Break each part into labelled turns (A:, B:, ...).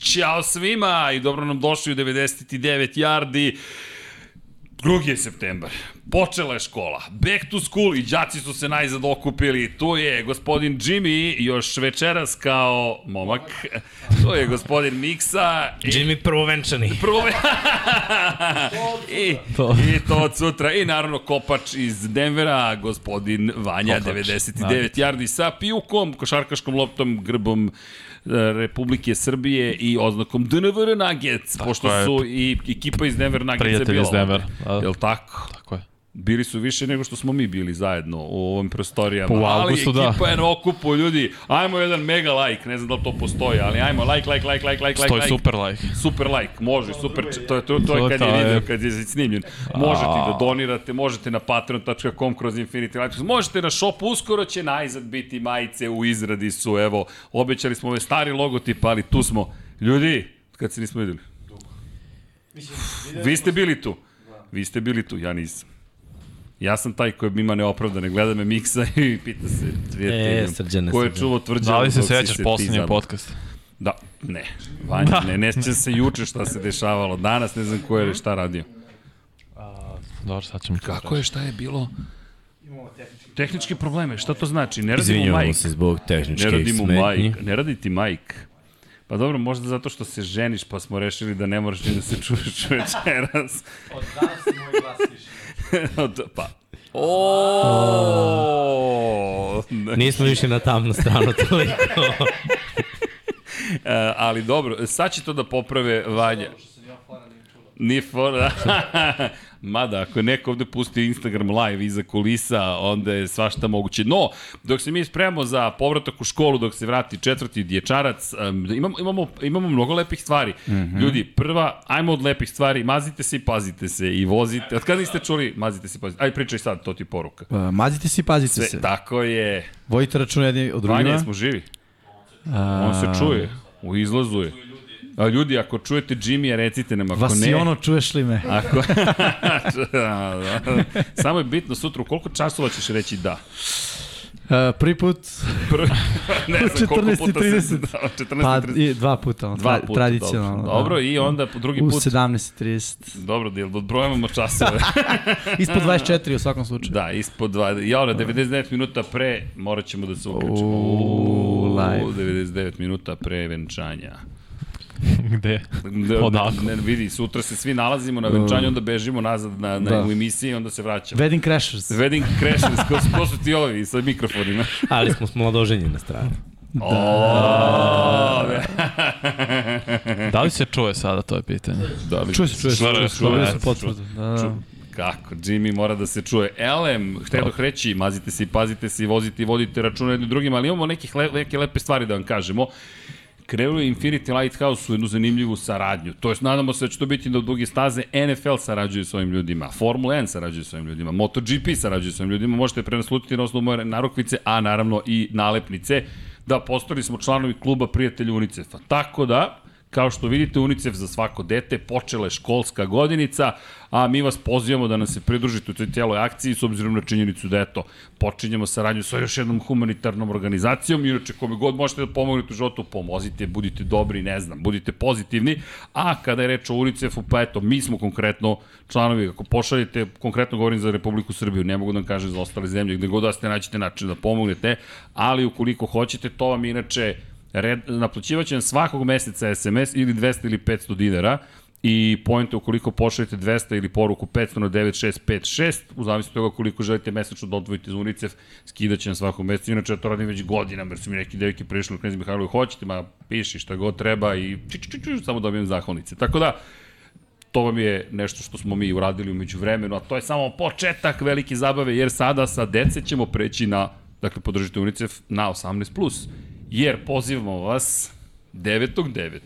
A: Ćao svima i dobro nam došli u 99 yardi. 2. septembar. Počela je škola. Back to school i đaci su se najzad okupili. Tu je gospodin Jimmy još večeras kao momak. Tu je gospodin Miksa. I
B: Jimmy prvovenčani.
A: prvo... I,
B: To.
A: I to od sutra. I naravno kopač iz Denvera, gospodin Vanja,
B: Kopač,
A: 99 yardi sa pijukom, košarkaškom loptom, grbom e, Republike Srbije i oznakom DNVR Nuggets, pošto
C: je.
A: su i ekipa iz Denver Nuggets
C: Prijatelj
A: je bila.
C: iz Denvera,
A: ovde.
C: da.
A: Jel tako?
C: Tako je.
A: Bili su više nego što smo mi bili zajedno u ovom prostorijama.
C: Pa u avgustu,
A: ali
C: da.
A: ekipa je na okupu, ljudi. Ajmo jedan mega like, ne znam da li to postoji, ali ajmo like, like, like, like, like, like.
C: To je
A: like.
C: super like.
A: Super like, može, super, č- to je, to, to je
C: To
A: kad je
C: je.
A: video, kad je snimljen. Možete i da donirate, možete na patreon.com kroz Infinity Lighthouse, možete na shop, uskoro će najzad biti majice u izradi su, evo, obećali smo ove stari logotip, ali tu smo. Ljudi, kad se nismo videli? Vi ste bili tu. Vi ste bili tu, ja nisam. Ja sam taj koji ima neopravdane, gleda me miksa i pita se prijateljom,
B: Srđane,
A: ko je
B: Srđane.
A: čuo tvrđavu
C: E, Da li se
A: dok si
C: sećaš
A: ti
C: poslednjeg
A: zabavio?
C: podcasta?
A: Da, ne. Vanja, da. ne, ne sjećam se juče šta se dešavalo. Danas ne znam ko je šta radio.
C: Dobro, sad ćemo.
A: Kako je, šta je bilo? Tehničke probleme, šta to znači? Ne radimo
D: Izvinjavamo
A: majk.
D: se zbog
A: Ne
D: tehničkih
A: radimo
D: smetnji.
A: majk. Ne radi ti majk. Pa dobro, možda zato što se ženiš, pa smo rešili da ne moraš ni da se čuješ večeras. Od danas moj glas više. pa. O!
B: Nismo više na tamnu stranu toliko.
A: E, ali dobro, sad će to da poprave Vanja. Ni fora. Mada, ako je neko ovde pustio Instagram live iza kulisa, onda je svašta moguće. No, dok se mi spremamo za povratak u školu, dok se vrati četvrti dječarac, um, imamo, imamo, imamo mnogo lepih stvari. Mm -hmm. Ljudi, prva, ajmo od lepih stvari, mazite se i pazite se i vozite. Od kada niste čuli, mazite se i pazite. Aj, pričaj sad, to ti je poruka.
E: Uh, mazite se i pazite
A: Sve,
E: se.
A: tako je.
E: Vojite računa jedni od drugima.
A: Vanja, smo živi. On se čuje, u izlazu je. A ljudi, ako čujete Jimmy, recite nam, ako ne...
E: Vasiono, čuješ li me?
A: Ako... Da, da. Samo je bitno sutra, u koliko časova ćeš reći da?
E: Uh, prvi put,
A: Prvi- ne znam koliko puta se...
E: 14:30.
A: Da,
E: pa
A: 14.30.
E: i dva puta, ono,
A: Dva
E: tra-
A: puta,
E: tradicionalno.
A: Dobro, dobro
E: da.
A: i onda po drugi
E: U
A: put...
E: 17.30.
A: Dobro, da jel odbrojamo časove.
E: Ispod 24 u svakom slučaju.
A: da, ispod dva... Ja, ono, 99 minuta pre morat ćemo da se uključimo.
E: Uuu, live.
A: U, 99 minuta pre venčanja.
C: Gde?
A: Da,
C: Odako.
A: Ne, vidi, sutra se svi nalazimo na venčanju, onda bežimo nazad na, na da.
E: Da.
A: u emisiji, onda se vraćamo.
E: Wedding Crashers.
A: Wedding Crashers, ko, su- ko su ti ovi sa mikrofonima?
B: Ali smo s mladoženjem na stranu.
A: Da.
C: Da li se čuje sada, to je pitanje.
A: da li...
E: Čuje se, čuje se.
C: Dobro,
E: Čuje se, dobili
C: čuje
E: su
C: se.
E: potvrdu. Da, da.
A: Kako, Jimmy mora da se čuje. Elem, htjedoh reći, mazite se i pazite se i vozite i vodite računa jednim drugima, ali imamo nekih le, neke lepe stvari da vam kažemo. krenuo je Infinity Lighthouse u jednu zanimljivu saradnju. To jest, nadamo se da će to biti do duge staze. NFL sarađuje s ovim ljudima, Formula 1 sarađuje s ovim ljudima, MotoGP sarađuje s ovim ljudima. Možete prenaslutiti na osnovu moje narukvice, a naravno i nalepnice. Da, postali smo članovi kluba Prijatelji UNICEF-a. Tako da, kao što vidite, UNICEF za svako dete, počela je školska godinica, a mi vas pozivamo da nam se pridružite u toj cijeloj akciji, s obzirom na činjenicu da, eto, počinjemo saradnju sa još jednom humanitarnom organizacijom, inače kome god možete da pomognete u životu, pomozite, budite dobri, ne znam, budite pozitivni, a kada je reč o UNICEF-u, pa eto, mi smo konkretno članovi, ako pošaljete, konkretno govorim za Republiku Srbiju, ne mogu da vam kažem za ostale zemlje, gde god da ste naćete način da pomognete, ali ukoliko hoćete, to vam inače red, naplaćivaće nam svakog meseca SMS ili 200 ili 500 dinara i point je ukoliko pošaljete 200 ili poruku 500 na 9656, u zavisnosti od toga koliko želite mesečno da odvojite za UNICEF, skidaće nam svakog meseca. Inače, ja to radim već godinama, jer su mi neki devike prišli u Knez Mihajlovi, hoćete, ma piši šta god treba i či, či, či, či, samo dobijem zahvalnice. Tako da, to vam je nešto što smo mi uradili umeđu vremenu, a to je samo početak velike zabave, jer sada sa dece ćemo preći na, dakle, podržite UNICEF na 18+, jer pozivamo vas 9.9.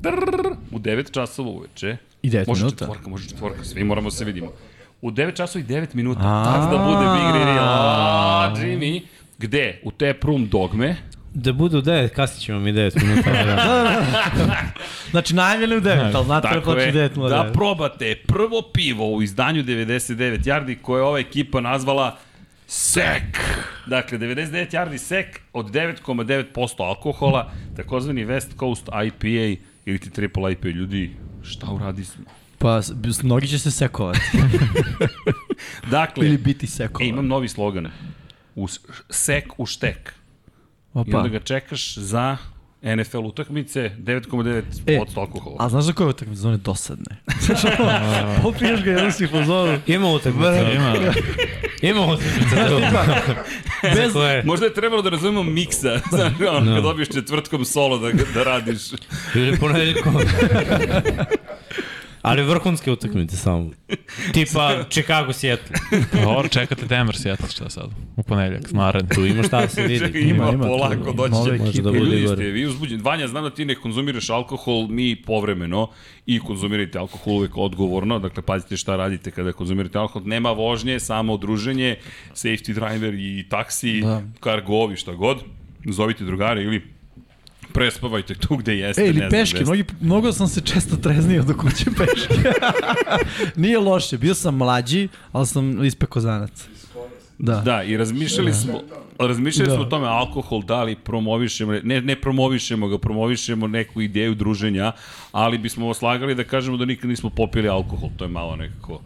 A: Drrrr, u 9 časova uveče.
E: I devet
A: može
E: minuta.
A: četvorka, može četvorka, svi moramo da se vidimo. U 9 časova i 9 minuta,
E: A.
A: tak da bude Big Real, a, Jimmy, gde? U Tap Room Dogme,
B: Da budu 9, kasnije ćemo mi 9 minuta. ali Da.
E: Znači, najmjeli u 9, ali znate da
A: Tako
E: počne
A: je,
E: 9.09.
A: da probate prvo pivo u izdanju 99 Jardi koje je ova ekipa nazvala Sek! Dakle, 99 yardi sek od 9,9% alkohola, takozvani West Coast IPA ili ti triple IPA. Ljudi, šta uradi smo?
E: Pa, s- b- s- mnogi će se sekovati.
A: Dakle,
E: Ili biti
A: e,
E: sekovan.
A: imam novi slogan. U, s- sek u štek. I
E: Opa.
A: onda da ga čekaš za NFL utakmice 9,9%
E: E,
A: alkohola.
E: A znaš za koje utakmice zone dosadne? Popiješ ga jednu si po zonu.
B: Ima utakmica.
C: Ima. da.
B: Ima utakmica. tu. Za koje-
A: Možda je trebalo da razumemo miksa, znaš, ono, kad dobiješ četvrtkom solo da, ga- da radiš.
B: Ili ponedeljkom. Ali vrhunske utakmice samo. Tipa Chicago Seattle.
C: Pa Dobro, čekate Denver Seattle, šta sad? U ponedjeljak, naredni.
B: Tu ima šta da se
A: Čekaj,
B: vidi.
A: ima,
E: Ima, ima,
A: polako,
E: tu,
A: doći će.
E: nove
A: da
B: ekipe. Možda bude
A: ljudi
B: gore.
A: ste vi uzbuđeni. Vanja, znam da ti ne konzumiraš alkohol, mi povremeno i konzumirajte alkohol uvek odgovorno, е dakle pazite šta radite kada konzumirate alkohol, nema vožnje, samo druženje, safety driver i taksi, da.
E: Da.
A: kargovi, šta god, zovite drugare ili prespavajte tu gde jeste.
E: E, ili
A: ne znam
E: peške,
A: gde
E: mnogi, mnogo sam se često treznio do kuće peške. Nije loše, bio sam mlađi, ali sam ispeko zanac. Da. da.
A: Da, i razmišljali smo, razmišljali smo o tome alkohol, da li promovišemo, ne, ne promovišemo ga, promovišemo neku ideju druženja, ali bismo vas lagali da kažemo da nikad nismo popili alkohol, to je malo nekako...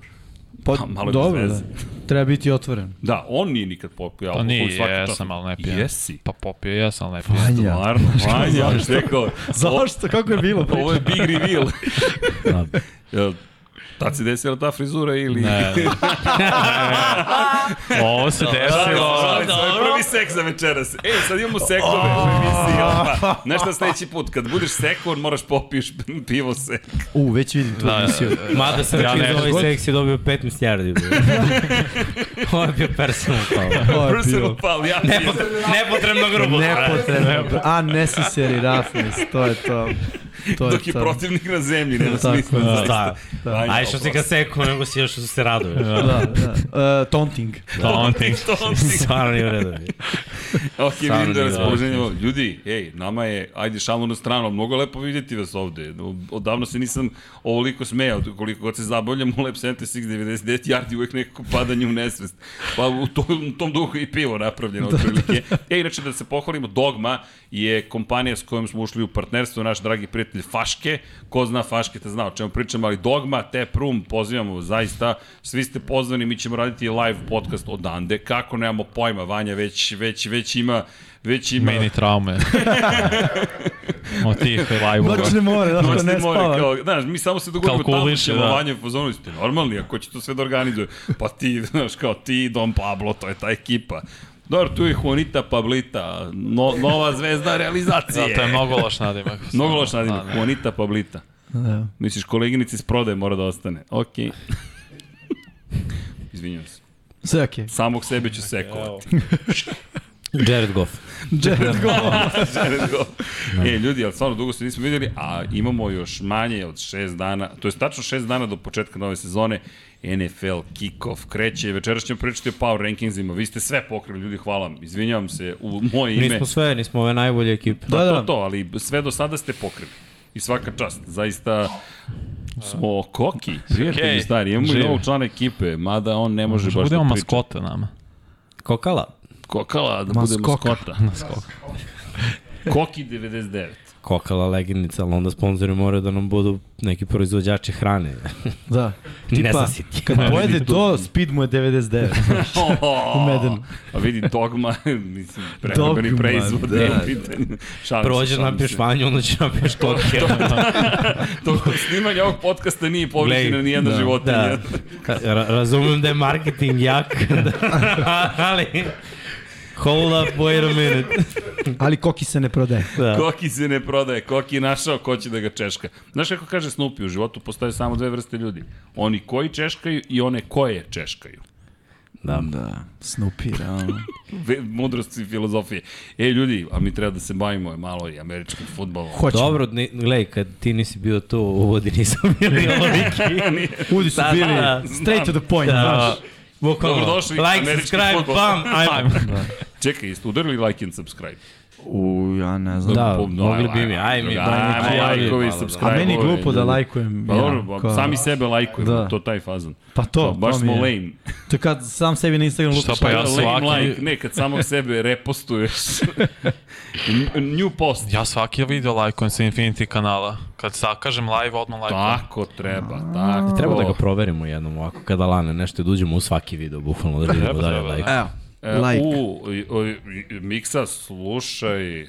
E: Pa,
A: Pa, malo je
E: dobro,
A: bez
E: da.
A: veze.
E: treba biti otvoren.
A: Da, on nije nikad popio
C: Pa
A: alkohol.
C: nije,
A: svaka čast.
C: jesam, ali ne pijem.
A: Jesi.
C: Pa popio jesam, ali ne pijem.
E: Vanja.
A: Varno, Vanja, rekao,
E: Zašto? Kako je bilo
A: ovo je big reveal.
B: Da.
A: Jel, Tad se desila ta frizura ili...
C: Ne. ne. Ovo se desilo...
A: Šalim se, ovo je prvi seks za večeras. E, sad imamo sekove u emisiji, opa. Znaš šta sledeći put, kad budeš sekor, moraš popiješ pivo sek.
E: U, već vidim tu
C: Da,
E: emisiju.
B: Mada sam
C: Ja
B: ja
C: ne.
B: za ovaj seks je dobio 15 yardi. bro. Ovo je bio personal foul.
E: Ovo je
A: Personal
E: bilo.
A: pal, ja ne,
C: Nepotrebno grubo.
E: Nepotrebno. A, necessary roughness, to je to. To je
A: dok je
E: to.
A: protivnik na zemlji, nema
E: Tako je,
A: smisla.
E: da.
A: zaista.
B: Da.
A: Vanja,
B: A i što si ga
A: oprosti.
B: sekao, nego si još što se raduje.
E: Da, da. E, taunting.
C: Taunting.
A: Što si?
B: Stvarno nije u redu.
A: Ok, vidim da
B: nije
A: raspoloženje. ovo. Ljudi, ej, nama je, ajde šalno na stranu, mnogo lepo vidjeti vas ovde. Odavno se nisam ovoliko smejao, koliko god se zabavljam u Lab 76 99 yardi uvek nekako padanje u nesvest. Pa u tom, u tom duhu je i pivo napravljeno otprilike. E, inače da se pohvalimo, Dogma je kompanija s kojom smo ušli u partnerstvo, naš dragi prijatelj Faške, ko zna Faške te zna o čemu pričam, ali Dogma, te Prum, pozivamo zaista, svi ste pozvani, mi ćemo raditi live podcast odande, kako nemamo pojma, Vanja već, već, već ima već ima
C: Mini traume. Od tih live-ova.
E: Noćne more, da,
C: Pa
A: Noćni
E: ne
A: more,
E: spava.
A: Kao, znaš, mi samo se dogovorimo tamo
C: Kalkuliše,
A: ćemo da.
C: da.
A: vanje pozonu, ste normalni, ako će to sve da organizuje. Pa ti, znaš, kao ti, Don Pablo, to je ta ekipa. Dobro, tu je Juanita Pablita, no, nova zvezda realizacije.
C: Da, to je mnogo loš nadimak.
A: Mnogo loš nadimak,
C: Da, ne.
A: Juanita Pablita.
E: Da.
A: Misliš, koleginici s prodaje mora da ostane. Okej. Izvinjam se.
E: Sve okej.
A: Samog sebe ću sekovati.
B: Jared Goff.
E: Jared Goff.
A: Jared Goff. e, ljudi, ali stvarno dugo se nismo vidjeli, a imamo još manje od šest dana, to je tačno šest dana do početka nove sezone, NFL kick-off kreće, večeras ćemo pričati o power rankingsima, vi ste sve pokrili, ljudi, hvala, vam. izvinjavam se u moje ime.
B: Mi smo sve, nismo ove najbolje ekipe.
A: Da,
E: Da,
A: da.
E: da.
A: To, to, ali sve do sada ste pokrili. I svaka čast, zaista smo koki, prijatelji
C: Okej.
A: stari, imamo i
C: Žive.
A: novog člana ekipe, mada on ne može
C: Možda
A: baš da
C: budemo
A: priča.
C: maskota nama.
B: Kokala.
A: Kokala, da bude
E: Maskoka.
A: maskota. Koki 99.
B: Kokala legendica, ali onda sponzori moraju da nam budu neki proizvođači hrane.
A: Pa,
E: Da.
B: Ne
E: Tipa,
B: znam si ti.
E: kad pojede to, speed mu je 99. U Medenu.
A: A Pa vidi, dogma, mislim, prehrambeni
E: Dogma,
A: proizvod,
E: da.
A: da. nije pitanje. Šalim se,
B: Prođe,
A: šalim
B: napiješ
A: se.
B: vanju, onda će napiješ koke.
A: Tokom snimanja ovog podcasta nije povređena
B: Glej,
A: ni jedna
B: da,
A: životinja.
B: da. Ra razumem da je marketing jak, da, ali... Hold up, wait a minute.
E: Ali koki se ne prodaje.
B: Da.
A: Koki se ne prodaje, Koki je našao ko će da ga češka. Znaš kako kaže Snoopy, u životu postoje samo dve vrste ljudi. Oni koji češkaju i one koje češkaju.
B: da.
E: Da. Snoopy, realno.
A: Ve- Mudrost i filozofije. E, ljudi, a mi treba da se bavimo malo i američkim futbolom.
E: Hoćemo.
B: Dobro, ne, gledaj, kad ti nisi bio tu u uvodi, nisam bio ni oviki.
E: Udi su
B: Da,
E: bili
B: da.
E: straight to the point,
B: Da.
E: znaš.
B: Bukvalno.
A: Dobrodošli,
B: Like,
A: američki
B: subscribe,
A: fudbal.
B: bam, ajmo. Da,
A: Čekaj, jeste udarili like and subscribe?
E: U, ja ne znam.
B: Da,
A: Po-
B: mogli bi mi, aj mi,
A: druga,
B: daj neki
A: Ajmo da,
B: javi.
A: lajkovi,
B: Hvala, da.
E: A
A: subscribe.
E: meni glupo da lajkujem.
A: Pa dobro,
E: kao-
A: sami sebe lajkujemo,
E: Da.
A: to taj fazon.
E: Pa to,
A: baš
E: to mi
A: smo
E: je.
A: lame.
E: To je kad sam sebi na Instagram
C: Šta
E: lupiš.
C: pa ja
A: lame
C: svaki-
A: like, ne, kad samog sebe repostuješ. N- New post.
C: Ja svaki video lajkujem sa Infinity kanala. Kad zakažem live, odmah lajkujem.
A: Tako treba, tako.
B: Treba da ga proverimo jednom ovako, kada lane nešto, da uđemo u svaki video, bukvalno da vidimo
C: Treba,
B: da je
C: treba, da.
B: like.
E: Evo,
A: E,
E: like.
A: U, o, o, Miksa, slušaj.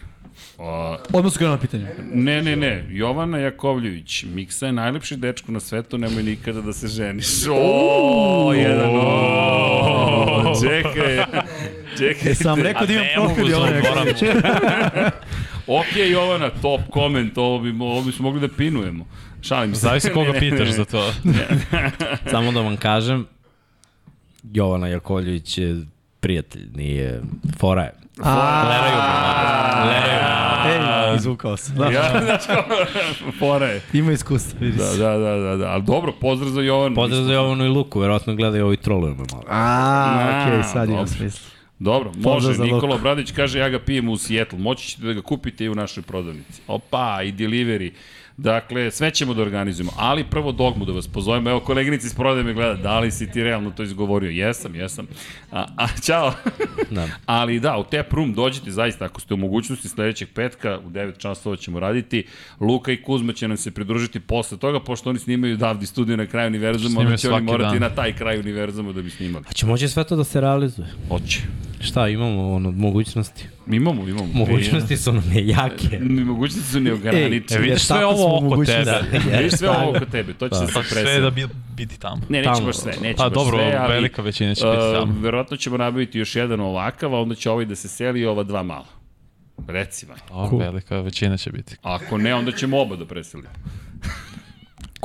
A: A,
E: Odmah su na pitanje.
A: ne, ne, ne, Jovana Jakovljević, Miksa je najlepši dečko na svetu, nemoj nikada da se ženiš. O, jedan, o, čekaj, čekaj.
E: Sam rekao da imam
C: Ne mogu,
E: profil Jovana
C: zaboravim.
E: Jakovljevića.
A: Ok, Jovana, top koment, ovo bi, ovo bi smo mogli da pinujemo. Šalim se.
C: Zavisi koga
A: Ne, ne,
C: pitaš
A: ne.
C: za to.
B: Samo da vam kažem, Jovana Jakovljević je prijatelj, nije fora je. Leraju me, leraju me.
E: Ej, izvukao sam. Da.
A: Ja, znači, fora je.
E: Ima iskustva, vidi
A: Da,
E: se.
A: da, da, da, da. Ali dobro, pozdrav za Jovanu.
B: Pozdrav za Jovanu i Luku, verovatno gledaju ovo i troluju me malo.
E: A,
A: A,
E: okej, sad ima
A: dobro.
E: smisla.
A: Dobro, može.
E: za
A: Nikola Bradić kaže, ja ga pijem u Sjetlu. Moći ćete da ga kupite i u našoj prodavnici. Opa, i delivery. Dakle, sve ćemo da organizujemo, ali prvo dogmu da vas pozovemo. Evo, koleginica iz prodaje me gleda, da li si ti realno to izgovorio? Jesam, jesam. A, a čao.
B: Da.
A: Ali da, u tap room dođite zaista, ako ste u mogućnosti sledećeg petka, u 9 časova ćemo raditi. Luka i Kuzma će nam se pridružiti posle toga, pošto oni snimaju davdi studio na kraju univerzuma,
C: Snimaju
A: onda će oni
C: svaki
A: morati
C: dan.
A: na taj kraj univerzuma da bi snimali.
B: Znači, može sve to da se realizuje.
A: Hoće.
B: Šta, imamo ono, mogućnosti?
A: Imamo, imamo.
B: Mogućnosti su nam jake.
A: Ni mogućnosti su neograničene.
C: E, vidiš
B: Jer
C: sve
B: tako smo
C: ovo oko
B: mogućnosti. Da,
C: tebe.
A: Vidiš sve ovo oko tebe, to će se
C: Pa
A: sad
C: sve
A: presjeti.
C: da bi, biti tamo.
A: Ne, neće
B: Tamo.
A: baš sve, neće
C: Pa
A: baš
C: dobro,
A: sve, ali,
C: velika većina će biti
A: e,
C: tamo.
A: Verovatno ćemo nabaviti još jedan ovakav, a onda će ovaj da se seli i ova dva mala. Reci vam.
C: O, velika većina će biti.
A: Ako ne, onda ćemo oba da preselimo.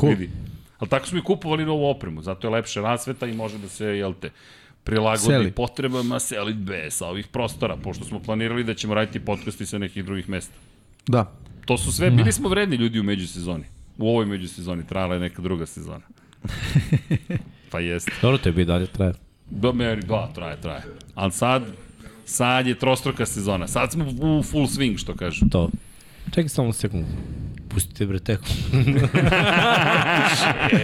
A: Cool. Vidi. Ali tako smo i kupovali novu opremu, zato je lepše rasveta i može da se, jel te, prilagodi
E: Seli.
A: potrebama selitbe sa ovih prostora, pošto smo planirali da ćemo raditi podcasti sa nekih drugih mesta.
E: Da.
A: To su sve, bili smo vredni ljudi u međusezoni. U ovoj međusezoni, trajala je neka druga sezona. pa jeste.
B: Dobro, tebi i dalje traje.
A: Do meri, da, traje, traje. Ali sad, sad je trostruka sezona. Sad smo u full swing, što kažu.
B: To. Čekaj samo sekundu. Pustite bre teku.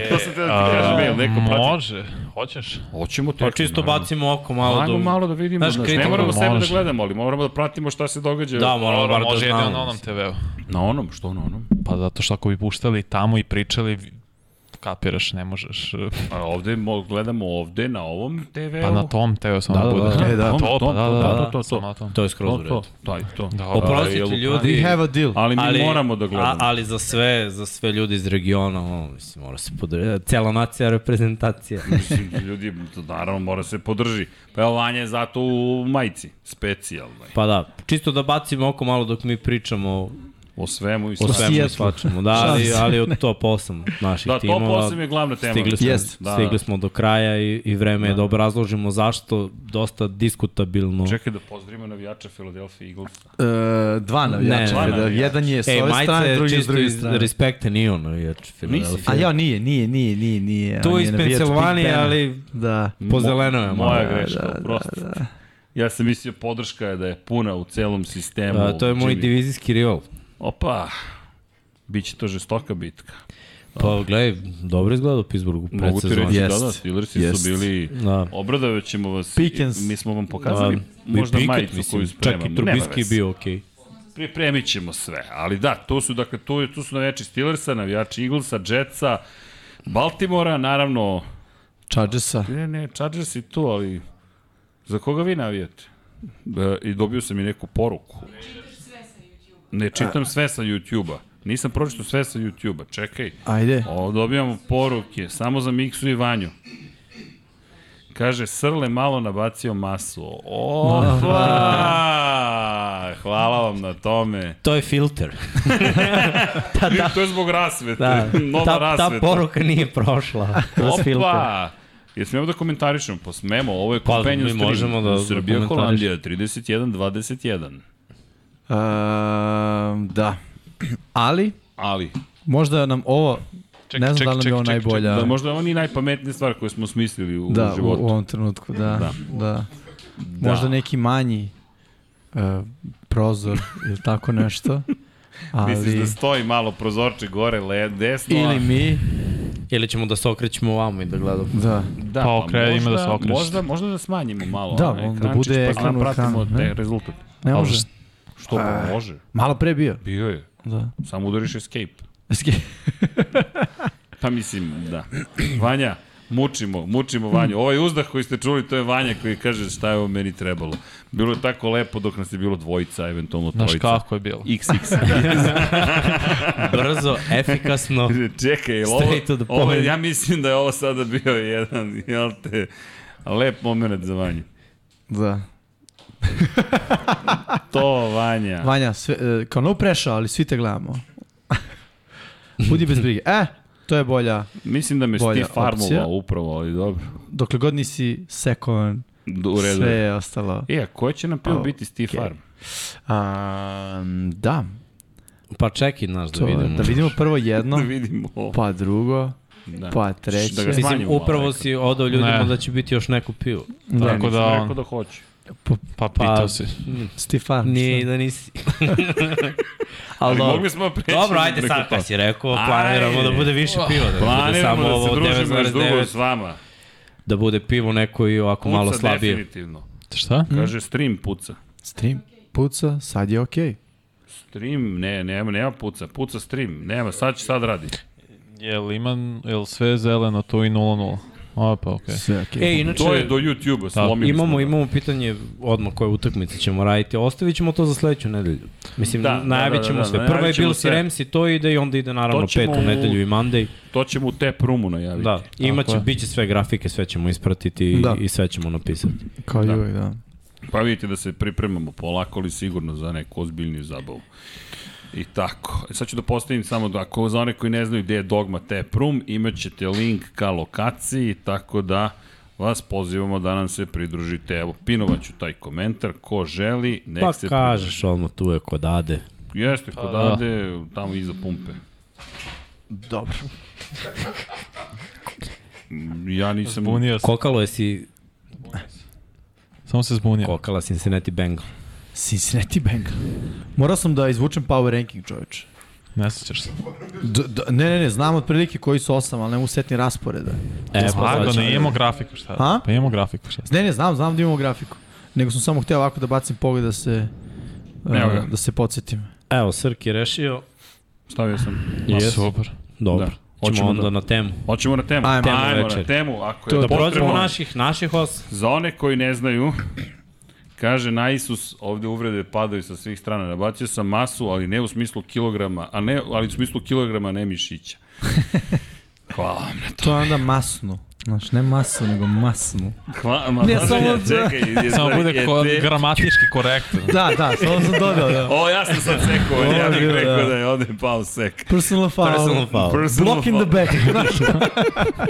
A: to sam te da ti kažem, mail, neko prati.
C: Može, hoćeš?
A: Hoćemo
B: Pa
A: tečko,
B: čisto bacimo oko malo.
A: Ajmo
B: do-
A: malo da vidimo.
B: Znaš,
A: Znaš, ne
B: kritiku
A: moramo sebe da
C: može.
A: gledamo, ali moramo da pratimo šta se događa.
B: Da, moramo
C: Dobro,
B: bar da
C: može jedino na
B: znamo.
C: onom TV-u.
A: Na onom, što na onom?
C: Pa zato što ako bi puštali tamo i pričali, vi- kapiraš, ne možeš.
A: A Pa ovde mo, gledamo ovde, na ovom TV-u.
C: Pa na tom TV-u samo
B: Da, da,
C: da, bude.
B: da.
E: E, da.
C: Na
A: Tom,
C: tom,
A: tom,
C: da, da,
A: tom,
C: da,
A: to,
C: da,
A: to, to.
C: samo na tom.
B: To je skroz u
A: To,
B: redu.
A: to, taj, to.
C: Da,
B: Oprostite
A: jel-
B: ljudi.
E: We have a deal.
A: Ali mi
B: Ali-
A: moramo da
B: A,
A: gledamo.
B: ali za sve, za sve ljudi iz regiona, ono, mislim, mora se podrediti. Cela nacija reprezentacija.
A: Mislim, ljudi, to naravno mora se podrži. Pa evo, Vanja je zato u majici, specijalno.
B: Pa da, čisto da bacimo oko malo dok mi pričamo
A: O svemu i
B: o
A: svemu.
B: svemu i
E: Seattlu.
B: svačemu. Da, ali,
E: Šanse.
B: ali od top 8 naših
A: Da, top
B: timova.
A: 8 je glavna tema.
B: Stigli smo,
E: Jest.
A: Da,
B: stigli
A: da.
B: smo do kraja i, i vreme je da obrazložimo zašto dosta diskutabilno.
A: Čekaj da pozdravimo navijača Philadelphia Eaglesa.
E: E, dva navijača.
B: Ne,
A: ne,
E: da,
A: ne.
E: jedan je s
B: Ej,
E: ove
B: majica
E: strane,
B: je
E: drugi je s
B: E, čisto
E: druge
B: iz
E: strane.
B: respekta, nije ono, jač Filadelfija.
E: A ja, nije, nije, nije, nije, nije.
B: Tu
E: on je
B: iz
E: navijač Big
B: Pensilvanije,
E: Bena.
B: ali
E: Da.
B: pozeleno je malo.
A: Moja greška, da, prosto. Da, da. Ja sam mislio podrška je da je puna u celom sistemu.
B: Da, to je moj
A: Jimmy.
B: divizijski rival.
A: Opa, biće to žestoka bitka.
B: Pa gledaj, dobro izgleda u Pittsburghu
A: Da. Mogu ti reći
B: predsezoni.
A: da,
E: Jest.
A: da, Steelersi
E: Jest.
A: su bili...
B: Da.
A: Obradovaćemo vas.
E: Pickens.
A: i Mi smo vam pokazali
B: Da.
A: možda
B: I Pickett,
A: majicu koju spremamo.
B: Čak i
A: Nema
B: Trubisky je
A: veze.
B: bio okej.
A: Pripremit ćemo sve, ali da, tu su, dakle, tu, tu su navijači Steelersa, navijači Eaglesa, Jetsa, Baltimora, naravno,
E: Chargersa.
A: ne, ne, Chargers i tu, ali za koga vi navijate? Da, I dobio sam i neku poruku. Ne, čitam sve sa YouTube-a. Nisam pročito sve sa YouTube-a, čekaj.
E: Ajde.
A: O, dobijamo poruke, samo za Miksu i Vanju. Kaže, Srle malo nabacio masu. Opa! Hvala vam na tome.
B: To je filter.
A: Da, To je zbog rasvete.
B: Da.
A: Da. Nova
B: ta, ta
A: rasveta.
B: poruka nije prošla. Kroz filter.
A: Opa! Jesmo da komentarišemo? Pa smemo, ovo je
B: Pa,
A: Companion
B: mi
A: Stream.
B: možemo da- da
A: Srbija,
B: komentariš-
A: Holandija, 31-21.
E: Um, E, da. Ali,
A: Ali,
E: možda nam ovo,
C: Ček,
E: ne znam
C: ček,
E: da li nam
C: ček,
E: je ovo
C: ček, ček,
E: najbolja.
A: da, možda je ovo nije najpametnija stvar koju smo smislili u,
E: da, u,
A: životu.
B: Da.
E: u ovom trenutku, da. Da. da. Možda neki manji uh, prozor ili tako nešto. Ali,
A: Misliš da stoji malo prozorče gore, le, desno? a-
E: ili mi,
B: Ili ćemo da se okrećemo ovamo i da gledamo.
E: da.
A: Da,
C: Pa okre- ima da se okreće.
A: Možda, možda da smanjimo malo
E: Da,
A: onaj
E: onda
A: ekrančić,
E: bude
A: pa
E: ekran u
A: pratimo
E: ekranu,
A: te
E: ne?
A: rezultat.
E: Ne
A: Ali
E: može.
A: š- Što pa može?
E: Malo pre bio.
A: Bio je.
E: Da.
A: Samo udariš escape.
E: Eski-
A: Pa mislim, da. Vanja, mučimo, mučimo Vanju. Ovaj uzdah koji ste čuli, to je Vanja koji kaže šta je ovo meni trebalo. Bilo je tako lepo dok nas je bilo dvojica, eventualno
C: Znaš
A: trojica.
C: kako je bilo.
A: XX.
B: Brzo, efikasno.
A: Čekaj, jel
B: Straight to
A: ovo,
B: the
A: ovo,
B: point.
A: ja mislim da je ovo sada bio jedan, jel te, lep moment za Vanju.
E: Da.
A: To, Vanja.
E: Vanja, sve, e, kao no pressure, ali svi te gledamo. Budi bez brige. E, to je bolja.
A: Mislim da me
E: Bolja
A: Steve farmovao
E: opcija.
A: upravo, ali dobro.
E: Dokle god nisi sekovan,
A: Do, u redu.
E: sve
A: je.
E: je ostalo.
A: E, a ko će nam pivo
E: A,
A: biti Steve
E: okej.
A: Farm?
E: A, da,
B: Pa čekaj nas da
E: to,
B: vidimo.
E: da vidimo prvo jedno,
A: Da vidimo ovo.
E: pa drugo,
A: Da.
E: pa treće.
A: Da ga smanjimo
B: Mislim,
A: malo,
B: upravo
A: rekao.
B: si odao ljudima
C: Ne.
B: da će biti još neko pivo.
E: Da.
A: Ja
C: Tako
A: nisam
C: da on-
A: rekao da hoće.
C: Pa pitao si.
E: Steve Farm.
B: Nije da nisi.
A: Ali
B: dobro.
A: mogli smo preći
B: Dobro, ajde
A: preko
B: sad
A: toga.
B: kad si rekao, planiramo
A: Ajde.
B: da bude više piva. Da ne bude samo
A: Planiramo da
B: ovo
A: se družimo još dugo
B: 9,9.
A: s vama.
B: Da bude pivo neko i ovako
A: Puca
B: malo slabije.
A: definitivno.
C: Šta?
A: Kaže stream puca.
E: Stream puca, sad je okej.
A: Stream, ne, nema, nema puca. Puca stream, nema, sad će sad radi.
B: Znači-
C: Jel ima, jel sve zeleno tu i 0-0? A, pa okej.
E: Sve je okej.
B: E, inače,
A: To je do YouTube-a, slomili smo
B: Da, imamo,
A: ga.
B: imamo pitanje odmah koje utakmice ćemo raditi. Ostavit ćemo to za sledeću nedelju. Mislim,
A: Da,
B: da,
A: da,
B: najavit ćemo
A: da, da,
B: sve.
A: da,
B: Prva je
A: najavit ćemo
B: bilo si
A: sve.
B: Remsi, to ide i onda ide naravno
A: To ćemo
B: petu
A: u-
B: nedelju i Monday.
A: To ćemo u tep rumu najaviti.
B: Da, imaće,
C: je.
B: bit će sve grafike, sve ćemo ispratiti i,
E: Da.
B: i sve ćemo napisati.
E: Kao
A: da.
E: i uvek, da.
A: Pa vidite da se pripremamo polako ali sigurno za neku ozbiljniju zabavu. I tako. E, Sad ću da postavim samo da ako za one koji ne znaju gde je Dogma Tap Room, imat ćete link ka lokaciji, tako da vas pozivamo da nam se pridružite. Evo, pinovaću taj komentar, ko želi, nek
B: Pa
A: se
B: kažeš odmah tu je kod Ade.
A: pridruži. Jeste, kod
C: da.
A: Ade, tamo iza pumpe.
E: Dobro.
A: Ja nisam...
C: Zbunio se.
B: Kokalo je si,
C: Samo se zbunio.
B: kokala Cincinnati Bengal.
E: Cincinnati Bengal. Morao sam da izvučem power ranking, čoveče.
C: Ne sećaš se.
E: D, d, ne, ne, ne, znam otprilike koji su osam, ali ne mogu setni rasporeda.
B: E, pa
C: Slago,
B: sad
C: ne
B: ćemo-
C: imamo grafiku, šta?
E: A?
C: Pa imamo grafiku, šta?
E: Ne, ne, znam, znam da imamo grafiku. Nego sam samo hteo ovako da bacim pogled da se...
A: Evo ga.
E: Uh, da se podsjetim.
B: Evo, Srki je rešio.
A: Stavio sam.
C: Ma,
B: Jes.
C: Super.
B: Dobro.
A: Da.
B: Ćemo
A: Hoćemo
B: onda
A: da-
B: na temu.
A: Hoćemo na temu.
E: Ajmo.
B: Temu
A: Ajmo na
B: večeri.
A: temu. Ako je
E: To-
B: Da
E: Da
B: prođemo
A: potrebno,
B: naših, naših os.
A: Za one koji ne znaju, kaže na Isus, ovde uvrede padaju sa svih strana. Nabacio sam masu, ali ne u smislu kilograma, a ne, ali u smislu kilograma ne mišića. Hvala vam.
E: To je onda masno. Znaš, ne masno, nego masno.
A: Hvala, ma,
E: Ne,
A: ma,
E: samo-
A: čekaj, je,
C: Samo bude
A: je
C: ko,
A: te-
C: gramatički korektno.
E: Da, da, samo sam dodao, da.
A: O, ja sam sad sekao,
E: Ovo je
A: ja bih
E: bilo,
A: rekao
E: da.
A: da je ovde pao sek.
E: Personal foul.
B: Personal foul.
A: Personal
E: Block in the
A: foul.
E: back.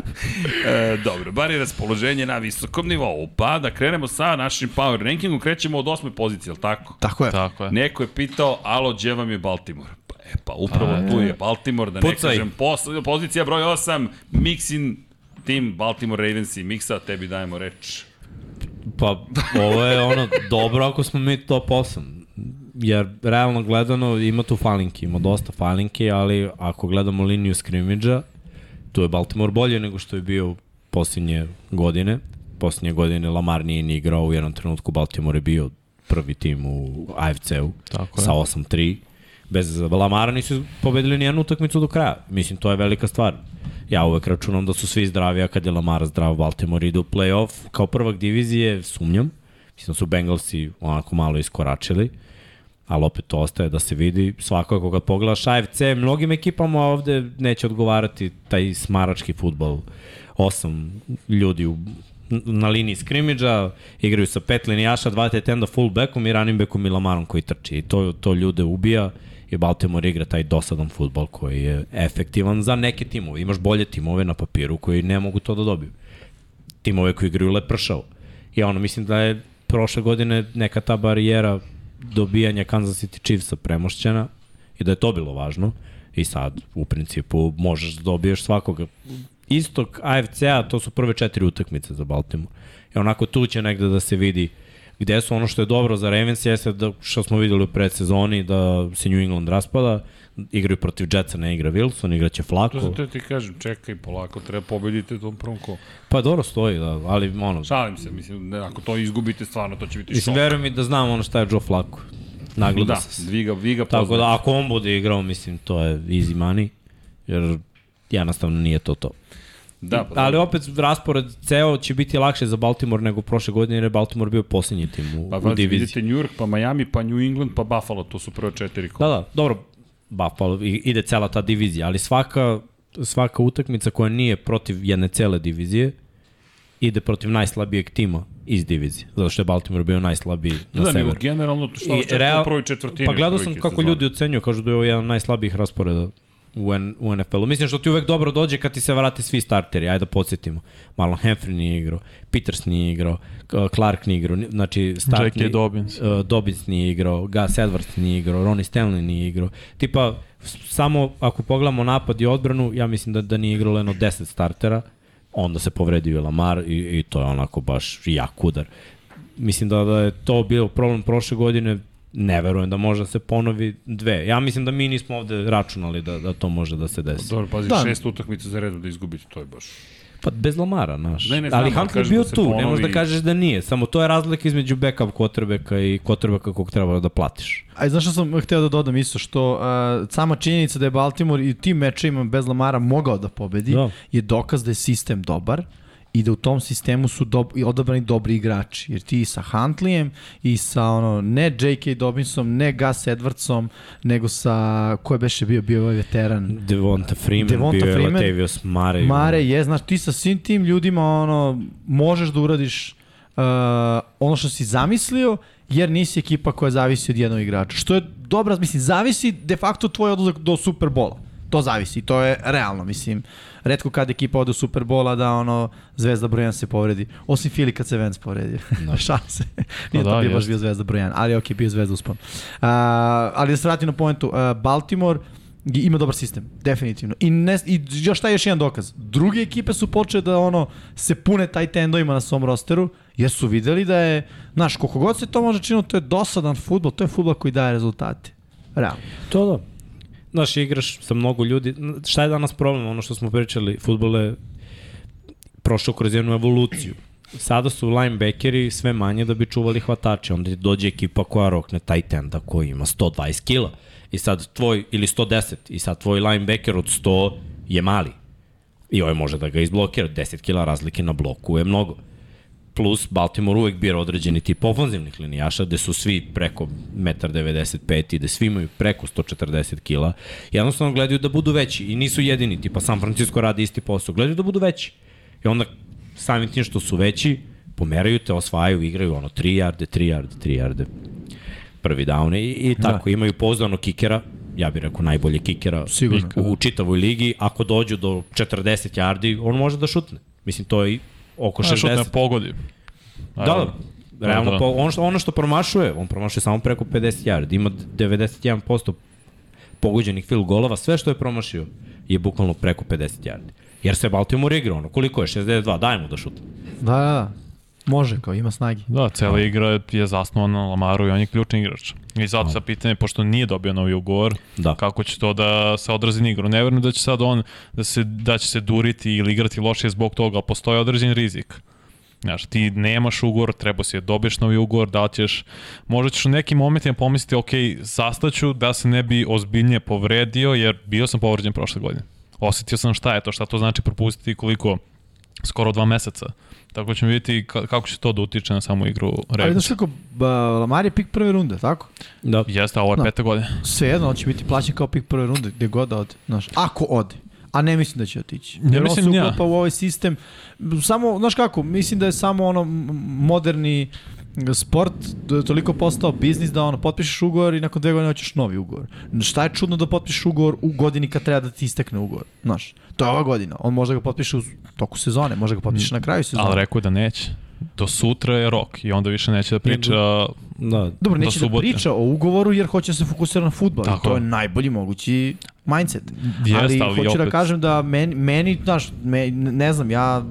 A: E, dobro, bar je raspoloženje na visokom nivou. Pa da krenemo sa našim power rankingom, krećemo od osme pozicije, jel tako?
E: Tako je.
C: Tako je.
A: Neko je pitao, alo, gdje vam je Baltimore? Pa, e, pa upravo tu je Baltimore, da ne
B: Pucaj.
A: kažem, pos- pozicija broj 8, Mixin, tim Baltimore Ravens i Mixa, tebi dajemo reč.
B: Pa, ovo je ono, dobro ako smo mi top 8. Jer, realno gledano, ima tu falinki, ima dosta falinki, ali ako gledamo liniju skrimidža, tu je Baltimore bolje nego što je bio posljednje godine. Posljednje godine Lamar nije ni igrao, u jednom trenutku Baltimore je bio prvi tim u AFC-u
C: Tako je.
B: sa 8-3. Bez Lamara nisu pobedili nijednu utakmicu do kraja. Mislim, to je velika stvar. Ja uvek računam da su svi zdravi, a kad je Lamar zdrav, Baltimore ide u playoff. Kao prvak divizije, sumnjam. Mislim da su Bengalsi onako malo iskoračili ali opet to ostaje da se vidi. Svakako kad pogledaš AFC, mnogim ekipama ovde neće odgovarati taj smarački futbol. Osam ljudi u, na liniji skrimidža, igraju sa pet linijaša, dva tetenda fullbackom i running backom i Lamarom koji trči. I to, to ljude ubija i Baltimore igra taj dosadan futbol koji je efektivan za neke timove. Imaš bolje timove na papiru koji ne mogu to da dobiju timove koji igraju lepršavo. Ja ono, mislim da je prošle godine neka ta barijera dobijanja Kansas City Chiefsa premošćena i da je to bilo važno. I sad, u principu, možeš da dobiješ svakoga. Istok AFC-a, to su prve četiri utakmice za Baltimore. I onako tu će negde da se vidi gde su ono što je dobro za Ravens jeste da, što smo videli u predsezoni da se New England raspada, igraju protiv Jetsa, ne igra Wilson, igraće
A: To
B: Flako.
A: sam te Pa ti kažem, čekaj polako, treba pobediti u tom prvom kolu.
B: Pa dobro stoji, da, ali ono,
A: Šalim se, mislim, ne, ako to izgubite, stvarno to će biti šok.
B: mislim, verujem i da znam ono šta je Joe Flako. Nagleda
A: Da,
B: da. se.
A: vi ga, vi ga
B: Tako
A: poznate.
B: da ako on bude igrao, mislim, to je easy money, jer jednostavno nije to to.
A: da, pa,
B: Ali opet raspored ceo će biti lakše za Baltimore nego prošle godine jer je Baltimore bio posljednji tim u,
A: Pa
B: u
A: pazi,
B: diviziji.
A: vidite New York, pa Miami, pa New England, pa Buffalo, to su prve četiri
B: Da,
A: kola.
B: da, dobro, Buffalo i- ide cela ta divizija, ali svaka, svaka utakmica koja nije protiv jedne cele divizije ide protiv najslabijeg tima iz divizije, zato što je Baltimore bio najslabiji
A: Da,
B: na
A: da, nego
B: severu.
A: generalno to šta
B: I
A: očekuje
B: real-
A: u prvoj četvrtini.
B: Pa gledao sam
A: otprilike
B: kako
A: sezone.
B: ljudi ocenjuju, kažu da je ovo jedan od najslabijih rasporeda u, N, u NFL-u. Mislim što ti uvek dobro dođe kad ti se vrate svi starteri, ajde da podsjetimo. Marlon Humphrey nije igrao, Peters nije igrao, K- Clark nije igrao, ni- znači startni...
C: J.K. Dobbins.
B: Uh, Dobbins nije igrao, Gus Edwards nije igrao, Ronnie Stanley nije igrao. Tipa, s- samo ako pogledamo napad i odbranu, ja mislim da, da nije igrao jedno 10 startera, onda se povredio i Lamar i, i to je onako baš jak udar. Mislim da, da je to bio problem prošle godine, ne verujem da može da se ponovi dve. Ja mislim da mi nismo ovde računali da, da to može da se desi.
A: Dobro, pazi,
E: Da.
A: da. šest utakmica za redu da izgubite, to je baš...
B: Pa bez Lamara, znaš.
A: Ne, ne, znam,
B: ali
A: ali
B: Huntley je
A: kažem
B: bio
A: da se
B: tu, ne možeš da
A: ponovi.
B: kažeš da nije. Samo to je razlika između backup kotrbeka i kotrbeka kog treba da platiš.
E: A znaš što sam hteo da dodam isto, što uh, sama činjenica da je Baltimore i u tim mečevima bez Lamara mogao da pobedi,
B: Da.
E: da. je dokaz da je sistem dobar i da u tom sistemu su dob, i odabrani dobri igrači. Jer ti i sa Huntleyem i sa ono, ne J.K. Dobinsom, ne Gus Edwardsom, nego sa, ko je beše bio, bio je ovaj veteran.
B: Devonta Freeman,
E: Devonta
B: bio je
E: Freeman.
B: Latavius Murray.
E: Mare je, znaš, ti sa svim tim ljudima ono, možeš da uradiš uh, ono što si zamislio, jer nisi ekipa koja zavisi od jednog igrača. Što je dobra, mislim, zavisi de facto tvoj odlazak do Superbola. To zavisi, to je realno, mislim. Redko kad ekipa ode u Superbola da ono zvezda broj 1 se povredi. Osim Fili kad se Vance povredio. No. Šanse. Nije
C: Pa
E: to
C: da,
E: bio baš
C: jeste.
E: bio zvezda broj 1, ali ok, bio je zvezda uspon. Uh, ali da se vratim na poentu, uh, Baltimore i- ima dobar sistem, definitivno. I, ne, I još taj još jedan dokaz. Druge ekipe su počele da ono se pune taj tendovima na svom rosteru, jer su videli da je, znaš, koliko god se to može činiti, to je dosadan futbol, to je futbol koji daje rezultate. Realno.
B: To da. Znaš, igraš sa mnogo ljudi. Šta je danas problem? Ono što smo pričali, futbol je prošao kroz jednu evoluciju. Sada su linebackeri sve manje da bi čuvali hvatače. Onda ti dođe ekipa koja rokne tight enda koji ima 120 kila. I sad tvoj, ili 110, i sad tvoj linebacker od 100 je mali. I ovaj može da ga izblokira. 10 kila razlike na bloku je mnogo. Plus, Baltimore uvek bira određeni tip ofanzivnih linijaša, gde su svi preko 1,95 i gde svi imaju preko 140 kila. Jednostavno gledaju da budu veći i nisu jedini, tipa San Francisco radi isti posao, gledaju da budu veći. I onda samim tim što su veći, pomeraju te, osvajaju, igraju ono 3 jarde, 3 jarde, 3 jarde, prvi down i, i tako. Da. Imaju pozdano kikera, ja bih rekao najbolje kikera
E: Sigurno.
B: u, u čitavoj ligi. Ako dođu do 40 jardi, on može da šutne. Mislim, to je i oko
C: Znaš, šutne
B: 60.
C: pogodi.
B: Da, da. Realno,
C: Da, da.
B: po, ono, što, ono što promašuje, on promašuje samo preko 50 yard, ima 91% pogođenih field golova, sve što je promašio je bukvalno preko 50 yard. Jer se Baltimore igra, ono, koliko je, 62, dajmo da šutne.
E: Da, da, da. Može, kao ima snagi.
C: Da, cela igra je zasnovana na Lamaru i on je ključni igrač. I zato sa pitanje, pošto nije dobio novi ugovor,
B: Da.
C: Pa kako će to da se odrazi na igru. Ne verujem da će sad on, da, se, da će se duriti ili igrati lošije zbog toga, ali postoji određen rizik. Znaš, ti nemaš ugovor, treba si je dobiješ novi ugovor, da li ćeš, možda ćeš u nekim momentima pomisliti, ok, sastaću da se ne bi ozbiljnije povredio, jer bio sam povređen prošle godine. Osetio sam šta je to, šta to znači propustiti koliko skoro dva meseca. Tako ćemo vidjeti ka- kako će to da utiče na samu igru
E: Ali
C: Ravens.
E: znaš kako, ba, Lamar je pik prve runde, tako?
B: Da.
C: Jeste, a ovo je
E: Da.
C: peta godina.
E: Svejedno, on će biti plaćen kao pik prve runde, gde god da ode. Znaš, ako ode. A ne mislim da će otići.
C: Ne
E: Jer
C: mislim
E: on
C: ni
E: se
C: ja.
E: uklapa u ovaj sistem. Samo, znaš kako, mislim da je samo ono m- moderni sport da je toliko postao biznis da ono potpišeš ugovor i nakon dve godine hoćeš novi ugovor. Šta je čudno da potpišeš ugovor u godini kad treba da ti istekne ugovor, znaš. To je ova godina. On može da ga potpiše u toku sezone, može da ga potpiše na kraju sezone.
C: Mm. Ali rekao je da neće. Do sutra je rok i onda više neće da priča
B: Da.
E: Dobro,
C: do
E: neće da
C: subote.
E: priča o ugovoru jer hoće da se fokusira na futbol.
C: Tako
E: to je
C: je.
E: najbolji mogući mindset.
C: Jeste,
E: ali,
C: ali
E: hoću da
C: opet-
E: kažem da meni, meni znaš, me, ne znam, ja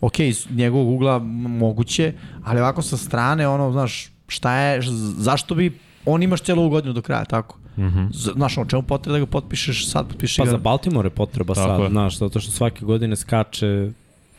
E: ok, iz njegovog ugla m- moguće, ali ovako sa strane, ono, znaš, šta je, ž- zašto bi, on imaš cijelu ovu godinu do kraja, tako. Mm
C: Mhm.
E: -hmm. Znaš, ono, čemu potrebe da ga potpišeš, sad potpiši
B: Pa
E: ga.
B: za Baltimore je potreba
C: Tako
B: sad,
C: je.
B: znaš, zato što svake godine skače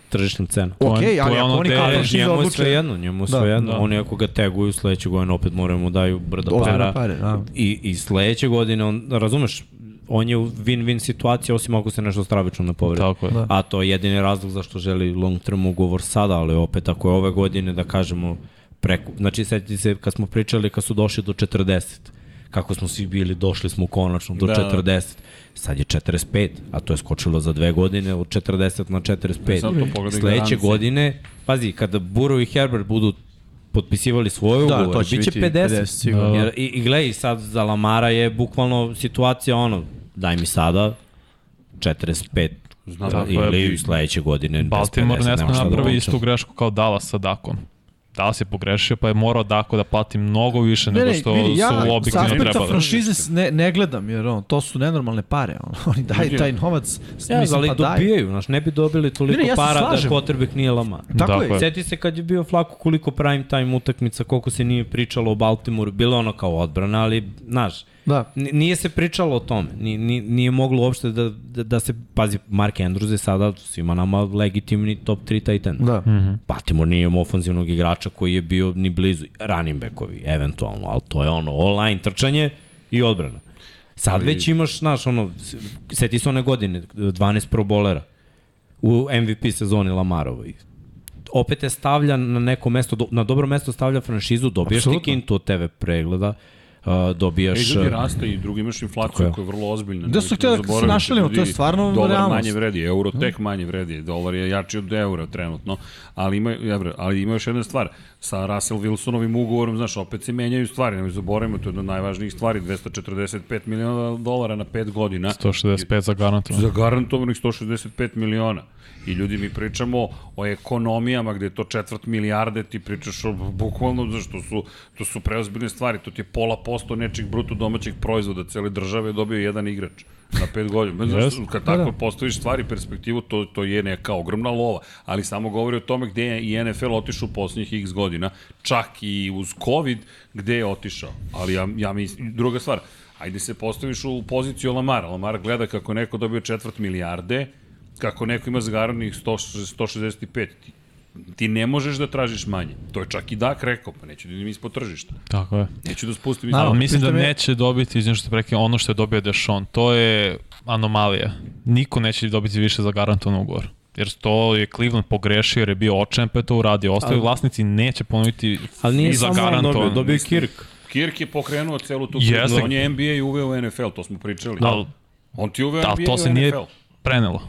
B: tržišna cena.
C: to
E: ok,
C: je- to
E: ali
C: je
E: ako
C: ono
E: oni
C: gde
E: kao
C: je-
E: prošli da
B: Njemu je
E: odluče,
B: sve jedno, njemu je
E: Da,
B: sve jedno.
C: da.
B: Oni ako ga teguju sledeće godine opet moraju mu daju brda
E: ozbiljno
B: para.
E: pare, da.
B: I, I sledeće godine, on, razumeš, on je u win-win situaciji, osim ako se nešto stravično ne povredi.
C: Tako je.
E: Da.
B: A to je jedini razlog zašto želi long term ugovor sada, ali opet ako je ove godine, da kažemo, preko, znači seti se kad smo pričali kad su došli do 40, kako smo svi bili, došli smo konačno do
A: Da,
B: da,
A: da.
B: 40, sad je 45, a to je skočilo za dve godine od 40 na 45.
A: Sad to pogledaj
B: Sledeće
A: garancije.
B: godine, pazi, kada Burrow i Herbert budu potpisivali svoje
E: Da,
B: ugovore,
E: to će
B: biće
E: biti
B: 50.
E: 50 sigurno.
B: Jer, i, I gledaj, sad za Lamara je bukvalno situacija ono, daj mi sada 45
A: Znam,
B: Znam,
C: tako je.
B: ili sledeće godine bez
C: Baltimore
B: 50,
C: ne sme
B: nema šta da
C: napravi
B: pričam.
C: istu grešku kao Dallas sa Dakom. Dallas je pogrešio, pa je morao Dako da plati mnogo više nego što
E: vidi, ja
C: su u objektivno
E: sa aspekta
C: trebali.
E: franšize s- ne, ne gledam, jer ono, to su nenormalne pare. Ono, oni daju taj novac,
B: Ja,
E: ja, mislim,
B: ali
E: pa daju.
B: dobijaju, znaš, ne bi dobili toliko
E: Ne, ne, ja se
B: para
E: slažem.
B: da quarterback nije Lamar.
E: Tako
C: Tako
E: je.
C: je.
B: Sjeti se kad je bio Flako koliko prime time utakmica, koliko se nije pričalo o Baltimoreu, bilo ono kao odbrana, ali, znaš,
E: Da.
B: N- Nije se pričalo o tome, ni, ni, nije moglo uopšte da, da, da se, pazi, Mark Andrews je sada svima nama legitimni top 3 tight end.
E: Da.
C: Mhm.
B: Baltimore nije imao ofanzivnog igrača koji je bio ni blizu, running backovi, eventualno, ali to je ono, online trčanje i odbrana. Sad već imaš, znaš, ono, s- seti se one godine, 12 probolera u MVP sezoni Lamarovoj. Opet je stavlja na neko mesto, do- na dobro mesto stavlja franšizu, dobijaš ti
E: Apsolutno.
B: kintu od TV pregleda, uh,
A: E,
B: dobijaš...
A: ljudi
B: uh,
A: raste i drugi imaš inflaciju
B: je.
A: koja je vrlo ozbiljna.
E: Gde su
A: Nemojte
E: htjeli da se
A: zaboravite,
E: našalimo, to je
A: ljudi,
E: stvarno
A: Dolar
E: realnost.
A: manje vredi, euro tek manje vredi, dolar je jači od eura trenutno, ali ima, evra, ali ima još jedna stvar, sa Russell Wilsonovim ugovorom, znaš, opet se menjaju stvari, nemoj zaboravimo, to je jedna od najvažnijih stvari, 245 miliona dolara na 5 godina.
C: 165 za garantovano.
A: Za garantovanih 165 miliona. I ljudi, mi pričamo o ekonomijama gde je to četvrt milijarde, ti pričaš o, bukvalno, znaš, to su, to su preozbiljne stvari, to ti je pola posto nečeg bruto domaćeg proizvoda, cele države je dobio jedan igrač na pet godina. Znaš,
C: Jeste.
A: kad tako postaviš stvari perspektivu, to, to je neka ogromna lova, ali samo govori o tome gde je i NFL otišao u poslednjih x godina, čak i uz COVID, gde je otišao. Ali ja, ja mislim, druga stvar, ajde se postaviš u poziciju Lamara. Lamar gleda kako je neko dobio četvrt milijarde, kako neko ima zagaranih 100, 165. Ti, ti ne možeš da tražiš manje. To je čak i Dak rekao, pa neću da idem ispod tržišta.
C: Tako je.
A: Neću da spustim
E: Naravno.
A: ispod
C: Ali mislim da
E: Pritom je-
C: neće dobiti, izvim što prekine, ono što je dobio Dešon. To je anomalija. Niko neće dobiti više za garantovan ugovor. Jer to je Cleveland pogrešio jer je bio očen, pa je to uradio. Ostali vlasnici neće ponoviti
B: Ali nije
C: za
B: samo on dobio,
C: garantovan.
B: dobio je Kirk.
A: Kirk je pokrenuo celu tu
C: Jeste.
A: priču. On je NBA i uveo u NFL, to smo pričali.
C: Da.
A: On ti je uveo
C: Da,
A: NBA
C: to
A: i
C: se
A: u
C: nije
A: NFL.
C: prenelo.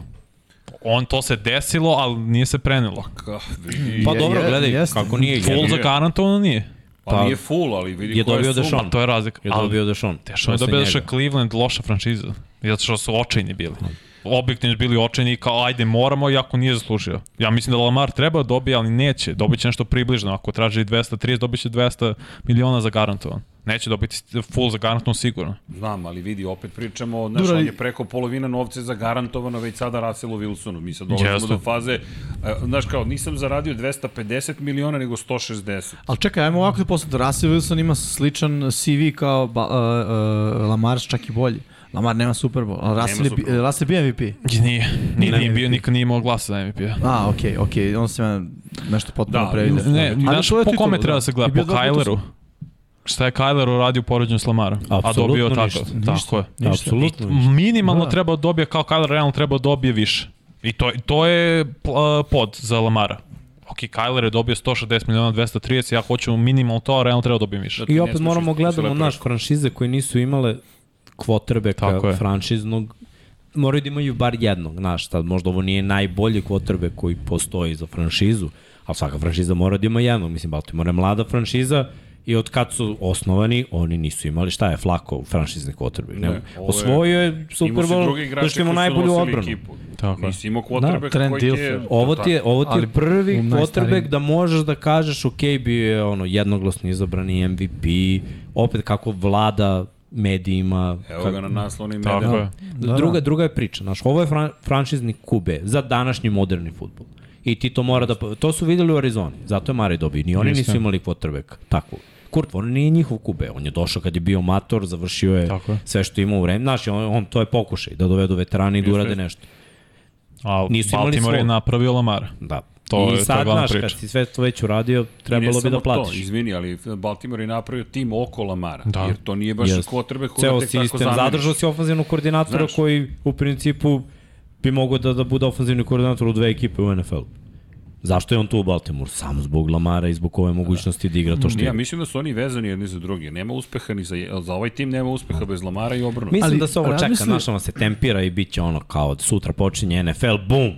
C: On to se desilo, ali nije se prenelo.
A: Ka, vidi,
B: Pa
E: Je-
B: dobro,
E: je-
B: gledaj,
E: jeste.
B: kako nije
C: Full
B: jedno.
C: za garantovano nije.
A: pa,
B: pa-
A: nije full, ali vidi
B: je
A: koja
B: dobio
A: suma.
B: Dešon.
C: To je razlika.
B: Je
C: Ali
B: dobio Dešon.
C: Teško je da
B: posle
C: dobio
B: njega.
C: što je Cleveland loša franšiza. Zato što su očajni bili.
B: Da.
C: Objektivno su bili očajni i kao ajde moramo iako nije zaslužio. Ja mislim da Lamar treba da dobije, ali neće. Dobit će nešto približno. Ako traži 230, dobit će 200 miliona za garantovan. Neće dobiti full za garantovan sigurno.
A: Znam, ali vidi, opet pričamo, znaš,
E: Dobro,
A: on
E: ali-
A: je preko polovina novca zagarantovano već sada Russellu Wilsonu. Mi sad dolazimo
C: Jeste.
A: do faze, e, znaš kao, nisam zaradio 250 miliona, nego 160.
E: Ali čekaj, ajmo ovako da posljedno. Russell Wilson ima sličan CV kao ba, uh, uh, Lamar, čak i bolji. Lamar nema Super Bowl, ali Russell, je,
A: Super
E: bi-
A: Bowl.
E: Russell je bio MVP.
C: I Nije. Nije, nije
E: MVP.
C: bio, nikad nije imao glasa za P-a. MVP-a.
E: A, okej, okej, on se mene nešto potpuno
A: Da,
E: da, previde.
C: Ne,
E: Ali
C: znaš,
E: to je
C: po
E: titula,
C: kome
E: da.
C: treba da se
E: I
C: gleda?
E: bio
C: Po
E: dva puta
C: Kajleru. Šta je Kajler uradio u poređenju s Lamarom? A dobio
B: Apsolutno
C: tako.
B: ništa,
C: Tako je.
B: Da, Apsolutno. ništa.
C: minimalno
E: Da.
C: da. treba da dobije, kao Kyler realno treba da dobije više. I to, to je pl- pod za Lamara. Ok, Kyler je dobio 160 miliona 230, ja hoću minimalno to, a realno treba da dobijem više.
A: ti
B: I
A: ne
B: opet
A: slušaš,
B: moramo
A: ti si
B: gledamo
A: lepo
B: naš franšize koje nisu imale
C: Tako
B: kvotrbeka
C: je.
B: franšiznog moraju da imaju bar jednog, znaš, sad možda ovo nije najbolji kvotrbek koji postoji za franšizu, ali svaka franšiza mora da ima jednog, mislim, Baltimore je mlada franšiza i od kad su osnovani, oni nisu imali, šta je Flako franšizni kvotrbek,
A: Ne,
B: ne,
A: ovo je-
B: osvojio je Super
A: Imao si druge
B: Bowl,
A: igrače
B: zašto ima
A: koji su
B: najbolju
A: nosili
B: odbranu.
A: ekipu.
C: Tako je.
A: Nisi imao quarterback
E: Trent
A: koji ti je... Da,
E: Dilfer.
B: Ovo ti je, ovo ti je
E: Ali
B: prvi
E: u najstarijim-
B: quarterback da možeš da kažeš ok, bio je ono jednoglasno izabrani MVP, opet kako vlada medijima.
A: da, Evo
B: kako-
A: ga na naslovnim
C: Tako
A: medijama.
C: je.
E: Da, da.
B: druga, druga je priča, znaš, ovo je fran, franšizni kube za današnji moderni futbol. I ti to mora da... To su videli u Arizoni, zato je Mare dobio. Ni oni nisu imali quarterback. Tako. Kurt Warner nije njihov kube, on je došao kad je bio mator, završio je
C: Tako je.
B: sve što je imao u vreme. Znaš, on, on, to je pokušaj da dovedu veterani i da urade
C: Jeste.
B: nešto.
C: A
B: Nisu imali
C: Baltimore je
B: svog.
C: napravio Lamara.
B: Da.
C: To
B: I
C: je- to je
B: sad,
C: glavna
B: znaš, kad
C: priča.
B: si sve to već uradio,
A: I ne
B: trebalo bi
A: samo
B: da platiš.
A: To, izvini, ali Baltimore je napravio tim oko Lamara, da.
C: Da.
A: jer to nije baš yes.
B: Jeste.
A: kotrbe koga
B: Ceo
A: tek tako
B: sistem,
A: zameniš.
B: zadržao si ofanzivnog koordinatora
A: Znaš.
B: Znaš. koji u principu bi mogao da, da bude ofanzivni koordinator u dve ekipe u NFL. Zašto je on tu u Baltimore? Samo zbog Lamara i zbog ove mogućnosti da igra to što
A: Ja
B: igra.
A: mislim da su oni vezani jedni za druge. Nema uspeha ni za, je- za ovaj tim, nema uspeha bez Lamara i obrnuto.
B: Mislim
E: Ali
B: da se ovo čeka,
E: razmisli-
B: znaš, ono se tempira i bit će ono kao da sutra počinje NFL, bum!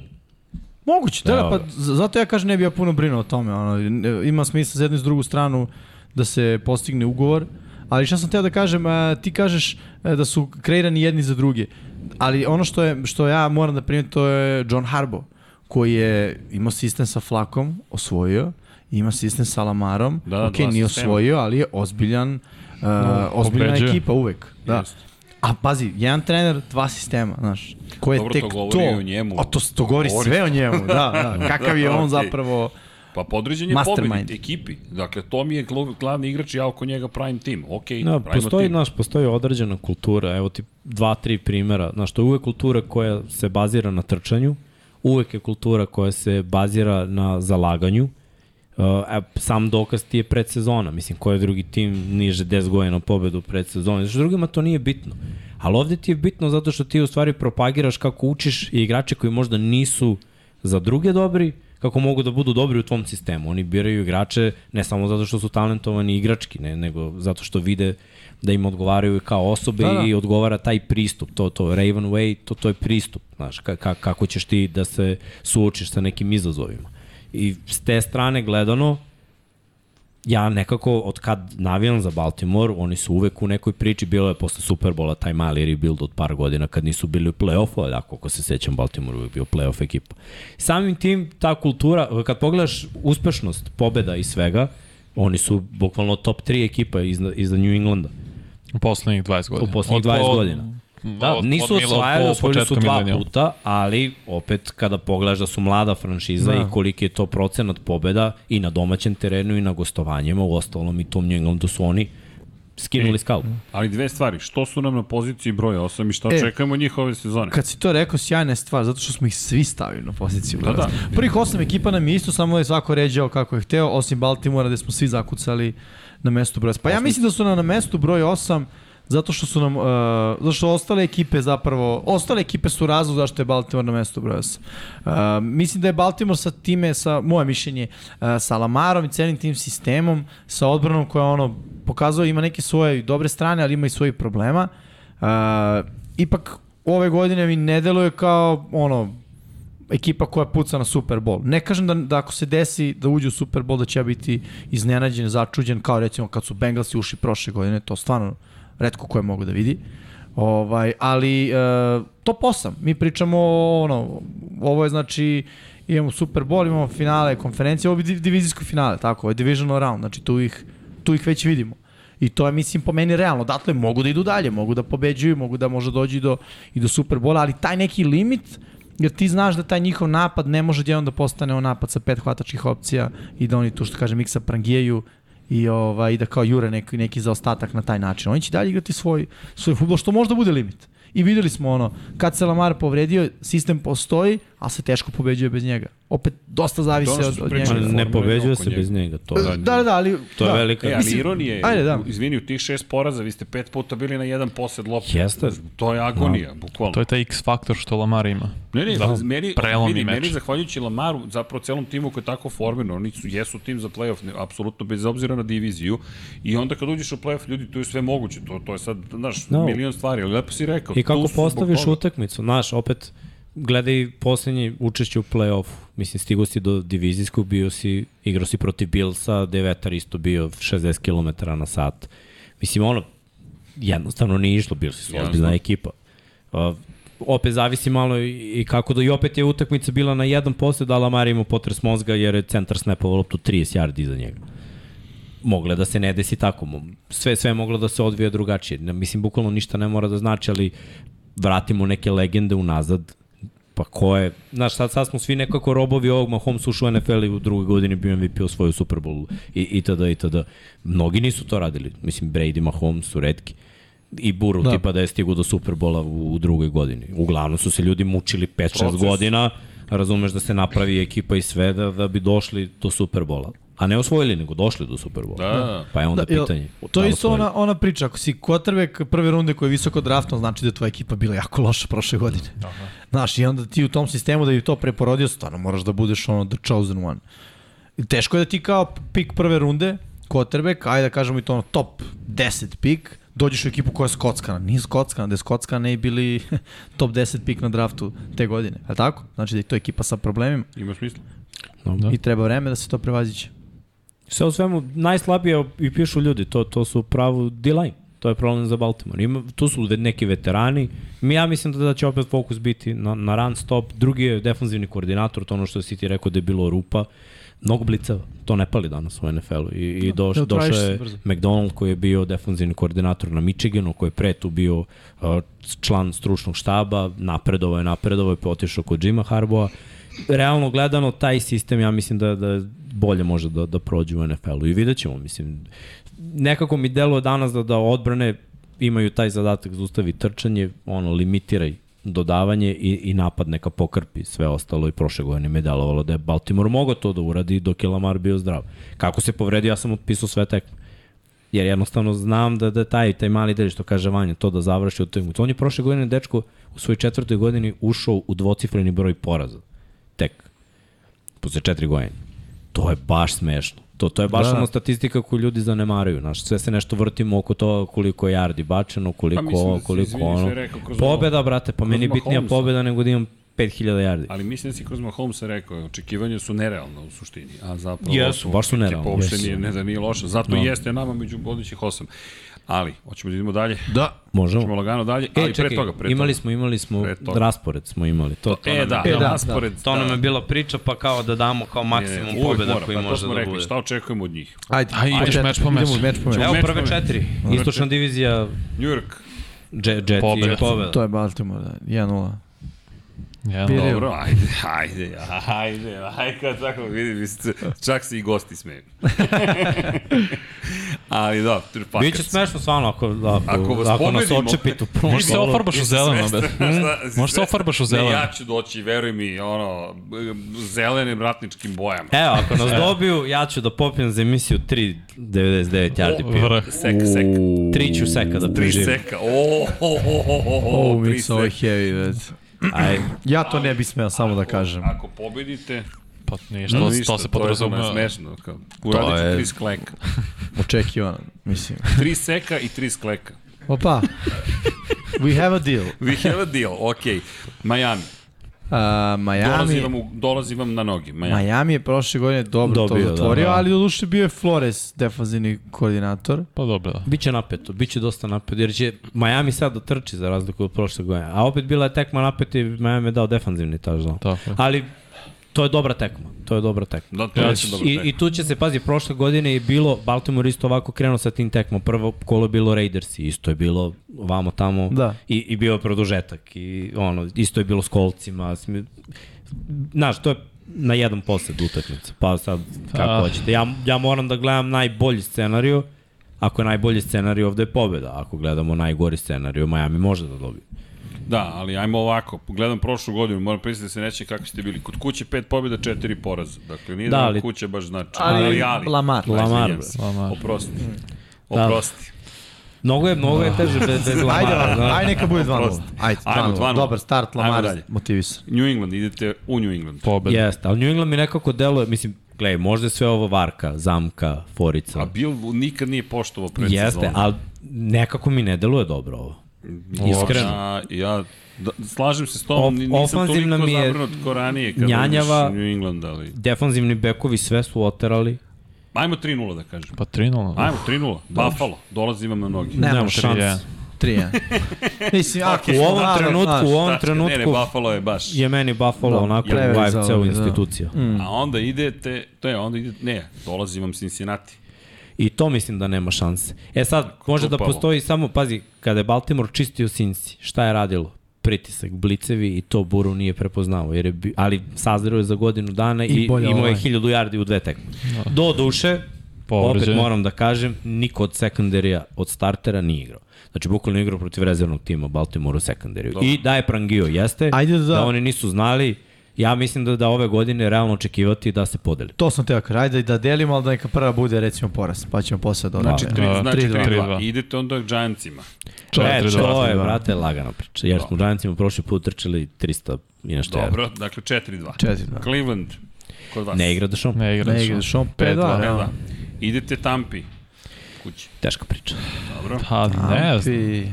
E: Moguće, da, da, pa
B: Dobro.
E: z- zato ja kažem ne bi ja puno brinuo o tome. Ono, ne- ima smisla za jednu i za drugu stranu da se postigne ugovor. Ali šta sam teo da kažem, a, ti kažeš e, da su kreirani jedni za druge. Ali ono što, je, što ja moram da primetim to je John Harbo, koji je imao sistem sa Flakom, osvojio, ima sistem sa Lamarom,
A: Da, da,
E: ok,
A: dva
E: nije
A: sistema. Da,
E: osvojio, ali je ozbiljan, uh, ozbiljna
C: pobeđuje.
E: ekipa uvek. Da.
A: Jeste.
E: A pazi, jedan trener, dva sistema, znaš. Ko je
A: Dobro,
E: tek
A: to govori i o njemu.
E: A to, to govori,
A: Govori.
E: sve o njemu, da, da. Kakav je on
A: Okej.
E: zapravo...
A: Pa podređen je
E: Mastermind.
A: pobedi ekipi. Dakle, to mi je glu- glavni igrač i ja oko njega pravim tim. Ok,
B: No,
A: pravimo
B: Da, postoji,
A: tim.
B: znaš, postoji određena kultura, evo ti dva, tri primjera, znaš, to je uvek kultura koja se bazira na trčanju, uvek je kultura koja se bazira na zalaganju, Uh, e, sam dokaz ti je predsezona, mislim, koji je drugi tim niže 10 godina pobedu u predsezoni, znači drugima to nije bitno. Ali ovde ti je bitno zato što ti u stvari propagiraš kako učiš i igrače koji možda nisu za druge dobri, kako mogu da budu dobri u tvom sistemu. Oni biraju igrače ne samo zato što su talentovani igrački, ne, nego zato što vide da im odgovaraju kao osobe
E: Da, da.
B: da, da. i odgovara taj pristup, to, to Raven Way, to, to je pristup, znaš, ka, ka, kako ćeš ti da se suočiš sa nekim izazovima. I s te strane gledano, ja nekako od kad navijam za Baltimore, oni su uvek u nekoj priči, bilo je posle Superbola taj mali rebuild od par godina kad nisu bili u play-offu, ali ako, ako se sećam Baltimore uvek bio play-off ekipa. Samim tim ta kultura, kad pogledaš uspešnost, pobeda i svega, oni su bukvalno top 3 ekipa iznad, iznad New Englanda.
C: U poslednjih 20 godina.
B: U poslednjih
C: Od-
B: 20
C: od-
B: godina. Da,
C: od-
B: nisu
C: od- od-
B: osvajali,
C: od
B: osvojili su
C: početka
B: dva
C: milenijuma.
B: puta, ali opet kada pogledaš da su mlada franšiza
E: Da.
B: i koliki je to procenat pobeda i na domaćem terenu i na gostovanjima, u ostalom i tom New Englandu su oni skinuli skalu.
A: Ali dve stvari, što su nam na poziciji broja 8 i šta
E: E.
A: čekamo njih ove sezone?
E: Kad si to rekao, sjajna je stvar, zato što smo ih svi stavili na poziciju.
A: Da, da.
E: Prvih osam ekipa nam je isto, samo je svako ređao kako je hteo, osim Baltimora gde smo svi zakucali na mestu broj 8. Pa ja mislim da su nam na mestu broj 8 zato što su nam, uh, zato što ostale ekipe zapravo, ostale ekipe su razlog zašto je Baltimore na mestu broj 8. Uh, mislim da je Baltimore sa time, sa, moje mišljenje, uh, sa Lamarom i celim tim sistemom, sa odbranom koja ono, pokazuje ima neke svoje dobre strane, ali ima i svojih problema. Uh, ipak ove godine mi ne deluje kao ono, ekipa koja puca na Super Bowl. Ne kažem da, da ako se desi da uđe u Super Bowl da će ja biti iznenađen, začuđen kao recimo kad su Bengalsi ušli prošle godine, to stvarno retko ko je mogu da vidi. Ovaj, ali e, top 8, mi pričamo o, ono, ovo je znači imamo Super Bowl, imamo finale konferencije, ovo je div- divizijsko finale, tako, ovo je divisional round, znači tu ih, tu ih već vidimo. I to je, mislim, po meni realno. Dakle, mogu da idu dalje, mogu da pobeđuju, mogu da možda dođu i do, i do Superbola, ali taj neki limit, jer ti znaš da taj njihov napad ne može jedan da postane on napad sa pet hvatačkih opcija i da oni tu, što kažem, miksa prangijaju i, ovaj, i da kao jure neki, neki zaostatak na taj način. Oni će dalje igrati svoj, svoj futbol, što možda bude limit. I videli smo ono, kad se Lamar povredio, sistem postoji, ali se teško pobeđuje bez njega. Opet, dosta zavisi
A: To je ono
E: od,
A: što
E: od
A: smo
E: njega.
A: pričali.
B: Ne
A: formula je
B: pobeđuje
A: oko
B: se bez Znači, njega, to je,
A: njega.
E: Da, da, da, ali...
B: to je
E: da.
B: velika...
A: E, ali
E: Mislim,
A: ironije,
E: ajde,
A: ajde,
E: da.
A: da. izvini, u tih šest poraza vi ste pet puta bili na jedan posed lopta.
B: Jeste.
A: To je agonija, no. bukvalno.
C: To je taj X faktor što Lamar ima.
A: Ne, ne, da,
C: Da,
A: meni,
C: prelomni
A: vidi,
C: meč.
A: meni zahvaljujući Lamaru, zapravo celom timu koji je tako formirano, oni su, jesu tim za playoff, ne, apsolutno bez obzira na diviziju, i onda kad uđeš u playoff, ljudi, tu je sve moguće, to, to je sad, znaš, no.
B: No.
A: milion stvari, ali lepo si rekao.
B: I
A: tu
B: kako
A: su zbog
B: postaviš
A: toga.
B: utakmicu, znaš, opet gledaj posljednje učešće u play-offu. Mislim, stigo si do divizijskog, bio si, igrao si protiv Bilsa, devetar isto bio 60 km na sat. Mislim, ono, jednostavno nije išlo, Bilsi su
A: Jasno.
B: ozbiljna ekipa. Uh, opet zavisi malo i i kako da i opet je utakmica bila na jedan posljed, a Lamar imao potres mozga jer je centar snapovao loptu 30 yardi iza njega mogla da se ne desi tako. Mo- Sve, sve je moglo da se odvija drugačije. Ne, Mislim, bukvalno ništa ne mora da znači, ali vratimo neke legende unazad. Pa Pa ko je, znaš, sad, sad smo svi nekako robovi ovog Mahomes ušao u NFL i u drugoj godini bio MVP u svoju Super Bowl i, i tada, i tada. Mnogi nisu to radili. Mislim, Brady, Mahomes su redki. I Burrow da.
E: Da.
B: tipa da je stigu do Super Bola u, u drugoj godini. Uglavnom su se ljudi mučili 5-6
A: Proces.
B: godina, razumeš da se napravi ekipa i sve da, da bi došli do Super Bola. A ne osvojili, nego došli do Super Bola.
A: Da.
B: Pa je onda da,
E: jel-
B: pitanje.
E: To
B: da
E: je
B: li
E: isto
B: osvojili.
E: ona, ona priča, ako si quarterback prve runde koji je visoko draftom, znači da je tvoja ekipa bila jako loša prošle godine. Aha. Znaš, i onda ti u tom sistemu da bi to preporodio, stvarno moraš da budeš ono the chosen one. I teško je da ti kao pik prve runde, quarterback, ajde da kažemo i to ono top 10 pik, dođeš u ekipu koja je skockana. Nije skockana, da je skockana ne bi bili top 10 pik na draftu te godine. Je li tako? Znači da je to ekipa sa problemima
A: Ima smisla.
B: Da.
E: i treba vreme da se to prevaziće.
B: Sve u svemu, najslabije i pišu ljudi, to, to su pravo D-line. To je problem za Baltimore. Ima, tu su ve- neki veterani. Mi, ja mislim da, da će opet fokus biti na, na run stop. Drugi je defanzivni koordinator, to ono što si ti rekao da je bilo rupa. Mnogo blicava. To ne pali danas u NFL-u. I, i doš,
E: da, tražiš
B: došao
E: se
B: je
E: brzo.
B: McDonald koji je bio defanzivni koordinator na Michiganu, koji je pre tu bio uh, član stručnog štaba, napredovao je, napredovao je, pa otišao kod Jima Harboa. Realno gledano, taj sistem ja mislim da, da bolje može da, da prođe u NFL-u i vidjet ćemo, mislim. Nekako mi deluje danas da, da odbrane imaju taj zadatak zaustavi trčanje, ono, limitiraj dodavanje i, i napad neka pokrpi sve ostalo i prošle godine mi je delovalo da je Baltimore mogao to da uradi dok je Lamar bio zdrav. Kako se povredio, ja sam otpisao sve tekme jer jednostavno znam da, da taj, taj mali delić, što kaže Vanja, to da završi u toj utakmici. On je prošle godine, dečko, u svojoj četvrtoj godini ušao u dvocifreni broj poraza. Tek. Posle četiri godine. To je baš smešno. To, to je baš da.
E: Da.
B: ono statistika koju ljudi zanemaraju. Znaš, sve se nešto vrtimo oko toga koliko je yardi bačeno, koliko,
A: Pa
B: pa
A: mislim da
B: ovo,
A: si,
B: koliko
A: izvini,
B: ono.
A: sve rekao kroz
B: Pobeda, brate, pa meni je
A: Mahomesa.
B: bitnija pobeda nego da imam 5000 yardi.
A: Ali mislim da si kroz Mahomesa rekao, očekivanja su nerealna u suštini, a zapravo
B: Jesu, baš su nerealna,
A: Ekipa uopšte
B: jesu.
A: nije, ne da nije loša, zato
B: No.
A: no. jeste nama među vodećih osam. Ali, hoćemo da idemo dalje,
E: Da.
A: hoćemo
B: Možemo.
A: lagano dalje,
B: E,
A: ali pre
B: čekaj,
A: toga, pre
B: imali
A: toga.
B: smo, imali smo,
A: Pre toga.
B: raspored smo imali. To, to
A: E,
B: nam je
A: da,
E: E,
A: e,
E: da, da.
A: da, raspored.
B: To nam je bila priča, pa kao da damo kao maksimum
A: uvek
B: pobjeda
A: mora,
B: koji
A: pa to
B: može
A: smo
B: da
A: rekli,
B: bude.
A: Šta očekujemo od njih?
E: Ajde,
C: A ideš
E: početak.
C: meč po meč.
E: Idemo meč po meč.
B: Evo
A: meč
B: prve
A: pomenuti.
B: četiri. Istočna divizija,
A: New York,
B: Jet, Jet pobjeda.
C: Pobeda.
B: i pobjeda.
E: To je Baltimore, da. 1-0. Pili-
C: Ja, dobro.
A: Dobro, ajde, ajde, ajde, ajde, kad tako vidim, mislim, čak se i gosti smeju. Ali da, pa
B: Biće smešno stvarno ako, ako,
A: Ako
B: ako,
A: vas
B: ako nas
A: pobedimo-
B: očepite u prvom
C: Možeš se
B: kolu.
C: ofarbaš u zeleno, bre. Možeš se ofarbaš u zeleno.
A: Ne, ja ću doći, veruj mi, ono, b- zelenim ratničkim bojama.
B: Evo, ako
A: E.
B: nas dobiju, ja ću da popijem za emisiju 3.99 yardi piva.
C: Vrh.
A: Sek, sek.
B: Tri ću seka da
A: Tri
B: preživim.
A: seka. O, o, o, o, o,
E: Ovo
A: o,
E: mi
A: tri
E: je ovo
A: seka.
E: heavy, već.
B: Aj,
E: Ja to ne bi smeo samo da kažem.
A: Ako pobedite,
C: Pa ništa, to, to se
A: To je
C: podrazumeva.
A: smešno. Kao, uradit ću
E: je-
A: tri skleka.
E: Očekivano, mislim.
A: Tri seka i tri skleka.
E: Opa, we have a deal.
A: We have a deal, okej. Miami.
E: Uh,
A: Dolazi
E: Miami,
A: vam, u, dolazi vam na noge, Miami.
E: Miami je prošle godine dobro
B: Dobio,
E: Dobio,
B: da,
E: to zatvorio,
B: da.
E: ali doduše bio je Flores defanzivni koordinator.
C: Pa dobro, da.
B: Biće napeto, biće dosta napeto, jer će Miami sad da trči za razliku od prošle godine. A opet bila je tekma napeta i Miami je dao defanzivni taždan.
C: Tako je.
B: Ali to je dobra tekma, to je dobra tekma.
A: Da, to ja ću dobro.
B: I, I tu će se, pazi, prošle godine je bilo, Baltimore isto ovako krenuo sa tim tekmom. Prvo kolo je bilo Raiders i isto je bilo vamo tamo
E: Da.
B: i, i bio je produžetak. I ono, isto je bilo s kolcima. Smi... Znaš, to je na jedan posled utakmica. Pa sad, kako
C: Ah.
B: hoćete. Ja, ja moram da gledam najbolji scenariju. Ako je najbolji scenarij, ovde je pobjeda. Ako gledamo najgori scenarij, Miami može da dobije.
A: Da, ali ajmo ovako. Gledam prošlu godinu, moram priznati da se neće kako ste bili. Kod kuće pet pobjeda, četiri poraza. Dakle, nije
B: Da,
A: da, ali,
B: ali-
A: kuće baš znači.
E: Ali- Lamar. Mm.
A: Ajde,
B: Lamar, Da.
A: izvinjam se.
C: Lamar.
A: Oprosti. Oprosti.
B: Mnogo je, mnogo je teže bez, bez Lamara.
E: Ajde,
B: znaš.
E: ajde neka bude 2-0.
A: Oprosti.
E: Pa, da, Ajde,
A: Ajmo,
E: 2-0.
A: 2:0.
E: Dobar start,
A: Ajmo
E: Lamar
A: dalje.
E: motivisan.
A: New England, idete u New England.
C: Pobeda.
B: Jeste, ali New England mi nekako deluje, mislim, gledaj, možda je sve ovo varka, zamka, forica.
A: A Bill nikad nije poštovao pred
B: Jeste, ali nekako mi ne deluje dobro ovo. iskreno.
A: Ja, ja da, slažem se s
B: Of-
A: tom, ni- nisam
B: ofanzivna
A: toliko
B: mi je
A: zabrinut ko ranije kada
B: njanjava.
A: Njanjava... New England, ali...
B: Defanzivni bekovi sve su oterali.
A: Ajmo 3-0 da kažem.
C: Pa 3-0.
A: Ajmo 3-0, Buffalo, dolazi vam na noge.
E: Ne.
B: Nemam
E: Nemamo
B: šans.
C: tri, ja.
E: 3-1. Mislim, ako
B: U
E: smo
B: ovom
E: malo,
B: trenutku,
E: znaš,
B: u ovom
A: Tačka, Ne, ne,
B: trenutku
A: Buffalo je baš.
B: je meni Buffalo
E: Da,
B: onako
E: previše
B: vibe ceo
E: zavoli, da.
B: institucija.
A: A onda idete, to je, onda idete, ne, dolazi vam Cincinnati.
B: I to mislim da nema šanse. E sad, može da
A: Upalo.
B: postoji samo, pazi, kada je Baltimore čistio Cincy, šta je radilo? pritisak, blicevi i to Buru nije prepoznao, jer je, bi- ali sazreo je za godinu dana i,
E: I
B: I
E: bolje Da.
B: imao je
E: ovaj.
B: 1000 yardi u dve tekme. Do duše,
C: Povređen.
B: opet moram da kažem, niko od sekunderija, od startera nije igrao. Znači, bukvalno je igrao protiv rezervnog tima Baltimore u sekunderiju. I da je Prangio, jeste,
E: Ajde da-
B: da oni nisu znali, ja mislim da da ove godine je realno očekivati da se podeli.
E: To sam teo kažem, ajde da delimo, ali da neka prva bude recimo poraz, pa ćemo posle da
A: Znači, tri,
C: Da.
A: znači
E: 3:2.
A: 3-2. Idete onda k Giantsima.
B: E,
C: Četiri, dva.
B: to je, brate, lagana priča. Jer smo Giantsima prošli put trčali 300 i nešto
A: Dobro, dakle 4-2.
E: 4:2.
A: Cleveland, kod vas.
B: Ne igra da šom.
C: Ne igra.
E: Ne igraš, on 5-2.
C: 5:2.
A: Da. Idete Tampi, kući.
B: Teška priča.
A: Dobro.
C: Pa ne znam.
E: Ampi.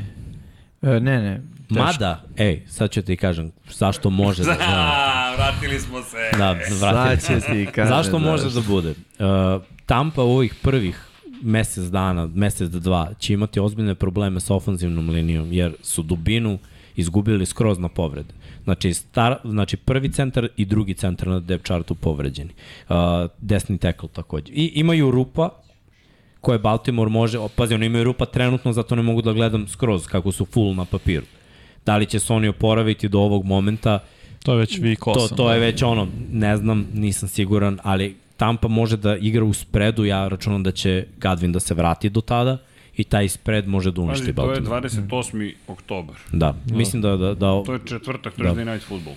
E: E, ne, ne. teško.
B: Mada, ej, sad ću ti kažem zašto može da zna.
A: Da, vratili smo se.
B: Da, vrati.
E: Sad će ti kaže.
B: Zašto može da bude? Uh, Tampa u ovih prvih mesec dana, mesec do dva, će imati ozbiljne probleme sa ofanzivnom linijom, jer su dubinu izgubili skroz na povrede. Znači, star, znači prvi centar i drugi centar na depth chartu povređeni. Uh, desni tackle takođe. I imaju rupa koje Baltimore može, o, pazi, oni imaju rupa trenutno, zato ne mogu da gledam skroz kako su full na papiru. Da li će se oni oporaviti do ovog momenta,
C: To je već week 8.
B: to, to je već ono, ne znam, nisam siguran, ali Tampa može da igra u spredu, ja računam da će Gadvin da se vrati do tada i taj spread može da uništi
A: Pazi, to je
B: Baltimore.
A: 28. oktober.
B: Da, mislim da, da, da,
A: To je četvrtak, Thursday da. night football.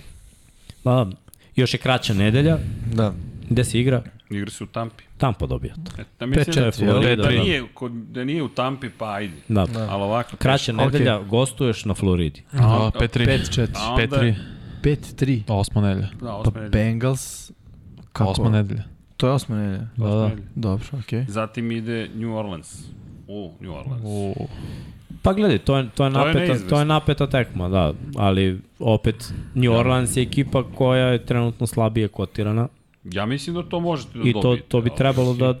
B: da, još je kraća nedelja,
E: Da.
B: gde se igra,
A: Igra se u Tampi.
B: Tampa dobija to.
A: E, da mislim da,
E: četiri, jel?
A: da,
B: Da.
A: da, nije, kod, da nije u Tampi, pa ajde.
B: Da.
A: Da. Ali ovako...
B: Kraća
A: teško.
B: nedelja, gostuješ na Floridi.
C: Da, 5-3.
E: 5-4.
A: A onda,
C: 5-3.
E: 5-3.
C: Osma nedelja.
A: Da,
E: Pa
A: osma nedelja.
E: Bengals... Kako?
C: Osma nedelja.
E: To je osma nedelja.
C: Da, da.
E: Dobro, okej. Okay.
A: Zatim ide New Orleans. U, New Orleans.
C: U,
B: Pa gledaj, to je,
A: To
B: to je,
A: je
B: napeta, to je,
A: neizvesno. Da.
B: napeta tekma, da, ali opet New Orleans je ekipa koja je trenutno slabije kotirana
A: Ja mislim da to možete da
B: i to,
A: dobijete.
B: to bi
A: ali-
B: trebalo da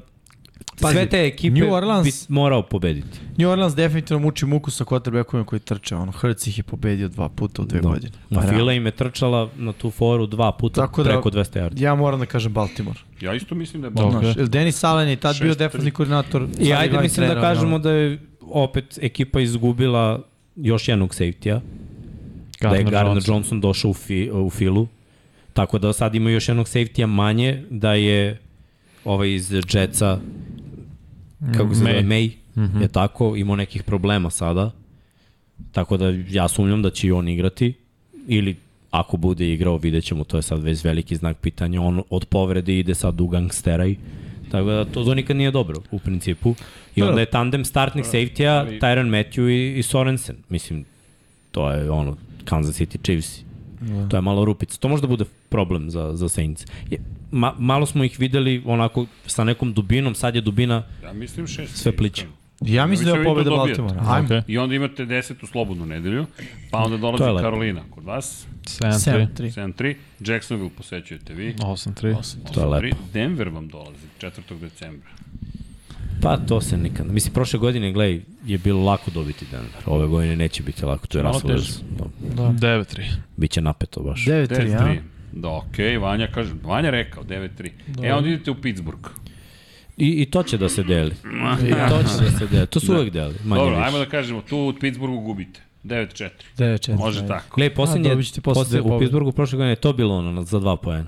E: Pazi,
B: sve te ekipe
E: New Orleans-
B: bi morao pobediti.
E: New Orleans definitivno muči muku sa quarterbackovima koji trče. Ono, Hurts ih je pobedio dva puta u dve
B: Da.
E: godine.
B: Ma
E: Pa,
B: Fila im je trčala na tu foru dva puta
E: Tako da-
B: preko 200 yardi.
E: Ja moram da kažem Baltimore.
A: Ja isto mislim da je
C: Dobro.
A: Baltimore.
E: Znaš,
C: Ok.
E: jer Denis Allen je tad bio
A: Šest, tri.
E: defensivni koordinator. sad
B: I
E: je
B: ajde
E: glavni
B: mislim da
E: trener, ono.
B: kažemo da je opet ekipa izgubila još jednog safety-a, da je Gardner Johnson, došao u, fi, u filu, tako da sad ima još jednog safety-a manje, da je ovaj iz Jetsa, kako se zove,
C: May.
B: May,
C: Mhm.
B: je tako, imao nekih problema sada, tako da ja sumnjam da će i on igrati, ili ako bude igrao, vidjet ćemo, to je sad već veliki znak pitanja, on od povrede ide sad u gangsteraj, tako da to, to nikad nije dobro, u principu. I
E: Dobro.
B: onda je tandem startnih safety-a, Tyron Matthew i, i Sorensen, mislim, to je ono, Kansas City Chiefs. Da. To je malo rupica. To možda bude problem za, za Saints. Je, ma, malo smo ih videli onako sa nekom dubinom, sad je dubina
A: Ja mislim šest.
B: Sve pliće.
E: Ja mislim da
A: Mislim
E: je
A: da vi to
E: pobeda
A: dobijete.
E: Baltimore. Ajmo.
C: Okay.
A: I onda imate desetu slobodnu nedelju, pa onda
B: To je
A: dolazi
B: lepo.
A: Karolina kod vas,
C: 7-3.
E: 7-3.
A: 7-3, Jacksonville posećujete vi,
C: 8-3.
B: To je
A: 8-3.
B: lepo.
A: Denver vam dolazi 4. decembra.
B: Pa to se nikad. Mislim, prošle godine, gledaj, je bilo lako dobiti Denver. Ove godine neće biti lako, to je
C: Malo
B: Russell
C: teže.
B: Wilson. Da.
C: 9-3.
B: Biće napeto baš.
E: 9-3, ja?
A: 9-3. Da, okej, okay, Vanja kaže, Vanja rekao 9-3. E, onda idete u Pittsburgh.
B: I, I to će da se deli. I to će da se deli. To su uvek deli, manje
A: Dobro,
B: više.
A: ajmo da kažemo, tu u Pittsburghu gubite. 9-4.
E: 9-4.
A: Može tako.
B: Gledaj, posljednje,
E: dobit ćete posle
B: posle,
E: dve
B: u
E: pobjede.
B: Pittsburghu prošle godine je to bilo ono za dva poena.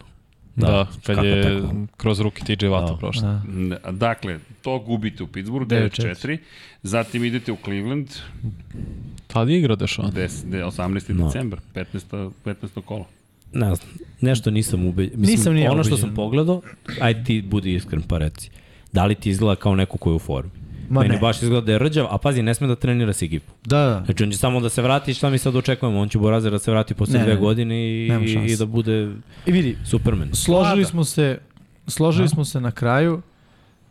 C: Da, da kad
B: kako
C: je
B: tako?
C: kroz ruke TJ Vata
B: Da.
C: da. prošla.
E: Da.
A: N- Dakle, to gubite u Pittsburghu, 9-4. Zatim idete u Cleveland,
C: Tad je igra Dešon.
A: 10, de- 18.
B: No.
A: decembar, 15. 15. kolo.
B: Ne znam, nešto nisam ubeđen. Mislim,
E: Nisam ni ja
B: ono što
E: ubeđen.
B: sam pogledao, ajde ti budi iskren pa reci. Da li ti izgleda kao neko ko je u formi?
E: Ma
B: Ma Meni
E: ne.
B: ne. baš izgleda da je rđav, a pazi, ne sme da trenira s ekipu.
E: Da, da.
B: Znači, on će samo da se vrati, šta mi sad očekujemo? On će Borazer da se vrati posle
E: Ne,
B: dve
E: ne, ne.
B: godine i,
E: Nema šanse.
B: i da bude
E: I vidi,
B: Superman.
E: složili smo se, složili smo se na kraju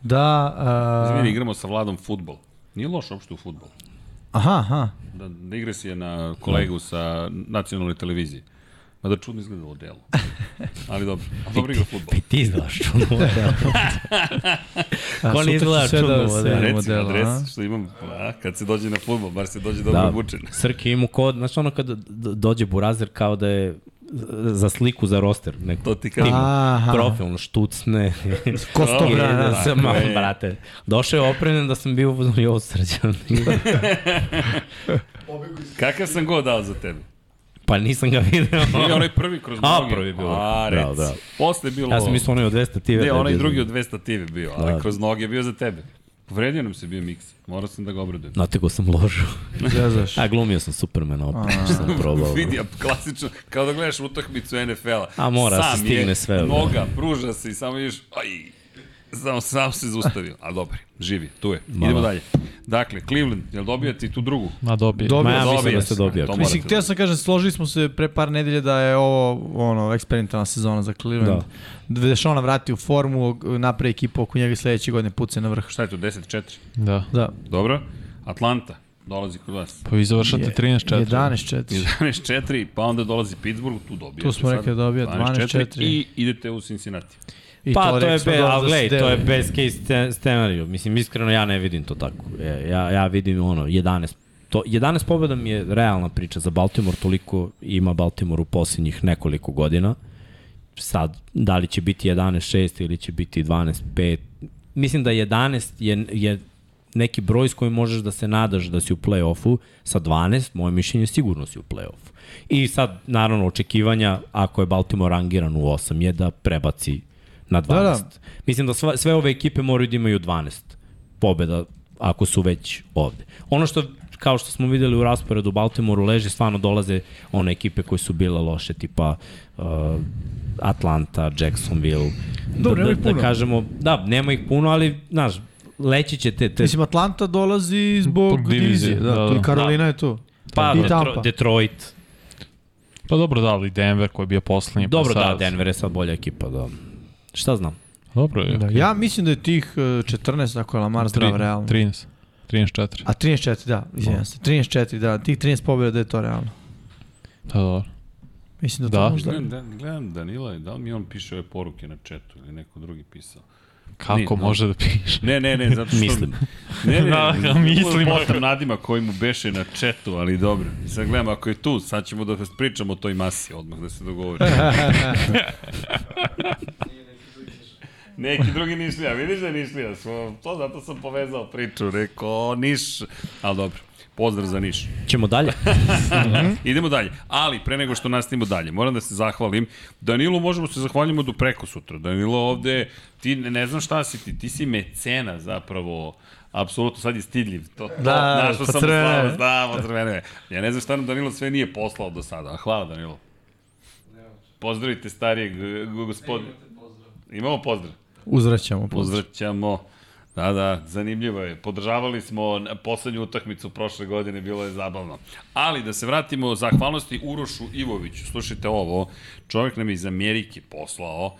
E: da... a,
A: Izvini, igramo sa Vladom futbol. Nije loš uopšte u futbol.
E: Aha, aha.
A: Da, da igra si je na
B: Da.
A: kolegu sa nacionalne televizije. Mada čudno izgleda ovo delo. Ali dobro, dobro igra futbol.
B: I ti izgledaš čudno.
E: da. A,
B: Ko
E: sutra
B: ne
E: ću
B: izgleda
E: sve
B: čudno,
E: da,
B: da.
E: sve da
A: Reci
E: modela, a?
A: adres što imam, a, kad se dođe na futbol, bar se dođe dobro
B: da,
A: obučen.
B: Srki ima kod, znaš ono kada dođe Burazer kao da je za sliku, za roster. Neko,
A: To ti kažem.
B: timu.
E: Aha.
B: Profilno, štucne.
E: Kosto
B: I
E: brana.
B: da
E: da.
B: sam, ma, brate, došao je opremljen da sam bio u fazonu, "Jo, srđan.
A: Kakav sam god dao za tebe?
B: Pa nisam ga video.
A: I onaj prvi kroz
B: A,
A: noge.
B: prvi bio.
A: A,
B: Da,
A: reci. Da,
B: da.
A: da. Posle je bilo...
B: ja sam mislio onaj od 200 TV.
A: Ne,
B: da je
A: onaj
B: bio
A: drugi
B: za-
A: od 200 TV bio, ali
B: Da.
A: kroz noge je bio za tebe. Povredio nam se bio miks. Morao sam da ga obradujem.
B: Znate ko sam ložio.
E: Zezaš.
B: A glumio sam Supermana opet, što sam probao.
A: Vidi, a klasično, kao da gledaš utakmicu NFL-a.
B: A mora,
A: Sam
B: se stigne
A: je,
B: sve, bro.
A: Noga, pruža se i samo vidiš, aj, sam, sam se zaustavio. A dobro, živi, tu je. Idemo dalje. Dakle, Cleveland, jel dobio ti tu drugu?
C: Ma dobije.
E: Dobio
B: Ma ja
E: sam.
B: mislim
A: Dobija
B: da
A: se.
B: se
A: To
B: dobio. Chris.
A: mora.
E: Mislim, htio sam kažem, složili smo se pre par nedelje da je ovo ono, eksperimentalna sezona za Cleveland. Da. Dešona vrati u formu, napravi ekipu oko njega i sledeće godine puce na vrh.
A: Šta je to, 10-4?
C: Da.
E: Da.
A: Dobro. Atlanta, dolazi kod vas.
C: Pa vi završate 13-4.
E: 11-4.
A: 11-4, pa onda dolazi Pittsburgh, tu dobijate.
E: Tu smo
A: sad
E: rekli da dobija 12-4.
A: I idete u Cincinnati.
E: I
B: Pa to, je,
E: rekli smo
B: be,
E: da
B: ali gledaj,
E: se
B: to je
E: deli.
B: best case scen- scenario. Mislim, iskreno ja ne vidim to tako. E, Ja, ja vidim ono, 11 To, 11 pobjeda mi je realna priča za Baltimore, toliko ima Baltimore u posljednjih nekoliko godina. Sad, da li će biti 11-6 ili će biti 12-5, mislim da 11 je, je neki broj s kojim možeš da se nadaš da si u play-offu, sa 12, moje mišljenje, sigurno si u play-offu. I sad, naravno, očekivanja, ako je Baltimore rangiran u 8, je da prebaci na 12. Da, da. Mislim da sva, sve ove ekipe moraju da imaju 12 pobjeda, ako su već ovde. Ono što, kao što smo videli u rasporedu u Baltimoru, leže, stvarno dolaze one ekipe koje su bile loše, tipa uh, Atlanta, Jacksonville.
E: Dobro,
B: da,
E: nema ih
B: da, da
E: puno.
B: kažemo, da, nema ih puno, ali, znaš, leći će te... te
E: Mislim, Atlanta dolazi zbog
C: Zbog divizije,
E: divizije. Da,
C: da,
E: tu
C: da.
E: I Karolina je tu.
B: pa,
E: i
B: Detro,
E: Tampa.
B: Detroit.
C: Pa dobro, da, ali Denver koji je bio poslednji.
B: Dobro,
C: pa
B: da,
C: sad-
B: Denver je sad bolja ekipa, da. Šta znam?
C: Dobro je.
E: Da, ja mislim da je tih e, 14, ako je Lamar zdrav, realno.
C: 13. 13-4.
E: A 13-4, da, izvinjam se. 13-4, da, tih 13 pobjeda da je to realno.
C: Da, dobro.
E: Mislim da,
C: Da.
E: to možda...
A: Gledam, da, gledam Danila, da li mi on piše ove poruke na četu ili neko drugi pisao?
C: Kako
A: Nije,
C: Nije,
A: da.
C: može da piše?
A: Ne, ne, ne, zato što...
B: Mislim.
A: Ne, ne,
C: Da,
A: ne,
C: da, mislim.
A: Poštam nadima koji mu beše na četu, ali dobro. Sad gledam, ako je tu, sad ćemo da pričamo o toj masi, odmah da se dogovorimo. Neki drugi Nišlija, vidiš da je Nišlija, smo, to zato sam povezao priču, rekao Niš, ali dobro, pozdrav za Niš.
B: Ćemo dalje?
A: Idemo dalje. Ali, pre nego što nastavimo dalje, moram da se zahvalim. Danilu možemo da se zahvaljujemo do preko sutra. Danilo ovde, ti ne, ne znam šta si ti, ti si mecena zapravo. Apsolutno, sad je stidljiv. To, to,
E: Da,
A: našao sam
E: pocrvene.
A: slavu, da, pocrvene me. Ja ne znam šta nam Danilo sve nije poslao do sada. A Hvala Danilo. Pozdravite starijeg g- g- gospodina. Imamo pozdrav.
E: Uzvraćamo.
A: Pozdraćamo. Da, da, zanimljivo je. Podržavali smo na poslednju utakmicu prošle godine, bilo je zabavno. Ali da se vratimo zahvalnosti Urošu Ivoviću. Slušajte ovo, čovjek nam je iz Amerike poslao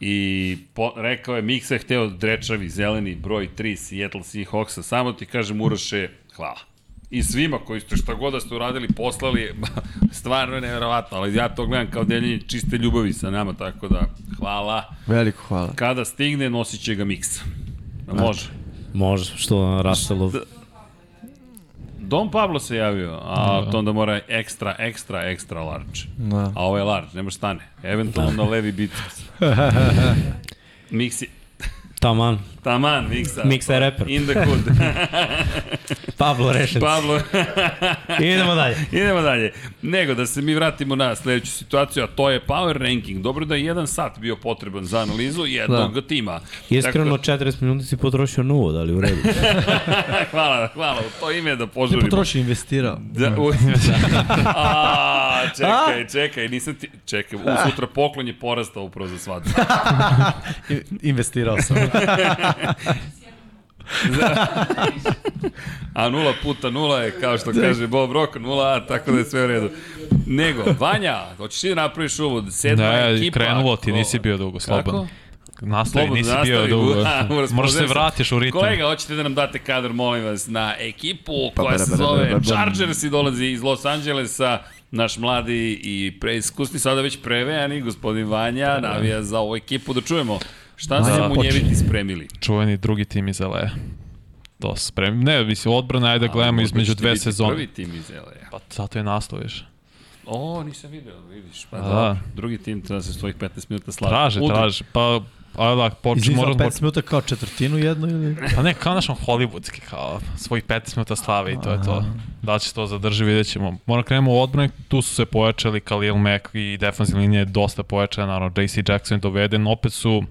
A: i po, rekao je, Miksa je hteo drečavi zeleni broj 3 Seattle Seahawksa. Samo ti kažem, Uroše, hvala i svima koji ste šta god da ste uradili, poslali, stvarno je nevjerovatno, ali ja to gledam kao deljenje čiste ljubavi sa nama, tako da hvala.
E: Veliko hvala.
A: Kada stigne, nosit će ga miksa. Da može.
B: Može, što Raselov.
A: Don Pablo se javio, a to onda mora ekstra, ekstra, ekstra large.
E: Da.
A: A ovo je large, ne može stane. Eventualno na levi biceps. Miksi,
B: Taman.
A: taman, miksa.
B: Miksa je reper.
A: In the good.
B: Pablo Rešec.
A: Pablo,
B: Idemo dalje.
A: Idemo dalje. Nego da se mi vratimo na sledeću situaciju, a to je power ranking. Dobro da je jedan sat bio potreban za analizu jednog da. tima.
B: Iskreno,
A: Tako,
B: 40 minuta si potrošio novo, da li u redu?
A: da, hvala, hvala, u to ime da požurimo.
E: Potroši investirao.
A: Da,
C: Mm.
A: u, da. A, čekaj, čekaj, nisam ti... Čekaj, u sutra poklon je porastao upravo za svadbu.
E: I- investirao sam.
A: A nula puta nula je, kao što kaže Bob Rock, nula A, tako da je sve u redu. Nego, Vanja, hoćeš ti da napraviš uvod? Sedma
C: Da, je,
A: ekipa.
C: krenulo ti,
A: ko-
C: nisi bio dugo
A: Kako?
C: slobodan. Nastavi, nisi bio
A: nastavi.
C: dugo.
A: A, moram
C: Možeš se
A: spomenuti.
C: vratiš u ritam.
A: Kolega, hoćete da nam date kadar, molim vas, na ekipu koja
E: bara,
A: se
E: bara, bara,
A: zove
E: bara, bara.
A: Chargers i dolazi iz Los Angelesa, naš mladi i preiskusni, sada već prevejani, gospodin Vanja, navija za ovu ekipu, da čujemo šta su mu njeviti spremili.
C: Čuveni drugi tim iz LA. To sprem. Ne, mislim, odbrana, ajde da gledamo
A: Možda
C: između
A: će ti
C: dve
A: biti
C: sezone.
A: Prvi tim iz LA.
C: Pa zato je nastojiš.
A: O, nisam video, vidiš. Pa
C: A,
A: da.
C: da.
A: Drugi tim treba se svojih 15 minuta slavi.
C: Traže,
A: Udri.
C: traže. Pa a da, počne,
E: Izlizao
C: moraš,
E: 15 minuta kao četvrtinu jednu ili...
C: Pa ne, kao našom hollywoodski, kao svojih 15 minuta slave i to je to. Da li će to zadrži, vidjet ćemo. Moram da krenemo u odbrane, tu su se pojačali Khalil Mack i defensivna linija je dosta pojačana, naravno JC Jackson je doveden, opet su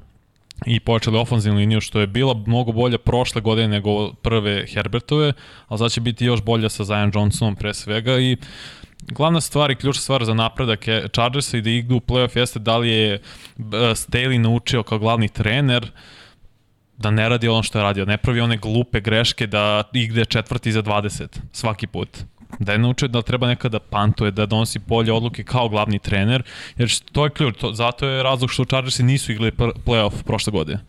C: i pojačali ofenzivnu liniju, što je bila mnogo bolja prošle godine nego prve Herbertove, ali sad će biti još bolja sa Zion Johnsonom pre svega i glavna stvar i ključna stvar za napredak je Chargersa i da idu u playoff jeste da li je e, Staley naučio kao glavni trener da ne radi ono što je radio, ne pravi one glupe greške da igde četvrti za 20 svaki put. Da je naučio da treba nekada pantuje, da donosi bolje odluke kao glavni trener, jer to je ključ, to, zato je razlog što Chargersi nisu igrali pr- playoff prošle godine.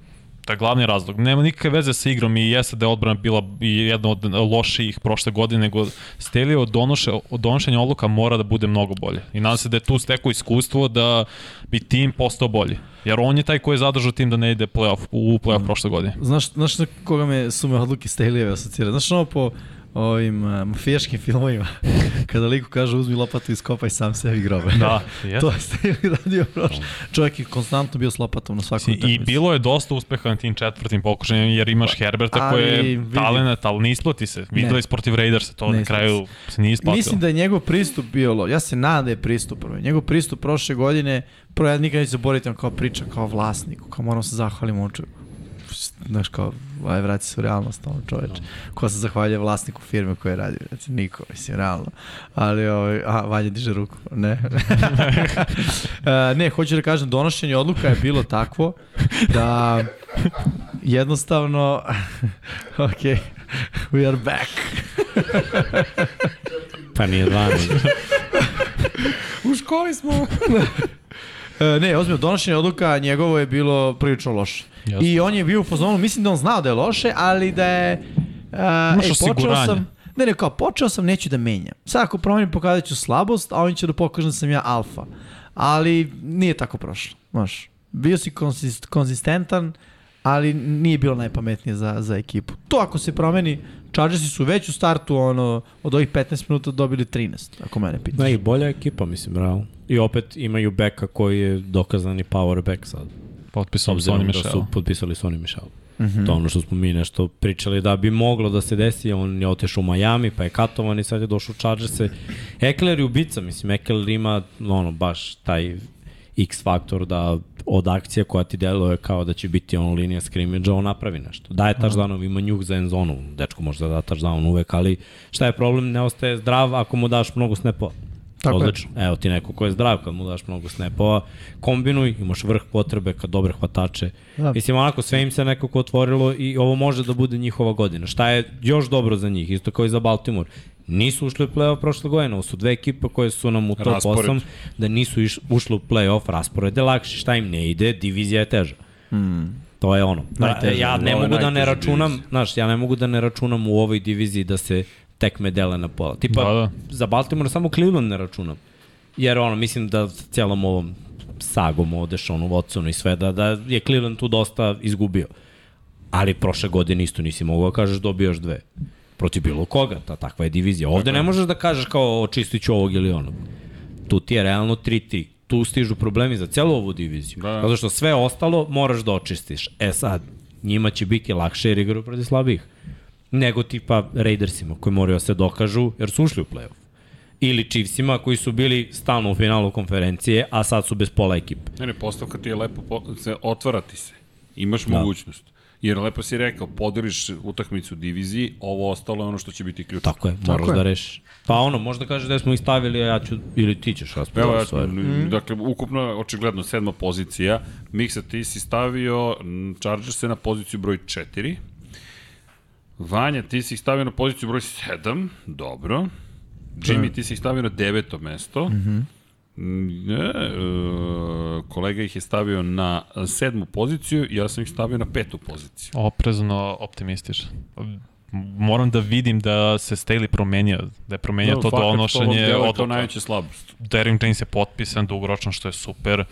C: To je glavni razlog. Nema nikakve veze sa igrom i jeste da je odbrana bila i jedna od lošijih prošle godine, nego Stelio od, donoše, od donošenja odluka mora da bude mnogo bolje. I nadam se da je tu stekao iskustvo da bi tim postao bolji. Jer on je taj koji je zadržao tim da ne ide playoff, u playoff prošle godine.
E: Znaš, znaš na koga me sume odluke Staleyeve asocira? Znaš ono po ovim uh, mafijaškim filmovima, kada liku kaže uzmi lopatu i skopaj sam sebi grobe.
C: Da,
E: to je Staley radio prošlo. Čovjek je konstantno bio s lopatom na svakom
C: I bilo je dosta uspeha na tim četvrtim pokušajima, jer imaš Herberta koji
E: ali
C: je
E: vidi-
C: talenat, ali ne isplati se. Videli smo protiv Raidersa, to
E: Ne
C: na
E: isplati
C: kraju se nije isplatilo.
E: Mislim da je njegov pristup bio lo. Ja se nadam da je pristup prvo. Njegov pristup prošle godine, prvo ja nikad neću zaboraviti, on kao priča, kao vlasniku, kao moram se zahvalim ovom čovjeku. Znaš kao, aj vrati se u realnost ovom čoveče. Ko se zahvalja vlasniku firme koje radi, vrati, niko, mislim, realno. Ali, ovaj, a, Valja diže ruku, ne. E, ne, hoću da kažem, donošenje odluka je bilo takvo da jednostavno, ok, we are back.
B: Pa nije 12.
A: U školi smo.
E: E, ne, ozbiljno, donošenje odluka njegovo je bilo prilično loše.
C: Jasno.
E: I on je bio u fazonu, mislim da on znao da je loše, ali da je... Uh,
C: Imaš osiguranje.
E: Ne, ne, kao, počeo sam, neću da menjam. Sad ako promenim, pokazat ću slabost, a oni će da pokažem da sam ja alfa. Ali nije tako prošlo, znaš. Bio si konsist, konzistentan, ali nije bilo najpametnije za, za ekipu. To ako se promeni, Chargersi su već u startu ono, od ovih 15 minuta dobili 13, ako mene pitaš.
B: Ne, Da, i bolja ekipa, mislim, bravo. I opet imaju beka koji je dokazani power back sad. S
C: Potpisom Sony
B: obzirom da
C: Michel.
B: su potpisali Sony Michel. Mm
E: Mhm.
B: -hmm. To je ono što smo mi nešto pričali da bi moglo da se desi, on je otešao u Miami, pa je katovan i sad je došao u Chargerse. Ekler je ubica, mislim, Ekler ima ono, baš taj X faktor da od akcije koja ti deluje kao da će biti ono linija scrimmage, on napravi nešto. Daje touchdown, ima njuk za endzonu, dečko može da da touchdown uvek, ali šta je problem, ne ostaje zdrav ako mu daš mnogo snapova.
E: Tako je.
B: Odlično. Evo ti neko ko je zdrav, kad mu daš mnogo snapova, kombinuj, imaš vrh potrebe, kad dobre hvatače.
E: Da.
B: Da. Mislim, onako, sve im se nekako otvorilo i ovo može da bude njihova godina. Šta je još dobro za njih, isto kao i za Baltimore. Nisu ušli u play-off prošle godine, ovo su dve ekipe koje su nam u top
A: Raspored.
B: 8, da nisu iš, ušli u play-off, raspored je lakši, šta im ne ide, divizija je teža. To je ono.
A: Najteže,
B: ja ne
A: ovo Hmm. Da, je
B: mogu da ne
A: najteža
B: računam,
A: divizija.
B: znaš, ja ne mogu da ne računam u ovoj diviziji da se tekme dele na pola. Tipa,
C: Da, da.
B: za Baltimore samo Cleveland ne računam. Jer ono, mislim da s cijelom ovom sagom o Dešonu Watsonu i sve, da, da je Cleveland tu dosta izgubio. Ali prošle godine isto nisi mogao da kažeš dobio još dve. Protiv bilo koga, ta takva je divizija. Ovde ne možeš da kažeš kao očistit ću ovog ili onog. Tu ti je realno 3-3. Tu stižu problemi za celu ovu diviziju.
A: Da.
B: Da. Zato što sve ostalo moraš da očistiš. E sad, njima će biti lakše jer igraju protiv slabih. Nego tipa Raidersima koji moraju da se dokažu jer su ušli u playoff. Ili Chiefsima koji su bili stalno u finalu konferencije, a sad su bez pola ekipe.
A: Ne, ne, postavka ti je lepo, po, se, otvara ti se. Imaš mogućnost. Jer lepo si rekao, podeliš utakmicu diviziji, ovo ostalo je ono što će biti ključ.
B: Tako je, moraš da rešiš. Pa ono, možda kažeš da smo ih stavili, a ja ću, ili ti ćeš
A: Evo,
B: raspravljati
A: ja,
B: stvari.
E: mm-hmm.
A: mm. dakle, ukupno je očigledno sedma pozicija. Miksa, ti si stavio mm, Chargers na poziciju broj 4. Vanja, ti si ih stavio na poziciju broj 7. Dobro.
E: Da.
A: Jimmy, ti si ih stavio na deveto mesto.
E: Mm-hmm.
A: Mm -hmm. ne, e, kolega ih je stavio na sedmu poziciju, ja sam ih stavio na petu poziciju.
C: Oprezno optimističan. Moram da vidim da se Staley promenio, da je promenio to
A: fakat, ovo
C: donošenje
A: delo je To
C: odluka.
A: najveća slabost.
C: Derrick James je potpisan dugoročno što je super.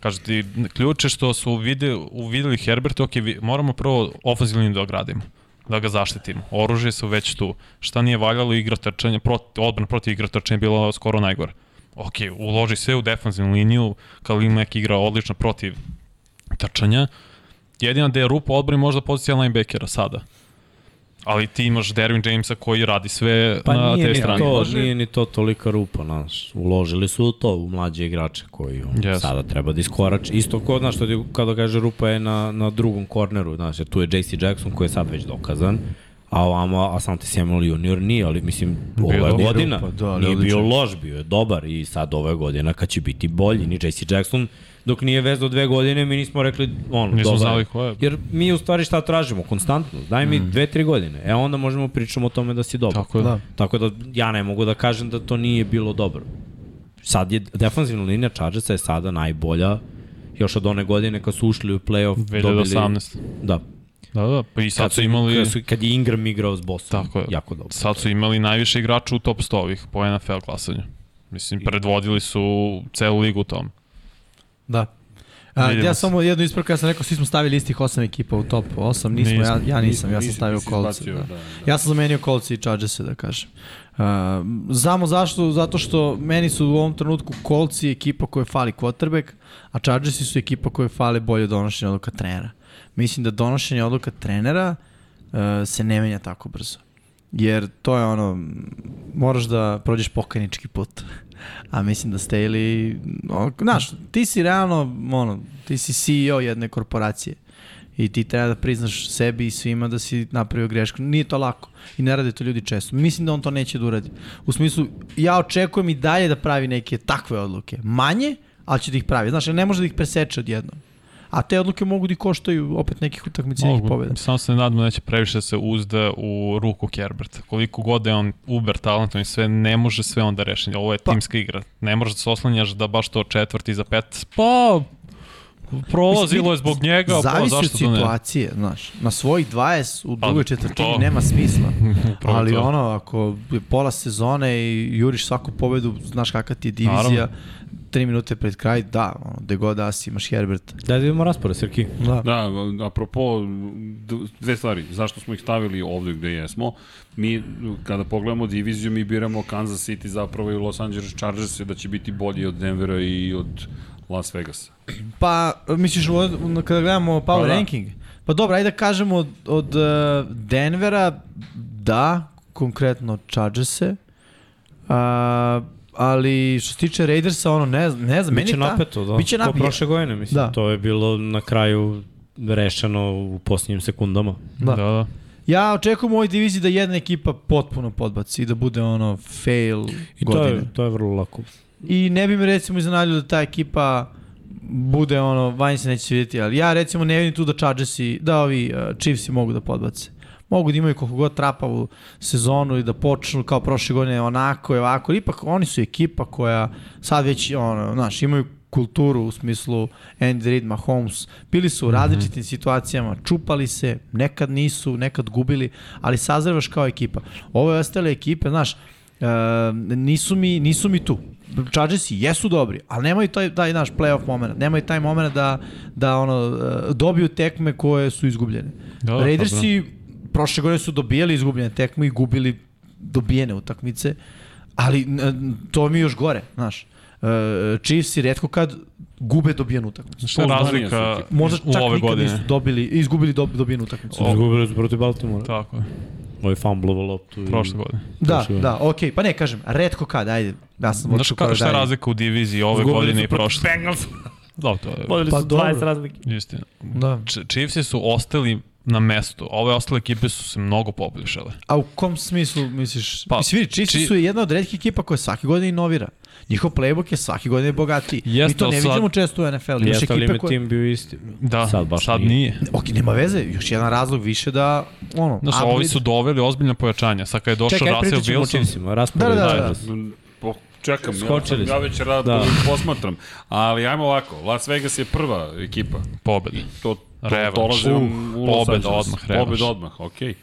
C: Kaže ti, ključe što su vide, uvideli Herbert, ok, vi- moramo prvo ofenzivnu liniju da ogradimo da ga zaštitimo. Oružje su već tu. Šta nije valjalo igra trčanja, proti, odbrana protiv igra trčanja je bila skoro najgore. Ok, uloži sve u defanzivnu liniju, Kalil Mack igra odlično protiv trčanja, Jedina da je rupa odbrani možda pozicija linebackera sada. Ali ti imaš Derwin Jamesa koji radi sve
B: Pa
C: na
B: nije,
C: te
B: ni
C: strane.
B: to, nije ni to tolika rupa, znaš. Uložili su u to, u mlađe igrače koji on,
C: Yes.
B: yes. sada treba da iskorači. Isto ko, znaš, što ti- kada kaže rupa je na, na drugom korneru, znaš, jer tu je JC Jackson koji je sad već dokazan, a ovamo Asante Samuel Junior nije, ali mislim,
C: Bio
B: ova
C: je
B: godina
E: rupa,
B: rupa,
E: da,
B: da,
E: ali
B: nije bio
E: odličan.
B: loš, bio je dobar i sad ove godina kad će biti bolji, ni JC Jackson dok nije vezao dve godine, mi nismo rekli ono,
C: Nismo
B: dobar.
C: znali ko je.
B: Jer mi u stvari šta tražimo, konstantno. Daj mi dve, tri godine. E onda možemo pričamo o tome da si dobar.
C: Mm. Tako je.
E: Da.
C: Da.
B: Tako da ja ne mogu da kažem da to nije bilo dobro. Sad je defanzivna linija Chargersa je sada najbolja još od one godine kad su ušli u play-off. dobili-
C: 2018.
B: Da.
C: Da, da, pa i sad
B: Kad,
C: su
B: su,
C: imali...
B: kad, su, kad je Ingram igrao s Bosom.
C: Tako je.
B: Jako dobro.
C: Sad su imali najviše igrača u top 100 ovih po NFL glasanju. Mislim, predvodili su celu ligu u tom.
E: Da. A,
C: Vidimo
E: ja
C: se.
E: samo jednu ispravku, ja sam rekao, svi smo stavili istih osam ekipa u top 8, nismo,
C: Nismo.
E: ja, ja nisam, ja sam
A: Nisi-
E: stavio
A: nisi
E: kolce.
A: izbacio,
E: Da.
A: da,
E: Ja sam zamenio kolce i chargers da kažem. Uh, znamo zašto, zato što meni su u ovom trenutku kolci ekipa koja fali quarterback, a Chargersi su ekipa koja fale bolje donošenje odluka trenera. Mislim da donošenje odluka trenera uh, se ne menja tako brzo. Jer to je ono, m, moraš da prođeš pokajnički put. A mislim da Staley, no, znaš, ti si realno, ono, ti si CEO jedne korporacije. I ti treba da priznaš sebi i svima da si napravio grešku. Nije to lako. I ne rade to ljudi često. Mislim da on to neće da uradi. U smislu, ja očekujem i dalje da pravi neke takve odluke. Manje, ali će da ih pravi. Znaš, jer ne može da ih preseče odjednom. A te odluke mogu da ih koštaju opet nekih utakmica i da nekih pobjeda.
C: Samo se nadam da neće previše da se uzda u ruku Kerberta. Koliko god je on uber talentom i sve, ne može sve onda rešiti. Ovo je
E: Pa.
C: timska igra. Ne možeš da se oslanjaš da baš to četvrti za pet. Pa, prolazilo je zbog njega, pa
E: Zavisi od
C: zašto to ne?
E: situacije, znaš. Na svojih 20 u
C: Pa,
E: drugoj četvrtini
C: to.
E: nema smisla.
C: Upravo
E: ali
C: to.
E: ono, ako je pola sezone i juriš svaku pobedu, znaš kakva ti je divizija,
C: Naravno.
E: tri minute pred kraj, da, ono, gde god da si, imaš Herberta.
B: Da vidimo raspored, Srki.
E: Da.
A: Da, apropo, d- dve stvari, zašto smo ih stavili ovde gde jesmo, mi kada pogledamo diviziju, mi biramo Kansas City zapravo i Los Angeles Chargers da će biti bolji od Denvera i od Las Vegasa.
E: Pa, misliš, u, u- kada gledamo power
A: Pa da.
E: ranking? Pa dobro, ajde da kažemo od, od eh, Denvera, da, konkretno Chargerse, a, ali što se tiče Raidersa, ono, ne, znam- ne znam, meni
B: Biće
E: je ta...
B: napeto, da.
E: Biće
B: Ko
E: napeto.
B: prošle godine, mislim.
E: Da.
B: Da. To je bilo na kraju rešeno u posljednjim sekundama.
E: Da.
C: Da, da.
E: Ja očekujem u ovoj diviziji da jedna ekipa potpuno podbaci i da bude ono fail
B: I to
E: godine.
B: je, to je vrlo lako.
E: I ne bi me recimo iznenadilo da ta ekipa bude ono, vanje se neće vidjeti, ali ja recimo ne vidim tu da Chargersi, da ovi uh, Chiefsi mogu da podbace. Mogu da imaju koliko god trapavu sezonu i da počnu kao prošle godine onako i ovako. Ipak oni su ekipa koja sad već ono, znaš, imaju kulturu u smislu Andy Reid, Mahomes. Bili su u različitim situacijama, čupali se, nekad nisu, nekad gubili, ali sazrevaš kao ekipa. Ove ostale ekipe, znaš, e, nisu, mi, nisu mi tu. Chargersi jesu dobri, ali nemaju taj, taj naš playoff moment, nemaju taj moment da, da ono, e, dobiju tekme koje su izgubljene.
C: Da,
E: Da,
C: da,
E: Raidersi prošle godine su dobijali izgubljene tekme i gubili dobijene utakmice, ali n- to mi je još gore, znaš. E, Chiefsi redko kad gube dobijenu utakmicu.
C: Šta je
A: Pouzdanije
C: razlika
A: su ekipe.
E: Možda
C: u
E: čak
C: ove
E: nikad
C: godine?
E: nisu dobili, izgubili dob, dobijenu utakmicu.
C: O-
B: Izgubili su protiv Baltimora.
C: Tako je,
B: Ovo je fumblovo loptu. i-
C: prošle godine.
E: Da,
B: Prošle
E: da, okej, pa ne, kažem, redko kad, ajde, ja sam da
C: Znaš
E: odšao
C: ka,
E: korak
C: šta je
E: dalje.
C: razlika u diviziji ove
B: Izgubili
C: godine
B: su
C: i
B: protiv
C: prošle?
B: Bengals.
C: Da, to je
B: Vodili
E: Pa
B: su 20
E: dobro.
B: razlike.
C: istina.
E: Da.
C: Ch- Chiefsi su ostali na mestu. Ove ostale ekipe su se mnogo poboljšale.
E: A u kom smislu misliš? Pa,
C: Pa,
E: Mislim, vidi, Chiefs
C: či-
E: su jedna od redkih ekipa koja svake godine inovira. Njihov playbook je svake godine bogatiji. Mi
C: Jeste,
E: to ne
C: ali sad-
E: vidimo često u NFL-u. Imaš
B: Jeste, ali
E: ekipe
B: ime
E: koje...
B: tim bio isti.
C: Da, sad, baš sad nije.
E: Ok, nema veze, još jedan razlog više da, ono...
C: Znaš,
E: upgrade-
C: ovi su doveli ozbiljna pojačanja. Sad kad je došao
B: Čekaj,
C: Russell
B: pričat ćemo o
C: Wilson,
B: Chiefsima. Raspored
E: Da, da, da.
B: Chargers.
A: Mm, po- Čekam,
B: Skočili
A: ja,
B: smo.
A: ja već rad
B: Da.
A: da. posmatram. Ali ajmo ovako, Las Vegas je prva ekipa.
C: pobeda.
A: To, to
C: Revanš.
A: dolaze u,
C: Uh,
A: u Los
C: pobeda
A: Angeles.
C: odmah, revanš.
A: Pobeda odmah, okej.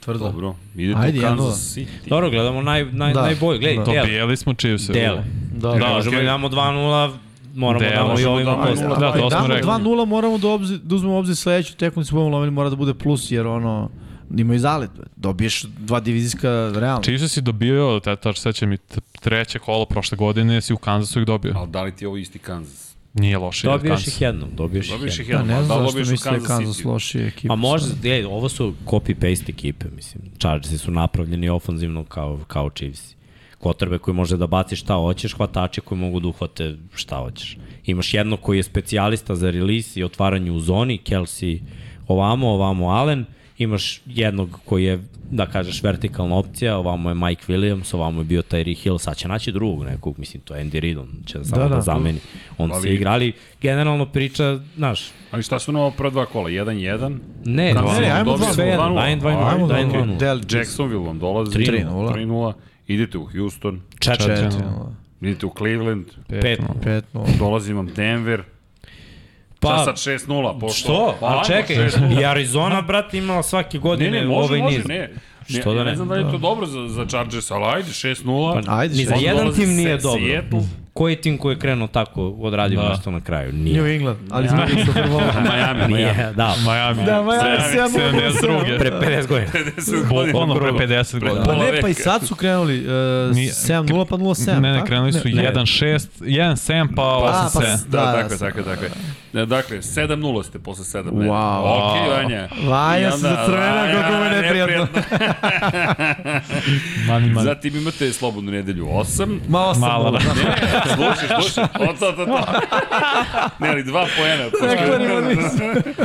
E: Tvrdo.
A: Dobro, ide
E: Da. Ajde,
A: Ajde,
E: jedan
A: Kansas City.
B: Dobro, gledamo naj, naj,
E: Da.
B: da. najbolje. Gledaj,
E: Da.
B: da. dele.
C: Dobijeli smo Chiefs.
B: Dele.
E: Da,
B: Da,
E: da.
B: ne možemo
A: okej.
B: da damo 2-0, moramo da
C: Dele.
B: damo i
C: Možemo
B: ovima
A: da damo
B: dosta.
A: nula.
C: Da,
E: Ali
C: to smo
E: damo
C: rekli.
E: 2-0 moramo da, obzir, da uzmemo u obzir sledeću tekmu se budemo lomili, mora da bude plus jer ono imaju zalet. bre. Dobiješ dva divizijska realno.
C: Chiefs si dobio, te, tač, sećam i t- treće kolo prošle godine, si u Kansasu ih dobio.
A: Ali da li ti je ovo isti Kansas?
C: Nije loše.
B: Dobiješ
C: Dobiješ
B: ih jednom, dobiješ,
A: Dobiješ ih
E: Ja,
A: jedan,
E: ne
A: da
E: znam
A: dobiješ
E: zašto
A: u
E: misle
A: Kansas
E: Kansas
A: City. Pa
E: lošija ekipa.
B: A možda, je, Pa ovo su copy-paste ekipe, mislim. Chargersi su napravljeni ofanzivno kao, kao Chiefs. Kotrbe koji može da baci šta hoćeš, hvatače koji mogu da uhvate šta hoćeš. Imaš jedno koji je specijalista za release i otvaranje u zoni, Kelsey ovamo, ovamo Allen, imaš jednog koji je, da kažeš, vertikalna opcija, ovamo je Mike Williams, ovamo je bio Tyree Hill, sad će naći drugog nekog, mislim, to je Andy Reid, on će samo da, da,
E: da.
B: da zameni. On
A: Ali-
B: se igra, ali generalno priča, znaš,
A: Ali šta su nova prva dva kola? 1-1?
B: ne,
A: Kansas
E: ne, ajmo
A: dobio
E: dva,
B: sve jedno,
A: 2:0.
B: ajmo 2:0,
A: Ajde,
B: ajmo
A: okej.
B: 2:0.
E: da Del
A: Jacksonville vam dolazi.
E: 3:0.
A: 3-0. Idete u Houston,
B: Četiri.
E: Četiri,
A: idete u Cleveland,
B: Pet.
E: pet, nula.
A: dolazi vam Denver. Pa,
B: Pa,
A: sad 6-0 pošlo.
B: što?
A: Pa,
B: A
A: ajmo,
B: čekaj,
A: 6:0.
B: i Arizona, brate, imala svake
A: Ne,
B: godine
A: ne, može,
B: ovaj
A: može,
B: niz.
A: ne.
B: Što
A: ne,
B: da
A: ja ne
B: ne?
A: znam da li je to dobro za, za Chargers, ali ajde, 6-0.
E: Pa, ajde,
B: Ni za
E: Onda
B: jedan
A: dolazi
B: tim nije
A: Se-
B: dobro.
A: Seattle.
B: Koji tim koji je krenuo tako odradio
C: Da.
B: nešto na kraju?
E: New
B: Nije.
E: England, ali smo bili Super Bowl.
A: Miami, Miami.
B: Nije, da.
C: Miami.
E: Da, Miami,
C: 72.
B: Pre 50 godina.
A: 50
C: Bo-
A: godina.
C: Ono pre
A: Pre-
C: 50 godina.
E: Pa
A: pola
E: ne, pa i
A: veka.
E: sad su krenuli uh,
C: Nije-
E: 7-0 pa 0-7.
C: Ne, ne,
E: tako?
C: krenuli su 1-6, 1-7 pa
E: A, pa
C: 8-7.
E: s-
A: Da,
E: Da,
A: da,
E: da,
A: tako,
E: sad.
A: tako, tako. Ne, dakle, 7-0 ste posle 7 mene.
E: Wow.
A: Ok, Vanja.
E: Vanja
A: I
E: se
A: onda-
E: zacrvena,
A: Vanja,
E: koliko mu je neprijatno.
C: Mani, mani.
A: Zatim imate slobodnu nedelju 8.
E: Ma 8
C: Mala, da.
A: Ne, ne, slušaj, slušaj. O, to, to, to. Ne, ali dva poena.
C: da.
E: Rekla ni on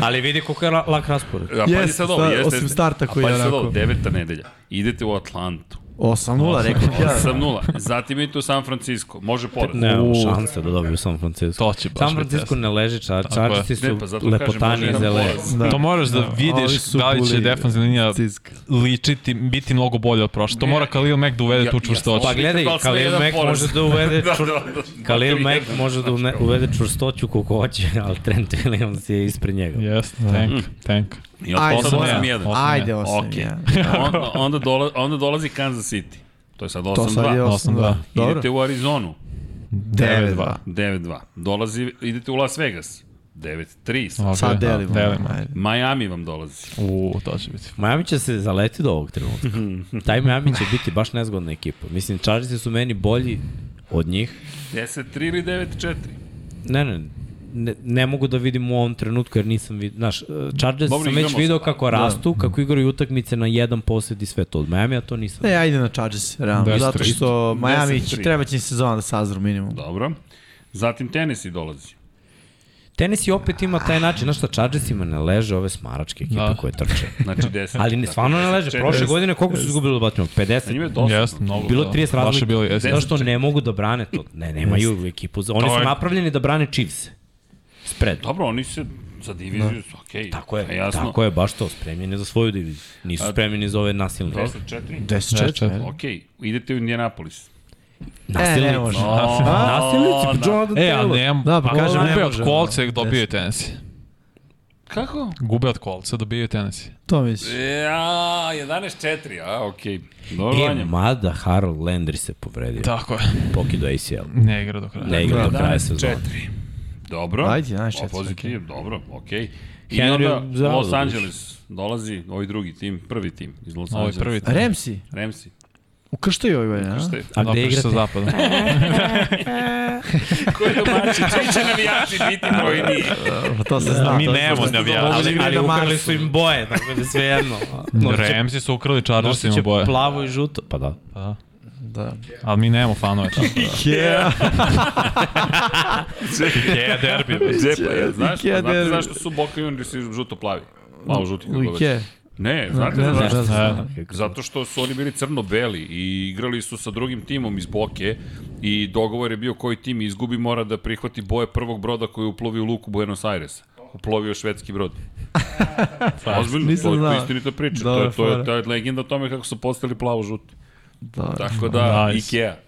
B: Ali vidi koliko je la- lak raspored.
A: A pazi
E: Jeste,
A: sad ovo,
E: sta-
A: jeste.
E: osim
A: jeste.
E: starta koji
A: A
E: je
A: pazi sad
E: onako-
A: ovo, deveta nedelja. Idete u Atlantu.
E: 8-0, rekao ti ja.
A: 7-0. Zatim idete u San Francisco. Može pored.
B: Nemamo
E: U.
B: šanse da dobiju San Francisco.
C: To će baš
B: San
C: biti
B: Francisco
C: test.
B: ne leži, čar,
C: Tako je.
B: čarčici
A: Ne,
B: su
A: pa zato kažem, može
B: lepotani i
A: jedan
B: zeleni.
A: poraz.
E: Da.
C: To moraš da
E: ovi
C: vidiš
E: su
C: da li će
E: buli-
C: defanzivna linija
E: Ciska.
C: ličiti, biti mnogo bolje od prošle. To
A: Ne.
C: mora Khalil Mack da uvede
A: Ja-
C: tu
A: ja sam-
C: čvrstoću.
B: Pa gledaj,
A: Vidite, to smo
B: Khalil
A: jedan
B: Mack
A: poraz.
B: može da uvede
A: Da,
B: čur-
A: da, da.
B: Khalil
A: Makar
B: Mack
A: jedan.
B: može da une- uvede čvrstoću koliko hoće, ali Trent Williams je ispred njega.
C: Yes,
E: Da.
C: tank, tank.
A: I
E: Ajde,
A: osam,
E: moja.
A: osam, jedan.
E: Ajde,
C: Osam,
E: 8
A: Okej.
E: 1
A: onda, onda, dola, onda dolazi Kansas City. To je sad
E: To sad je
A: 8-2.
E: 8-2.
C: Idete
E: Dobro.
A: Idete u Arizonu.
E: 9-2.
A: 9-2. Dolazi, idete u Las Vegas. 9-3. sad.
C: Ok,
E: Sad
C: da,
E: delimo.
C: Delimo.
E: Ajde.
A: Miami vam dolazi.
C: U, to će biti.
B: Miami će se zaleti do ovog trenutka. Taj Miami će biti baš nezgodna ekipa. Mislim, Chargersi su meni bolji od njih.
A: 10-3 ili 9-4.
B: Ne, ne, ne, ne mogu da vidim u ovom trenutku jer nisam vidio, znaš, e, Chargers
A: Dobro,
B: sam već
A: igramo
B: video
A: se.
C: Da.
B: kako rastu, kako igraju utakmice na jedan posjed i sve to od Miami, a to nisam.
E: Ne, ajde na Chargers, realno.
C: Deset,
E: Zato
C: tri.
E: što Miami
A: Deset,
E: će,
A: tri.
E: treba će im sezona da sazru minimum.
A: Dobro. Zatim Tennessee dolazi.
B: Tennessee opet ima taj način, znaš šta, Chargersima ne leže ove smaračke ekipe
C: Da.
B: koje trče.
A: Znači 10.
B: Ali ne, stvarno ne leže. Prošle godine koliko su izgubili od Baltimore?
A: Na njima
B: 50.
A: je dosta.
C: Yes, mnogo.
B: Bilo
C: da.
B: 30 razlika.
C: Baš je bilo, E, yes.
A: Deset.
B: Zašto ne mogu da brane to? Ne, nemaju ekipu. za- Oni
C: To
B: su
C: je-
B: napravljeni da brane Chiefs. Spread.
A: Dobro, oni se za diviziju, da. okej. Okay,
B: Tako je,
A: jasno.
B: tako je, baš to, spremljeni za svoju diviziju. Nisu spremljeni za ove nasilne.
A: 10-4.
E: 10-4. ajde.
A: Okej, idete u Indianapolis.
E: E, ne
B: Nasilnici.
E: može.
B: Nasilnici, pa Jonathan
C: E, a
B: Taylor.
C: ne,
E: Da, pa
C: ako
E: kažem, ne
C: gube od
E: može,
C: kolce,
E: da.
C: dobijaju Tennessee.
A: da. Kako?
C: Gube od kolca, dobijaju Tennessee.
E: To misliš.
A: Ja, 11-4, a okej. Dobro,
B: E,
A: Vanja.
B: mada Harold Landry se povredio. Da.
C: Tako je.
B: Pokido ACL.
C: Ne igra do kraja.
B: Ne igra do kraja sezona.
A: 11-4. Dobro.
E: Ajde, 11-4,
A: O, Pozitiv, dobro, okej. I
B: Henry
A: onda
B: zdravo
A: Los
B: da
A: Angeles dolazi, ovaj drugi tim, prvi tim iz Los
B: Ovaj
C: Ovo je
A: Angeles.
C: prvi.
E: Remsi,
A: Remsi.
E: ukrštaju ovaj vojne, a?
A: Šta je?
B: A gde
C: Napraviš sa
B: igrate?
C: zapadom.
A: Ko je domaći? Čiji će navijači biti brojni?
E: Pa to se zna.
C: Da, Mi
E: to-
C: nemamo
E: to-
C: navijača.
E: Ovo da
B: Ali,
E: ljudi
B: ali
E: na
B: ukrali
E: Marsu.
B: su im boje, tako da sve jedno.
C: Ramsey su ukrali Chargersima
B: Nosiće
C: boje.
B: plavo i žuto. Pa da.
C: Pa da.
E: Da.
C: Ali mi nemamo fanove. da,
E: Yeah.
C: Ikea derbi.
E: pa
A: Džepa, ja, pa znaš,
E: Ikea
A: znate
E: derbi.
A: zašto su Buccaneers i žuto plavi? Malo žuti kako
E: Like.
A: već. Ne, znate
E: Ne,
A: zašto?
E: ne, ne.
A: Zato što su oni bili crno-beli i igrali su sa drugim timom iz Boke i dogovor je bio koji tim izgubi mora da prihvati boje prvog broda koji uplovi u luku Buenos Airesa. Uplovio švedski brod. Ozbiljno,
E: nisam
A: to je
E: znao.
A: istinita priča. To
E: Dobra
A: je, to, je,
E: fora.
A: to je legenda o tome kako su postali plavo-žuti.
E: Da.
A: Tako da,
C: Nice.
A: Ikea.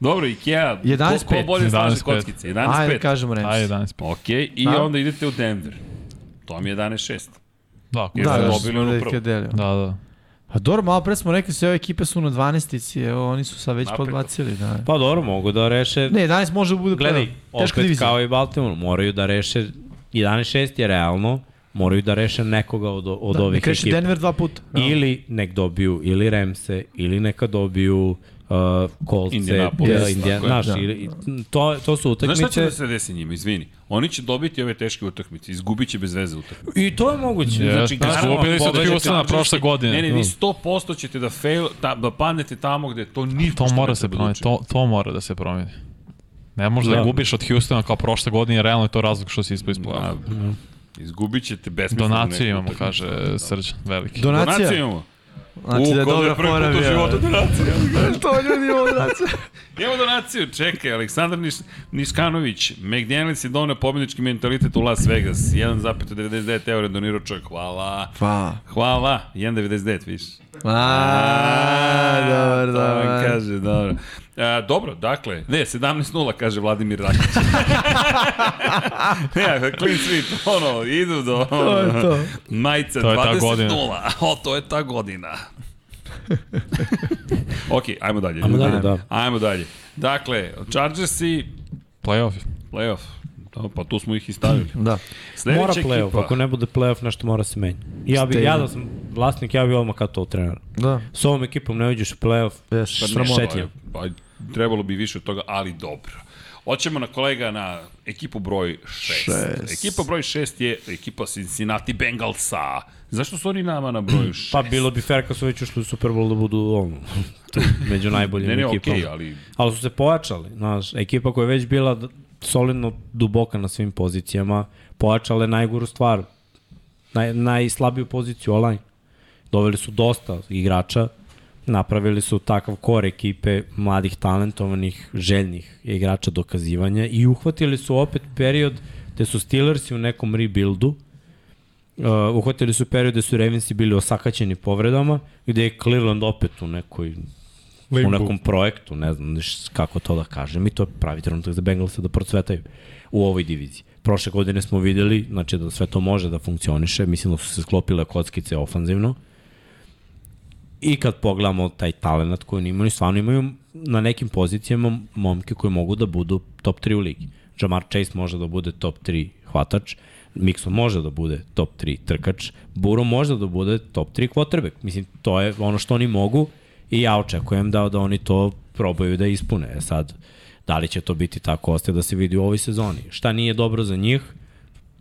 A: Dobro, Ikea, ko, ko
E: 11-5.
A: bolje slaže
C: 11-5.
A: kockice? 11-5.
E: Ajde, kažemo Remsi.
C: Ajde, 11.
A: Ok, i
E: Da.
A: onda idete u Denver. е To mi je 11-6.
C: Da, ako-
A: Jer
E: Da,
A: ste
E: da,
A: dobili
E: smo
A: onu
E: da
A: prvu.
E: ih je delio.
C: Da, da.
E: A Pa dobro, malo pre smo rekli sve ove ekipe su na 12-ici, evo oni su sad već
A: Napredno.
E: podbacili. Da.
B: Pa dobro, mogu da reše.
E: Ne, 11 može da bude
B: Gledaj,
E: prva.
B: opet
E: Teška divizija.
B: kao i Baltimore, moraju da reše 11-6 je realno, moraju da reše nekoga od, od
E: Da,
B: ovih
E: nek reši
B: ekipa.
E: Denver dva puta.
B: Ili nek dobiju ili Remse, ili neka dobiju uh, uh, Colts,
A: Indianapolis, tako
B: Indianapolis, Indiana,
A: je.
B: znaš,
E: Da.
B: ili, to, to su
A: Znaš šta će
B: utakmice.
A: da se desi njima, izvini? Oni će dobiti ove teške utakmice, izgubit će bez veze utakmice.
B: I to je moguće.
C: Je.
B: Znači,
A: naravno,
C: izgubili su od
A: pobeđete,
C: Houstona
A: ali
C: prošle
A: vi-
C: godine.
A: Ne, ne, vi
C: Mm.
A: 100% ćete da, fail, ta, da padnete tamo gde to ni
C: To mora da se promeni, to, to mora da se promeni. Ne možeš da,
B: Da.
C: gubiš od Houstona kao prošle godine, realno je to razlog što si ispao iz play-offa.
A: Da, izgubit ćete
C: da
A: besmisleno. neku
C: Donaciju imamo,
A: utakmicu.
C: kaže Srđan, veliki.
E: Donacija?
A: Donaciju imamo.
E: Znači
A: U,
E: da je
A: kao
E: dobra
A: prvi
E: fora
A: put u
E: bila.
A: životu donacija.
E: to ljudi ovo znači.
A: Imamo donaciju, čekaj, Aleksandar Niš, Niškanović, McDaniels je donio pobjedički mentalitet u Las Vegas, 1,99 eura je donirao čovjek, hvala,
E: Pa.
A: hvala, 1,99 više.
E: A, dobar,
A: To vam
E: dobar.
A: Kaže, dobro. A, dobro, dakle, ne, 17-0, kaže Vladimir Rakić. ne, clean sweep, ono, idu do...
E: To je to.
A: Majica
C: To je ta
A: 20
C: godina.
A: 0. O, to je ta godina. ok, ajmo dalje.
B: Ajmo dalje, da.
A: Ajmo dalje. Dakle, Chargersi,
C: Playoff.
A: playoff. Da, pa tu smo ih i stavili.
E: Da.
A: Sledeća
B: mora playoff,
A: ekipa.
B: ako ne bude playoff nešto mora se menja. Ja bi,
E: Stay.
B: ja da sam vlasnik, ja bi odmah kao to trener.
E: Da.
B: S ovom ekipom ne uđeš u playoff,
E: Yes.
A: Pa ne,
B: Sramota. Šetljiv.
A: Pa, trebalo bi više od toga, ali dobro. Hoćemo na kolega na ekipu broj 6.
E: Šest.
A: Ekipa broj 6 je ekipa Cincinnati Bengalsa. Zašto su oni nama na broju 6?
B: pa bilo bi fair kad su već ušli u Super Bowl da budu ono, tu, među najboljim
A: ne, ne,
B: ekipama.
A: okej, okay, ali
B: Ali su se pojačali, znaš, ekipa koja je već bila d- solidno duboka na svim pozicijama, pojačala je najgoru stvar, naj, najslabiju poziciju online. Doveli su dosta igrača, napravili su takav kor ekipe mladih, talentovanih, željnih igrača dokazivanja i uhvatili su opet period gde su Steelersi u nekom rebuildu, Uh, uhvatili su period gde su Ravensi bili osakaćeni povredama, gde je Cleveland opet u nekoj u nekom projektu, ne znam š- kako to da kažem, i to je pravi trenutak za Bengalsa da procvetaju u ovoj diviziji. Prošle godine smo videli, znači da sve to može da funkcioniše, mislim da su se sklopile kockice ofanzivno. I kad pogledamo taj talent koji oni imaju, stvarno imaju na nekim pozicijama momke koji mogu da budu top 3 u ligi. Jamar Chase može da bude top 3 hvatač, Mixon može da bude top 3 trkač, Buro može da bude top 3 quarterback. Mislim, to je ono što oni mogu i ja očekujem da, da oni to probaju da ispune. E sad, da li će to biti tako, ostaje da se vidi u ovoj sezoni. Šta nije dobro za njih,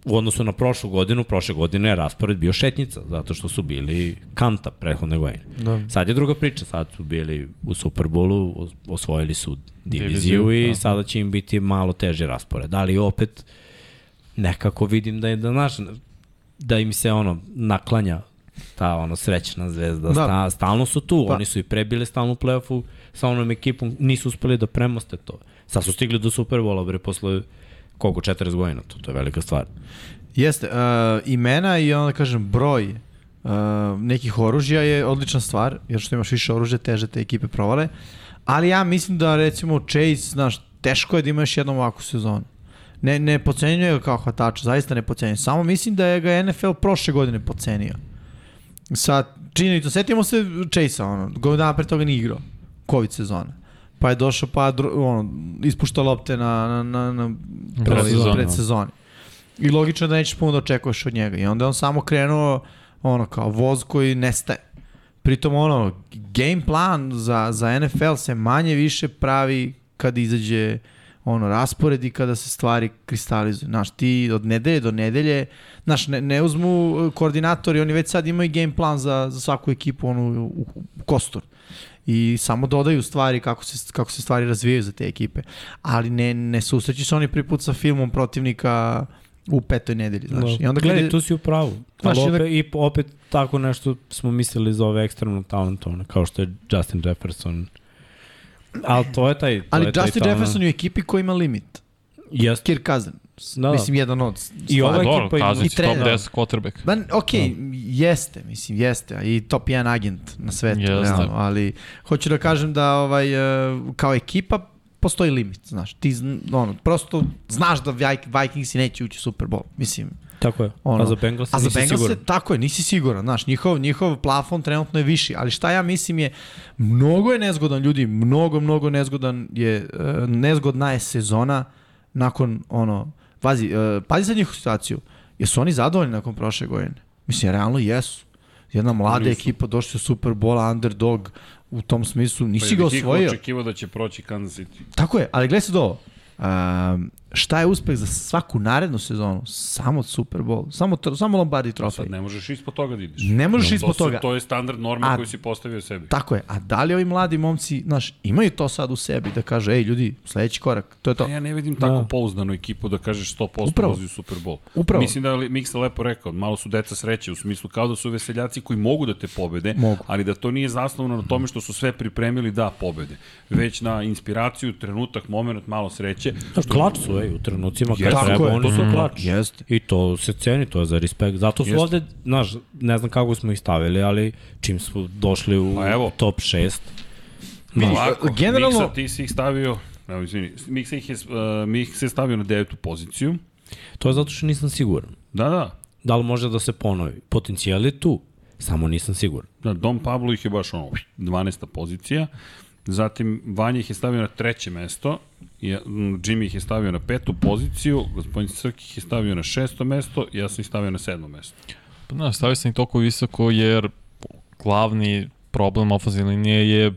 B: u odnosu na prošlu godinu, prošle godine je raspored bio šetnica, zato što su bili kanta prethodne godine. Da. Sad je druga priča, sad su bili u Superbolu, osvojili su diviziju
C: Diviziju,
B: i
C: da.
B: sada će im biti malo teži raspored, ali opet nekako vidim da je da naš da im se ono naklanja ta ono srećna zvezda. Da.
E: Da.
B: Sta, stalno su tu,
E: Pa.
B: oni su i pre bili stalno u play-offu sa onom ekipom, nisu uspeli da premoste to. Sad su stigli do Superbola bre posle koliko 40 godina, to, to je velika stvar.
E: Jeste, uh, imena i onda kažem broj uh, nekih oružja je odlična stvar, jer što imaš više oružja, teže te ekipe provale. Ali ja mislim da recimo Chase, znaš, teško je da imaš jednom ovakvu sezonu. Ne, ne pocenjuje ga kao hvatača, zaista ne pocenjuje. Samo mislim da je ga NFL prošle godine pocenio. Sa činjenicom, setimo se Chase-a, ono, godinu dana pre toga nije igrao, COVID sezona. Pa je došao, pa dro, ono, ispušta lopte na, na, na, na
C: Predsezoni,
E: predsezoni. I logično je da nećeš puno da očekuješ od njega. I onda je on samo krenuo, ono, kao voz koji nestaje. Pritom, ono, game plan za, za NFL se manje više pravi kad izađe ono, raspored i kada se stvari kristalizuju. Znaš, ti od nedelje do nedelje, znaš, ne, ne uzmu e, koordinatori, oni već sad imaju game plan za, za svaku ekipu, onu, u, u kostur. I samo dodaju stvari kako se, kako se stvari razvijaju za te ekipe. Ali ne, ne susreći se oni prvi put sa filmom protivnika u petoj nedelji, znaš. I onda
B: Gledaj,
E: gledaj,
B: tu si u pravu.
E: Znaš,
B: Ali
E: i onda-
B: opet, i opet tako nešto smo mislili za ove ekstremno talentovne, kao što je Justin Jefferson. Ali to je taj... To
E: ali
B: je taj
E: Justin
B: talent.
E: Jefferson je u ekipi koja ima limit.
B: Jeste.
E: Kirk Cousins.
B: Da, da.
E: Mislim, jedan od.
B: I ovaj-
C: Pa
B: ova
C: dobro,
B: ekipa ima...
C: Kazic,
E: i
C: top
E: trener.
C: 10 quarterback.
E: Ba, ok,
B: Da.
E: jeste, mislim, jeste, a i top 1 agent na svetu,
C: Jeste.
E: realno, ali hoću da kažem da ovaj, e, kao ekipa postoji limit, znaš, ti zn- ono, prosto znaš da Vik- Vikingsi neće ući u Super Bowl, mislim.
B: Tako je. Ono,
E: Ono.
B: a za Bengals
E: A za
B: nisi
E: Bengalse,
B: siguran.
E: tako je, nisi siguran, znaš, njihov, njihov plafon trenutno je viši, ali šta ja mislim je, mnogo je nezgodan ljudi, mnogo, mnogo nezgodan je, e, nezgodna je sezona nakon, ono, pazi, e, pazi sad njihovu situaciju, jesu oni zadovoljni nakon prošle godine? Mislim, realno jesu. Jedna mlada ekipa došla u Super Bowl, underdog, u tom smislu nisi
A: Pa
E: ga
A: je Hiko
E: osvojio.
A: očekivao da će proći Kansas City.
E: Tako je, ali gledaj sad ovo. Um, šta je uspeh za svaku narednu sezonu? Samo Super Bowl, samo, tro- samo Lombardi trofej.
A: Sad Pa ne možeš ispod toga da ideš.
E: Ne možeš
A: To
E: ispod
A: su-
E: toga.
A: To je standard norme
E: A-
A: koju si postavio sebi.
E: Tako je, a da li ovi mladi momci, znaš, imaju to sad u sebi da kaže, ej ljudi, sledeći korak, to je to.
A: Pa ja ne vidim tako da. pouzdanu ekipu da kažeš 100%
E: Upravo.
A: Upravo. ulazi u Super Bowl.
E: Upravo.
A: Mislim da je Miksa lepo rekao, malo su deca sreće u smislu kao da su veseljaci koji mogu da te pobede,
E: Mogu.
A: ali da to nije zasnovano na tome što su sve pripremili da pobede, već na inspiraciju, trenutak, moment, malo sreće.
B: Klač su, ej, u trenucima kad
A: Jeste.
E: Tako
B: treba,
E: je. Mhm.
B: oni su klač.
E: Jeste.
B: I to se ceni, to je za respekt. Zato su
A: Jeste.
B: ovde, znaš, ne znam kako smo ih stavili, ali čim smo došli u
A: Pa evo.
B: top 6,
E: Vidiš, e,
A: Ovako,
E: generalno-
A: Miksa, ti si ih stavio, evo, izvini, Miksa ih je, uh, Miksa je stavio na devetu poziciju.
B: to je zato što nisam siguran.
A: Da, da,
B: Da li može da se ponovi? Potencijal je tu, samo nisam siguran.
A: Da, Dom Pablo ih je baš ono, 12. pozicija. Zatim Vanja ih je stavio na treće mesto, ja, m, Jimmy ih je stavio na petu poziciju, gospodin Srk ih je stavio na šesto mesto, ja sam ih stavio na sedmo mesto.
C: Pa da, stavio sam ih toliko visoko jer glavni problem ofenzivne linije je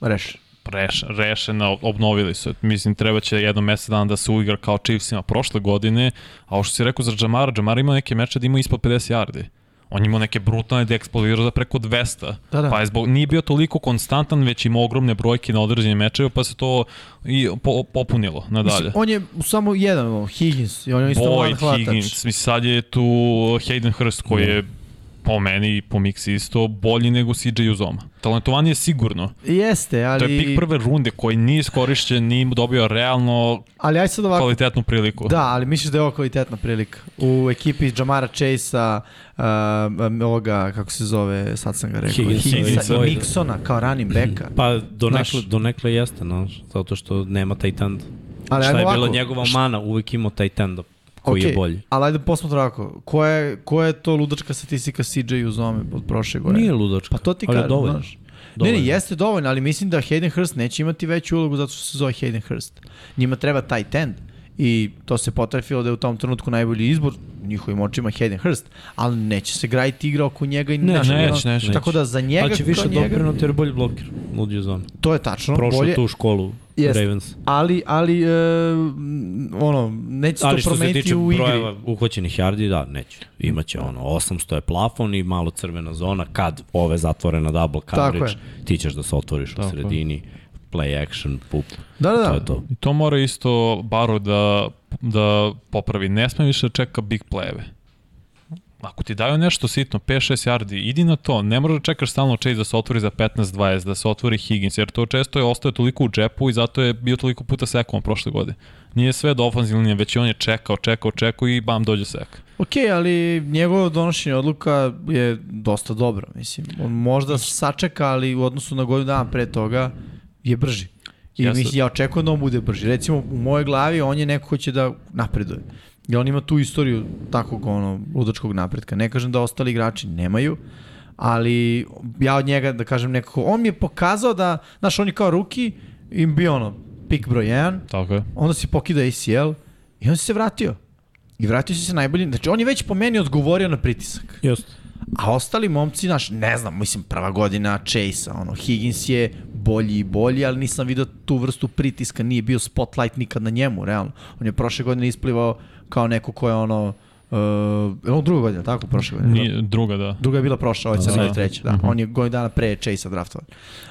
E: Reš.
C: reš, rešena, obnovili su. je. Mislim, treba će jedno mesec dana da se uigra kao Chiefsima prošle godine, a ovo što si rekao za Džamara, Džamara ima neke meče da ima ispod 50 yardi. On je imao neke brutalne da je eksplodirao za preko 200.
E: Da, da.
C: Pa je zbog, nije bio toliko konstantan, već ima ogromne brojke na određenim mečevima, pa se to i po, popunilo nadalje.
E: Mislim, on je samo jedan, ono, Higgins, i on je isto mlad
C: Pa Boyd,
E: hvatač. Da.
C: Higgins, mislim sad je tu Hayden Hurst koji je po meni i po miksi isto bolji nego CJ Uzoma. Talentovan je sigurno.
E: Jeste, ali...
C: To je pik prve runde koji nije iskorišćen, nije mu dobio realno
E: Ali aj sad ovako,
C: kvalitetnu priliku.
E: Pa- Da, ali misliš da je ovo kvalitetna prilika? U ekipi Jamara Chase-a, um, ovoga, kako se zove, sad sam ga rekao,
B: Higginsa.
E: Higginsa
B: Higginsa.
E: i Nixona kao running backa.
B: Pa donekle,
E: Znaš.
B: donekle jeste, no, zato što nema taj tend.
E: Ali
B: Šta
E: ajmo
B: je bila
E: ovako.
B: njegova mana, uvek imao taj tend koji
E: Okej,
B: je bolji.
E: Ali ajde posmatram ovako, koja je, koja je to ludačka statistika CJ Uzome od prošle godine?
B: Nije ludačka,
E: Pa to ti
B: ali
E: kažem,
B: dovoljno.
E: znaš. Ne, ne,
B: Dovoljno.
E: jeste dovoljno, ali mislim da Hayden Hurst neće imati veću ulogu zato što se zove Hayden Hurst. Njima treba taj tend i to se potrefilo da je u tom trenutku najbolji izbor u njihovim očima Hayden Hurst, ali neće se graditi igra oko njega i
B: Ne,
E: znaš,
C: neće,
E: ono,
C: neće.
E: Tako da za njega,
B: Pa će više
E: kao njega,
B: doprinuti jer bolji bloker od Uzoma.
E: to je tačno,
B: Prošao
E: bolje,
B: tu školu
E: Jeste.
B: Ravens.
E: ali, ali e, m, ono, neće se
B: Ali
E: to
B: što se
E: promeniti
B: tiče
E: u igri.
B: brojeva uhvaćenih yardi, da, neće. Imaće ono, 800 je plafon i malo crvena zona, kad ove zatvorena double coverage, ti ćeš da se otvoriš u sredini, play action, pup,
E: Da, da, da.
B: to je to.
C: I to mora isto Baro da, da popravi. Ne sme više da čeka big play-eve. Ako ti daju nešto sitno, 5-6 yardi, idi na to. Ne moraš da čekaš stalno Chase da se otvori za 15-20, da se otvori Higgins, jer to često je ostao toliko u džepu i zato je bio toliko puta sekovan prošle godine. Nije sve do ofenzivne linije, već i on je čekao, čekao, čekao i bam, dođe sek.
E: Ok, ali njegovo donošenje odluka je dosta dobro, mislim. On možda sačeka, ali u odnosu na godinu dana pre toga je brži. I
C: Ja
E: ja,
C: sad-
E: ja očekujem da on bude brži. Recimo, u mojoj glavi on je neko ko će da napreduje. I on ima tu istoriju takvog ono, ludačkog napretka. Ne kažem da ostali igrači nemaju, ali ja od njega, da kažem nekako, on mi je pokazao da, znaš, on je kao ruki, im bio ono, pik broj 1,
C: Tako je.
E: onda si pokida ACL i on se vratio. I vratio si se najbolji. Znači, on je već po meni odgovorio na pritisak.
B: Jeste.
E: A ostali momci, znaš, ne znam, mislim, prva godina Chase-a, ono, Higgins je bolji i bolji, ali nisam vidio tu vrstu pritiska, nije bio spotlight nikad na njemu, realno. On je prošle godine isplivao kao neko ko je ono, uh, je on druga godina, tako, prošle godine? Nije.
C: Nije, druga, da.
E: Druga je bila prošla, ovaj sad
C: Da.
E: je treća, da. On je godinu dana pre Chase-a draftovan.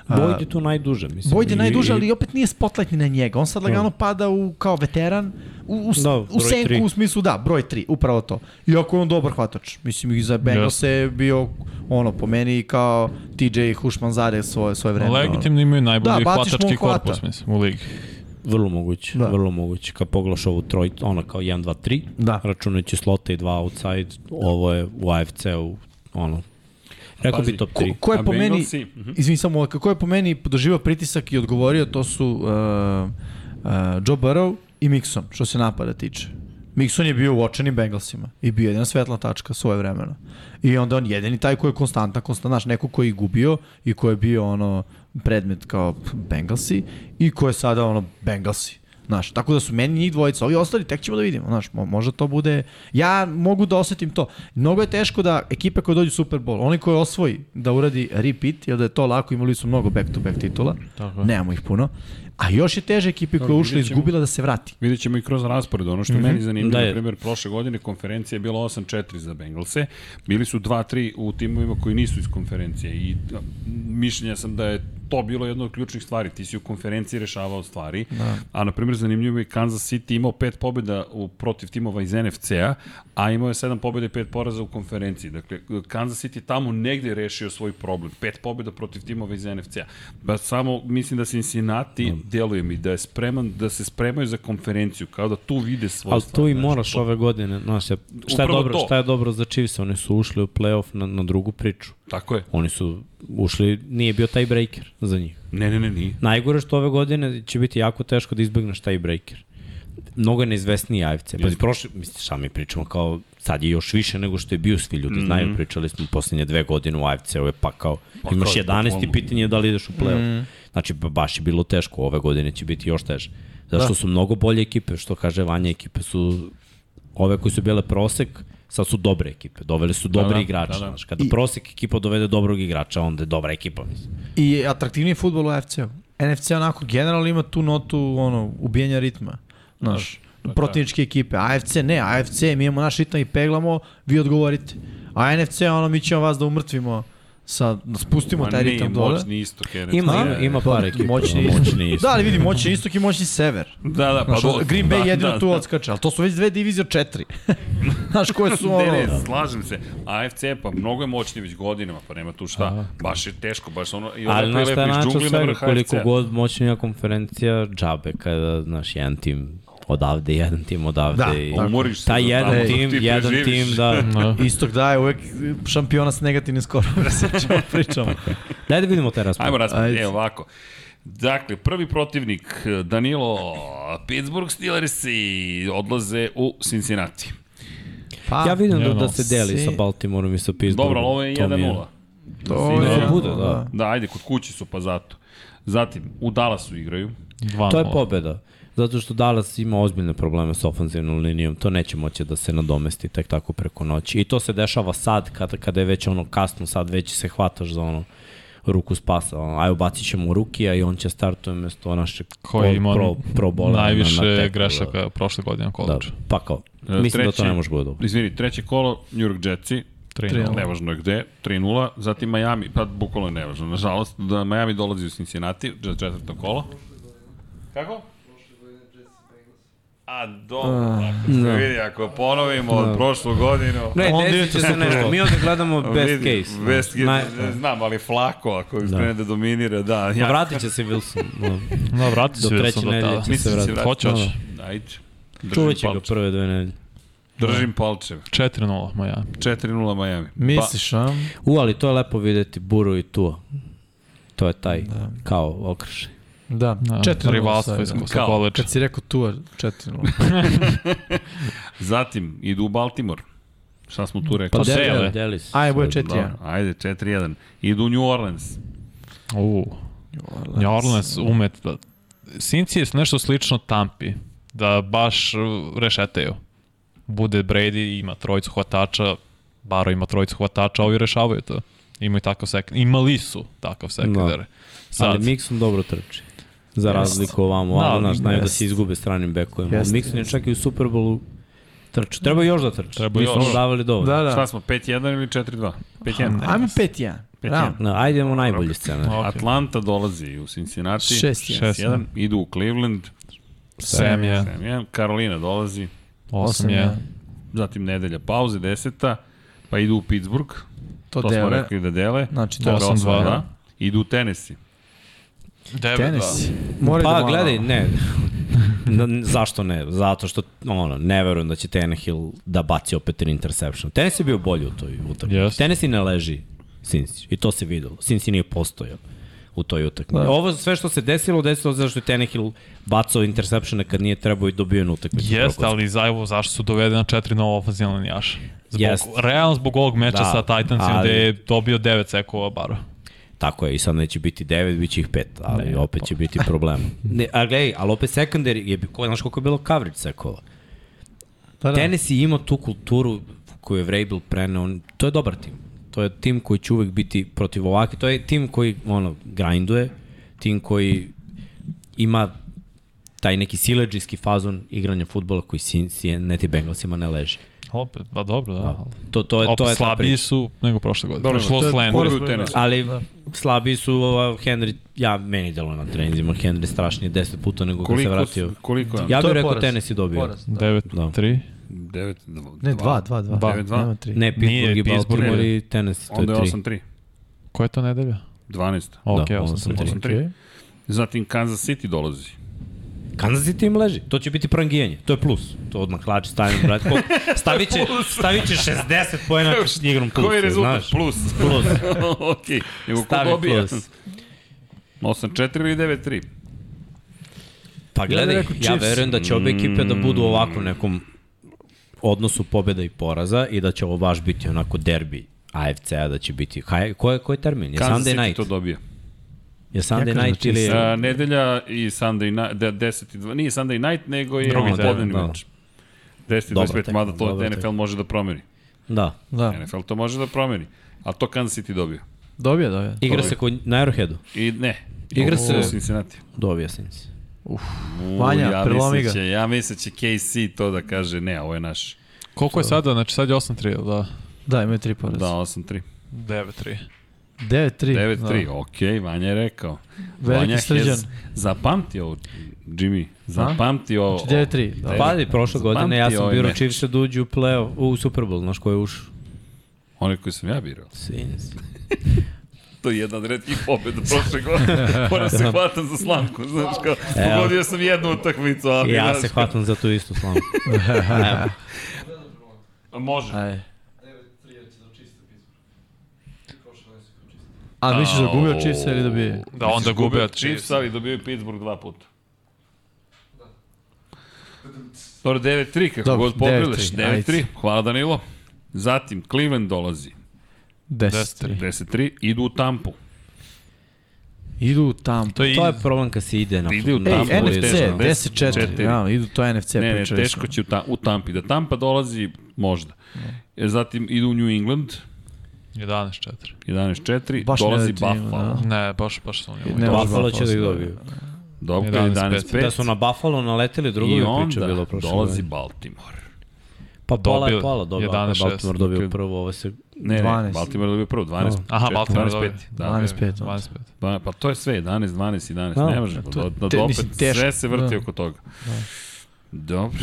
E: A,
B: Boyd je tu najduže, mislim.
E: Boyd je
B: I-
E: najduže,
B: i-
E: ali opet nije spotlight ni na njega. On sad lagano pada u, kao veteran, u, u,
B: Da,
E: da, u
B: broj
E: senku,
B: tri.
E: u smislu, da, broj 3, upravo to. Iako je on dobar hvatač. Mislim, i za Bengals je bio, ono, po meni, kao TJ Hušmanzade svoje, svoje vreme.
C: Legitimno imaju najbolji
E: Da,
C: da,
E: baciš mu
C: hvatački
E: hvata.
C: korpus, mislim, u ligi.
B: Vrlo moguće,
E: Da.
B: da. vrlo moguće. Kad poglaš ovu troj, ona kao 1, 2, 3,
E: Da.
B: računajući slota i dva outside, ovo je u AFC-u, ono, rekao
A: Pazi,
B: bi top
E: Ko,
B: 3.
E: ko je
A: A
E: po meni,
A: Bengalsi? Mhm.
E: izvini samo, ko je po meni doživao pritisak i odgovorio, to su uh, uh, Joe Burrow i Mixon, što se napada tiče. Mixon je bio u očenim Bengalsima i bio jedna svetla tačka svoje vremena. I onda on jedini taj koji je konstantan, konstantan, znaš, neko koji je gubio i koji je bio ono predmet kao p- Bengalsi i koji je sada ono Bengalsi. Znaš, tako da su meni njih dvojica, ovi ostali tek ćemo da vidimo, znaš, mo- možda to bude, ja mogu da osetim to. Mnogo je teško da ekipe koje dođu u Super Bowl, oni koji osvoji da uradi repeat, jer da je to lako, imali su mnogo back-to-back titula,
C: Tako
E: Tako.
C: je.
E: nemamo ih puno, a još je teže ekipi koja je ušla i
A: vidjet ćemo.
E: izgubila da se vrati.
A: Vidjet ćemo i kroz raspored. Ono što mm -hmm. meni zanimljivo,
B: Da
A: da
B: je.
A: na primjer, prošle godine konferencija je bila 8-4 za Bengalse. Bili su 2-3 u timovima koji nisu iz konferencije i a, mišljenja sam da je to bilo jedna od ključnih stvari. Ti si u konferenciji rešavao stvari, da. a na primjer zanimljivo je Kansas City imao pet pobjeda u, protiv timova iz NFC-a, a imao je sedam pobjeda i pet poraza u konferenciji. Dakle, Kansas City tamo negde je rešio svoj problem. Pet pobjeda protiv timova iz NFC-a. Ba, samo mislim da Cincinnati, deluje mi, da je spreman, da se spremaju za konferenciju, kao da tu vide svoj
B: Ali
A: stvar,
B: to i
A: znaš,
B: moraš ove godine. Znaš, ja- šta, je
A: Upravo
B: dobro,
A: to.
B: šta je dobro za Chiefs? Oni su ušli u playoff na, na drugu priču.
A: Tako je.
B: Oni su ušli, nije bio taj breaker za njih.
A: Ne, ne, ne, nije.
B: Najgore što ove godine će biti jako teško da izbegneš taj breaker. Mnogo je neizvesniji AFC. Pa prošli, mislim, šta mi pričamo, kao sad je još više nego što je bio, svi ljudi mm -hmm. znaju, pričali smo poslednje dve godine u AFC, ovo je pa kao,
A: kao,
B: imaš 11 i
A: bukvalno.
B: pitanje je da li ideš u play-off. Mm -hmm. Znači, ba- baš je bilo teško, ove godine će biti još teže. Zašto da. su mnogo bolje ekipe, što kaže Vanja, ekipe su ove koje su bile prosek, sad su dobre ekipe, doveli su dobre da,
A: da,
B: igrače.
A: da,
B: Da, da.
A: da.
B: Znaš, kada I... prosek ekipa dovede dobrog igrača, onda je dobra ekipa, mislim.
E: I atraktivniji futbol u AFC-u. NFC onako generalno ima tu notu ono, ubijenja ritma. Znaš,
A: pa da.
E: protivničke ekipe. AFC ne, AFC mi imamo naš ritam i peglamo, vi odgovorite. A NFC ono mi ćemo vas da umrtvimo sa, da spustimo
A: Ma
E: taj
A: ne,
E: ritam dole.
A: Moćni istok, Kenneth.
B: Ima,
A: Ne,
B: ima,
A: ne.
B: ima par ekipa.
E: Moćni
B: moćni
E: istok. Da, ali vidi, moćni istok i moćni sever.
A: Da, da, pa
E: Znaš,
A: do-
E: Green Bay
A: da,
E: jedino
A: da,
E: tu
A: da.
E: odskače, ali to su već dve divizije od četiri. Znaš, koje su ono...
A: Ne, ne, slažem se. AFC pa mnogo je moćni već godinama, pa nema tu šta. Baš je teško, baš ono i
B: Ali
A: lepo je
B: znaš šta je
A: lepiš
B: način
A: džungli na
B: svega,
A: vrh
B: koliko
A: AFC-a.
B: god moćnija konferencija, džabe kada, znaš, jedan tim odavde, jedan tim odavde.
E: Da,
B: i
E: tako.
A: Umoriš se
B: Taj
A: za
B: jedan
A: tamo,
B: tim,
A: da, ti
B: jedan
A: preživiš.
B: tim, da.
C: Da.
E: Istok daje uvek šampiona sa negativnim skorom. da Pričamo, pričamo.
B: Daj da vidimo te raspored.
A: Ajmo raspred,
E: Ajde.
A: evo ovako. Dakle, prvi protivnik e, Danilo, Pittsburgh Steelersi odlaze u Cincinnati.
E: Pa,
B: Ja vidim da,
C: Jedan
B: da se deli
E: si-
B: sa Baltimoreom i sa Pittsburghom.
A: Dobro, ali ovo je
B: To mi
A: 1-0.
E: Pa, to
A: Da,
E: je...
B: bude, da.
A: Da, ajde, kod kući su, pa zato. Zatim, u Dallasu igraju.
B: To je pobeda. Zato što Dallas ima ozbiljne probleme sa ofanzivnom linijom, to neće moći da se nadomesti tek tako preko noći. I to se dešava sad, kada, kada je već ono kasno, sad već se hvataš za ono ruku spasa. Ono, aj, ubacit ćemo Rukija i on će startuje mesto našeg
C: Koji
B: pro-
C: ima
B: pro, pro bola.
C: najviše
B: na, da. na teku,
C: grešaka prošle godine na
B: Da, da,
C: koleđu.
B: pa kao,
A: E,
B: mislim da to ne može bude dobro.
A: Izvini, treće kolo, New York Jetsi,
C: 3:0.
A: nevažno je gde, 3-0, zatim Miami, pa bukvalno je nevažno, nažalost, da Miami dolazi u Cincinnati, čet- četvrto kolo. Kako? A dobro, tako se vidi, ako ponovimo od prošlu godinu...
B: Ah, da. Ne,
E: Onda
B: desit
E: idete
B: će se
E: Super
B: nešto.
E: Bowl.
B: Mi ovde gledamo best
A: Vidi,
B: case. znači,
A: Best case,
B: Naj-
A: ne znam, ali flako, ako da. krene da dominira, da.
B: Ma
A: Ja,
B: Vratit će se Wilson. no.
C: Da, vrati
B: Do
C: se da
B: treće
C: sam do
B: nedelje
C: tada.
B: će
A: mislim da
B: se
A: se
B: vrati.
A: vrati.
C: Hoće, hoće.
A: Ajde.
B: Čuvat
A: Držim
B: će ga
A: palče.
B: prve dve nedelje.
A: Držim palčeve.
C: 4-0 Miami.
A: 4-0 Miami.
E: Misliš, a?
B: U, ali to je lepo videti Buru i Tua. To je taj, da. kao okršaj.
E: Da,
C: Da,
E: 4
C: rivalstvo iz
A: Kao,
C: Kosta koleđa.
E: Kad si rekao tu, 4
A: Pa, zatim, idu u Baltimore. Šta smo tu rekli?
C: Pa
B: deli-
C: sele.
B: deli se.
E: Ajde, bude
B: Sad,
E: 4
A: Dobro, Da, ajde, 4-1. Idu u New Orleans.
C: Uuu. New
E: Pa,
C: Orleans umet da... Sinci je nešto slično Tampi, da baš uh, rešetaju. Bude Brady, ima trojicu hvatača, Baro ima trojicu hvatača, a ovi rešavaju to. Imaju takav sekundar. Imali su takav sekundar. No. Sad,
B: Da. Ali Mixon dobro trči. Za razliku ovamo,
C: Da,
B: ali znaš, znaju da
E: jest.
B: se izgube stranim bekovima.
E: Jest,
B: Mixon je čak i u Superbolu trčao. Treba još da trči.
C: Treba
B: Nismo
C: još.
B: mu davali dovoljno.
E: Da,
B: Da.
A: Da. Šta
E: da.
A: smo, 5-1 ili 4-2? 5-1.
E: Ajmo 5-1.
A: 5-1.
B: No, ajde idemo u najbolji scenarij.
C: okej.
A: Atlanta dolazi u Cincinnati.
E: 6-1.
A: 6-1. Idu u Cleveland.
C: Sam je,
A: 7-1. Karolina dolazi.
C: 8 je.
A: Zatim nedelja pauze, 10 Pa idu u Pittsburgh. To,
E: To,
A: smo
E: dele.
A: rekli da dele.
E: Znači,
A: Dobro,
E: da.
C: To-
A: 8-2.
C: osam, dva.
A: Da. Idu u Tennessee.
C: 9
E: Tenis. Mora
B: Pa
E: da
B: gledaj, ne. Da, n- zašto ne? Zato što ono, ne verujem da će Tenehill da baci opet tri interception. Tenis je bio bolji u toj utakmici. Yes.
C: Jeste.
B: Tenis i ne leži Sinci. I to se videlo. Sinci nije postojao u toj utakmici. Da. Ovo sve što se desilo, desilo se zato što je Tenehill bacao interceptione kad nije trebao i dobio je na utakmicu.
C: Jeste, ali za evo zašto su dovedeni na 4 nova ofenzivna linijaša. Zbog,
B: Jest.
C: realno zbog ovog meča
B: Da,
C: sa Titansima
B: ali-
C: gde je dobio 9 sekova Baro.
B: Tako je, i sad neće biti 9, bit će ih 5, ali ne, opet će biti problem. Ne, a gledaj, ali opet secondary, je, ko, znaš koliko je bilo coverage sekova?
E: Da, da.
B: Tennessee ima tu kulturu koju je Vrabel preneo, on- to je dobar tim. To je tim koji će uvek biti protiv ovakve, to je tim koji ono, grinduje, tim koji ima taj neki sileđijski fazon igranja futbola koji Cincinnati Bengalsima ne leži.
C: Opet, pa dobro, da. ali-
B: To, to je,
C: Opet
B: to je ta
C: slabiji
B: priča.
C: su nego prošle godine.
A: Dobro,
C: Dobro,
A: to
C: Lost
A: je
C: Land.
A: poraz- Tennessee.
B: Ali slabiji su ova, Henry, ja meni delo na trenzima, Henry strašnije 10 puta nego kad se
A: Koliko,
B: vratio.
A: koliko je?
B: Ja
E: To
B: bih
E: je
B: rekao
E: poraz.
B: Tennessee dobio.
E: Poraz, da.
C: 9-3.
A: 9, 2.
E: Ne, 2, 2, 2.
A: Dva.
E: Nema 3.
B: Ne, Pittsburgh i
C: Pittsburgh,
B: Baltimore
A: je.
B: i Tennessee, to je
A: Onda je
B: 3.
A: 8-3.
C: Koja je to nedelja?
A: 12.
C: Ok,
B: Da,
C: 8-3.
A: 8-3. Zatim Kansas City dolazi.
B: Kansas City im leži. To će biti prangijanje. To je plus. To odmah hlači stavim, brat. Koliko? Stavit će, stavit će 60 pojena igrom plus.
A: Koji je rezultat?
B: Znaš?
A: Plus.
B: Plus.
A: ok. Nego ko
B: Stavi
A: dobija?
B: plus.
A: 8-4 ili 9-3?
B: Pa gledaj, ja,
E: rekao
B: ja
E: Chiefs.
B: verujem da će obe ekipe da budu ovako u nekom odnosu pobeda i poraza i da će ovo baš biti onako derbi AFC-a, da će biti... Haj, ko, je, ko je termin? Je
A: Kansas
B: Sunday
A: City
B: night?
A: to dobija. znači
B: Je Sunday
E: kažem
B: night
E: da
B: ili...
A: A, nedelja i Sunday night, de- 10 i 2, nije Sunday night, nego je
B: Drugi
A: Drugi
B: teren,
A: popodnevni
B: da.
A: meč. 10 i
B: Dobra
A: 25,
B: tema,
A: mada to
B: dobra
A: NFL
B: tema.
A: može da promeni.
B: Da.
E: Da.
A: NFL to može da promeni. A to Kansas City dobio.
E: Dobio, dobio.
B: Igra se kod, na Aeroheadu.
A: I ne.
B: Igra
A: U
B: se-
A: Cincinnati.
B: Do objasnici.
A: U,
E: Vanja, prelomi
A: mislim
E: ga.
A: će, ja mislim će KC to da kaže, ne, ovo je naš.
C: Koliko je sada? Znači sad je 8-3, jel da?
E: Da, imaju 3 poraza.
A: Da,
E: Da.
A: 8-3.
C: 9-3.
E: 9-3.
A: 9-3, okej, Vanja je rekao.
E: da. Veliki
A: Vanja
E: srđan.
A: Hez- Zapamti ovo, Jimmy, zapamti ovo.
E: Znači, 9-3, da.
B: Pazi, prošle godine ja sam
A: Zapamti ovaj
B: birao
A: meč.
B: Chiefs da uđu u play-off, u Super Bowl, znaš ko je ušao?
A: One koje sam ja birao.
B: Saints.
A: To je jedna od redkih pobjeda prošle godine. Moram se hvatam za slamku, znaš kao,
B: Evo.
A: pogodio sam jednu utakmicu, ali
B: E, Ja
A: znaš,
B: se hvatam za tu istu slamu. Evo.
A: Može.
E: Ajde. A misliš da gubio Chiefs ili da bi...
C: Da, onda gube od Chiefs.
A: Chiefs, ali dobio i Pittsburgh dva puta. Dobro, 9-3, kako
E: Dobro,
A: god pogledaš.
E: 9:3, ajde.
A: 9-3, hvala Danilo. Zatim, Cleveland dolazi.
E: 10.
C: 10-3.
A: 10-3, idu u Tampu.
E: Idu u tam.
C: To je,
B: To je problem kad se ide na
A: Ide u
B: na
A: tamo,
E: Ej,
A: Tampa,
B: futbol,
E: NFC,
A: teško,
E: 10-4.
A: četiri.
E: Ja, idu, to je NFC.
A: Ne, ne,
E: pričali smo.
A: teško će u, ta, u Tampi. Da Tampa dolazi, možda. E, Zatim idu u New England,
C: 11-4.
A: 11-4,
E: Baš ne
A: dolazi
E: da ti ima,
A: Buffalo.
E: da.
C: Ne, baš, baš sam njemu.
E: Ne,
C: Ne,
E: može
B: Buffalo će da ih
E: Buffalo,
B: dobiju.
A: Dobro,
C: 11-5.
A: 11-5.
B: Da su na Buffalo naleteli, drugo
A: I
B: bi priča
A: onda
B: bilo prošlo.
A: dolazi Baltimore.
B: Pa pola je
C: Dobio.
B: pola, dobro.
C: 11-6.
B: Baltimore dobio prvo, ovo se...
A: Ne, 12. ne,
E: 12.
A: Baltimore dobio prvo, 12.
C: Aha,
A: četiri,
C: Baltimore
A: 12,
C: dobio.
A: pet, Da,
E: 12, 5.
C: 25.
A: Pa, pa to je sve, 11, 12, 11,
B: Da,
A: ne može.
E: Pa to
A: To,
E: je
A: da,
E: te-
A: da, opet,
E: mislim, teško,
A: sve se vrti
E: da.
A: oko toga. Dobro,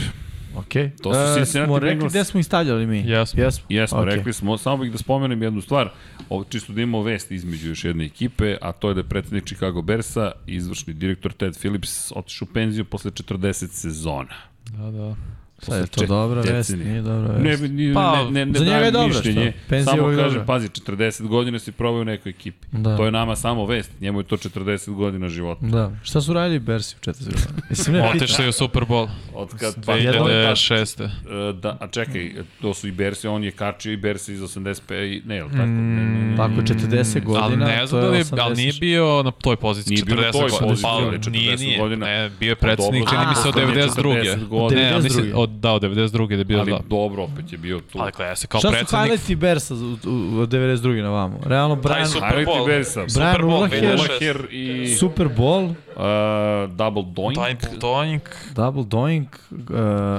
E: Ok.
A: To su Cincinnati
E: E, smo rekli
A: Bengals.
E: gde smo ih stavljali mi.
C: Jesmo.
E: Jesmo,
A: jesmo,
E: Ok.
A: okay. rekli smo, samo bih da spomenem jednu stvar, ovo, čisto da imamo vest između još jedne ekipe, a to je da je predsednik Chicago Bersa, izvršni direktor Ted Phillips, otišao u penziju posle 40 sezona.
C: Da, da.
E: Sad je to
A: čet-
E: dobra vest,
A: decenije.
E: nije dobra
A: Ne,
E: vest.
A: ne, ne,
C: Pa,
A: ne, ne, ne
E: za njega je
A: dajem
E: dobro,
A: mišljenje.
E: šta? Penzija
A: Samo
E: ovo je
A: kažem,
E: dobro.
A: pazi, 40 godina si probao u nekoj ekipi.
E: Da.
A: To je nama samo vest, njemu je to 40 godina života.
E: Da. Šta su radili Bersi u 40 godina? Mislim, ne, pitam.
C: Otešli je u Super Bowl.
A: Od kad, pa,
E: jedno-
C: da
A: to je ta
C: 2006.
A: E, da, a čekaj, to su i Bersi, on je kačio i Bersi iz 85, i- ne, je li tako?
E: Mm.
A: Ne, ne, ne.
E: Tako, 40
C: Ali
E: godina,
C: ne znam
E: to
C: da li,
E: je
C: je-
E: 80.
C: ali nije bio na toj poziciji
A: Nije bio na
C: 40
A: toj
C: godina.
A: poziciji,
C: Pa,
A: ali 40
C: nije, nije.
A: godina. Pa,
C: Ne, bio je predsednik,
A: Dobro,
C: čini mi se od
A: postao je
C: 92.
A: 40 godina.
C: Ne, ja mislim,
E: 92..
C: od, da, od 92. da je bio,
A: Ali
C: da.
A: dobro, opet je bio tu.
C: Ali gledaj se kao
E: Šta su
C: predsednik
E: highlighti Bersa u, u, u 92. na vamo? Realno, Brian,
C: su-
A: Harry
C: Bowl.
A: T. Bersa,
E: Brian
C: Super Bowl,
E: Urlacher,
C: 2006.
A: Blacker i
E: Super Bowl,
A: uh, Double Doink.
C: Time Doink,
E: Double Doink, uh,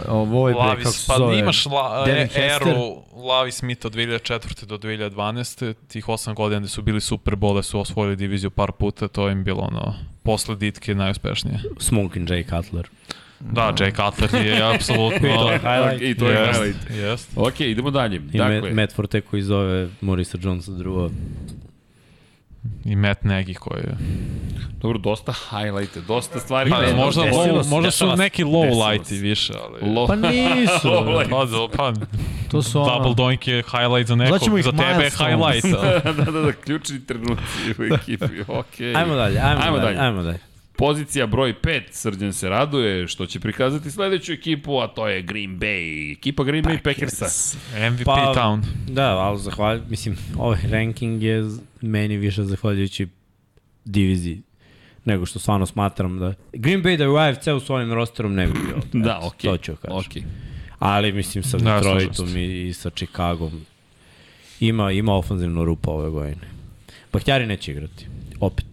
E: ovo je bre, kako
C: Lavis,
E: se
C: pa
E: zove?
C: imaš la,
E: Devin
C: e,
E: Hester.
C: eru Lavi Smith od 2004. do 2012. Tih 8 godina gde su bili Super Bowl, da su osvojili diviziju par puta, to im bilo ono, posle ditke najuspešnije.
B: Smoking Jay Cutler.
C: Da, Jay Cutler je apsolutno...
A: Highlight. I to je
C: Jest,
A: highlight.
C: Jest.
A: Ok, idemo dalje.
B: I
A: dakle,
B: Matt, Matt Forte koji zove Morisa Jonesa drugo.
C: I Matt Nagy koji je...
A: dobro, dosta highlighte, dosta stvari. Da,
C: Pa,
A: koje-
C: možda,
B: desilo
C: low,
B: se,
C: možda
B: desilo
C: su
B: se.
C: neki low
A: Desilo
C: lighti
A: se.
C: više, ali...
A: Lo-
E: Pa nisu.
A: Low light.
C: Pa, do, pa,
E: to su ono...
C: double doink je highlight za nekog,
E: Zvaćemo ih
C: za tebe je
E: milestone.
C: highlight. ali-
A: da, da, da, ključni trenuci u ekipi, ok.
B: Ajmo da- dalje, ajmo,
A: Ajmo
B: ajmo dalje,
A: dalje.
B: ajmo dalje.
A: Pozicija broj 5, Srđan se raduje što će prikazati sledeću ekipu, a to je Green Bay. Ekipa Green Bay Packersa.
C: MVP pa, Town.
B: Da, ali zahvalj, mislim, ovaj ranking je z- meni više zahvaljujući diviziji nego što stvarno smatram da... Green Bay da je u AFC-u svojim rosterom ne bi bio. ovde.
A: Da,
B: Eto,
A: okej.
B: To ću kažem.
A: Okej.
B: Ali mislim sa
C: Da,
B: Detroitom
C: slažem se.
B: i, i sa Chicagom ima, ima ofenzivnu rupu ove godine. Bahćari neće igrati, opet.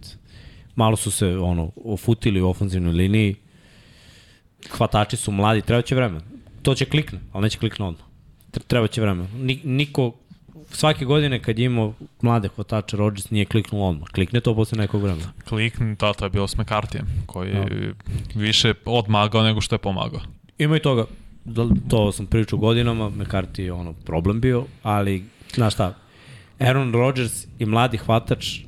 B: Malo su se ono, ofutili u ofenzivnoj liniji, hvatači su mladi, treba će vremena. To će klikne, ali neće klikne odmah. Tre- Treba će vremena. Ni, niko, svake godine kad je imao mlade hvatače, Rodgers nije kliknuo odmah. Klikne to posle nekog vremena.
C: Klikn, da, to je bilo s McCartijem, koji
B: Da.
C: je više odmagao nego što je pomagao.
B: Ima i toga. Da- To sam pričao godinama, McCarthy je ono problem bio, ali znaš šta, Aaron Rodgers i mladi hvatač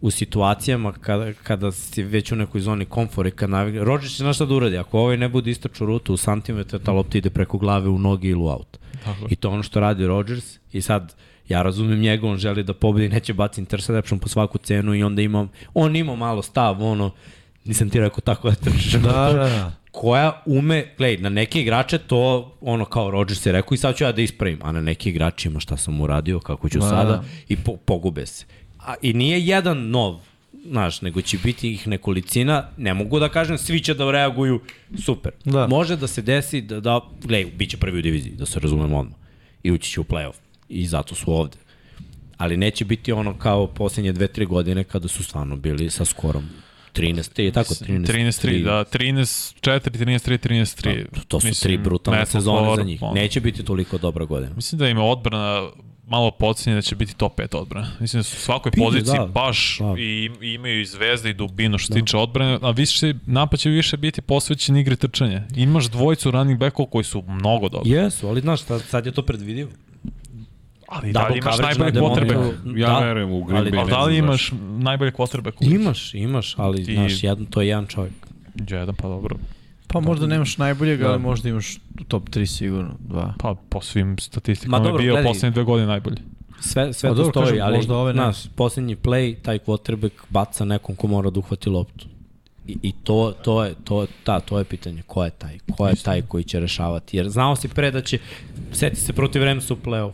B: u situacijama kada, kada si već u nekoj zoni komfora i kad navigne, Rodgers će znaš šta da uradi, ako ovaj ne bude istračao rutu u santimetra, ta lopta ide preko glave u nogi ili u aut.
C: Tako je.
B: I to je ono što radi Rodgers i sad ja razumem njega, on želi da pobedi, neće baciti interception po svaku cenu i onda imam, on ima malo stav, ono, nisam ti rekao tako da trčiš.
E: Da, da, da.
B: koja ume, gledaj, na neke igrače to, ono kao Rodgers je rekao i sad ću ja da ispravim, a na neke igrače ima šta sam uradio, kako ću
E: Ma,
B: sada
E: da.
B: i po, pogube se. A, I nije jedan nov, znaš, nego će biti ih nekolicina, ne mogu da kažem, svi će da reaguju super.
E: Da.
B: Može da se desi da, da gledaj, bit će prvi u diviziji, da se razumemo odmah. I ući će u playoff. I zato su ovde. Ali neće biti ono kao poslednje dve, tri godine kada su stvarno bili sa skorom 13 i tako 13
C: 13-3, da, 13-4, 13-3, 13-3.
B: To, Pa, to su Mislim, tri brutalne
C: Matthew
B: sezone za
C: Gore,
B: njih.
C: ono,
B: Neće biti toliko dobra godina.
C: Mislim da im je odbrana malo pocenje da će biti top 5 odbrana. Mislim da su u svakoj
B: Biće,
C: poziciji
B: da.
C: da, baš
B: Da.
C: da. I, i imaju i zvezde i dubinu što se tiče odbrane, a više, napad će više biti posvećen igri trčanja. Imaš dvojicu running backova koji su mnogo dobri.
B: Jesu, ali znaš, šta, sad je to predvidivo.
C: Ali da
B: Double
C: li imaš
B: coverage
C: najbolji
B: na demoniju.
C: quarterback?
A: Ja
B: Da.
A: verujem u Green
B: Ali-
A: Bay. ne
C: Ali da
A: znam
C: li
A: zašto.
C: imaš najbolji quarterback? u ligi?
B: Imaš, imaš, ali
C: Ti-
B: znaš, jedan, to je jedan čovjek.
C: Jedan, pa dobro.
E: Pa možda nemaš najboljeg,
B: Da.
E: ali možda imaš top 3 sigurno, dva.
C: Pa po svim
B: Ma
C: statistikama
B: dobro,
C: je bio
B: gledaj.
C: poslednje dve godine najbolji.
B: Sve, sve
E: A
B: to
E: dobro,
B: stoji,
E: kažem,
B: ali
E: možda ove ne.
B: znaš, posljednji play, taj quarterback baca nekom ko mora da uhvati loptu. I, i to, to, je, to, ta, to je pitanje, ko je taj? Ko je taj koji će rešavati? Jer znao si pre da će, seti se protiv Remsa u play-off.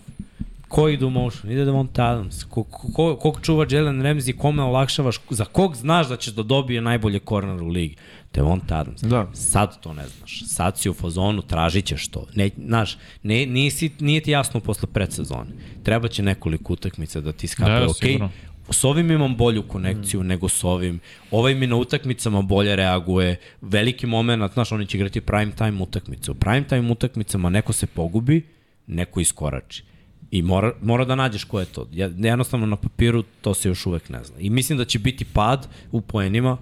B: Ko ide u motion? Ide Devonta Adams. Ko, ko, ko, kog čuva Jalen Ramsey? Kome olakšavaš? Za kog znaš da ćeš da dobije najbolje korner u ligi? Devonta Adams.
E: Da.
B: Sad to ne znaš. Sad si u fazonu, tražit ćeš to. Ne, znaš, ne, nisi, nije ti jasno posle predsezone. Treba će nekoliko utakmica da ti skape.
C: Da,
B: ok,
C: sigurno.
B: s ovim imam bolju konekciju mm. nego s ovim. Ovaj mi na utakmicama bolje reaguje. Veliki moment, znaš, oni će igrati prime time utakmicu. U prime time utakmicama neko se pogubi, neko iskorači. I mora, mora da nađeš ko je to. Ja, jednostavno na papiru to se još uvek ne zna. I mislim da će biti pad u poenima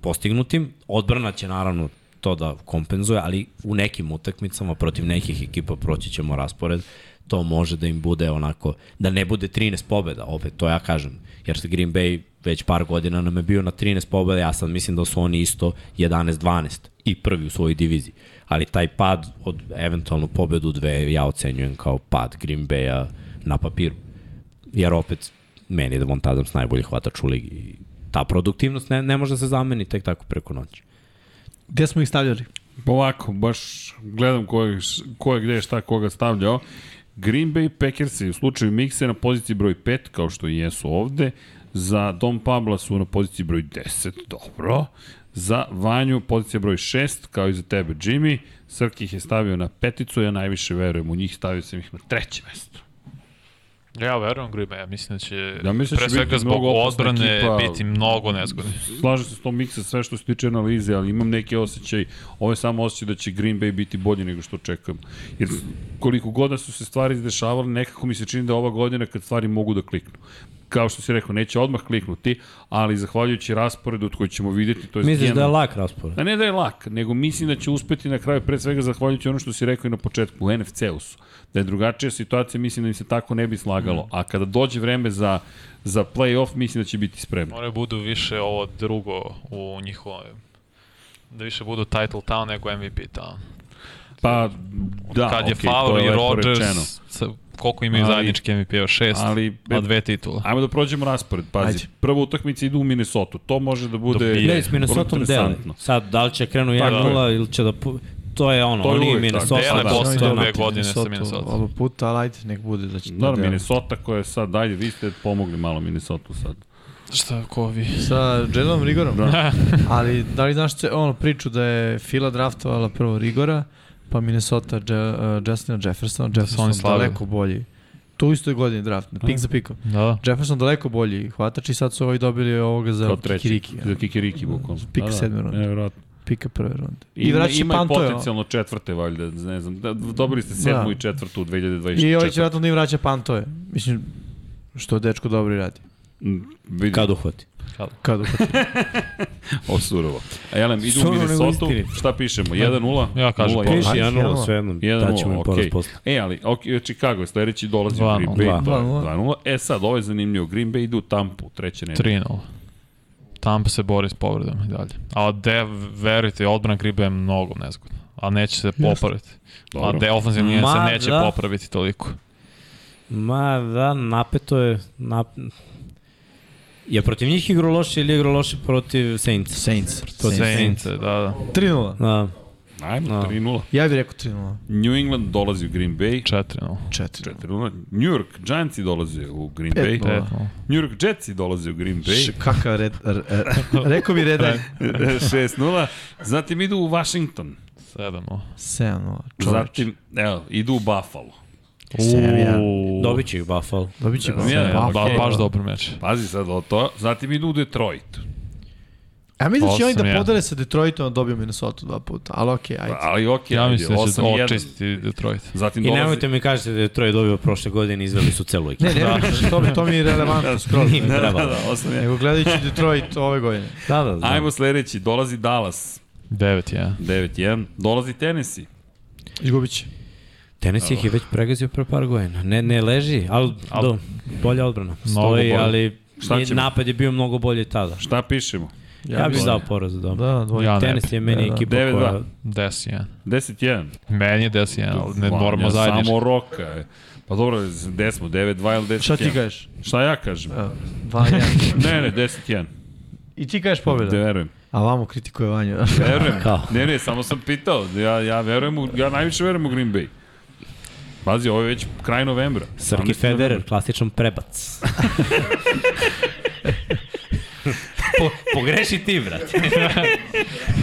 B: postignutim. Odbrana će naravno to da kompenzuje, ali u nekim utakmicama protiv nekih ekipa proći ćemo raspored to može da im bude onako, da ne bude 13 pobjeda, opet to ja kažem, jer se Green Bay već par godina nam je bio na 13 pobjeda, ja sad mislim da su oni isto 11-12 i prvi u svojoj diviziji. Ali taj pad od eventualno pobedu dve ja ocenjujem kao pad Green Bay-a na papiru. Jer opet meni je da Von Adams najbolji hvatač u ligi. I Ta produktivnost ne, ne može da se zameni tek tako preko noći.
E: Gde smo ih stavljali?
A: Ovako, baš gledam ko je, š- ko je gde šta koga stavljao. Green Bay Packers u slučaju Mikse na poziciji broj 5, kao što i jesu ovde. Za Dom Pabla su na poziciji broj 10, dobro. Za Vanju pozicija broj 6, kao i za tebe Jimmy. Srki ih je stavio na peticu, ja najviše verujem u njih, stavio sam ih na treće mesto.
C: Ja verujem Green Bay, ja mislim da će
A: Ja mislim da
C: pre
A: će biti
C: svega zbog
A: mnogo opasna
C: odbrane
A: ekipa.
C: biti mnogo nezgodni.
A: Slažem se s tom miksa sve što se tiče analize, ali imam neki osjećaj, ovo je samo osjećaj da će Green Bay biti bolji nego što očekujem. Jer koliko god da su se stvari izdešavale, nekako mi se čini da ova godina kad stvari mogu da kliknu. Kao što si rekao, neće odmah kliknuti, ali zahvaljujući rasporedu od koji ćemo vidjeti, to je
B: Misliš da je
A: lak?
B: lak raspored?
A: Da ne da je lak, nego mislim da će uspeti na kraju, pre svega zahvaljujući ono što si rekao i na početku, u NFC-u su. Da je drugačija situacija, mislim da im se tako ne bi slagalo. A kada dođe vreme za, za play-off, mislim da će biti spremno.
C: Moraju budu više ovo drugo u njihovom da više budu title town nego MVP town.
A: Pa, da,
C: Kad
A: okej,
C: je okay,
A: to
C: Favre i
A: lepo
C: Rodgers
A: rečeno.
C: sa- koliko imaju
A: Ali-
C: zajednički MVP-a? Šest,
A: ali-
C: a dve titula.
A: Ajmo da prođemo raspored, pazi.
E: Ajde.
A: Prva utakmica ide u Minnesota, to može da bude...
C: Dobije.
B: Ne, s Minnesotom dele.
A: interesantno.
B: Sad, da li će krenu
A: Tako
B: 1-0 ili će da... pu- To je ono,
A: To je
B: oni i
A: uvek tako. znači,
B: Minnesota.
A: Dele
B: da,
C: posle
B: to je
C: dve
B: ono.
C: godine. sa Minnesota.
E: Oba puta, ali ajde, nek bude da će...
A: Naravno, Minnesota koja je sad, dajde, vi ste pomogli malo Minnesota sad.
C: Šta, ko vi?
E: Sa Jelenom Rigorom? Da. ali da li znaš ce, ono, priču da je Fila draftovala prvo Rigora, pa Minnesota Je, uh, Justina Jefferson, Jefferson
C: oni
E: da
C: slave.
E: daleko bolji. To u istoj godini draft, na pik za pikom.
C: Da, da.
E: Jefferson daleko bolji hvatač i sad su ovaj dobili ovoga za
A: Kao treći.
E: Kikiriki. ono,
A: Za Kikiriki, bukvalno. Da,
E: Pik sedme runde.
A: Nevjerojatno.
E: Pika prve runde. I,
A: Ima,
E: vraća
A: ima i
E: Pantoja.
A: potencijalno četvrte, valjda, ne znam. Da, dobili ste sedmu
E: Da.
A: i četvrtu u 2024.
E: I ovaj će vratno da im vraća Pantoje. Mislim, što dečko dobro i radi.
A: Mm, Vidi,
B: Kad uhvati.
E: Kad uhvati.
A: o surovo. A Jelem, idu u
B: Surovo nego
A: Minnesota,
B: istinit.
A: šta pišemo? 1-0?
C: Da. Ja kažem
A: Nula,
C: poraz.
A: jedan.
E: Piši.
B: 1-0, sve jedno.
A: 1-0,
B: Daćemo im poraz
A: okej.
B: posle.
A: E, ali, ok, Chicago je sledeći dolazi u
C: 2:0.
A: Green Bay, to je
E: 2:0.
A: 2-0. E sad, ovo je zanimljivo, Green Bay ide u Tampu, treće nedelje.
C: 3-0. Tampa se bori s povredama i dalje. A de, verujte, odbran Gribe je mnogo nezgodna. A neće se popraviti. A
A: Dobro.
C: de, ofenzivna linija
B: Ma,
C: se neće
B: da.
C: popraviti toliko.
B: Ma da, napeto je. Nap... Je protiv njih igro loše ili igro loše protiv Saints?
E: Saints.
B: To je
E: Saints.
C: Saints, da, da.
E: 3-0.
B: Da.
A: Ajmo,
B: Da.
A: 3-0.
E: Ja bih rekao 3-0.
A: New England dolazi u Green Bay,
C: 4-0.
E: 4-0.
A: 4-0. New York Giants dolaze u Green
E: Pet
A: Bay.
E: nula.
C: 5-0.
A: New York Jets dolaze u Green
E: Š-
A: Bay.
E: Kakav red... r- r- rekao bi redan
A: 6-0. Zatim idu u Washington.
C: 7-0.
E: 7-0. Čoveč.
A: Zatim, evo, idu u Buffalo.
B: Dobit će ih Buffalo.
E: Dobit će
A: Sedam, jedan.
E: Pa,
C: Ba,
A: okej.
C: da, baš dobar meč.
A: Pazi sad o to. Zatim idu u Detroit.
E: A mislim da će oni
C: Osam,
E: da
C: jedan.
E: podare sa Detroitom da dobiju Minnesota dva puta. Ali okej, ajde.
A: Ali okej,
C: Ja
A: ajde,
C: mislim da će
A: 8-1.
C: očistiti Detroit.
A: Zatim
B: I
A: dolazi...
B: nemojte mi kažete da je Troje dobio prošle godine i izveli su celu ekipu.
E: Ne, ne, da. to, mi, to mi je relevantno skroz.
B: Nije mi
A: Da, da,
B: trebalo.
A: da, 8-1.
E: Nego gledajući Detroit ove godine.
B: Da, da, da.
A: Ajmo sledeći, dolazi Dallas
C: 9-1.
A: 9-1, dolazi Tennessee.
E: Izgubit će.
B: Tenis ih je već pregazio pre par godina. Ne, ne leži, ali
C: Al-
B: do, bolja odbrana.
C: Mnogo
B: Stoji,
C: bolje.
B: ali
A: Šta
B: nije-
A: ćemo?
B: napad je bio mnogo bolje tada.
A: Šta pišemo?
B: Ja, ja bih
E: mislim-
B: dao poraz da. da.
E: Da, dvojka.
C: Ja ne
B: Tenis
C: bi.
B: je meni
E: Da, da.
B: ekipa
A: Devet,
B: koja...
A: dva.
C: 10-1.
A: 10-1.
C: Meni je 10-1, ali ne moramo
A: Vanja,
C: zajednički.
A: Samo roka. je. Pa dobro, gde smo? 9-2 ili 10-1?
E: Šta ti kažeš?
A: Šta ja kažem?
E: Evo, Vanja.
A: Ne, ne, 10-1.
E: I ti kažeš
A: Ne
E: pobjeda.
A: verujem.
E: A vamo kritikuje Vanju.
A: Verujem.
B: Kao?
A: Ne, ne, samo sam pitao. Ja, ja verujem, u, ja najviše verujem u Green Bay. Pazi, ovo je već kraj novembra.
B: Srki
A: 18.
B: Federer, klasičan prebac. po, pogreši ti, brate.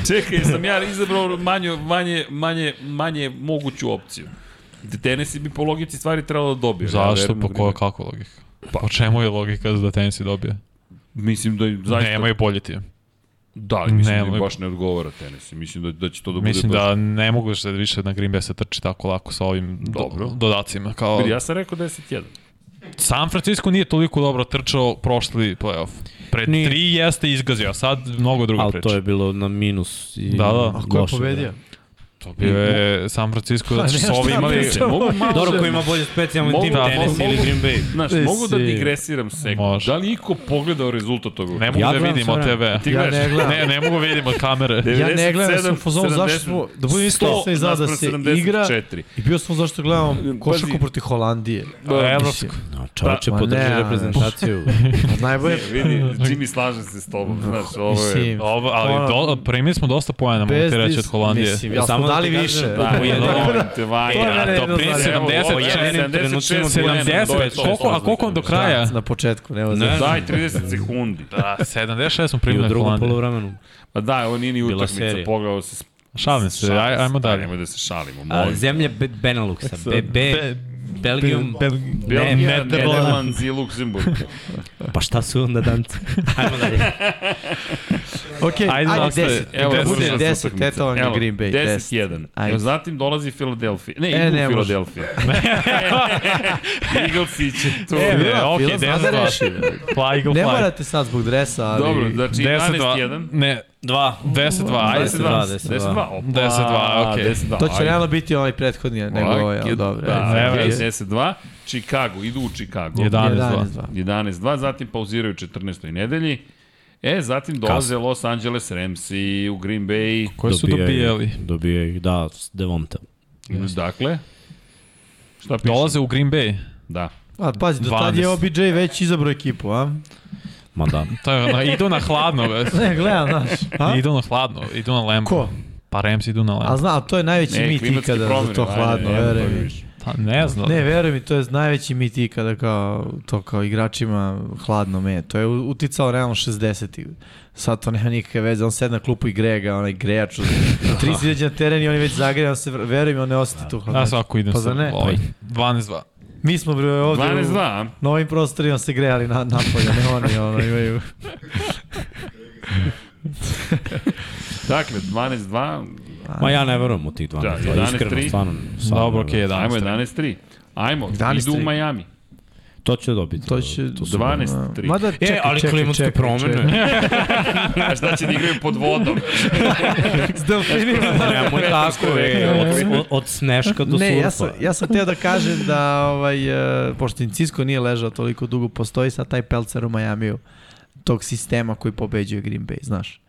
A: Čekaj, sam ja izabrao manju, manje, manje, manje moguću opciju. Tennessee bi po logici stvari trebalo da Pa- dobije.
C: Zašto?
A: verujem u
C: Po
A: Green
C: koja,
A: Bay.
C: kako logika? Po čemu je logika da Tennessee dobije?
A: Mislim da je zaista...
C: Nemaju bolji tim.
A: Da, ali mislim da im
C: Nemoj.
A: baš ne odgovara Tennessee. Mislim da, da će to da bude...
C: Mislim
A: baš-
C: da ne mogu da više na Green Bay se trči tako lako sa ovim
A: Dobro.
C: do, dodacima. Kao,
A: Ja sam rekao 10-1.
C: San Francisco nije toliko dobro trčao prošli playoff. Pre
B: Nije.
C: tri jeste izgazio, a sad mnogo druga
B: Ali
C: priča.
B: to je bilo na minus. I
C: Da, da.
E: A ko je
B: loše,
E: pobedio?
C: To bio je San Francisco,
B: Pa
C: da zato što
E: ne,
C: su ovi
E: šta
C: imali...
E: pričam?
A: Mogu
B: brate.
A: malo
B: Dobro,
A: da-
B: ko ima bolje specijalni
A: Mogu
B: tim,
A: da-
B: Tenis
A: mogu-
B: ili Green Bay.
A: Znaš,
E: Ti
A: mogu da
E: si-
A: digresiram sekund.
C: Može.
A: Da li iko pogledao rezultat tog
C: Ne mogu
B: Ja
C: da
B: gledam
C: vidimo
B: sve vreme.
C: TV.
A: Ti
E: Ja
A: gledaš?
E: ne gledam.
C: Ne, ne mogu vidimo kamere.
E: Ja ne gledam, ja sam
A: 97,
E: u fazonu zašto
A: 70,
E: smo, da budem iskren,
A: 100
E: ja sam izgleda da se
A: naspram 74.
E: igra i bio sam zašto gledam košarku
A: Pazi.
E: protiv Holandije.
C: Da,
E: Mislim,
C: evropsko.
B: No, čovječe,
E: Ma ne,
B: podrži
E: ali-
B: reprezentaciju.
E: Najbolje,
A: Vidi, Jimmy slaže se s tobom, znaš, ovo je...
E: mislim,
C: Ovo, ali
E: Ono-
C: do, primili smo dosta pojena, mogu ti reći, od
E: dis-
C: Holandije.
E: Mislim, ja
B: Samo
E: smo
B: da
E: dali
B: ti kažem
E: više.
B: da je
E: Tako
C: dobro.
A: Molim te, Da, Vanja.
E: To je mene
C: A to prije
E: jedno znači.
C: 70,
A: Evo, ovo je
B: 76,
C: 70, da koliko, a koliko vam do kraja?
E: Na početku, nema
B: Ne.
E: znači.
A: Daj 30 sekundi.
C: Da, 76 smo
B: I
C: primili
B: u
C: od
B: drugom
C: Holandije.
B: polovremenu.
A: Pa da, ovo nije ni
B: Bila
A: utakmica,
B: serija.
A: pogledao se...
C: Šalim se, aj, ajmo
B: E,
C: dalje.
A: Nemoj da se šalimo,
B: A,
A: molim.
B: zemlje Be Beneluxa. Be, be, Belgium.
A: Belgija,
B: Ne,
A: Nederlands i Luksemburg.
B: Pa šta su onda danci? Ajmo dalje.
E: Ok, ajde,
C: ajde,
E: ajde 10.
A: Evo,
E: Evo,
A: evo,
E: bude
A: evo,
E: 10,
A: utakmica.
E: eto vam je
A: Evo,
E: Green Bay. 10.
A: 10-1.
E: Ajde.
A: Evo, Zatim dolazi Philadelphia. Ne,
E: E,
A: idu
E: ne
A: u
E: može.
A: Philadelphia. Eaglesi će tu.
C: E, bre,
E: Bila,
C: ok,
E: bila, zna da
B: Znači,
C: 10-2. Fly, Eagle,
E: Ne
C: fly.
E: morate sad zbog dresa, ali...
A: Dobro, znači
C: 10-2.
A: 11-1.
C: Ne,
B: Dva.
C: 10-2, ajde.
B: 10-2,
A: 10-2. opa,
C: 10-2, okej.
A: 10-2,
E: To će
A: ajde.
E: realno biti ovaj prethodni, nego ovaj, ali
A: Ok,
E: dobro.
A: Da,
E: ajde.
A: evo,
C: Nema veze.
A: 10-2. Chicago, idu u Chicago.
C: 11-2.
E: 11-2.
A: 11-2, zatim pauziraju 14. nedelji. E, zatim dolaze Los Angeles Rams i u Green Bay.
C: Koji su dobijali?
B: Dobijaju, da, s Devonta.
A: Dakle, Šta piše?
C: Dolaze u Green Bay.
A: Da.
E: A, pazi, do tad je
C: 12.
E: OBJ već izabrao ekipu, a?
B: Ma da.
C: To je, ono, idu na hladno, već.
E: Ne, gledam, znaš. A?
C: Idu na hladno, idu na Lambo.
E: Pa? Ko?
C: Pa Rams idu na
E: A
C: Lambo.
E: zna, to je najveći mit
A: klimatske
E: ikada za
A: promene,
E: to
A: ajde,
E: hladno,
A: ajde,
E: veruj
A: to je
E: mi.
A: više.
C: Pa ne znam.
E: Ne, veruj mi, to je najveći mit ikada kao, to kao igračima hladno me. To je u- uticao realno 60-ih. Sad to nema nikakve veze, on sedne na klupu i greje ga, onaj grejač. Tri si izađe na teren i on je već zagrejan, se, vr- veruj mi, on ne osjeti tu hladno.
C: Ja svako idem
E: Pa zar ne?
C: sa ovaj, 12-2.
E: Mi smo bre ovde
A: 12-2,
E: u,
A: a?
E: na ovim prostorima se grejali na, napolje, ne oni, ono, imaju...
A: Dakle, 12-2,
B: Ma ja ne verujem u tih 12.
A: Da,
B: Da,
A: 11-3.
B: iskreno, stvarno. stvarno
C: Dobro,
B: ne
C: okej,
B: verujem.
C: 11.
A: ajmo 11-3. Ajmo,
E: 11-3.
A: idu u Miami.
B: To će dobiti.
E: To će...
B: su-
A: 12-3.
E: Mada, čekaj,
B: e, ali
E: čekaj,
B: klimatske
E: čekaj, čekaj.
B: promene.
A: A šta će da igraju pod vodom?
E: S delfinima.
B: Nemoj tako, e, od, od, od sneška do
E: Ne,
B: surfa.
E: ja sam, ja sam teo da kažem da, ovaj, e, pošto im Cisco nije ležao toliko dugo, postoji sad taj pelcer u Majamiju tog sistema koji pobeđuje Green Bay, znaš,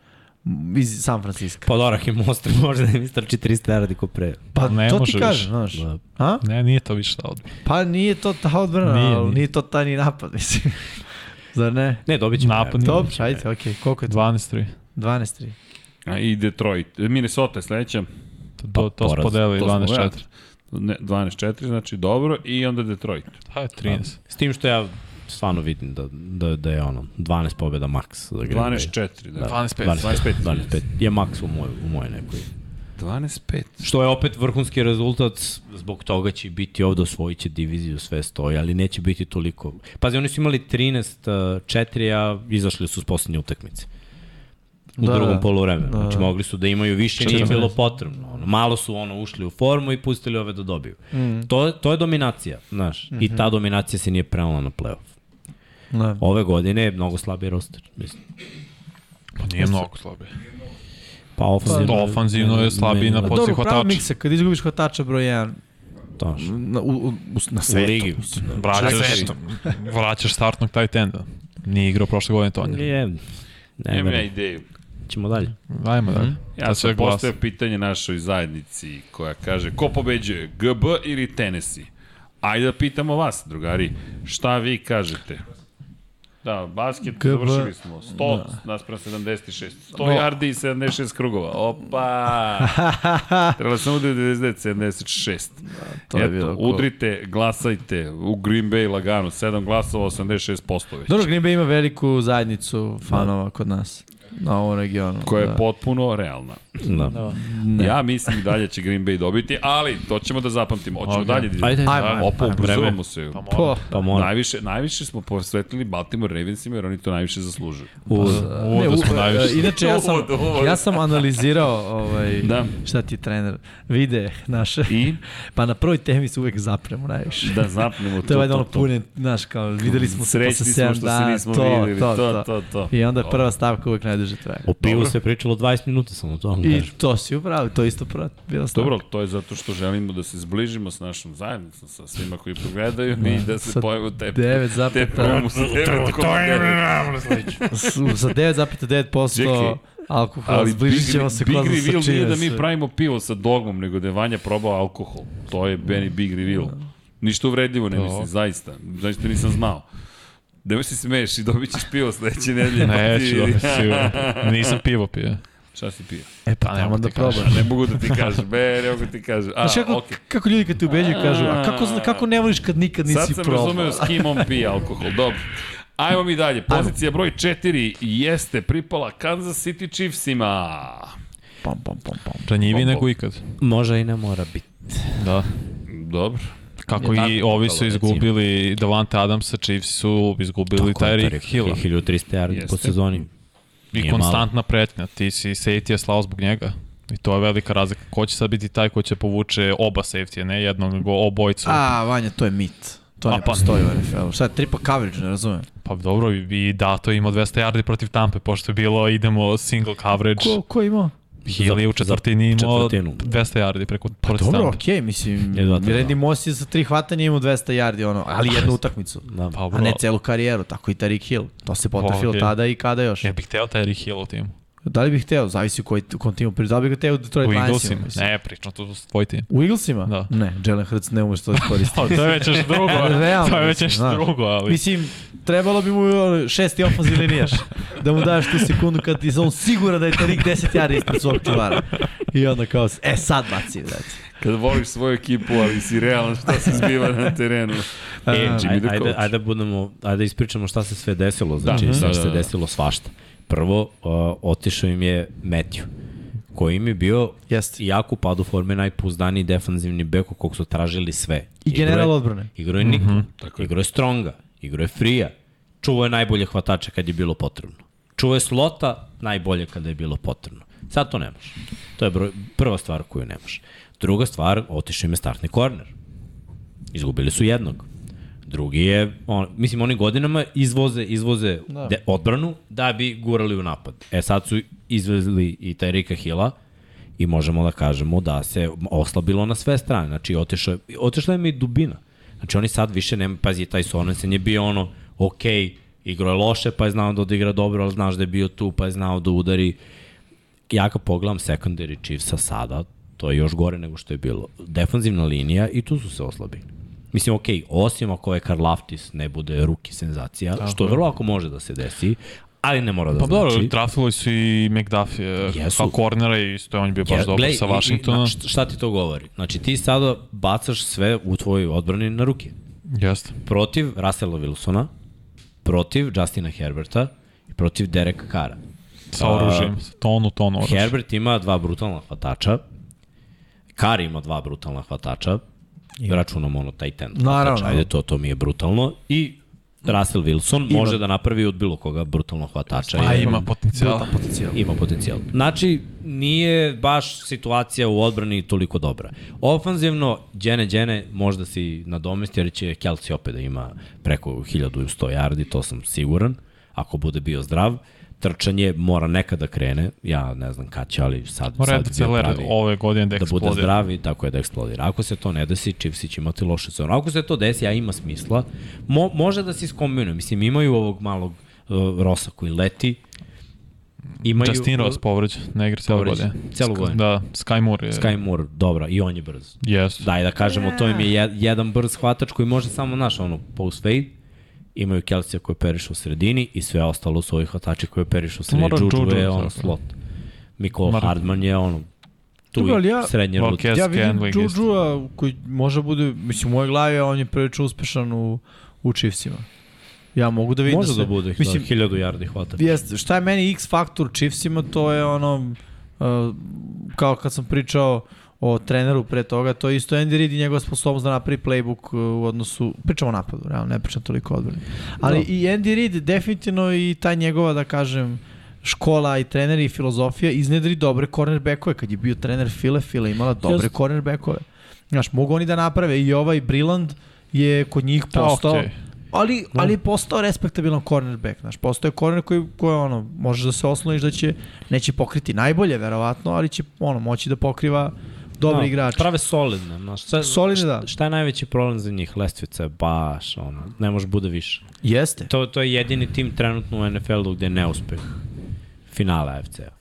E: M, iz San Francisco.
B: Pa Dorah je most, možda da mi strči 300 yardi ko pre.
E: Pa
C: Ne
E: to ti
C: može
E: kažem,
C: više.
E: znaš.
B: Da.
E: A?
C: Pa Ne, nije to više ta odbi.
E: Pa nije to ta odbrana,
C: Nije,
E: nije, ali
C: nije.
E: nije to ta ni napad, mislim. Zar ne?
B: Ne, dobit ćemo.
C: Napad.
E: Dobro, ajde, okej, koliko je to?
C: 12-3.
E: 12-3.
A: A i Detroit. Minnesota je sledeća.
C: To, to, to
B: Poraz.
C: spodeli
A: To smo
C: 12-4.
A: Ne, 12-4, znači dobro. I onda Detroit.
C: Pa je 13.
B: S tim što ja stvarno vidim da, da, da je ono 12 pobjeda maks. Za Green Bay.
A: 12-4. Da.
C: 12-5.
B: 25.
A: 25.
B: 25. Je maks u moj, u moj nekoj.
A: 12-5.
B: Što je opet vrhunski rezultat, zbog toga će biti ovde, osvojit će diviziju, sve stoji, ali neće biti toliko. Pazi, oni su imali 13-4, a izašli su s poslednje utakmice. U
E: Da,
B: da, drugom
E: da.
B: poluvremenu. Znači, mogli su da imaju više, nije im
C: 14.
B: bilo potrebno. Ono, malo su ono ušli u formu i pustili ove da dobiju. Mm. To, to je dominacija, znaš. Mm -hmm. I ta dominacija se nije prelala na playoff.
E: Da.
B: Ove godine je mnogo slabiji roster, mislim.
C: Pa nije mnogo slabije.
B: Pa ofanzivno,
C: Pa, ofanzivno je slabiji na
B: Dobro,
C: pod-
E: Dobro, pravo
C: hvatača.
E: miksa, kad izgubiš hvatača broj 1
B: to znaš.
E: na, u, u, na
B: U
E: svetu.
B: ligi.
C: Vraćaš, vraćaš startnog tight enda. Nije igrao prošle godine Tonja.
B: Je, ne,
A: Nemam ja
B: ne,
A: ideju.
B: ćemo dalje.
C: Ajmo dalje.
A: Ja sam postavio pitanje našoj zajednici koja kaže ko pobeđuje, GB ili Tennessee? Ajde da pitamo vas, drugari, šta vi kažete? Da, basket,
E: GB,
A: završili smo. 100 da. naspram 76. 100 yardi i 76 krugova. Opa! Trebalo sam udriti 99, 76.
E: to je
A: Eto,
E: bilo cool.
A: udrite, glasajte u Green Bay lagano. 7 glasova, 86% već.
E: Dobro, Green Bay ima veliku zajednicu
A: Da.
E: fanova kod nas na ovom regionu.
A: koja je
E: da.
A: potpuno realna.
B: Da. da.
A: Ne. Ja mislim i dalje će Green Bay dobiti, ali to ćemo da zapamtimo. Hoćemo
C: Ok.
A: dalje. da-
B: Ajde.
E: Ajmo,
A: Da,
E: ajmo,
A: Opa,
E: ajmo.
A: ubrzavamo se.
E: Po,
B: Pa mora.
A: Najviše, najviše smo posvetili Baltimore Ravensima jer oni to najviše zaslužuju.
B: U,
E: ne,
A: da
C: Uvoda smo
E: u-
C: najviše.
E: Inače, ja sam,
A: Uvod, uvod.
E: ja sam analizirao ovaj,
A: Da.
E: šta ti trener vide naše.
A: I
E: Pa na prvoj temi se uvek zapremo najviše.
A: da zapnemo to.
E: To je valjda ono
A: to, to.
E: pune, znaš, kao videli smo se
A: Srećni
E: posle
A: smo
E: 7
A: što se
E: dana,
A: nismo
E: to,
A: videli,
E: to,
A: to,
E: to,
A: to, to.
E: I onda je prva stavka uvek najduže traje.
B: o pivu se pričalo 20 minuta samo, to vam
E: I
B: kažem.
E: to si upravo, to je isto prva bila stavka.
A: Dobro, ali to je zato što želimo da se zbližimo s našom zajednicom, sa svima koji pogledaju i da se
E: Sa
A: pojavimo te,
E: devet
A: te
E: zapeta-
A: promus. To je
E: Su- za 9,9%
A: Čekaj,
E: alkohola,
A: Ali
E: zbližit
A: Big,
E: ćemo se
A: Big
E: ko zna sa
A: Reveal nije
E: čime
A: da
E: sve.
A: mi pravimo pivo sa dogmom, nego da je Vanja probao alkohol. To je Benny Big Reveal.
E: Da.
A: Ništa uvredljivo ne mislim, zaista. Zaista nisam znao. Nemoj se smeješ i dobit ćeš pivo sledeće nedelje. pa
C: Neću
A: Ti-
C: dobiti sigurno. Nisam pivo pio.
A: Šta si pio?
E: E pa
C: A,
E: tamo
C: nemoj
E: da
C: ti kažem.
E: probaš.
A: Ne mogu da ti kažem, be, ne mogu da ti kažem. A,
E: Znaš kako,
A: okej.
E: kako ljudi kad te ubeđuju kažu, a kako, zna- kako ne voliš kad nikad nisi
A: Sad sam
E: probao?
A: razumeo s kim on pije alkohol, dobro. Ajmo mi dalje. Pozicija broj 4 jeste pripala Kansas City Chiefsima.
E: Pom, pom, pom, pom.
C: Ranjiviji
A: Opo.
C: nego ikad.
B: Možda i ne mora biti.
C: Da.
A: Dobro.
C: Kako
B: tako
C: i ovi
B: bilo,
C: su
B: recimo.
C: izgubili Davante Adamsa, Chiefs su izgubili
B: Tako je,
C: Tyreek
B: Tyreek
C: Hilla.
B: 1300 yardi po
A: Jeste.
B: sezoni.
C: I
B: Nije malo.
C: konstantna pretnja. Ti si safety je slao zbog njega. I to je velika razlika. Ko će sad biti taj ko će povuče oba safety, ne jednog, nego obojicu.
E: A, Vanja, to je mit. To
C: A,
E: ne
C: pa.
E: postoji u NFL-u. Šta je triple coverage, ne razumem.
C: Pa dobro, i i da, to je imao 200 yardi protiv Tampe, pošto je bilo, idemo single coverage.
E: Ko, ko je imao?
C: Hill je u četvrtini imao
B: četvrtinu.
C: 200 yardi preko pa protiv
E: Dobro,
C: Tampe.
E: okej, okay, mislim,
B: Jedva to,
E: Randy
B: da.
E: Moss je sa tri hvatanja imao 200 yardi, ono, ali jednu utakmicu.
B: Da.
C: Pa
B: Pa,
C: dobro.
E: A ne celu karijeru, tako i Tarik Hill. To se potrafilo
C: okej. E.
E: tada i kada još.
C: Ja bih teo Tyreek Hill u timu.
E: Da li bih hteo, zavisi u koji kom timu, pri- da li bih hteo u Detroit
C: U
E: Lionsima,
C: Eaglesima.
E: mislim.
C: Ne, pričam, to su tvoj tim.
E: U Eaglesima?
C: Da.
E: Ne, Jalen Hurts ne ume što da koristi.
C: Pa, to je već nešto drugo.
E: Realno,
C: to je već
E: mislim,
C: nešto
E: znaš.
C: drugo, ali...
E: Mislim, trebalo bi mu ono, šesti ofanzivni linijaš da mu daš tu sekundu kad je on sigura da je Tarik 10 jara ispred svog čuvara. I onda kao, e sad baci, brate.
A: Kad voliš svoju ekipu, ali si realan šta se zbiva na terenu. E,
E: Da,
A: Jimmy
B: Ajde,
A: the
B: ajde,
A: Coach.
B: ajde, budemo, ajde ispričamo šta se sve desilo, znači da,
A: Mhm.
B: sve
A: da,
B: da,
A: da,
B: se
A: da.
B: desilo svašta. Prvo, uh, otišao im je Matthew, koji im je bio
E: Jeste.
B: jako u padu forme, najpouzdaniji defanzivni beko kog su tražili sve.
E: I
B: Igro je-
E: general odbrane.
B: Igro je
A: Mhm,
B: Niku, igro je Stronga, igro je Frija, čuo je najbolje hvatače kad je bilo potrebno. Čuo je Slota najbolje kada je bilo potrebno. Sad to nemaš. To je broj, prva stvar koju nemaš. Druga stvar, otišao im je startni korner. Izgubili su jednog. Drugi je, on, mislim, oni godinama izvoze, izvoze da. De, odbranu da bi gurali u napad. E sad su izvezli i Tyrika Hilla i možemo da kažemo da se oslabilo na sve strane. Znači, otišla, otišla im je i dubina. Znači, oni sad više nema, pazi, taj Sorensen je bio ono, ok, igro je loše, pa je znao da odigra dobro, ali znaš da je bio tu, pa je znao da udari ja kad pogledam secondary Chiefsa sada, to je još gore nego što je bilo. Defanzivna linija i tu su se oslabili. Mislim, okej, okay, osim ako je Karl Laftis ne bude ruki senzacija, Tako što vrlo ako može da se desi, ali ne mora da
C: Pa
B: znači.
C: dobro, trafilo su i McDuffie,
B: Jesu.
C: pa Kornera i isto je on bio baš
B: Ja,
C: dobar
B: glej,
C: sa
B: i- i-
C: Washingtona.
B: na- šta- Šta ti to govori? Znači, ti sada bacaš sve u tvojoj odbrani na ruke.
C: Jeste.
B: protiv Russella Wilsona, protiv Justina Herberta i protiv Dereka Kara.
C: Sa oružjem, sa tonu, tonu oružja.
B: Herbert ima dva brutalna hvatača, Kar ima dva brutalna hvatača, računam ono taj ten.
E: Naravno.
B: Hvatač, ajde, to, to mi je brutalno. I Russell Wilson ima. može da napravi od bilo koga brutalno hvatača.
C: A
B: I-
C: ima potencijala.
B: Ima potencijal. Znači, nije baš situacija u odbrani toliko dobra. Ofanzivno, Đene Đene možda si nadomesti, jer će Kelsey opet da ima preko 1100 yardi, to sam siguran, ako bude bio zdrav. Trčanje mora nekada krene, ja ne znam kad će, ali sad,
C: Mora
B: sad je
C: Epceler
B: pravi
C: ove godine da
B: da bude
C: eksplodira.
B: zdravi, tako je da eksplodira. Ako se to ne desi, Chiefs će imati lošu sezonu. Ako se to desi, a ima smisla, mo, može da se iskombinuje. Mislim, imaju ovog malog uh, Rosa koji leti, imaju... uh,
C: Justin Ross povređen, ne igra cijelo
B: Povređen,
C: godine.
B: cijelu godinu.
C: Da, Sky Moore je.
B: Sky Moore, dobra, i on je brz.
C: Yes.
B: Daj da kažemo, to im je jed- jedan brz hvatač koji može samo, naš, ono, post fade, imaju Kelsija koji periše u sredini i sve ostalo su ovi hvatači koji periše u sredini.
C: Mora
B: Juju je
C: Juju,
B: ono
C: tako.
B: slot. Nikola
C: Mora-
B: Hardman je ono tu
E: Dobro, ali ja-
B: i srednje
C: Marquez.
B: ruke.
E: Ja
C: Jazz
E: vidim
C: Kendrick isto.
E: Juju-a koji može bude, mislim u mojoj glavi on je prilično uspešan u, u Chiefsima. Ja mogu da vidim
B: Može
E: se,
B: da bude
E: mislim,
B: da, 1000 yardi hvata.
E: Jeste, šta je meni X faktor u Chiefsima, to je ono, uh, kao kad sam pričao o treneru pre toga, to je isto Andy Reid i njegova sposobnost da napravi playbook uh, u odnosu, pričamo o napadu, realno, ne pričam toliko o odbrani. Ali
B: Da.
E: i Andy Reid definitivno i ta njegova, da kažem, škola i trener i filozofija iznedri dobre cornerbackove. Kad je bio trener File, File je imala dobre
B: Jeste.
E: cornerbackove. Znaš, mogu oni da naprave i ovaj Briland je kod njih
C: Da,
E: postao...
C: okej.
E: Ali,
B: Da.
E: ali je postao respektabilan cornerback, znaš, postao je corner koji, koji ono, možeš da se osloniš da će, neće pokriti najbolje, verovatno, ali će, ono, moći da pokriva dobri da, igrač.
B: Prave solidne. Znaš, sve,
E: Solidne, da.
B: Šta je najveći problem za njih? Lestvica je baš, ono, ne može bude više.
E: Jeste.
B: To, to je jedini tim trenutno u NFL-u gde je neuspeh finala AFC-a.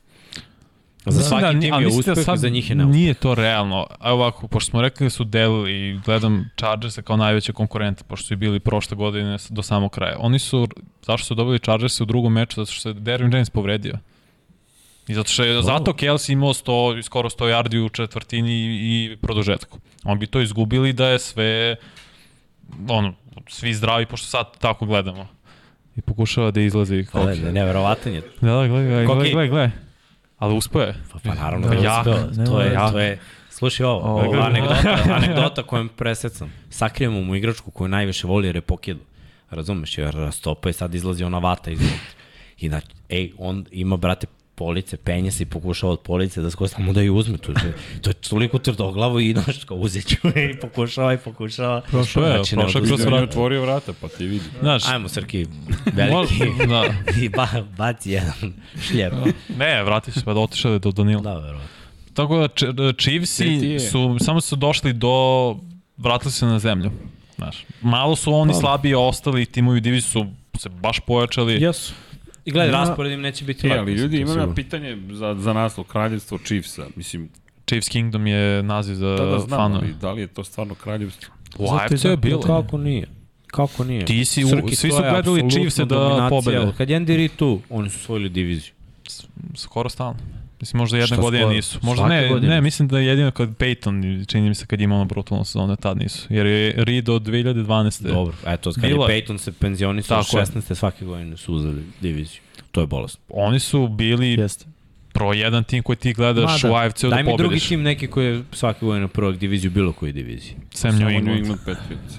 B: Pa Za svaki
C: ni-
B: tim
C: da, ali
B: je
C: mislim
B: uspeh,
C: sad
B: za njih je neuspeh.
C: Nije to realno. A ovako, pošto smo rekli da su delili i gledam Chargersa kao najveće konkurenta, pošto su i bili prošle godine s- do samog kraja. Oni su, zašto su dobili Chargersa u drugom meču? Zato što se Derwin James povredio. I zato što je, zato Kelsey imao 100, skoro 100 yardi u četvrtini i, i produžetku. On bi to izgubili da je sve, ono, svi zdravi, pošto sad tako gledamo. I pokušava da izlazi. kao-
B: Okay. Ne, neverovatan je.
C: Da, da, gledaj, gledaj,
B: Koki.
C: gledaj, gledaj, gledaj. Ali uspeo je.
B: Pa, pa naravno
C: Da,
B: da,
C: jak,
B: uspeo.
E: ne
B: To je,
E: mora-
B: to je, slušaj ovo, ovo je anegdota, anegdota kojom presecam. Sakrijemo mu igračku koju najviše voli jer je pokidu. Razumeš, jer rastopa je sad izlazi ona vata iz I znači, ej, on ima, brate, police, penje se i pokušava od police da skoči, samo da ju uzme tu. To je toliko tvrdoglavo i znaš, kao uzet ću je i pokušava i pokušava. Znači,
C: Prošao je,
B: ne
C: prošao kroz
B: odustaje.
A: Ti mi
C: vrata.
A: otvorio vrata, pa ti vidi.
C: Znaš,
B: Ajmo, Srki, veliki.
C: Možda, da.
B: I ba, baci jedan šljep.
C: Ne, vrati se, pa da otišao je do Danila. Da.
B: Da, verovatno.
C: Tako da Ch-
A: Ti- ti
C: Chiefsi
A: je.
C: su, samo su došli do, vratili se na zemlju. Znaš, malo su oni slabije ostali, timovi u diviziji su se baš pojačali.
B: Jesu. I gledaj,
E: Ima-
B: raspored im neće biti
A: E,
B: lak.
A: ali ljudi, imam ja pitanje za, za naslov, kraljevstvo Chiefsa. Mislim,
C: Chiefs Kingdom je naziv za
A: da, da
C: da,
A: znam,
C: fanove.
A: ali da li je to stvarno kraljevstvo?
C: U AFC Pa je bilo.
B: Kako nije? Kako nije?
C: Ti si u- svi
B: to
C: su
B: je
C: gledali
B: apsolutno
C: Chiefse da
B: dominacija.
C: pobede.
B: Kad je Andy Reid tu, oni su osvojili diviziju.
C: Skoro stalno. Mislim, možda jedne
B: Šta
C: godine
B: skoro?
C: nisu. Možda
B: Svake
C: ne,
B: godine?
C: ne, mislim da je jedino kad Peyton, čini mi se kad je imao ono brutalnu sezonu, tad nisu. Jer je Reed od 2012.
B: Dobro, eto, kad je
C: Bilo Da. je.
B: Peyton se penzionisao
C: Tako je.
B: 16. svake godine su uzeli diviziju. To je bolest.
C: Oni su bili
E: Jeste.
C: pro jedan tim koji ti gledaš
B: Ma da,
C: u AFC-u da
B: Daj mi
C: pobediš.
B: drugi tim neki koji je svake godine prvog diviziju, bilo koji diviziji.
C: Sam New
A: Samo New
C: England.
A: England Patriots.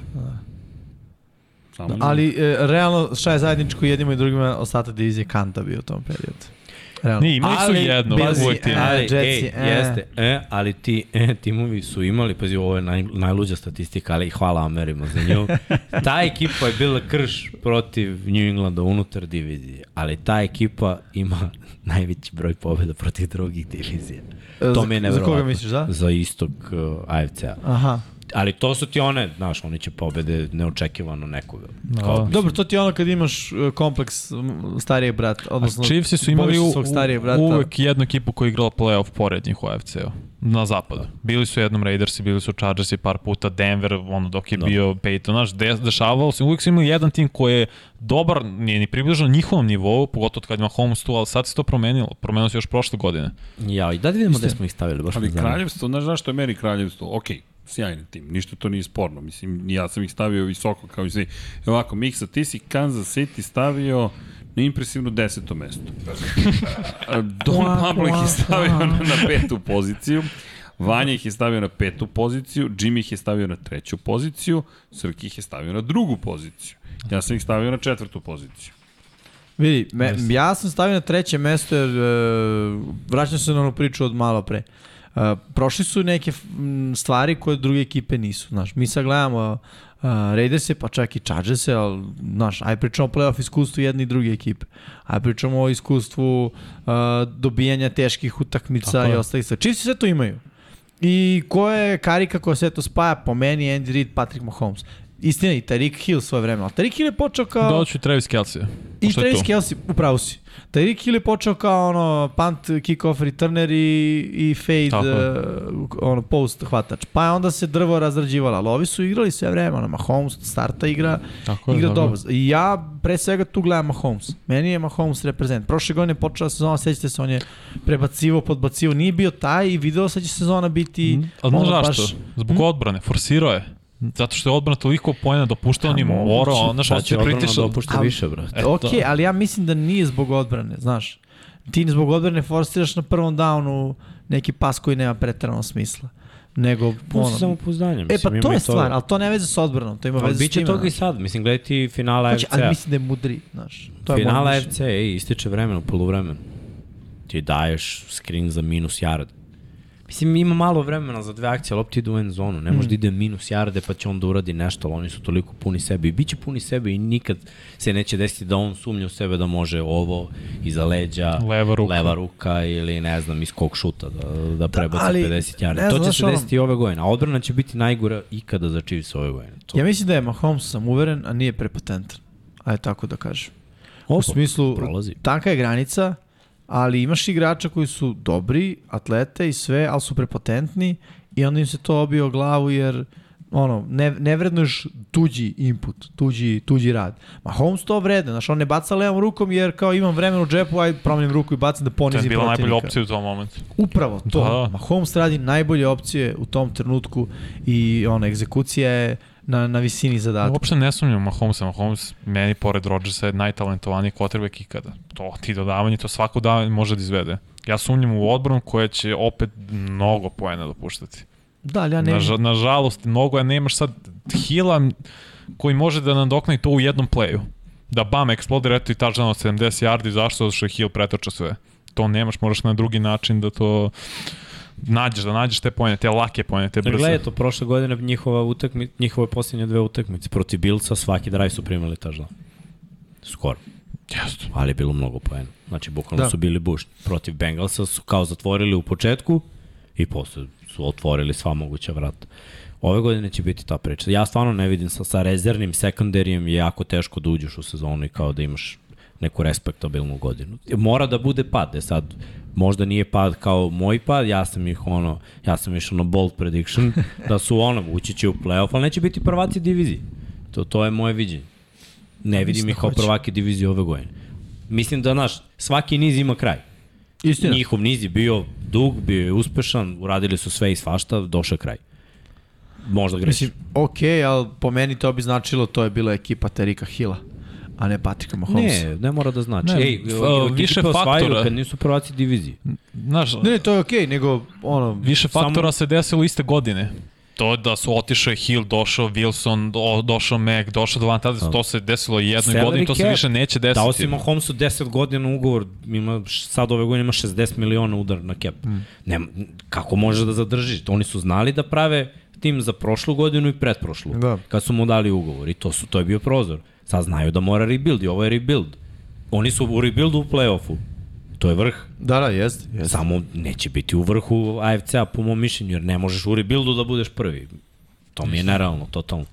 A: Samo New
B: Da.
A: England.
E: Ali, e, realno, šta je zajedničko jednima i drugima, ostatak divizije Kanta bio u tom periodu. Realno.
C: Nije, imali su
B: Ali,
C: jedno,
E: pazi,
C: uvek tim.
E: e,
B: Ali,
E: Jetsi,
B: ej,
E: e.
B: jeste, e, ali ti e, timovi su imali, pazi, ovo je naj, najluđa statistika, ali hvala Amerima za nju. ta ekipa je bila krš protiv New Englanda unutar divizije, ali ta ekipa ima najveći broj pobjeda protiv drugih divizija.
E: E,
B: to
E: za-
B: mi je
E: za koga
B: nevjerovatno.
E: misliš, da?
B: Za istok uh, AFC-a.
E: Aha.
B: Ali to su ti one, znaš, oni će pobede neočekivano nekoga. Kao, mislim,
E: Dobro, to ti je ono kad imaš e, kompleks m, starijeg brata, odnosno...
C: Chiefs su imali
E: bojiš se
C: u,
E: svog starijeg brata.
C: uvek jednu ekipu koja je igrala playoff pored njih u AFC-u. Na zapadu. Bili su jednom Raidersi, bili su Chargersi par puta, Denver, ono dok je
B: Da.
C: bio Peyton, znaš, de, dešavalo se, uvek su imali jedan tim koji je dobar, nije ni približno njihovom nivou, pogotovo od kad ima Holmes tu, ali sad se to promenilo, promenilo se još prošle godine.
B: Ja, i da vidimo gde smo ih stavili, baš me
A: Ali
B: zanima.
A: kraljevstvo, znaš zašto je meni kraljevstvo? Ok, sjajan tim, ništa to nije sporno. Mislim, ja sam ih stavio visoko kao i svi. Evo ovako, Miksa, ti si Kansas City stavio na impresivno deseto mesto. A, Don Pablik ih stavio na, na petu poziciju. Vanja ih je stavio na petu poziciju, Jimmy ih je stavio na treću poziciju, Srki ih je stavio na drugu poziciju. Ja sam ih stavio na četvrtu poziciju.
E: Vidi, me, ja sam stavio na treće mesto jer e, vraćam se na onu priču od malo pre. E, prošli su neke f- m, stvari koje druge ekipe nisu, znaš. Mi sad gledamo e, Raiders-e, pa čak i Chargers-e, ali, znaš, aj pričamo o playoff iskustvu jedne i druge ekipe. Aj pričamo o iskustvu e, dobijanja teških utakmica i ostalih stvari. Chiefs sve to imaju. I ko je karika koja sve to spaja? Po meni Andy Reid, Patrick Mahomes. Istina i Tariq Hill svoje vremena. Ali Tariq Hill je počeo kao...
C: Doću Travis Kelsey.
E: Pa, I
C: Pošto je
E: Travis
C: tu.
E: Kelsey, upravo si. Tyreek Hill je počeo kao ono punt, kick-off, returner i, i
C: Tako
E: fade,
C: je.
E: uh, ono post hvatač. Pa je onda se drvo razrađivalo, ali ovi su igrali sve vreme, ono Mahomes starta igra,
C: Tako je, da,
E: igra
C: tako je.
E: dobro. I ja pre svega tu gledam Mahomes. Meni je Mahomes reprezent. Prošle godine je počela sezona, sećate se, on je prebacivo, podbacivo, nije bio taj i video sad će sezona biti... Mm.
C: Mhm. Ali znaš zašto? Zbog
B: Mhm.
C: odbrane, forsirao je. Zato što je odbrana toliko pojena dopuštala, on je morao, znaš,
B: Sad
C: hoće
B: Da će odbrana
C: pritišao.
B: dopušta
E: Ali-
B: više, brate.
C: E,
E: Ok,
C: to.
E: ali ja mislim da nije zbog odbrane, znaš. Ti zbog odbrane forsiraš na prvom downu neki pas koji nema pretrano smisla. Nego,
B: Puno sa
E: ono...
B: samopouzdanjem.
E: E
B: mislim,
E: pa
B: ima
E: to
B: i toga.
E: je stvar, ali to ne veze sa odbranom, to ima
B: Ali
E: veze Pa s
B: biće
E: time.
B: toga i
E: znaš.
B: sad. Mislim, gledaj ti finala
E: Hoće, ali
B: AFC-a.
E: mislim da je mudri, znaš. To je
B: Finala
E: moje mišljenje.
B: AFC, ej, ističe vremena u polovremenu. Ti daješ screen za minus yard. Mislim, ima malo vremena za dve akcije, lopti ide u end zonu.
E: Mm.
B: Ne može da ide minus yarde pa će on da uradi nešto, ali oni su toliko puni sebe. I bit će puni sebe i nikad se neće desiti da on sumnja u sebe da može ovo iza leđa,
C: Leva ruka.
B: leva ruka ili ne znam iz kog šuta da, da prebaci
E: ali,
B: 50
E: ne
B: yardi.
E: znam,
B: To će
E: znaš
B: se
E: ono-
B: desiti i ove godine. A odbrana će biti najgora ikada za Chiefs ove godine. To
E: Ja mislim da je Mahomes, sam uveren, a nije prepotentan. Ajde tako da kažem. U smislu,
B: prolazi.
E: tanka je granica, ali imaš igrača koji su dobri, atlete i sve, ali su prepotentni i onda im se to obio o glavu jer ono, ne, ne vrednuješ tuđi input, tuđi, tuđi rad. Ma Holmes to vredne, znaš, on ne baca levom rukom jer kao imam vremena u džepu, ajde promenim ruku i bacam da
C: To je
E: ponizim
C: bila najbolja
E: protivnika.
C: opcija u tom momentu.
E: Upravo to.
C: Da.
E: Da. Mahomes radi najbolje opcije u tom trenutku i ona egzekucija je na, na visini
B: Da.
E: zadatka.
C: Uopšte ne sumnjam u Mahomesa. Mahomes meni pored Rodgersa je najtalentovaniji quarterback ikada. To ti dodavanje, to svako davanje može da izvede. Ja sumnjam u odbranu koja će opet mnogo poena dopuštati.
E: Da, ali ja ne...
C: Naža, nažalost, mnogo je nemaš sad hila koji može da nadoknadi to u jednom playu. Da bam, eksplodira, eto i touchdown od 70 yardi, zašto? Zato što je Hill pretrčao sve. To nemaš, moraš na drugi način da to nađeš, da nađeš te pojene, te lake pojene, te brze.
B: Da Gledaj to, prošle godine njihova utakmi, njihove posljednje dve utakmice protiv Bilca, svaki drive su primili tažla. Skoro.
C: Jeste.
B: Ali je bilo mnogo poena. Znači, bukvalno
E: Da.
B: da. su bili bušni. Protiv Bengalsa su kao zatvorili u početku i posle su otvorili sva moguća vrata. Ove godine će biti ta priča. Ja stvarno ne vidim sa, sa rezervnim sekundarijem je jako teško da uđeš u sezonu i kao da imaš neku respektabilnu godinu. Mora da bude pad, e sad, možda nije pad kao moj pad, ja sam ih ono, ja sam išao na bold prediction, da su ono, ući će u playoff, ali neće biti prvaci divizije. To, to je moje viđenje.
C: Pa
B: Ne vidim
C: da
B: ih kao prvake divizije ove godine. Mislim da, naš, svaki niz ima kraj.
E: Istina.
B: Njihov niz je bio dug, bio je uspešan, uradili su sve i svašta, došao je kraj. Možda grešim.
E: Mislim, okej, ali po meni to bi značilo to je bila ekipa Terika Hilla, a ne Patrika Mahomesa.
B: Ne, ne mora da znači.
C: Ne,
B: Ej,
C: f-
B: ekipe
C: više
B: osvajaju
C: faktora.
B: Kad nisu prvaci divizije.
C: Znaš,
E: Ne, ne, to je okej, nego ono...
C: više
B: Samo-
C: faktora se desilo iste godine. To da su otišao je Hill, došao Wilson, do, došao Mac, došao Dovan Tadis, to se desilo i jednoj
B: Salary
C: godini, to se
B: cap.
C: više neće desiti.
B: Dao si Mahomesu 10 godina ugovor, ima, š- sad ove godine ima 60 miliona udar na cap. Mm. Ne, kako možeš da zadržiš? Oni su znali da prave tim za prošlu godinu i pretprošlu.
E: Da.
B: Kad su mu dali ugovor i to, su, to je bio prozor. Sad znaju da mora rebuild i ovo je rebuild. Oni su u rebuildu u play-offu. To je vrh.
E: Da, da, jest. jest.
B: Samo neće biti u vrhu AFC-a po mom mišljenju, jer ne možeš u rebuildu da budeš prvi. To mi je nerealno, totalno.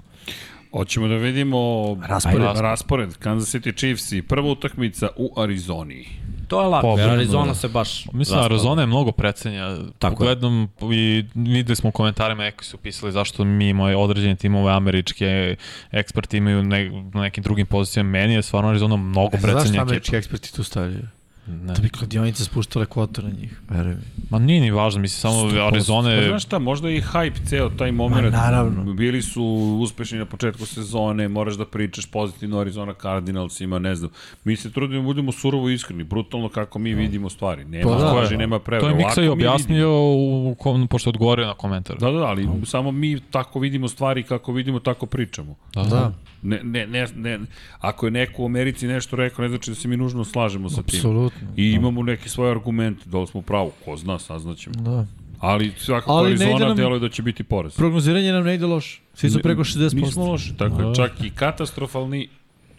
A: Hoćemo da vidimo
B: Raspored.
A: Ajde, raspored. Kansas City Chiefs i prva utakmica u Arizoni.
B: To je lako,
C: Pobegnu,
B: jer Arizona
C: da.
B: se baš...
C: Mislim,
B: raspada.
C: Arizona je mnogo precenja.
B: Tako je.
C: Tako Pogledam i videli smo u komentarima neki su pisali zašto mi moje određene timove američke eksperti imaju ne, na nekim drugim pozicijama. Meni je stvarno Arizona mnogo
A: E,
E: Znaš šta
C: precenja ekipa.
E: američki eksperti tu stavljaju?
C: Ne.
E: Da bi kladionice spuštale kvotu na njih, veruj mi.
C: Ma nije ni važno, mislim, samo Arizona
A: Pa
C: je...
A: znaš šta, možda i hype ceo taj moment.
E: E, Ma, naravno.
A: Bili su uspešni na početku sezone, moraš da pričaš pozitivno o Arizona Cardinalsima, ne znam. Mi se trudimo, budemo surovo iskreni, brutalno kako mi vidimo stvari. Nema
E: Pa da.
A: laži, nema prevara.
C: To je
A: Ovako
C: Miksa i
A: mi vidimo.
C: objasnio, u, kom, pošto je odgovorio na komentar.
A: Da, da, da, ali samo mi tako vidimo stvari kako vidimo, tako pričamo.
E: Da,
A: Ne, ne, ne, ne, ako je neko u Americi nešto rekao, ne znači da se mi nužno slažemo sa tim.
E: apsolutno.
A: I imamo neke svoje argumente, da li smo pravo, ko zna, saznaćemo.
E: Da.
A: Ali svakako
E: Ali
A: Ali
E: ne ide
A: Arizona
E: nam-
A: nam... deluje da će biti porez.
E: Prognoziranje nam ne ide loše. Svi su preko 60%.
A: Nismo loši, tako je. Čak i katastrofalni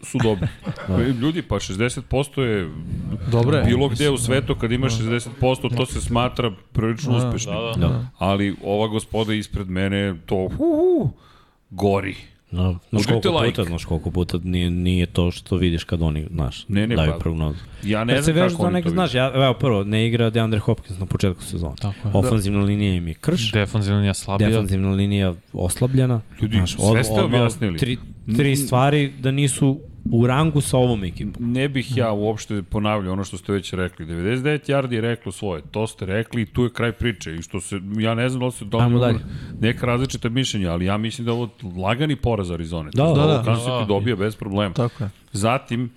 A: su dobri. Ljudi, pa 60% je
E: Dobro je.
A: bilo gde u svetu kad imaš 60%, to se smatra prilično uspešnim.
C: da,
B: Da.
A: Ali ova gospoda ispred mene to uhu, gori.
B: Da, znaš
A: Udrite
B: koliko
A: like.
B: puta, znaš koliko puta nije, nije to što vidiš kad oni, znaš,
A: Ne, ne,
B: daju
A: pa-
B: prognozu.
A: Ja ne
B: Ne se
A: znam
B: vežu
A: kako
B: za
A: oni
B: neke,
A: to
B: znaš,
A: znaš,
B: ja, evo prvo, ne igra DeAndre Hopkins na početku sezona.
C: Tako
A: Da.
C: je.
B: Ofanzivna linija im je krš,
C: Defanzivna linija slabija.
B: defanzivna linija oslabljena.
A: pa Ljudi, sve ste objasnili.
B: Tri, tri stvari da nisu u rangu sa ovom ekipom.
A: Ne bih ja uopšte ponavljao ono što ste već rekli. 99 yardi je reklo svoje. To ste rekli i tu je kraj priče. I što se, ja ne znam da li se
B: Ajmo
A: dobro
B: dalje.
A: neka različita mišljenja, ali ja mislim da je ovo lagani poraz Arizone.
B: Da,
A: To je
B: da,
A: ovo
B: da.
A: Kansas
C: Da.
A: City dobija bez problema.
E: Tako je.
A: Zatim,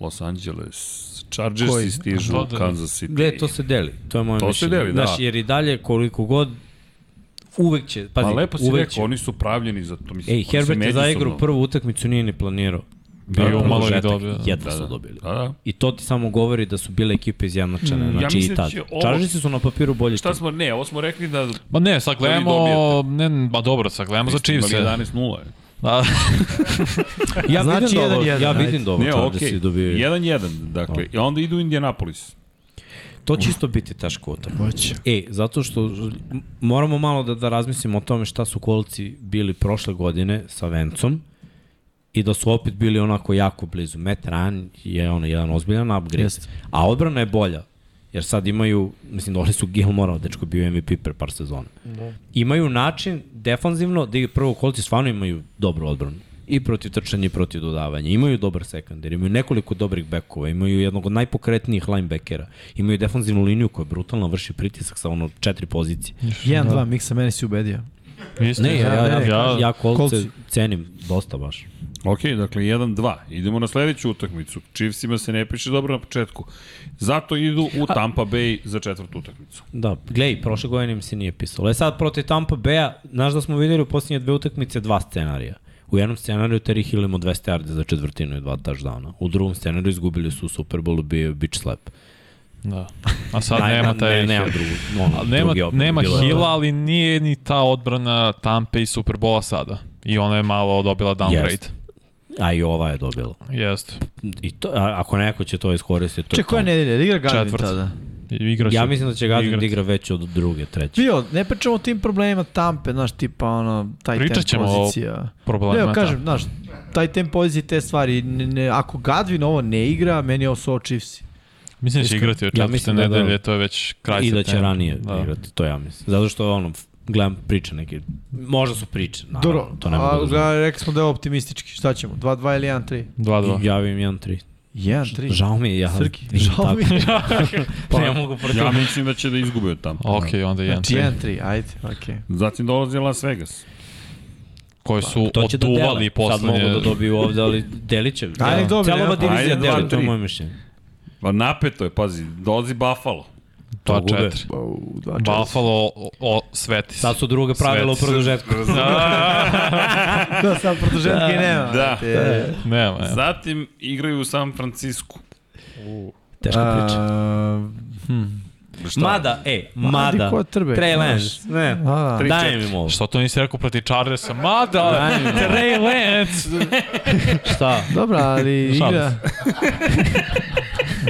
A: Los Angeles, Chargers
E: Koji?
A: Koji? stižu
C: Pa
A: u
C: da.
A: Kansas City.
B: Gle, to se deli, to je moje
A: To se
B: mišljenje.
A: deli, da.
B: Znaš, jer i dalje koliko god uvek će, pazi,
A: Pa lepo si
B: uvek
A: rekao, oni su pravljeni za to. Mislim,
B: Ej,
A: oni su
B: Herbert je za igru
A: međusobno-
B: prvu utakmicu nije ni planirao.
C: Bio
B: Prvi
C: umalo i
B: produžetak,
C: dobio.
A: Da,
B: Jedva su
A: da.
B: dobili.
A: Da, da.
B: I to ti samo govori da su bile ekipe izjednačene, mm,
A: ja
B: znači ja
A: mislim
B: i
A: da
B: tad.
A: će
B: Ovo...
A: ovo-
B: Čaržici su na papiru bolji
A: Šta
B: tim.
A: smo, ne, ovo smo rekli da...
C: Ma ne, sad gledamo, ne, ma dobro, sad gledamo za Chiefs.
A: Imali 11-0. da je.
C: Da,
B: Ja
E: Znači
B: vidim dobro,
E: jedan,
B: ja
E: jedan,
B: vidim da
E: ajde.
B: dobro
A: da Ne,
B: Chargersi
A: okej.
B: okay. dobijaju.
A: 1-1, dakle. I onda idu u Indianapolis.
B: To će isto biti teško utakmica.
E: Hoće.
B: E, zato što m- moramo malo da, da razmislimo o tome šta su kolci bili prošle godine sa Vencom i da su opet bili onako jako blizu. Matt Ryan je ono jedan ozbiljan upgrade,
E: Jeste.
B: a odbrana je bolja. Jer sad imaju, mislim, dole su Gilmore, dečko je bio MVP pre par sezona. Da. Imaju način defanzivno da i prvo kolci stvarno imaju dobru odbranu. I protiv trčanja i protiv dodavanja. Imaju dobar sekandar, imaju nekoliko dobrih bekova, imaju jednog od najpokretnijih linebackera, imaju defanzivnu liniju koja brutalno vrši pritisak sa ono četiri pozicije.
E: 1-2, Miksa, mene si ubedio.
C: isto.
B: Ne, ja, ja, ja, ja kolce
E: Colts-
B: cenim dosta baš.
A: Ok, dakle 1-2. Idemo na sledeću utakmicu. Chiefsima se ne piše dobro na početku. Zato idu u Tampa Bay za četvrtu utakmicu.
B: Da, glej, prošle godine im se nije pisalo. E sad, protiv Tampa Bay-a, znaš da smo videli u posljednje dve utakmice dva scenarija. U jednom scenariju Terry Hill imao 200 yardi za četvrtinu i dva touchdowna. U drugom scenariju izgubili su u Super Bowlu, bio je bitch slap.
C: Da. A sad
B: Naj-
C: nema
B: na-
C: taj...
B: Ne, nema drugu. Ono,
C: Ali nema,
B: drugi opet
C: nema
B: bilo je-
C: Hila, ali nije ni ta odbrana Tampe i Superbola sada. I ona je malo dobila downgrade.
B: Jest. A i ova je dobila.
C: Jeste.
B: I to, a, ako neko će to iskoristiti, to je
E: Če, koja
B: to.
E: nedelja? Da igra Galvin
C: Četvrt.
E: tada?
C: Igra
B: Ja
C: se-
B: mislim da će Gadin da
C: igrati.
B: igra već od druge, treće.
E: Bio, ne pričamo o tim problemima tampe, znaš, tipa ono, taj
C: Pričat
E: temp
C: ćemo o
E: pozicija.
C: problema,
E: Ne, evo, kažem,
C: da.
E: znaš, taj temp pozicija i te stvari, ne, ne, ako Gadvin ovo ne igra, meni je ovo su ovo Chiefs.
C: Mislim da će igrati od
B: Ja
C: četvrte
B: mislim da da.
C: nedelje, to je već kraj
B: I da će
C: septembra.
B: ranije
C: Da.
B: igrati, to ja mislim. Zato što ono, f- gledam priče neke, možda su priče, naravno,
E: Dobro,
B: to ne mogu da znam.
E: a, rekli smo da je optimistički, šta ćemo, 2-2 ili 1-3?
C: 2-2.
B: Ja im 1-3.
E: 1-3.
B: Žao mi je, ja...
E: Srki, žao mi je.
B: Pa, ne mogu protiv.
A: Ja mislim da će da izgube od tamo.
C: Ok, onda je
E: Znači
C: 1-3.
E: 1-3, ajde, okej.
A: Zatim dolazi Las Vegas.
C: Koji su
B: To će da
C: oduvali
B: dele. Sad
C: poslednje.
B: mogu da dobiju ovde, ali delit će.
E: Ajde, nek dobiju,
B: Cela ova
E: ja.
B: divizija
A: Ajde, dva,
B: deli, to je
A: tri.
B: moje mišljenje.
A: Pa napeto je, pazi, dolazi Buffalo.
B: To gube.
C: 2-4.
E: Wow, dva časa.
C: Buffalo o, o, sveti se.
B: Sad su druga pravila u
C: Sveti.
B: produžetku.
E: Da, sad produženka i nema.
A: Da.
E: E,
C: Nema, nema.
A: Zatim igraju u San Francisco.
B: Teška priča.
E: a,
B: Mada, e,
E: Mladi
B: mada,
E: quarterback,
B: Trey
E: znaš.
B: Lance, ne,
E: A,
A: Tri,
B: dajem
A: četiri.
B: im ovo.
C: Što to nisi rekao proti Chargersa? Mada, da, Trey Lance.
B: Šta?
E: Dobra, ali
C: Šalim
E: igra...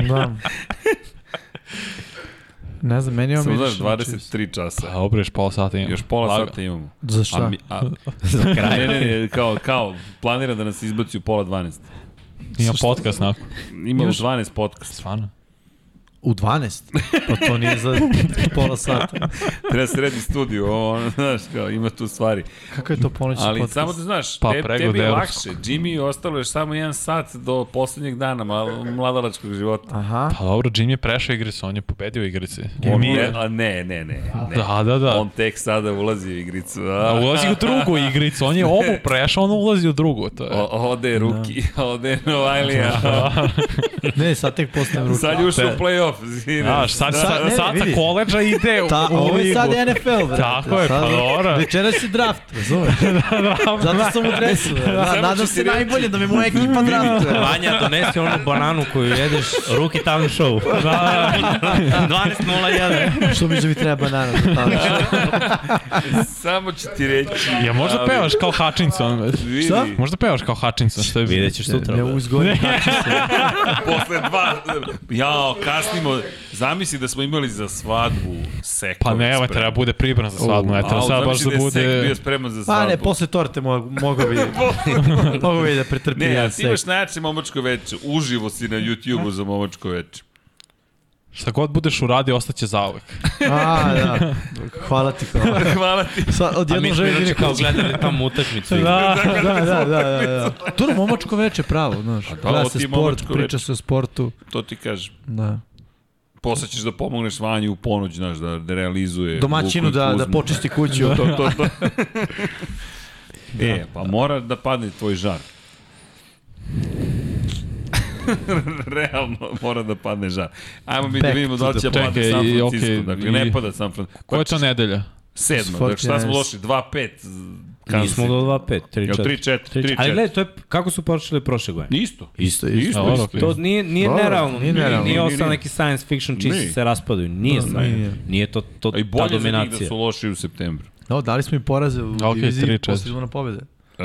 E: da. Ne znam, meni je ovo
A: Samo
E: miriše
A: znaš,
E: na Chiefs.
A: 23
C: Pa
A: časa.
C: obriš pola sata ima.
A: Još pola
C: Laga.
A: sata imamo.
E: Za šta?
A: A, mi, a,
B: Za kraj.
A: ne, ne, ne, kao, kao, planira da nas izbaci u pola 12.
C: Ima podcast nakon.
A: Imamo 12 podcast.
C: Stvarno.
E: U 12? Pa to nije za pola sata.
A: Treba da sredi studiju, ovo, ono, znaš, kao, ima tu stvari.
E: Kako je to ponoćni
A: Ali
E: podcast?
A: samo da znaš,
C: Pa,
A: pa, te,
C: pregled
A: tebi je lakše.
C: evropskog.
A: Jimmy, ostalo je samo jedan sat do poslednjeg dana mal, mladalačkog života.
E: Aha.
C: Pa dobro, Jim je prešao igricu, on je pobedio igrici.
A: On,
C: Mi
A: ne,
C: je...
A: a ne, ne, ne. ne.
C: Da, da, da.
A: On tek sada ulazi u igricu.
C: A
A: A,
C: ulazi u drugu igricu, on je ovu prešao, on ulazi u drugu, to je.
A: o, ode Ruki,
C: Da.
A: ode Novajlija.
E: Ne, sad tek postajem ručan.
A: Sad je ušao u play-off. zine.
C: Da. Znaš, sad, sad,
E: ne,
C: sad sa
E: vidi.
C: koleđa ide u,
E: Ta,
C: u
E: ovo je
C: ligu.
E: sad Da, NFL, brate.
C: Tako je,
E: Sad-
C: pa dobro.
E: Večeras je draft, razumeš? Zato sam u dresu. Da,
A: Samo
E: nadam
A: ću
E: se
A: ti reći.
E: najbolje da me moja ekipa draftuje.
B: Vanja, donesi onu bananu koju jedeš, ruki tamo show. Da, 12.01.
E: Što mi živi treba da banana za tamo.
A: Samo ću ti reći.
C: da. Ja možda
A: Ali-
C: pevaš kao Hutchinson.
A: Vidi,
E: Šta?
C: Možda pevaš kao Hutchinson, što je
B: Vidjet ćeš sutra. da.
E: Ne
B: brate.
E: uzgojem
A: Posle dva... Jao, kasnimo. Zamisli da smo imali za svadbu sekove.
C: Pa ne, ovo
A: spremne.
C: treba bude pribran za svadbu, eto,
A: Au,
C: sad baš
A: zamisli
C: da
A: je sek
C: bude...
A: bio spreman za
E: Pa
A: svadbu.
E: ne, posle torte mogu, mogu bi, mogu bi da pretrpi
A: Ne, a
E: jedan
A: ti imaš
E: seks.
A: najjače momačko veče. Uživo si na YouTube-u za momačko veče.
C: Šta god budeš uradio, ostaće zauvek.
E: A, da. Hvala ti, hvala.
A: Hvala ti.
E: Sa,
B: A mi
E: odjednom
B: smo
E: želim
B: inače
E: da
B: kao gledali tamo utakmicu.
E: Da, da, da, da, da, da. To je momačko veče pravo, znaš.
A: da,
E: Gleda
A: ovo
E: se
A: ti je
E: sport,
A: momačko
E: priča
A: veče.
E: se o sportu.
A: To ti kažem.
E: Da.
A: Posle ćeš da pomogneš Vanji u ponoć, znaš, da, da realizuje...
E: Domaćinu
A: Vuku i
E: da, da
A: Kuzmu.
E: počisti kuću. da.
A: To, to, to. E, pa mora da padne tvoj žar. Realno mora da padne žar. Ajmo mi da
E: Back
A: vidimo da li će
C: the-
A: padne
C: Čekaj,
A: San
C: i-
A: Francisco.
C: okej,
A: dakle,
C: i-
A: ne pada San Francisco.
C: Koja je to nedelja?
A: Sedma,
E: Sport
A: dakle šta smo
E: Giants.
A: došli? 2-5.
B: Nismo do 2-5,
A: Jel
B: 3-4.
A: 3-4, 3-4.
B: Ali gledaj, to je, kako su počeli prošle godine?
A: Isto.
E: Isto,
A: Isto,
C: Dobro,
A: isto.
C: okej.
B: To nije, nije
E: Dobro,
B: nerealno,
E: nije
B: nije, nije,
E: nerealno.
B: nije
A: Nije,
B: ostao
A: nije.
B: neki science fiction
A: Nije.
B: čisti se raspadaju, nije
E: Da,
B: science,
E: nije.
B: nije to, to
A: A i
B: ta
A: bolje za njih da
B: dominacija.
A: su loši u septembru.
E: No, Da, dali smo im poraze u
C: Ok,
E: diviziji
C: tri,
E: posle
C: četiri.
E: izvona pobjede.
A: E,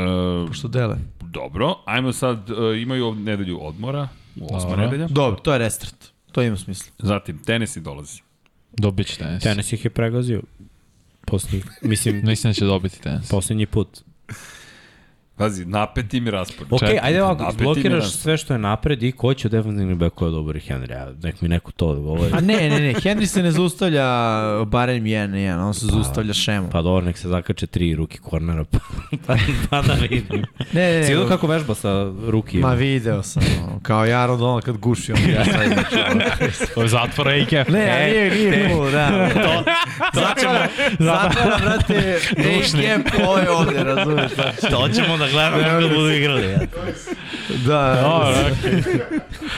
E: Što dele.
A: dobro, ajmo sad, e, imaju ovu nedelju odmora, u osma
C: Dobro.
A: nedelja.
E: Dobro, to je restart. To ima smisla.
A: Zatim, Tennessee dolazi.
C: Dobit će tenis.
B: Tenis ih je pregazio. Posljednji, mislim,
C: Mislim da će dobiti tenis.
B: posljednji put.
A: Pazi, napet im je raspad.
B: Ok,
C: Četvrti,
B: ajde ovako,
A: napet im je
B: blokiraš
A: rast.
B: sve što je napred i ko će od defensivnih bekova dobri Henry, a nek mi neko to odgovori.
E: A ne, ne, ne, Henry se ne zaustavlja barem jedan, jedan, on se zaustavlja šemu.
B: Pa dobro, nek se zakače tri ruki kornera, pa,
A: E,
B: pa, pa da vidim.
E: Ne, ne,
B: Si vidio
E: ne,
B: kako vežba sa ruki?
E: Ma video sam, ono, kao Jaro Donald kad guši on. Ja sad neću, ono.
C: To je zatvor
B: E,
C: AKF.
E: Ne, a nije, nije cool, da. E, To, zatvara, zatvara, brate,
C: Dušni.
E: A-Camp, ovo je ovde, razumeš? Da,
B: to ćemo da gledamo kako budu igrali. Ja.
E: da,
C: Dobro, okej.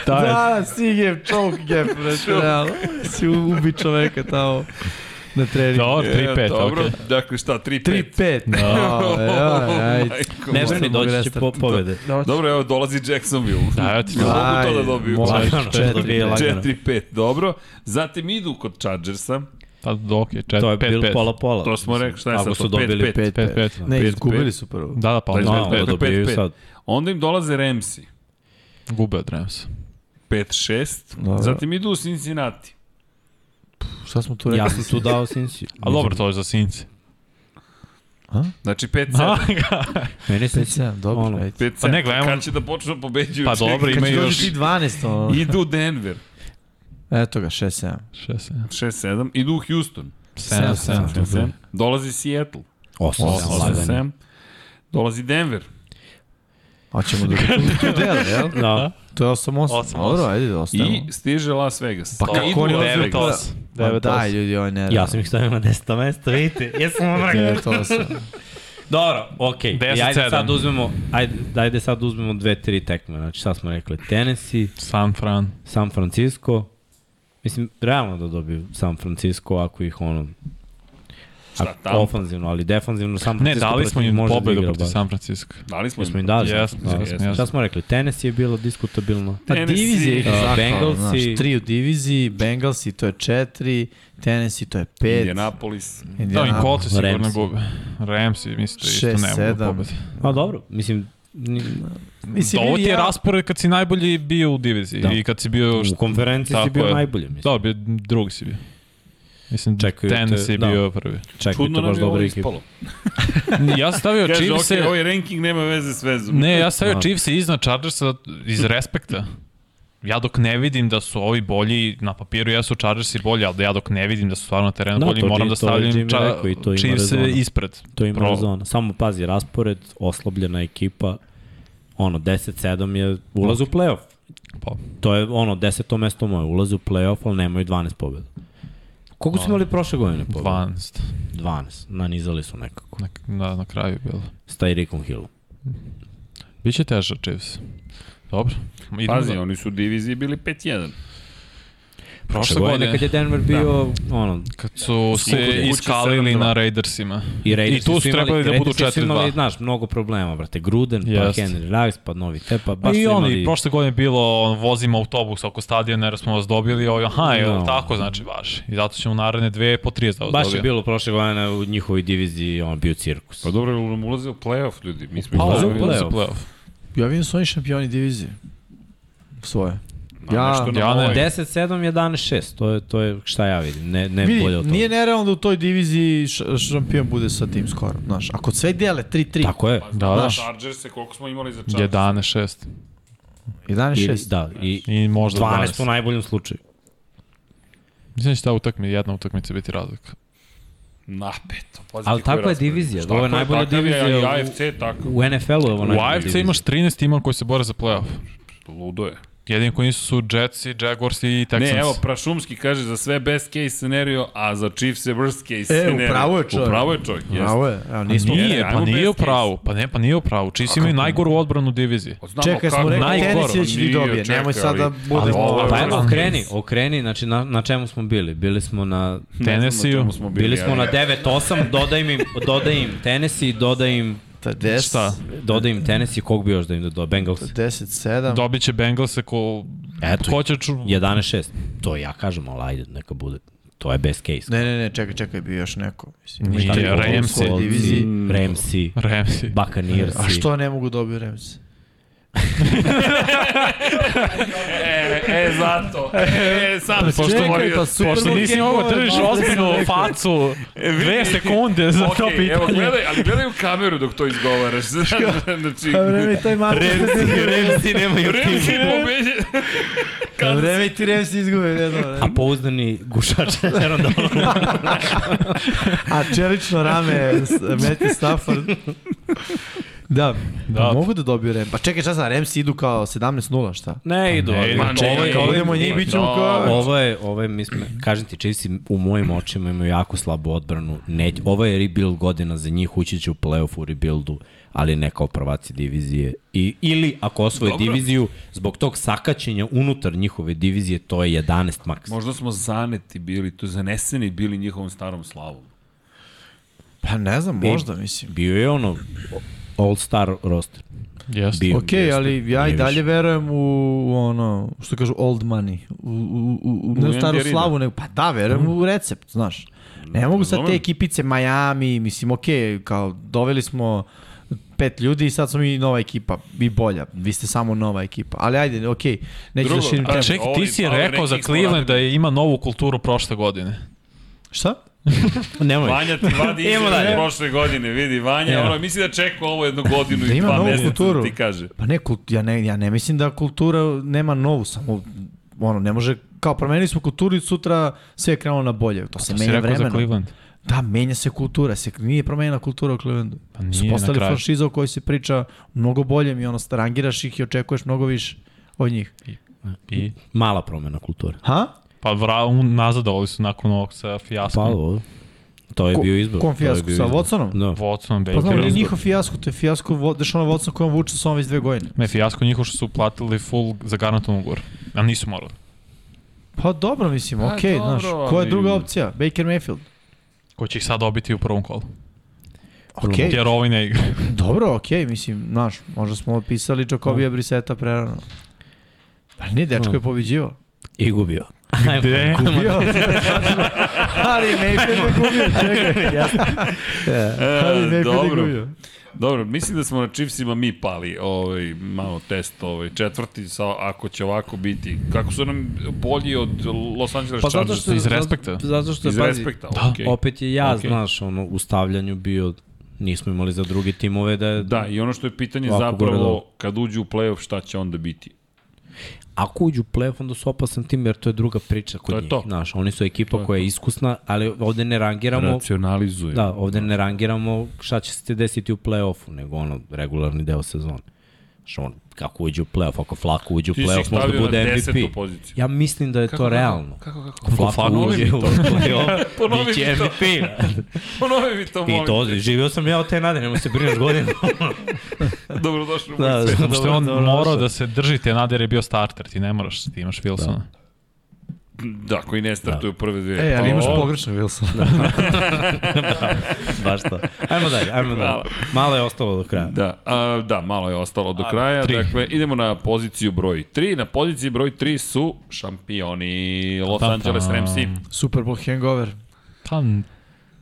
C: Da, je-
E: da, si gap, choke gap, brate, realno. Si u- ubi čoveka tamo na treningu.
C: da, Dobro, 3-5, okej.
A: Dakle, šta, 3-5?
E: 3-5. Da, ja, ajde.
B: Ne
E: Možda
B: brini,
E: mogu
B: doći će
E: restart.
B: po pobede.
A: Dobro, evo, dolazi Jacksonville.
C: Da, evo ti to.
A: Mogu to da
E: Ajde,
A: dobiju.
E: mogu.
B: Lagano,
E: Četiri,
B: četiri,
A: da
B: dobije lagano.
A: 4-5, dobro. Zatim idu kod Chargersa.
C: Tad, ok, 4-5-5.
B: To je bilo pola-pola.
A: To smo rekli, šta je
B: Ako
A: sad
B: su
A: to?
B: dobili
A: 5-5.
E: 5-5.
C: 5-5.
E: Ne,
A: Pet,
E: izgubili
A: pet.
E: su prvo.
C: Da, da, pa onda
A: Da,
B: No,
A: pet,
B: ovo
A: pet,
B: dobijaju
A: pet.
B: sad.
A: Onda im dolaze Ramsey.
C: gube od Ramsa.
A: 5-6.
E: Dobro.
A: Zatim idu u Cincinnati.
E: Šta smo tu rekli?
B: Ja sam tu dao Sinsi.
C: A dobro, to je za Sinci.
A: Znači
C: Da.
A: 5-7.
B: Meni se
E: 5-7, dobro,
B: Ono,
E: ajde.
A: 5-7.
C: Pa ne, gledamo-
A: Kad će da počnu da pobeđuju?
C: Pa dobro,
E: Kad
C: ima
E: će
C: još
E: dođe ti 12, ono.
A: Idu Denver.
E: Eto ga, 6-7.
C: 6,
A: 6-7. Idu Houston.
C: 7, 7.
A: 7. Dolazi Seattle.
B: 8-7.
A: 8-7. Dolazi Denver.
E: Hoćemo da tu dele, jel?
B: Da.
E: To je 8-8.
C: 8-8.
E: Dobro, ajde da ostavimo.
A: I stiže Las Vegas.
E: Pa kako
A: idu
E: oni
A: u Las
E: odlaze?
A: Vegas.
C: 9-8.
E: Pa daj,
C: 9-8.
E: ljudi, ovo je nerad.
B: Ja sam ih stavio na 10. mesto, vidite. Jesam
A: Da.
B: vam rekao.
E: 9-8.
B: Dobro, okej. Okay.
C: 10-7.
B: Ajde sad uzmemo, ajde, ajde sad da uzmemo dve, tri tekme. Znači sad smo rekli Tennessee,
C: San Fran.
B: San Francisco. Mislim, realno da dobiju San Francisco ako ih ono...
A: Šta
B: Tam.
A: tamo?
B: Ofanzivno, ali defanzivno San
C: Ne,
B: Francisco
C: dali smo
B: protiv
C: im
B: može da
C: pobedu
B: igra
C: protiv
B: baš.
C: San Francisco.
A: Dali smo
B: Jesmo
A: im.
B: im dali.
C: Jesmo,
B: da,
C: jesmo,
B: jesmo.
C: jesmo.
B: Šta smo rekli? Tennessee je bilo diskutabilno.
E: Pa
A: Tennessee.
E: divizija ih je
A: Uh,
E: zakvala,
B: Bengalsi-
E: znaš, tri u diviziji, Bengalsi to je četiri, Tennessee to je pet,
A: Indianapolis.
C: Da, i
E: Indianapolis
C: Kolce sigurno
B: Ramsi.
C: gube. Ramsi, mislite, da isto
E: Šest,
C: ne mogu
E: sedam.
C: pobedi.
B: A dobro, mislim, ni-
E: Mislim,
C: Da, Ovo ti je
E: ja-
C: raspored kad si najbolji bio u diviziji
B: Da.
C: i kad si bio...
B: u konferenciji si
C: tako
B: bio
C: je.
B: najbolji. Mislim.
C: Da, bio, drugi si bio. Mislim,
B: Čekaju te-
C: Tennessee je
B: da.
C: bio prvi.
B: Čekaj,
A: Čudno
B: to
A: nam
B: baš
A: je ovo
B: dobra ekipa.
A: ispalo.
C: Ja sam stavio
A: Kaže,
C: Chiefs-e...
A: okej, ovaj ranking nema veze s vezom.
C: Ne, ja stavio
B: Da.
C: Chiefs-e iznad Chargersa iz respekta. Ja dok ne vidim da su ovi bolji, na papiru jesu Chargersi bolji, ali da ja dok ne vidim da su stvarno na terenu
B: Da,
C: bolji,
B: to
C: moram
B: Jim-
C: da
B: to je
C: stavljam
B: Jimmy
C: ča-
B: rekao i to ima
C: Chiefs-e
B: rezona.
C: ispred.
B: To ima
C: Pro-
B: rezona. Samo pazi, raspored, oslabljena ekipa, ono, 10-7 je ulaz u playoff.
C: Pa,
B: To je ono, 10. mesto moje, ulaz u playoff, ali nemaju 12 pobjeda. Koliko su imali prošle godine pobjeda?
C: 12.
B: 12. Nanizali su nekako.
C: Na, na, na kraju je bilo.
B: S Tyreekom Hillom.
C: Biće teže Chiefs. Dobro. Idemo
A: Pazi,
C: da-
A: oni su u diviziji bili 5-1.
C: prošle godine Da.
B: Kad je Denver bio, ono,
C: kad su
A: Kuće
C: se
A: sedam,
C: iskalili
A: dva.
C: na Raidersima.
B: i Raiders
C: I tu su
B: imali,
C: trebali da budu
B: Raidersi su imali,
C: 4-2.
B: znaš, mnogo problema, brate. Gruden,
C: Jest.
B: pa Henry Ruggs, pa novi te, pa baš
C: I
B: su
C: oni,
B: imali...
C: prošle godine je bilo, on, vozimo autobus oko stadiona jer smo vas dobili, ovo, aha, je
B: No.
C: tako, znači, baš. I zato ćemo naredne dve po 30 da vas
B: Baš je
C: dobijemo.
B: bilo prošle godine u njihovoj diviziji, on bio cirkus.
A: Pa dobro, jel nam ulaze u play-off, ljudi. Mi smo
B: Pa,
A: ih
B: ulaze u
A: dobili.
B: play-off.
C: Za play-off.
E: Ja vidim da su oni šampioni divizije. Svoje.
A: Ma,
E: Ja-
A: nešto nam
C: Ja ne.
A: ovaj-
B: 10-7, 11-6, to je, to je šta ja vidim, ne, ne
E: Vidi,
B: bolje od toga.
E: nije nerealno da u toj diviziji š- šampion bude sa tim skorom, znaš. Ako sve dele 3-3,
B: Tako je.
A: Pa,
C: Da,
A: da,
C: da.
A: da. Chargers-e, koliko smo imali za Chargers?
C: 11-6.
E: 11-6.
B: I, da, i
C: I možda
B: 12 u
C: 12.
B: najboljem slučaju.
C: Mislim da će ta utakmi, jedna utakmica biti razlika.
A: Napeto. Pazi
B: Ali
A: ti koji
B: takva je
A: raspored.
B: divizija,
A: Šta,
B: ovo je
A: ko
B: najbolja
A: takav je,
B: divizija
A: a
B: u-
A: I AFC je tako.
B: U NFL-u je ovo
C: U
B: najbolje.
C: AFC imaš 13 tima koji se bore za play-off.
A: Ludo je.
C: Jedini koji nisu su Jets i Jaguars i Texans.
A: Ne, evo, pa Prašumski kaže za sve best case scenario, a za Chiefs je worst case scenario.
E: upravo E, je čovjek.
A: Upravo je čovjek, da, jeste.
E: Bravo je, evo, nismo...
C: Nije,
A: ajmo
C: pa nije u
A: best case.
C: pravu. Pa ne, pa nije u pravu. Chiefs imaju najgoru odbranu divizije.
A: Pa Znamo
E: Čekaj,
A: kako-
E: smo rekli,
C: najgore.
E: tenis je će ti
A: Nije,
E: dobije,
A: čekaj,
E: nemoj sad da
A: ali-
E: budemo...
C: Ali ovo je
B: Pa evo,
C: vrlo blizu.
B: okreni, okreni, znači na, na čemu smo bili? Bili smo na...
A: Ne znam na
C: Tennessee-u.
A: čemu smo
B: Bili smo
A: ali-
B: na 9-8, dodaj im, dodaj im Tennessee, dodaj im,
E: Ta des-
C: Šta?
B: dodaj im Tennessee, kog bi još da im dodao? Bengals.
E: 10-7.
C: Dobit će Bengals ako
B: Eto.
C: ko će ču...
B: 11-6. To ja kažem, ali ajde, neka bude. To je best case.
E: Ne, ne, ne, čekaj, čekaj, bio još neko. Mislim,
C: Nije,
E: Šta je ovo u
C: Ramsey.
E: svojoj diviziji?
B: Ramsey,
C: Ramsey.
B: Buccaneersi.
E: A što ne mogu da dobiju Remzi?
A: E, e, zato. E, sad, pošto
E: čekaj,
A: moram
E: pa
A: da-
E: super
C: Pošto nisi mogao držiš ozbiljnu facu
A: vidi,
C: dve
A: vidi.
C: sekunde za to
A: Okej, Evo,
C: pitanje.
A: gledaj, ali gledaj u kameru dok to izgovaraš. Znači,
E: Pa vreme i taj Marko.
B: Ramsey nemaju
A: Remzi pobeđe.
E: Pa vreme i ti Remzi izgube, ne
B: A
E: znam.
B: pouzdani gušač Aaron
E: A čelično rame, s- Matthew Stafford. Da, da.
C: Da.
E: mogu da dobiju Remzi. Pa čekaj, šta sad, Remzi idu kao 17-0, šta?
B: Ne, idu.
C: Ne,
B: ali-
C: idu.
B: Ma,
A: čekaj,
B: ovo je-
A: kad
B: ovo je-
E: budemo njih, bit ćemo
A: Da.
E: kao-
B: Ovo je, ovo je, mi smo, kažem ti, Chiefs u mojim očima imaju jako slabu odbranu. Ne, ovo je rebuild godina za njih, ući će u playoff u rebuildu, ali ne kao prvaci divizije. I, ili ako osvoje
A: Dobro.
B: diviziju, zbog tog sakaćenja unutar njihove divizije, to je 11 maks.
A: Možda smo zaneti bili, to zaneseni bili njihovom starom slavom.
E: Pa ne znam, možda, mislim.
B: Bio je ono all-star roster.
C: Jeste.
B: Bio,
E: Ok, ali ja i
B: Nije
E: dalje
B: više.
E: verujem u, u ono, što kažu old money, u, u, u, u ne u staru
A: Andy Reida.
E: slavu, nego, pa da, verujem u recept, znaš. Ne mogu sad te
A: Razumem.
E: ekipice Miami, mislim, ok, kao doveli smo pet ljudi i sad smo mi nova ekipa i bolja. Vi ste samo nova ekipa. Ali ajde, ok, neću
A: Drugo,
E: da širim
A: a
E: temu.
C: Ček,
A: Ovo
C: ti
A: je-
C: si
A: ovo je
C: rekao za
A: ranking smo
C: Cleveland
A: radili.
C: da je ima novu kulturu prošle godine.
E: Šta?
B: Nemoj.
A: Vanja ti vadi
B: Idemo
A: izjave
B: dalje.
A: prošle godine, vidi, Vanja,
B: Evo.
A: ono, misli da čeka ovo jednu godinu
E: Da
A: i
E: ima
A: dva
E: novu
A: meseca,
E: kulturu.
A: ti kaže.
E: Pa ne, kult, ja, ne, ja ne mislim da kultura nema novu, samo ono, ne može, kao promenili smo kulturu i sutra sve je krenulo na bolje. To se
C: To si
E: menja
C: rekao za
E: vremenom.
C: Cleveland.
E: Da, menja se kultura, se nije promenjena kultura u Clevelandu.
C: Pa nije,
E: Su
C: na
E: postali
C: kraju.
E: franšiza o kojoj se priča mnogo boljem i ono, rangiraš ih i očekuješ mnogo više od njih.
C: I,
B: Mala promena kulture.
E: Ha?
C: pa vra, un, nazadovali su nakon ovog sa
B: Pa,
C: fijaskom.
B: ovo. To je
E: Ko-
B: bio izbor. To
E: kom
B: je
E: fijasko,
B: bio
E: sa
B: izbor.
E: Watsonom?
B: Da.
C: Watson, Baker.
E: Pa znam, ali
B: izbor.
E: njihov fijasko, to je fijasko Vo- Dešona Watson kojom vuče sa ovom već dve godine.
C: Ne, fijasko njihov što su platili full za garantan ugovor. A nisu morali.
E: Pa dobro, mislim,
A: Pa
E: okej,
A: dobro,
E: znaš. Koja je
A: ali-
E: druga opcija? Baker Mayfield.
C: Ko će ih sad dobiti u prvom kolu.
E: Okej,
C: Jer ovaj ne igra.
E: dobro, okej, mislim, znaš, možda smo opisali Čokobija
C: Da.
E: Briseta prerano. Pa ne,
B: Da.
E: dečko je pobeđivao.
B: I gubio.
C: Gde?
E: Gubio. ali Mayfield je gubio, čekaj. jasno. Ali
A: E,
E: Mayfield je
A: dobro,
E: gubio.
A: dobro, mislim da smo na Chiefsima mi pali ovaj, malo test, ovaj, četvrti, sa, ako će ovako biti. Kako su nam bolji od Los Angeles
D: Pa zato
A: Chargers?
D: što,
C: iz respekta.
D: Zato, zato što,
A: Iz
D: pazi,
A: respekta, ovaj.
C: Da,
A: okej.
B: Opet je ja,
A: Okej.
B: znaš, ono, u stavljanju bio, nismo imali za druge timove da je
A: Da, i ono što je pitanje
B: Ovako gore dole.
A: zapravo, kad uđu u playoff, šta će onda biti?
B: Ako uđu u playoff, onda su opasan tim, jer to je druga priča kod
A: To je
B: njih.
A: to.
B: Znaš, oni su ekipa koja je iskusna, ali ovde ne rangiramo...
A: Racionalizuje.
B: Da, ovde ne rangiramo šta će se desiti u play-offu, nego ono, regularni deo sezone. Što on, kako uđe u play-off, ako Flako uđe u
A: Ti si ih
B: play-off, možda
A: stavio na
B: bude
A: desetu
B: MVP.
A: poziciju.
B: Ja mislim da je to realno. Kako, kako? Flako, Flako
A: Ponovi
B: uđe
A: mi
B: u
A: to.
B: play-off,
A: Ponovi
B: bit će
A: mi to.
B: MVP.
A: Ponovi mi to,
B: I
A: molim.
B: to, živio sam ja od te nade, nemoj se brineš godinu.
A: Dobrodošli u
B: Da,
A: da,
B: da.
C: Što je on
B: Dobro, dobro,
C: morao
B: dobro.
C: da se drži te nade jer je bio starter. Ti ne moraš, ti imaš Wilsona.
A: da, koji ne startuju da. prve dve.
E: E, ali imaš
A: O,
E: pogrešno, Wilson. Da.
B: Baš to. Ajmo dalje, ajmo dalje.
A: Hvala.
B: Malo je ostalo do kraja.
A: Da, a, da, malo je ostalo do kraja.
C: tri.
A: Dakle, idemo na poziciju broj 3. Na poziciji broj 3 su šampioni Los
C: Tam, tam.
A: Angeles Ramsi.
E: Super Bowl hangover.
C: Pa,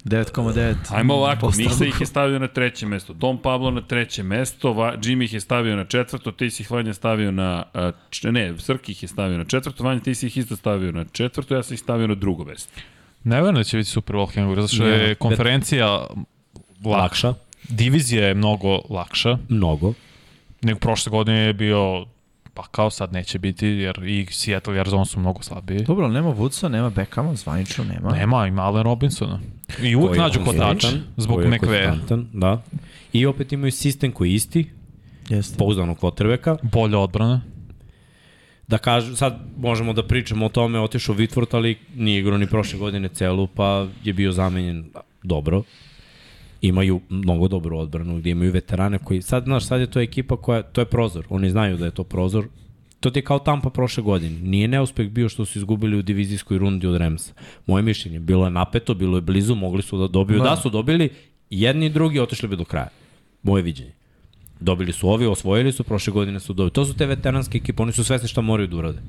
E: 9,9.
A: Ajmo ovako,
E: Postalo.
A: Miksa ih je stavio na treće mesto, Don Pablo na treće mesto, Va, Jimmy ih je stavio na četvrto, ti si ih Vanja stavio na, a, č- ne, Srki ih je stavio na četvrto, Vanja ti si ih isto stavio na četvrto, ja sam ih stavio na drugo mesto.
C: ne verujem da će biti Super Bowl hangover, zato što
B: Ne, Pa,
C: je
B: bet-
C: konferencija lakša.
B: Lakša,
C: Divizija je mnogo lakša,
B: mnogo.
C: nego prošle godine je bio pa kao sad neće biti, jer i Seattle i Arizona su mnogo slabiji.
E: Dobro, ali nema Woodsa, nema Beckama, zvanično nema.
C: Nema, i Malen Robinsona. I uvek
B: Koji je
C: nađu kotač
B: konstantan,
C: zbog
B: koji je
C: McVeja.
B: konstantan, Da. I opet imaju sistem koji je isti,
E: Jeste.
B: pouzdanog kvotrbeka.
C: Bolja odbrana.
B: Da kažu, sad možemo da pričamo o tome, otišao Vitvort, ali nije igrao ni prošle godine celu, pa je bio zamenjen dobro. Imaju mnogo dobru odbranu, gde imaju veterane koji, sad, znaš, sad je to ekipa koja, to je prozor, oni znaju da je to prozor, To ti je kao Tampa prošle godine. Nije neuspeh bio što su izgubili u divizijskoj rundi od Remsa. Moje mišljenje, bilo je napeto, bilo je blizu, mogli su da dobiju. Da, da su dobili, jedni i drugi otišli bi do kraja. Moje viđenje. Dobili su ovi, osvojili su, prošle godine su dobili. To su te veteranske ekipe, oni su svesni šta moraju da urade.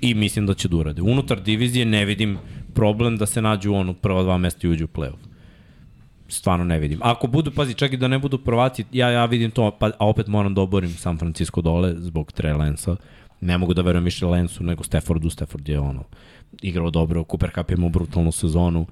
B: I mislim da će da urade. Unutar divizije ne vidim problem da se nađu ono prva dva mesta i uđu u play-off stvarno ne vidim. Ako budu, pazi, čak i da ne budu prvaci, ja, ja vidim to, pa, a opet moram da oborim San Francisco dole zbog Trey Lensa. Ne mogu da verujem više Lensu nego Staffordu. Stafford je ono, igrao dobro, Cooper Cup je imao brutalnu sezonu.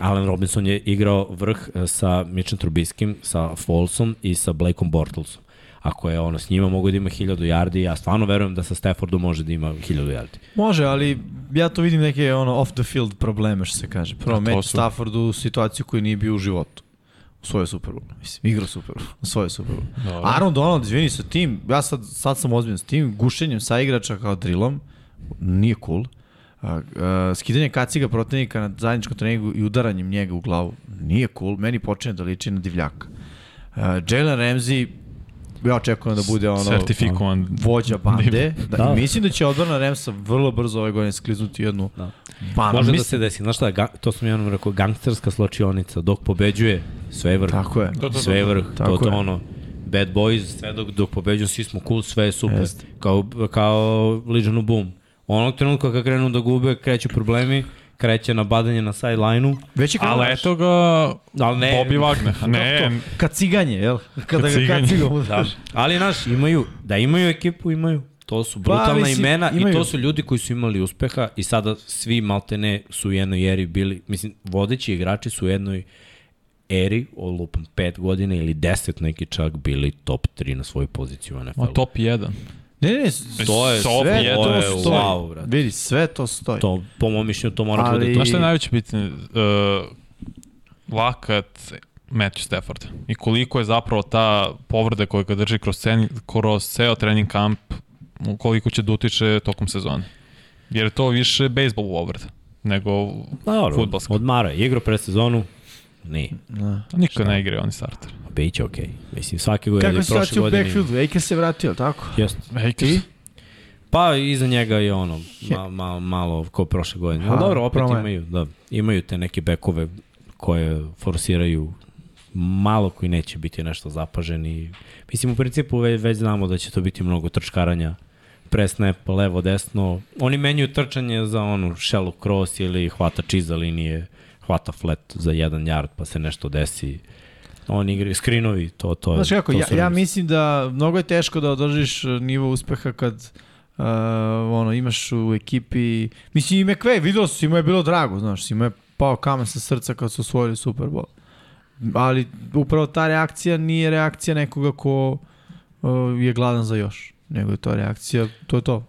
B: Alan Robinson je igrao vrh eh, sa Mitchem Trubiskim, sa Folsom i sa Blakeom Bortlesom. Ako je ono s njima mogu da ima 1000 yardi, ja stvarno verujem da sa Staffordom može da ima 1000 yardi.
E: Može, ali ja tu vidim neke ono off the field probleme što se kaže. Prvo
C: A to
E: meč
C: su-
E: Staffordu u situaciju koju nije bio u životu. U svojoj Super Bowl. Mislim, igra Super Bowl. U svojoj Super Bowl.
C: Dobro.
E: Aaron Donald, izvini, sa tim, ja sad, sad sam ozbiljan s tim, gušenjem sa igrača kao drilom, nije cool. A, a, skidanje kaciga protivnika na zajedničkom treningu i udaranjem njega u glavu, nije cool. Meni počinje da liči na divljaka. A, Jalen Ramsey, ja očekujem da bude ono
C: Certifikovan.
E: vođa bande.
B: Da.
E: Da, da. Mislim da će odbrana Remsa vrlo brzo ove godine skliznuti jednu da. banu.
B: Može da
E: Mislim-
B: se desi, znaš šta, ga, to sam jednom rekao, gangsterska sločionica, dok pobeđuje, sve je vrh.
E: Tako je.
A: to, to,
B: sve je vrh,
E: Tako
B: to, to
E: je.
B: ono, bad boys, sve dok, dok pobeđu, svi smo cool, sve je super. Jest. Kao, kao Legion u boom. Onog trenutka kad krenu da gube, kreću problemi, kreće nabadanje na sideline-u,
E: Već je krenuo.
C: Ali eto ga
B: ali ne,
C: Bobby Wagner. A
E: To,
C: Ne,
E: kaciganje, jel? Kada ga
C: Kaciganje.
E: kacigamo.
B: Da. Ali, znaš, da imaju, da imaju ekipu, imaju. To su
E: Pa, ali
B: brutalna pa,
E: si-
B: imena imaju.
E: imaju.
B: i to su ljudi koji su imali uspeha i sada svi maltene su u jednoj eri bili, mislim, vodeći igrači su u jednoj eri, olupam 5 godina ili 10 neki čak bili top 3 na svojoj poziciji u NFL-u.
C: Ma top 1.
E: Ne, ne, ne,
C: To je-
E: sve
C: to je-
E: to,
C: to je
E: stoji.
B: wow, brate.
E: Vidi, sve to stoji.
B: To, po mom mišljenju, to mora da
E: Ali-
B: bude
C: Znaš
B: top.
C: šta je najveće E, pitanje? Uh, lakat Matthew Stafford. I koliko je zapravo ta povreda koja ga drži kroz, cen, kroz ceo trening kamp, koliko će da utiče tokom sezone. Jer je to više bejsbol povreda nego
B: Dobro,
C: fudbalska.
B: Odmara je igro pred sezonu, nije.
C: Niko ne igra, oni starter.
B: Biće okej. Okay. Mislim, svake godine
E: Kako
B: ili
E: se
B: prošle
E: situacija u
B: godine.
E: backfieldu? Ejke se vratio, tako?
B: Jeste.
C: Lakers.
B: Pa iza njega je ono, ma, ma, malo ko prošle godine.
E: Ha,
B: Ha, dobro, opet
E: promaje.
B: imaju, da, imaju te neke bekove koje forsiraju malo koji neće biti nešto zapaženi. Mislim, u principu već, već znamo da će to biti mnogo trčkaranja. Presnap, levo, desno. Oni menjuju trčanje za onu shallow cross ili hvatač iza linije, hvata flat za jedan yard pa se nešto desi. Oni igraju skrinovi, to, to,
E: Znaš kako,
B: to
E: ja,
B: su
E: ja
B: oni-
E: mislim da mnogo je teško da održiš e, nivo uspeha kad uh, ono, imaš u ekipi... Mislim, i McVay, vidio su, ima je bilo drago, znaš, svima je pao kamen sa srca kad su osvojili Super Bowl. Ali upravo ta reakcija nije reakcija nekoga ko uh, je gladan za još, nego je to reakcija, to je to.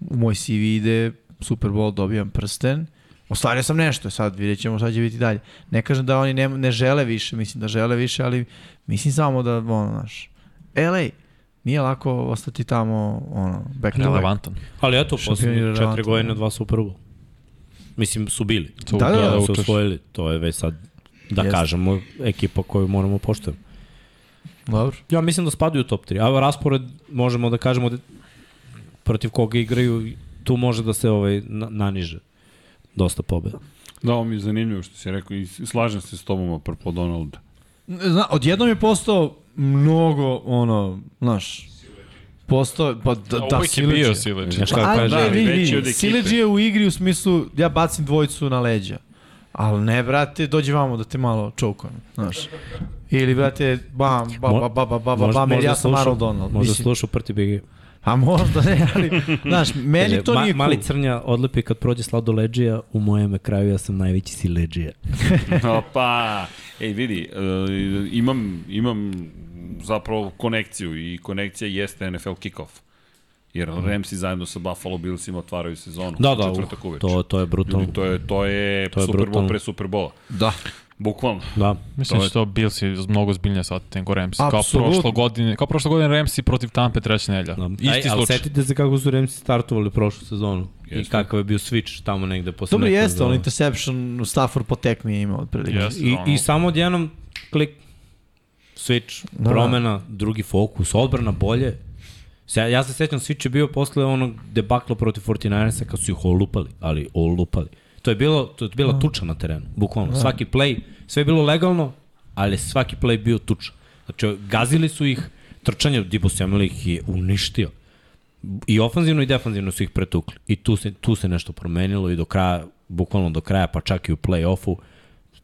E: U moj CV ide Super Bowl, dobijam prsten, ostvario sam nešto, sad vidjet ćemo šta će biti dalje. Ne kažem da oni ne, ne žele više, mislim da žele više, ali Mislim samo da, ono, znaš, LA, nije lako ostati tamo, ono, back to back.
C: Relevantan.
B: Ali eto,
E: Šampioni
B: poslednje četiri
E: relevantni,
B: godine
E: da.
B: dva Super Bowl. Mislim, su bili.
C: To-
E: Da, da,
B: Da,
E: da,
B: da, su
C: učeš.
B: osvojili. To je već sad, da
E: Jeste.
B: Jeste. kažemo, ekipa koju moramo poštovati.
E: Dobro.
B: Ja mislim da spadaju u top 3. A raspored možemo da kažemo da protiv koga igraju, tu može da se ovaj, na, naniže dosta
E: Pa,
B: pobeda.
A: Da, ovo mi je zanimljivo što si rekao i slažem se s tobom apropo Donalda.
E: Zna, odjednom je postao mnogo, ono, znaš, postao, pa da, da,
C: Uvijek je bio
E: Sileđija.
C: Sileđi.
B: Znaš kako
E: Ajde,
B: kaže?
E: da,
A: ali
E: vidi,
A: veći od
E: vidi,
A: ekipe.
E: Sileđi je u igri u smislu, ja bacim dvojicu na leđa. Ali ne, brate, dođi vamo da te malo čokujem, znaš. Ili, brate, bam, ba, ba, ba, ba, ba, ba,
B: Možda-
E: bam, ili
B: možda
E: pa, ja sam
B: slušao-
E: Aaron Donald.
B: Možda
E: Mislim,
B: slušao proti BG.
E: a možda ne, ali, znaš, meni to
B: Ma-
E: nije cool.
B: Mali crnja odlepi kad prođe sladoleđija, u mojem kraju ja sam najveći sileđija.
A: Opa! Ej, vidi, e, imam, imam zapravo konekciju i konekcija jeste NFL kickoff. Jer Ramsi zajedno sa Buffalo Billsima otvaraju sezonu.
B: Da, da,
A: četvrtak
B: uh,
A: uveče.
B: to, to je brutalno.
A: Ljudi, to je, to je,
B: To je
A: Super Bowl
B: brutalno.
A: pre Super Bowla.
E: Da.
A: Bukvalno.
B: Da.
A: To
C: Mislim da
A: je-
C: će to Bills je mnogo zbiljnije shvatiti nego Ramsi.
E: Apsolutno.
C: Kao prošlo godine, kao prošlo godine Ramsi protiv Tampe treća nelja.
B: Da.
C: Isti
B: Aj, ali
C: slučaj.
B: setite se kako su Remsi startovali prošlu sezonu i
A: Jeste.
B: kakav je bio switch tamo negde posle
E: Dobro
B: nekog
E: jeste,
B: zona.
E: on interception Stafford po tekmi je imao otprilike.
C: Jeste,
B: I,
C: ono.
B: I samo odjednom klik, switch,
E: Da,
B: da,
E: da.
B: promena, drugi fokus, odbrana bolje. Se, ja se sećam, switch je bio posle onog debakla protiv 49ersa kad su ih olupali, ali olupali. To je, bilo, to je bila tuča na terenu, bukvalno. Svaki play, sve je bilo legalno, ali je svaki play bio tuča. Znači, gazili su ih, trčanje, Dibu Samuel ih je uništio i ofanzivno i defanzivno su ih pretukli. I tu se, tu se nešto promenilo i do kraja, bukvalno do kraja, pa čak i u play-offu,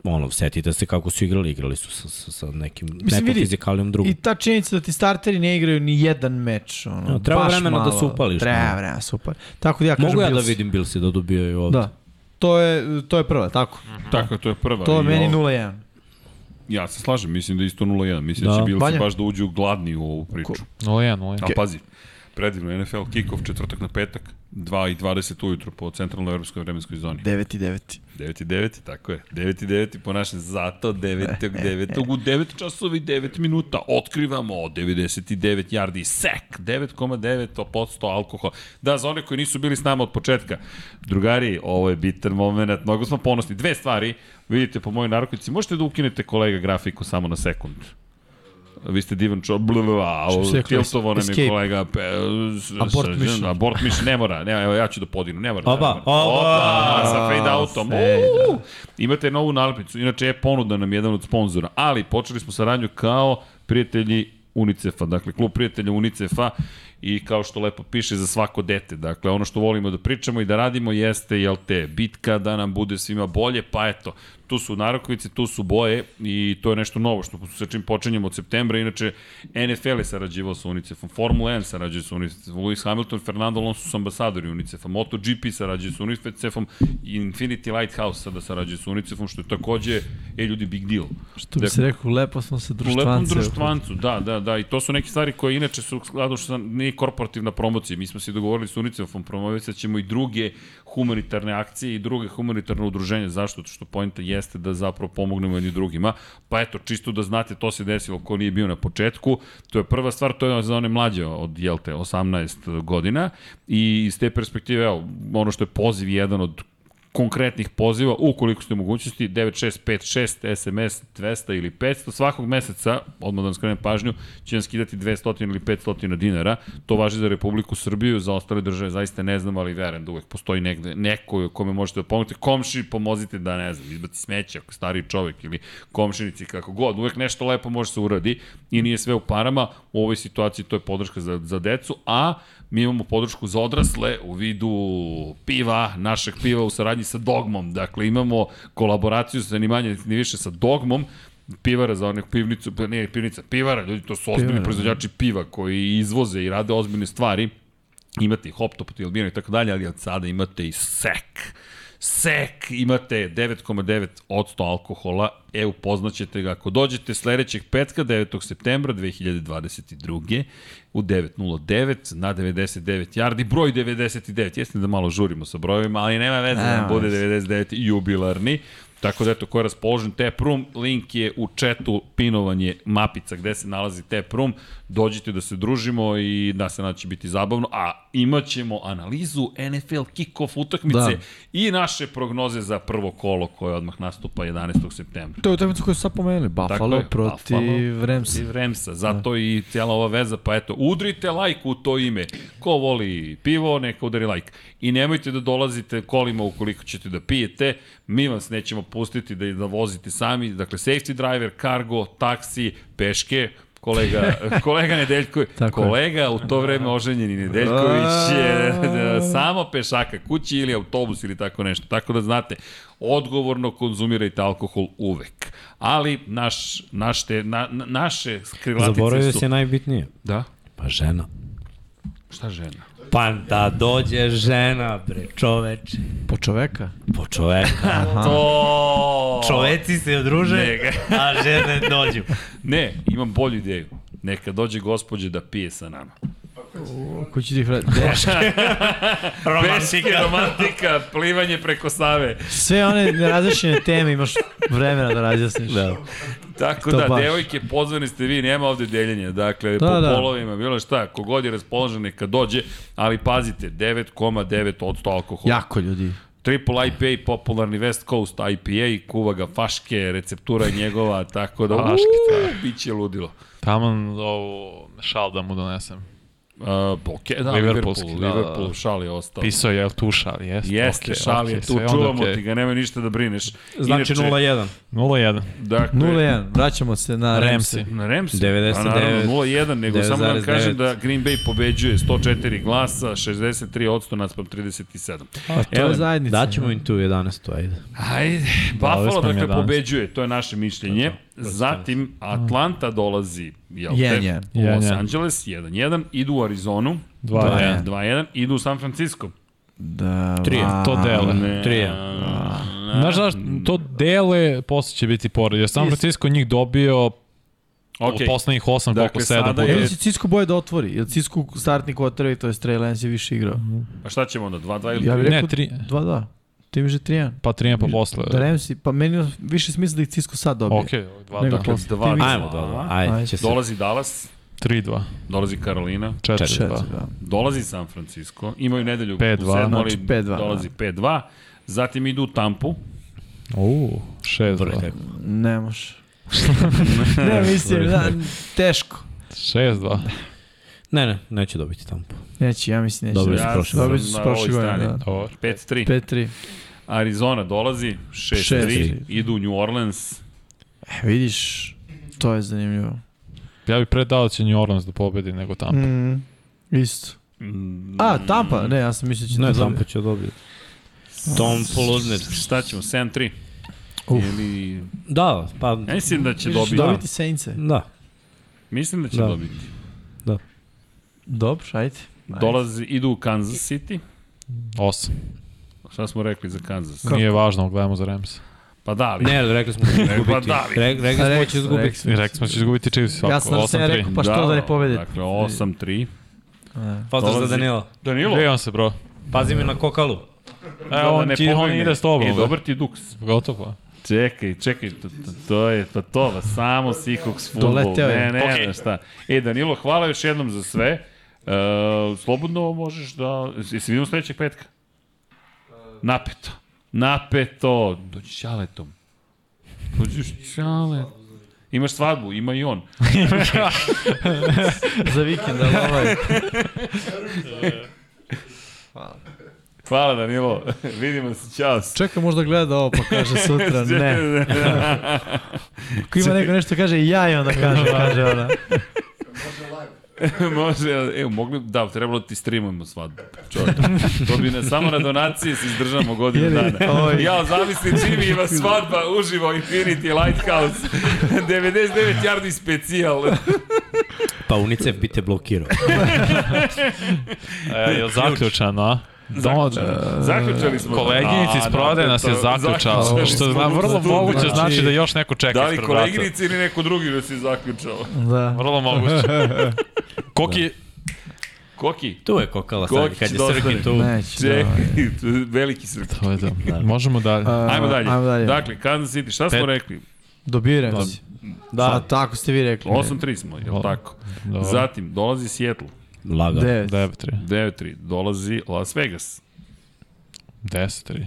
B: ono, setite se kako su igrali, igrali su sa, sa, sa nekim, nekom
E: vidi,
B: fizikalijom drugom.
E: I ta činjenica da ti starteri ne igraju ni jedan meč. Ono,
B: Ja, treba
E: baš
B: vremena da
E: malo,
B: se upališ,
E: Treba
B: ono.
E: vremena da se upališ. Tako da ja kažem
B: Mogu ja da
E: Bills.
B: vidim Billsi da dobijaju ovde.
E: Da. To je, to je prva, tako.
A: Tako, to je prva.
E: To je
A: I
E: meni
A: ovo-
E: 0-1.
A: Ja se slažem, mislim da je isto 0-1. Mislim da,
B: Da.
A: će Bilsi
E: Vanja?
A: baš da uđu gladni u ovu priču.
E: Ko-
C: 0-1, 0-1.
A: A pazi, predivno, NFL kick-off četvrtak na petak, 2 i 20 ujutru po centralnoj evropskoj vremenskoj zoni.
E: 9 i 9.
A: 9 i 9, tako je. 9 i 9 po našem, zato 9. 9. u 9 časovi 9 minuta otkrivamo 99 yardi sek, 9,9% alkohol. Da, za one koji nisu bili s nama od početka, drugari, ovo je bitan moment, mnogo smo ponosni. Dve stvari, vidite po mojoj narkotici, možete da ukinete kolega grafiku samo na sekund. Vi ste divan čo... Blva,
E: Što si rekao?
A: tiltovo nam je
E: Escape.
A: kolega... Pe,
E: Abort mission.
A: Abort mission, ne mora. Ne, evo, ja ću da podignu, ne mora.
B: Oba,
A: ne mora.
B: oba.
A: oba sa fade outom. Uuu. Imate novu nalepnicu. Inače je ponuda nam jedan od sponzora, ali počeli smo saradnju kao prijatelji UNICEF-a, dakle klub prijatelja UNICEF-a i kao što lepo piše za svako dete. Dakle, ono što volimo da pričamo i da radimo jeste, jel te, bitka da nam bude svima bolje, pa eto, tu su narokovice, tu su boje i to je nešto novo što sa čim počinjemo od septembra. Inače, NFL je sarađivao sa UNICEF-om, Formula 1 sarađuje sa UNICEF-om, Lewis Hamilton, Fernando Alonso su ambasadori UNICEF-a, MotoGP sarađuje sa UNICEF-om, Infinity Lighthouse sada sarađuje sa UNICEF-om, što je takođe, e ljudi, big deal.
E: Što bi se rekao, lepo smo se
A: U lepom
E: društvance.
A: društvancu, da, da, da, i to su neke stvari koje inače su u skladu što sam- nije korporativna promocija. Mi smo se dogovorili s UNICEF-om, promovisat ćemo i druge humanitarne akcije i druge humanitarne udruženja. Zašto? Zato što pojenta jeste da zapravo pomognemo jedni drugima. Pa eto, čisto da znate, to se desilo ko nije bio na početku. To je prva stvar, to je za one mlađe od, jel te, 18 godina. I iz te perspektive, evo, ono što je poziv jedan od konkretnih poziva, ukoliko ste u mogućnosti, 9656, SMS 200 ili 500, svakog meseca, odmah da vam skrenem pažnju, će vam skidati 200 ili 500 dinara, to važi za Republiku Srbiju, za ostale države, zaista ne znam, ali verujem da uvek postoji negde, neko kome možete da pomognete, komši pomozite da, ne znam, izbaci smeće ako je stariji čovek ili komšinici, kako god, uvek nešto lepo može se uradi i nije sve u parama, u ovoj situaciji to je podrška za, za decu, a mi imamo podršku za odrasle u vidu piva, našeg piva u saradnji sa Dogmom. Dakle, imamo kolaboraciju sa ni manje ni više sa Dogmom, pivara za onih pivnicu, ne pivnica, pivara, ljudi, to su ozbiljni
E: Pivara,
A: proizvođači piva koji izvoze i rade ozbiljne stvari. Imate i hop top, tilbina i tako dalje, ali od sada imate i sek. Sek, imate 9,9% alkohola, e, upoznaćete ga ako dođete sledećeg petka, 9. septembra 2022. u 9.09 na 99 yardi, broj 99, jeste da malo žurimo sa brojevima, ali nema veze da nam
E: Nema
A: bude
E: veze.
A: 99 jubilarni. Tako da eto, ko je raspoložen Tap Room, link je u četu pinovanje mapica gde se nalazi Tap Room. Dođite da se družimo i da se naći biti zabavno, a imat ćemo analizu NFL kick-off utakmice da.
E: Da.
A: i naše prognoze za prvo kolo koje odmah nastupa 11. septembra.
E: To je utakmica koju su sad pomenuli, Buffalo
A: je, Buffalo
E: protiv Ramsa.
A: Protiv Remsa, zato i cijela ova veza, pa eto, udrite lajk u to ime. Ko voli pivo, neka udari lajk. I nemojte da dolazite kolima ukoliko ćete da pijete, mi vas nećemo pustiti da, da vozite sami, dakle, safety driver, cargo, taksi, peške, kolega, kolega Nedeljković,
E: Tako je.
A: kolega u to vreme oženjeni Nedeljković je da, samo pešaka kući ili autobus ili tako nešto. Tako da znate, odgovorno konzumirajte alkohol uvek. Ali naš, naš te, na, na- naše krilatice
B: Zaboravio
A: su...
B: si najbitnije.
A: Da?
B: Pa žena.
A: Šta žena?
B: Pa da dođe žena, bre, čoveče.
E: Po čoveka.
B: Po čoveka.
A: To...
B: Čoveci se odruže,
A: Nega.
B: a žene dođu.
A: Ne, imam bolju ideju. Neka dođe gospođe da pije sa nama.
E: Ko će ti hrati?
A: Peške, romantika, plivanje preko Save.
E: Sve one nerazrešene teme imaš vremena da razjasniš. Da.
A: Tako
E: To
A: da,
E: baš.
A: devojke, pozvani ste vi, nema ovde deljenja. Dakle, da,
E: Da,
A: po da.
E: da.
A: polovima, bilo šta, kogod je raspoložen neka dođe, ali pazite, 9,9% alkohola.
E: Jako ljudi.
A: Triple IPA, popularni West Coast IPA, kuva ga faške, receptura je njegova, tako da,
C: Faške,
A: uuu, bit će ludilo.
C: Taman ovo šal da mu donesem.
A: Uh, ok, da, Liverpool,
C: Liverpoolski, da, da, da.
A: Liverpool, šal je ostao.
C: Pisao je, jel tu šal? Jeste,
A: Jeste,
C: okej,
A: šal
C: okej,
A: je tu,
C: sve onda
A: čuvamo
C: okej.
A: ti ga, nemoj ništa da brineš.
B: Znači
A: Inače,
B: 0-1.
C: 0-1.
A: Dakle,
E: 0-1, vraćamo se na Ramse.
C: Ramsey.
A: Na Remsi?
B: 99.
A: Pa naravno 0-1, nego samo da vam
B: 9,9.
A: kažem da Green Bay pobeđuje 104 glasa, 63% naspram 37.
C: Da,
E: To je zajednica.
B: Daćemo im tu 11. Ajde.
A: Ajde,
C: Dali
A: Buffalo
C: smo im
A: dakle
C: 11.
A: pobeđuje, to je naše mišljenje. Zatim Atlanta dolazi, jel te,
E: 1:1.
A: u Los
C: 1:1.
A: Angeles, 1-1, idu u Arizonu,
C: 2-1.
A: 2-1, idu u San Francisco.
E: Da,
C: Tri, to dele.
A: Ne,
B: Trije.
C: Znaš zašto, to dele, posle će biti pored. Jer San Francisco njih dobio od
A: Okej.
C: poslednjih 8,
A: Dakle,
C: koliko
A: sada
C: 7 puta.
A: je-
E: Jedno si Cisco boje da otvori, jer Cisco startni quarterback, to je Trey Lance je više igrao.
A: Pa šta ćemo onda, 2-2 ili
E: Ja bih
C: Ne,
E: rekao
C: tri-
E: 2-2. Ti imaš da 3-1.
C: Pa 3 pa posle. ovaj
E: Da Ramsey, pa meni ima više smisla da ih Cisco sad dobije.
C: Ok,
E: Nego
C: 2-2.
A: Dakle,
E: posle.
A: dva,
E: Ti misliš?
B: Ajmo, dobro. Ajde,
E: Ajde.
B: će se...
A: Dolazi Dallas,
C: 3-2.
A: dolazi Karolina,
C: 4-2.
E: Četiri, da.
A: dolazi San Francisco, imaju nedelju
C: 5:2,
A: u sedmu, ali
E: znači 5:2,
A: dolazi 5-2, zatim idu u Tampu,
C: Uuu,
B: Dobro,
C: 6-2.
B: tako.
E: Ne može. ne, mislim, da, teško.
C: 6-2.
B: Ne, ne, neće dobiti tampu.
E: Neće, ja mislim neće.
B: Dobro,
E: Dobro,
B: si prošle
E: Dobro
A: sam
E: si
A: na
E: prošle
A: ovoj
E: godine,
A: strani.
E: da.
C: Dobro.
A: 5-3.
E: 5-3.
A: Arizona dolazi, 6-3,
E: 6:3.
A: idu u New Orleans,
E: E, vidiš, to je zanimljivo.
C: Ja bih pre dao da će New Orleans da pobedi nego Tampa.
E: Mm. Isto.
A: Mm,
E: A, Tampa? Ne, ja sam mislio će...
B: Ne,
E: da
B: Tampa
E: dobije.
B: će dobiti. Tom Poludner.
A: Šta ćemo, 7-3?
B: Uf.
A: Ili...
B: Da, pa...
A: Ja mislim da će
E: Misliš
A: dobiti.
B: da.
E: Dobiti Saints-e.
B: Da.
A: Mislim da će
B: Da.
A: dobiti.
E: Dobro, ajde. Ajde.
A: Dolazi, idu u Kansas City.
C: Osam.
A: Šta smo rekli za Kansas?
C: Nije važno, gledamo za Rams.
A: Pa da, ali...
B: Ne, rekli smo da će
A: Pa
B: izgubiti.
A: da, ali-
B: Re, rekli smo da će
E: Rekli smo,
B: izgubiti.
E: rekli smo.
C: I rekli smo da će izgubiti Chiefs.
E: Ja
C: ovako,
E: sam sam ja
C: 8-3.
E: rekao, pa što da ne pobede?
A: Dakle, 8-3.
E: E.
B: Pozdrav za
A: Dolazi.
B: Danila.
A: Danilo,
C: Gde je on se, bro?
B: Pazi me na kokalu.
C: E,
A: Da,
C: on, ti, on ide s tobom. da.
A: E,
C: bre.
A: dobar ti duks.
C: Gotovo.
A: Čekaj, čekaj, to, to, to je, pa to, va, samo Seahawks futbol.
E: Doleteo je.
A: Ne, ne, okay.
C: Okej.
A: ne, šta. E, Danilo, hvala još jednom za sve. E, slobodno možeš da... Jesi vidimo sledećeg petka? Napeto. Napeto. Dođi s čaletom. Dođi s čaletom. Imaš svadbu, ima i on.
E: Za vikend, ali ovaj...
A: Hvala Danilo, vidimo se, čao.
E: Čeka možda gleda ovo pa kaže sutra, ne. Ako ima neko nešto da kaže, ja i onda kaže, kaže ona.
A: Može, evo, mogli, da, trebalo da ti streamujemo svadbu. Čovjek, to bi ne, samo na donacije se izdržamo godinu
E: Jeli,
A: dana.
E: oj.
A: Ja, zamisli, Jimmy ima svadba, uživo, Infinity Lighthouse, 99 yardi specijal.
B: Pa UNICEF bi te blokirao.
C: E, je zaključan, a? Don,
A: Zaključali smo.
C: koleginici iz
A: A,
C: prodaje
A: da,
C: nas je
A: to-
C: zaključao,
A: zaključali
C: što
A: smo
C: zna,
A: u
C: vrlo
A: studiju.
C: moguće
A: Znači,
C: znači da još neko čeka
A: Da li
C: ispred vrata.
A: koleginici ili neko drugi da si zaključao?
E: Da.
C: Vrlo moguće. Koki,
A: Koki?
B: Tu je kokala sad,
A: Kokić
B: kad je
A: dostane.
B: Srki tu.
E: Neće.
A: Čekaj,
E: da.
A: veliki srk.
C: to je
A: Da.
C: to. Možemo da- dalje.
A: Ajmo dalje.
E: Ajmo dalje.
A: Dakle, Kansas City, šta smo
C: Pet.
A: rekli?
E: Dobiram si. Da.
B: Da,
E: Sad, tako ste vi rekli.
A: 8-3 smo, je li tako?
C: Dobro.
A: Zatim, dolazi Seattle.
B: laga.
E: 9.
C: 9-3.
A: 9-3, dolazi Las Vegas.
C: 10-3.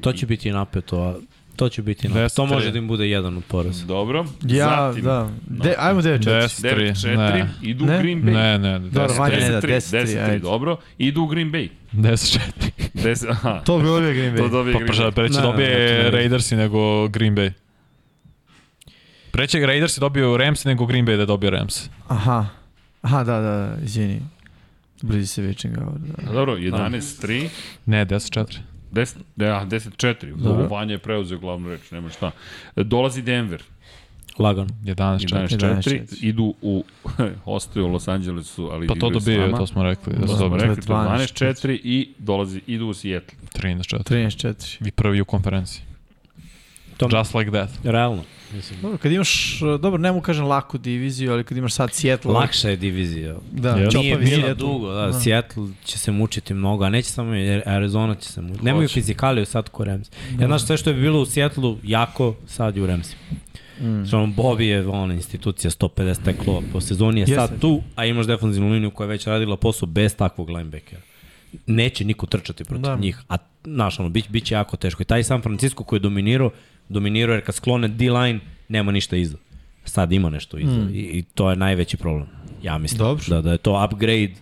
B: To će biti napeto, a to će biti napeto.
C: Deset,
B: To može
C: tri.
B: da im bude jedan od poraza.
A: Dobro.
E: Ja,
A: Zatim,
E: da. De, ajmo 9 4.
C: 10-3.
A: 9-4,
C: Ne.
A: idu u
E: Ne?
A: Green Bay.
C: Ne, ne,
E: Dobro, Vanja ne da,
A: 10-3,
E: 10-3,
A: 10-3,
E: ajde.
A: dobro. Idu u Green Bay.
C: 10-4.
A: 10, aha,
E: To bi ovdje Green
A: to
E: Bay.
A: dobije
C: Pa
A: Green
C: preče,
A: Bay.
C: preče
B: Ne, ne, ne,
C: dobije
B: ne.
C: Raidersi nego Green Bay. Preče Raidersi dobio Rams nego Green Bay da dobio Rams.
E: Aha. Aha, da, da, da, izvini. Bliži se Witching Hour, da.
A: Dobro, 11-3,
C: Ne, 10-4.
A: 10, da, 10-4. Dobro, Vanja je preuzeo glavnu reč, nema šta. E, Dolazi Denver,
B: Lagan.
C: 11-4.
A: 11-4,
E: 11-4.
A: idu u, ostaju u Los Angelesu, ali
C: Pa to
A: igraju s
C: dobio,
A: nama.
C: to smo rekli. Da
A: To
C: su
A: smo
C: dobili.
A: rekli, to je
E: 12-4.
A: 12-4 i dolazi, idu u Seattle.
C: 13-4.
E: 13 4.
C: I prvi u konferenciji.
B: Tom-
C: Just like that.
B: Realno. Mislim,
E: Dobro, kad imaš, e, dobro, ne mu kažem laku diviziju, ali kad imaš sad Seattle...
B: lakša je divizija.
E: Da,
C: Nije
B: Nije
E: čopavi
B: bila
E: Seattle.
B: dugo, da, Seattle će se mučiti mnogo, a neće samo jer Arizona će se mučiti. Nemaju fizikaliju sad ko Rams. Ja znaš sve što je bilo u Seattleu jako, sad je u Ramsima. Mm. Što ono, Bobby je ona institucija 150 teklova po sezoni je sad
E: Jeste.
B: tu, a imaš defanzivnu liniju koja je već radila posao bez takvog linebackera. Neće niko trčati protiv
E: Da.
B: njih, a znaš ono, bit, bit će jako teško. I taj San Francisco koji je dominirao, dominirao jer kad sklone D-line, nema ništa iza. Sad ima nešto iza mm. I, i to je najveći problem. Ja mislim
E: Dobro.
B: da, da je to upgrade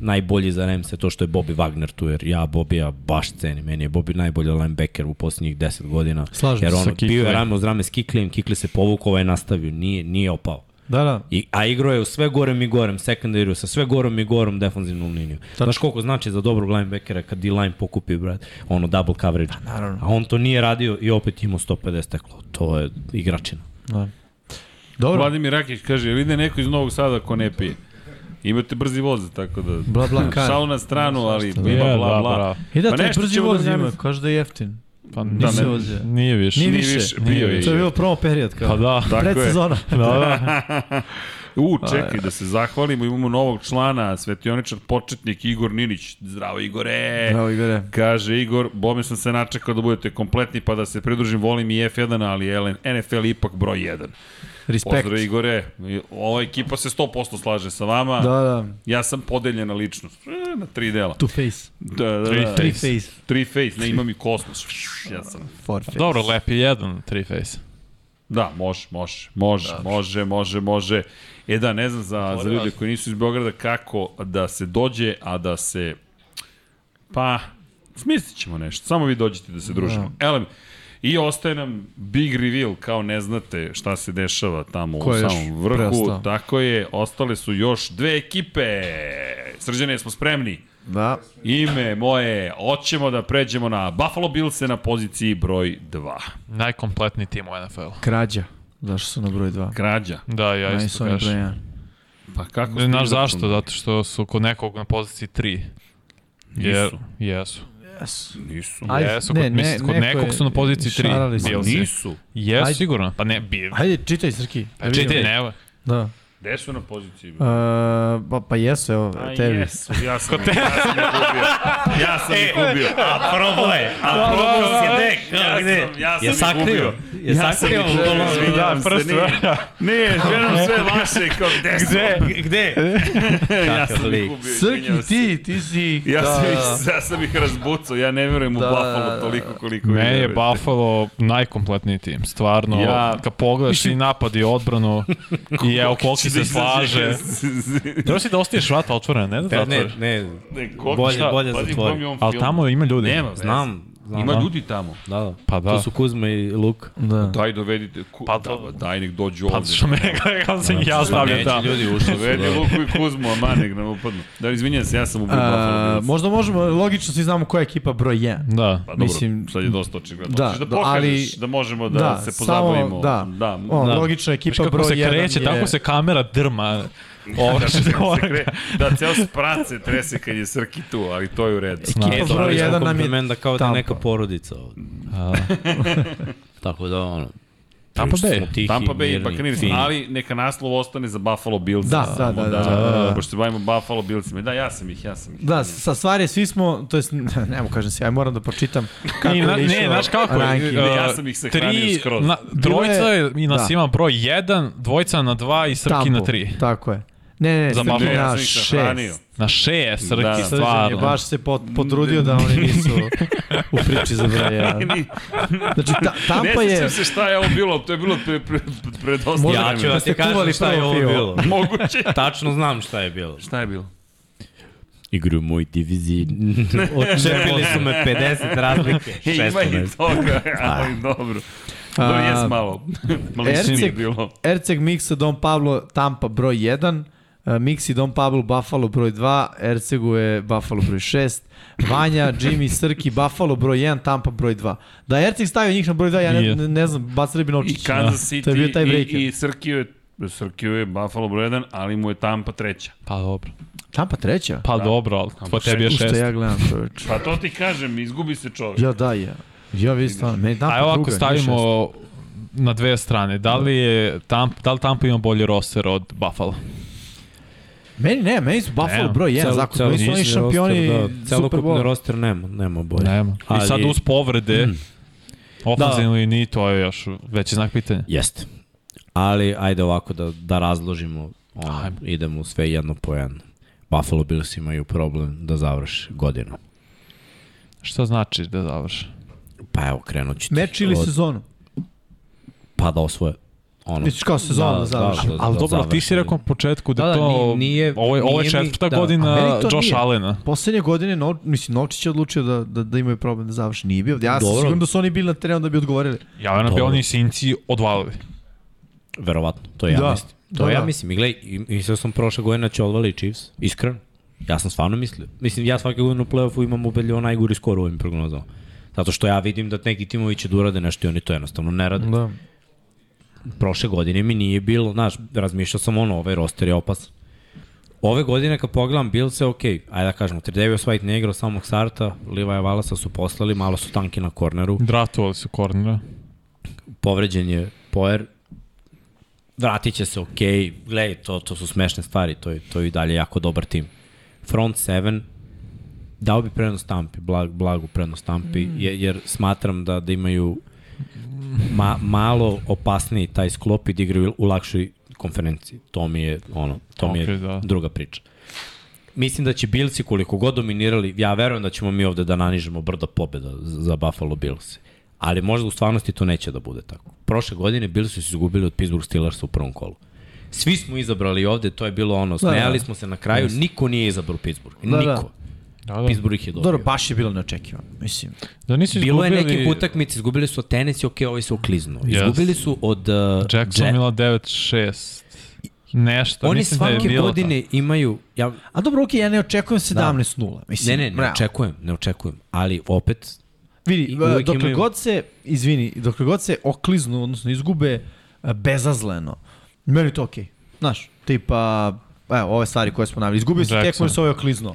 B: najbolji za Ramse, to što je Bobby Wagner tu, jer ja Bobija baš cenim. Meni je Bobby najbolji linebacker u posljednjih 10 godina.
E: Slažem
B: jer
E: se
B: ono,
E: sa
B: bio je
C: Kiklijem.
B: rame uz rame s Kiklijem, Kikli se povukao, ovaj je nastavio, nije, nije opao.
E: Da, da.
B: I, a igro je u sve gorem i gorem, sekundariju, sa sve gorem i gorem defanzivnom liniju. Znaš koliko znači za dobrog linebackera kad D-line pokupi, brat, ono double coverage. A,
E: Pa, naravno.
B: a on to nije radio i opet imao 150 teklo. To je igračina.
E: da. Dobro,
A: Vladimir Rakić kaže, vidi neko iz Novog Sada ko ne pije. Imate brzi voz, tako da...
E: bla, bla, E, kar.
A: Šalu na stranu, ali ima
C: Je,
A: bla, bla,
C: da,
A: bla.
C: bravo.
E: I da,
A: Ma
E: taj
A: nešto
E: brzi
A: ćemo da
E: voz ima,
A: zamislim.
E: kaže da je jeftin.
C: Pa
E: Da,
C: nije,
E: se voze.
C: nije više.
E: Nije
A: Nije
E: više.
A: više, bio je.
E: To je bio promo period, kao.
C: Pa da.
A: Tako je. da.
E: Predsezona.
A: U, čekaj, da se zahvalimo, imamo novog člana, svetioničar početnik Igor Ninić. Zdravo Igore!
E: Bravo, Igore.
A: Kaže Igor, bome sam se načekao da budete kompletni pa da se pridružim, volim i F1, ali NFL ipak broj 1.
E: Respekt.
A: Pozdrav Igore, ova ekipa se 100% slaže sa vama.
E: Da, da.
A: Ja sam podeljena ličnost, E, na tri dela.
E: Two face.
A: Da, da, da.
C: Three
E: Three
C: face.
E: face.
A: Tri face, ne imam i kosmos. Ja sam.
E: Four face.
C: Dobro, lepi jedan, tri face.
A: Da, može, može, može, može, može, može. E da, ne znam za, za ljude koji nisu iz Beograda kako da se dođe, a da se... Pa, smislit ćemo nešto. Samo vi dođete da se družimo. Elem, I ostaje nam big reveal, kao ne znate šta se dešava tamo
E: Ko je
A: u
E: još
A: samom vrhu.
E: preostao?
A: Tako je, ostale su još dve ekipe. Srđane, smo spremni.
E: Da.
A: Ime moje, hoćemo da pređemo na Buffalo Bills na poziciji broj 2.
C: Najkompletniji tim u NFL-u.
E: Krađa. Zašto su na broj 2?
A: Krađa.
C: Da, ja
E: Meni
C: isto
E: su oni broj
C: kažem.
E: 1.
A: Pa kako ste
C: Znaš
A: vi
C: zašto?
A: računali?
C: Zato što su kod nekog na poziciji 3.
A: Nisu.
C: Jesu.
E: Yes.
A: Nisu.
E: Ajde,
C: Jesu,
E: ne,
C: kod,
E: ne,
C: mislim, kod
E: neko
C: nekog
E: je-
C: su na poziciji 3.
E: šarali su.
C: Bills.
A: Nisu.
C: Jesu,
E: Ajde.
C: sigurno. Pa ne, bi...
E: Ajde, čitaj Srki.
C: Pa čitaj, nema.
E: Da.
A: Gde su na poziciji? broj?
E: Uh, pa, pa jesu, evo,
A: A,
E: tebi.
A: Jesu, ja sam, te... ja sam ih ubio. Ja sam ih ubio.
B: e,
A: A probao je. A probao se dek. Ja sam, ja sam
B: Da. Je
A: ih
B: sakrio.
A: ubio.
B: Je
A: Ja sam
B: sakrio.
A: ih ubio, izvinjavam se, nije. Nije, želim sve vaše, kao gde su?
B: E, Gde?
A: Ja
B: Kakav
A: sam ih
B: lik.
A: ubio, izvinjavam
E: Srki,
A: se.
E: ti, ti si...
A: Ja
E: da,
A: sam,
E: da.
A: ih, ja sam ih razbucao, ja ne verujem u
E: Da, da,
A: Buffalo
E: da.
A: toliko koliko vi
C: Ne je
A: verujete.
C: Buffalo najkompletniji tim, stvarno.
A: Ja-
C: Ja, kad pogledaš i napad i odbranu i evo koliko se slaže. Treba si da ostaneš vrata otvorena, ne da
B: Ne, pa ne,
C: zatvoriš.
B: ne,
A: Ne, koliko
B: Bolje-
A: šta,
B: bolje
A: pazi,
B: zatvori.
A: kom je on
C: Ali
A: film.
C: tamo ima ljudi.
A: Nema veze.
B: znam. znam
A: Ima
B: da.
A: ljudi tamo.
B: Da, da.
C: Pa da.
B: Tu su Kuzma i Luka.
E: Da.
A: Daj dovedite, ku,
C: Pa
A: da,
C: da.
A: daj nek dođu
C: Pa
A: ovde.
C: što me kako sam ih ja stavljam tamo.
B: ljudi ušli
A: Dovedi Luku i Kuzmu, a ma nek nam upadnu. Da, izvinjam se, ja sam ubio Buffalo
E: Uh,
A: Bills.
E: možda možemo, logično svi znamo koja je ekipa broj 1.
C: Da.
A: Pa dobro, mislim,
E: mislim-
A: sad je dosta očigledno.
E: Da,
A: Hoćeš da
E: da,
A: pokažeš
E: ali-
A: da možemo da, se pozabavimo.
E: Samo, da,
A: da.
E: da, on,
B: da.
E: da. logično
C: Viš
E: ekipa
C: kako
E: broj 1
C: se kreće,
E: je...
C: tako se kamera drma. Ovo
A: Da,
C: što
A: se
C: je ovo.
A: kre, da ceo sprat se trese kad je Srki tu, ali to je u redu.
B: Ekipa
C: Ne,
B: ne,
C: broj
B: broj
E: jedan nam je
B: Da kao da je
E: Tampa.
B: neka porodica ovde. Tako da, ono,
C: Tampa
B: prilično
C: Bay.
B: smo tihi,
A: Tampa Bay i
B: mirni,
A: Buccaneers,
B: fini.
A: ali neka naslov ostane za Buffalo Bills.
E: Da, da, da, da, da, da.
A: Pošto se bavimo Buffalo Billsima. Da, ja sam ih, ja sam ih.
E: Da, sa stvari svi smo, to jest, ne mogu kažem se, ja moram da pročitam kako
C: I,
E: je
C: na, ne,
E: išao
C: znaš kako je,
E: ranking.
A: Ne,
C: uh,
A: ja sam ih sahranio
C: tri-
A: skroz.
C: Na, trojica je, i nas
E: Da.
C: ima broj 1, dvojica na 2 i Srki na
E: Tampu,
C: 3.
E: Tako je. Ne, ne,
C: Za
E: Srki
C: Buffalo.
E: na
A: sam ih sahranio.
E: šest.
C: Na 6 Srki,
A: Da. Srđan je
E: Srđan je
C: stvarno.
E: baš se pot, potrudio da oni nisu u priči za broj 1.
A: Ni-
E: Znači, ta,
A: ne
E: Tampa
A: sjećam
E: je...
A: se šta je ovo bilo, to je bilo pre, pre, pre dosta
E: Možda- da-
B: Ja
A: vremena.
B: ću da
E: ste
B: ti kažem
E: kuvali
B: šta je
E: prvo
B: ovo
E: pivo.
B: bilo.
A: Moguće.
B: Tačno znam šta je bilo.
A: Šta je bilo?
B: Igru u moj diviziji. Očepili su me 50 razlike.
A: E, ima i
B: 16.
A: toga, ali dobro. Dobro,
E: Da. A,
A: jes malo. Malo
E: Erceg-
A: nije bilo.
E: Erceg Miksa, Don Pablo, Tampa broj 1, e, Miksi, Don Pablo, Buffalo broj 2, Ercegu je Buffalo broj 6, Vanja, Jimmy, Srki, Buffalo broj 1, Tampa broj 2. Da je Erceg stavio njih na broj 2, ja ne,
C: Je.
E: ne, ne znam, bacili bi
A: I
E: novčić.
A: Kansas
E: To
A: City
E: je bio taj
A: i,
E: breaker.
A: i Srkio je Srkio je Buffalo broj 1, ali mu je Tampa treća.
C: Pa dobro.
E: Tampa treća?
C: Pa dobro, ali po tebi je
E: U što
C: 6.
E: ja gledam čoveč.
A: Pa to ti kažem, izgubi se čovjek.
E: Ja da, ja. Ja vi stvarno, meni Tampa
C: A evo
E: druga.
C: ako
E: nije šesta.
C: stavimo na dve strane, da li je Tampa, da li Tampa ima bolji roster od Buffalo?
E: Meni ne, meni su Buffalo
C: Nemam.
E: broj 1, zato oni su oni
C: da
E: šampioni Super
B: da. Celokupni
E: Bowl.
B: roster nema, nema bolje.
C: Nema. I
B: Ali-
C: sad uz povrede, mm. ofenzivno da. i ni, to je još veći znak pitanja.
B: Jeste. Ali ajde ovako da, da razložimo, ono,
C: Ajmo.
B: idemo sve jedno po jedno. Buffalo Bills imaju problem da završe godinu.
C: Šta znači da završi?
B: Pa evo, krenut ću ti.
E: Meč ili
B: od-
E: sezonu?
B: Pa da osvoje. Ono,
E: Misliš kao sezonu da, završi?
B: da,
C: Ali dobro, ti si
B: završe.
C: rekao na početku da,
B: Da, da,
C: to,
B: ni- nije-
C: ovo je, ovo je
B: nije ni-
C: četvrta
B: da.
C: godina
E: A meni to
C: Josh
E: nije.
C: Allena.
E: Poslednje godine, no, mislim, Novčić je odlučio da, da, da imaju problem da završi. Nije bio ovdje. Ja sam
B: Dobro.
E: siguran da su oni bili na terenu da bi odgovorili.
C: Ja verujem da bi
B: Dobro.
C: oni Sinci odvalili.
B: Verovatno, to ja
E: Da.
B: mislim. To
E: Da,
B: ja
E: da.
B: mislim. I gledaj, i- mislio sam prošle godine da će odvali Chiefs, iskreno. Ja sam stvarno mislio. Mislim, ja svake godine u play-offu imam ubedljivo najgori skor u ovim prognozama. Zato što ja vidim da neki timovi će da urade nešto i oni to jednostavno ne rade.
E: Da.
B: Prošle godine mi nije bilo, znaš, razmišljao sam ono, ovaj roster je opasan. Ove godine kad pogledam Bills je okej, ajde da kažemo, Tredavius White ne igrao samog starta, Levi Valasa su poslali, malo su tanki na korneru,
C: Draftovali su kornera.
B: povređen je Poer, vratit će se, okej, okay. gledaj, to, to su smešne stvari, to je, to je i dalje jako dobar tim. Front 7, dao bi prednost Tampi, blag, blagu prednost Tampi, jer, jer smatram da, da imaju ma, malo opasniji taj sklop i da igraju u lakšoj konferenciji. To mi je, ono, to mi je
C: Ok, da.
B: druga priča. Mislim da će Bilsi koliko god dominirali, ja verujem da ćemo mi ovde da nanižemo brdo pobjeda za za Buffalo Bills. Ali možda u stvarnosti to neće da bude tako. Prošle godine Bilsi su izgubili od Pittsburgh Steelersa u prvom kolu. Svi smo izabrali ovde, to je bilo ono,
E: da.
B: smejali smo se na kraju, niko nije izabrao Pittsburgh.
E: Da, da.
B: Niko.
C: Da, da.
B: Pittsburgh ih je dobio.
E: Dobro, pa baš je bilo neočekivano. Mislim,
C: Da nisu
B: Bilo je
C: izgubili...
B: nekih utakmica, izgubili su od Tennessee, ok, ovi su okliznu.
C: Yes.
B: Izgubili su od... Uh,
C: Jacksonville 9-6.
B: Jet-
C: Nešto,
B: Oni
C: mislim da je
B: svake
C: bilo
B: godine imaju, ja,
E: A dobro, okej, ja ne očekujem 17-0.
B: Da. ne,
E: Mislim,
B: ne, ne
E: realno.
B: očekujem, ne očekujem, ali opet,
E: Vidi,
B: I
E: e,
B: uvek
E: dokle
B: imaju-
E: god se, izvini, dokle god se okliznu, odnosno izgube e, bezazleno, meni je to okej. Znaš, tipa, evo, ove stvari koje smo navili. Izgubio si
C: Jackson.
E: tekmu se ovaj okliznuo.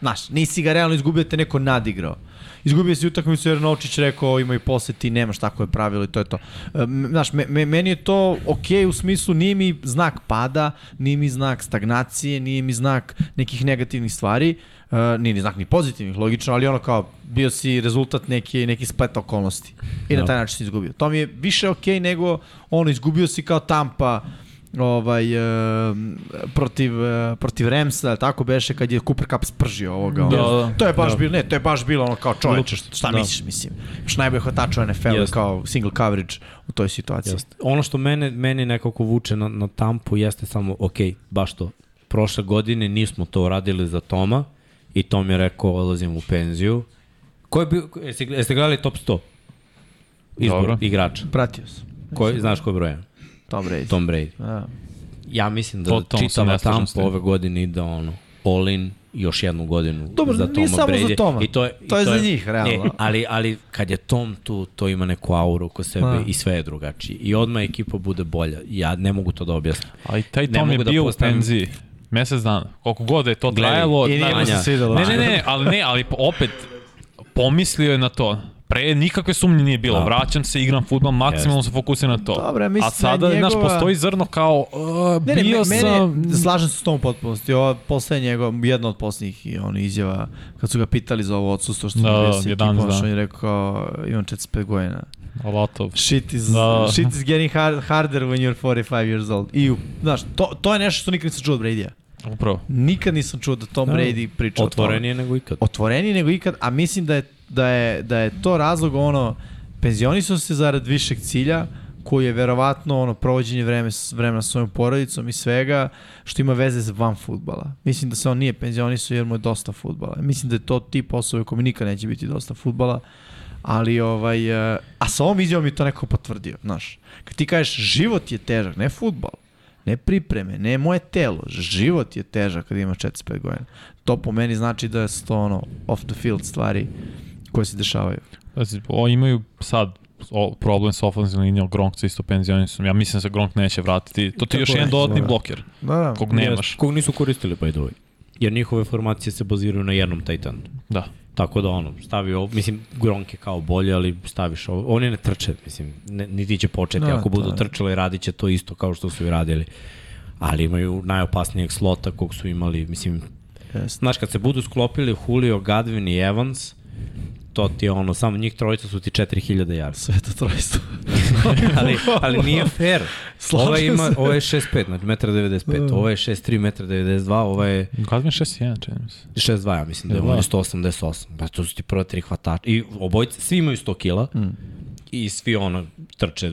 E: Znaš, nisi ga realno izgubio, te neko nadigrao. Izgubio si utakmicu jer Novčić rekao ima i posle ti nemaš tako je pravilo i to je to. E, m- Znaš, me, me, meni je to okej u smislu nije mi znak pada, nije mi znak stagnacije, nije mi znak nekih negativnih stvari, e, nije ni znak ni pozitivnih, logično, ali ono kao bio si rezultat neke, neki splet okolnosti i na
B: Da.
E: taj način si izgubio. To mi je više okej nego ono izgubio si kao tampa ovaj, e, protiv, e, protiv Remsa, tako beše kad je Cooper Cup spržio ovoga.
C: Da,
E: ono.
C: da.
E: To je baš
C: Da.
E: bilo, ne, to je baš bilo ono kao čoveče, šta, šta
C: Da.
E: misliš, mislim. Još najbolje hvatač u NFL-u
B: Jeste.
E: kao single coverage u toj situaciji.
B: Jeste. Ono što mene, mene nekako vuče na, na tampu jeste samo, ok, baš to. Prošle godine nismo to uradili za Toma i Tom je rekao odlazim u penziju. Ko je bio, jeste, jeste gledali top 100? Izbor
C: Dobro.
B: Dobro. igrača.
E: Pratio sam.
B: Koji, znaš koji broj je?
E: Tom Brady.
B: Tom Brady.
E: Da.
B: Ja mislim da
C: Po tom se ne
B: čitava
C: slažem
B: tampa
C: s tim.
B: ove godine ide ono, all in još jednu godinu
E: Dobro,
B: za
E: nije
B: Toma
E: samo za
B: Brady.
E: Toma.
B: I to je, i
E: To je za njih, realno.
B: Ne, ali, ali kad je Tom tu, to ima neku auru oko sebe
E: Ma.
B: i sve je drugačije. I odmah ekipa bude bolja. Ja ne mogu to da objasnim.
C: Ali taj
B: Ne
C: Tom je
B: mogu da
C: bio u
B: postavim-
C: penziji. Mesec dana. Koliko god da je to
B: Gledaj,
C: trajalo.
E: I nije mu
C: najmanje-
E: se
B: Vanja.
E: svidelo.
C: Ne, ne, ne, ali ne, ali po- opet pomislio je na to. Pre nikakve sumnje nije bilo.
B: Da.
C: Vraćam se, igram fudbal, maksimalno se fokusiram na to.
E: Dobro, ja mislim
C: A sada,
E: da je
C: znaš,
E: njegova-
C: postoji zrno kao, uh,
E: Ne, ne,
C: bio
E: me-
C: sam...
E: mene, slažem se s tom u potpunosti. Ova posle njegova, jedna od posljednjih i ono izjava, kad su ga pitali za ovo odsustvo što
C: Da,
E: da,
C: da,
E: besi,
C: 11
E: ekipa,
C: dana.
E: on je rekao, imam 45 godina.
C: A lot of...
E: Shit is,
C: Da.
E: shit is getting hard, harder when you're 45 years old. I, u- znaš, to, to je nešto što nikad nisam čuo od Brady-a.
C: Upravo.
E: Nikad nisam čuo da Tom Brady priča o tome
B: Otvorenije nego ikad.
E: otvoreniji nego ikad, a mislim da je, da je, da je to razlog ono, penzionisao se zarad višeg cilja, koji je verovatno ono provođenje vreme, vremena sa svojom porodicom i svega što ima veze s van futbala. Mislim da se on nije penzionisao jer mu je dosta futbala. Mislim da je to tip osobe kome nikad neće biti dosta futbala, ali ovaj, e, a sa ovom izjavom mi to neko potvrdio, znaš. Kad ti kažeš život je težak, ne futbal, ne pripreme, ne moje telo, život je težak kad imaš 45 godina. To po meni znači da su to ono off the field stvari koje se dešavaju.
C: Pazi, o, imaju sad o, problem sa ofenzivnom linijom, Gronk sa isto penzionisom. Ja mislim da se Gronk neće vratiti. To ti je još
E: Tako je.
C: jedan dodatni
E: Da.
C: bloker,
E: Da, da.
C: kog nemaš.
B: Kog nisu koristili, by the way. Jer njihove formacije se baziraju na jednom Titanu.
C: Da.
B: Tako da ono, stavi ovo, mislim, Gronk je kao bolje, ali staviš ovo. Oni ne trče, mislim, ne, niti će početi.
E: Da,
B: Ako budu
E: da.
B: trčali, radit će to isto kao što su i radili. Ali imaju najopasnijeg slota kog su imali, mislim,
E: Jeste.
B: znaš, kad se budu sklopili Julio, Gadvin i Evans, to ti je ono, samo njih trojica su ti 4000 yards.
E: Sve to trojstvo.
B: ali, ali nije fair.
E: Slažem
B: Ova ima,
E: se. Da.
B: ova je 6'5, znači 1,95 m, ova je 6'3, 1,92 m, ova je
C: Gazmin 6-1, čini mi se.
B: 62, ja mislim da je on je 188. Pa to su ti prva tri hvatača. I obojice, svi imaju 100 kila mm. i svi ono trče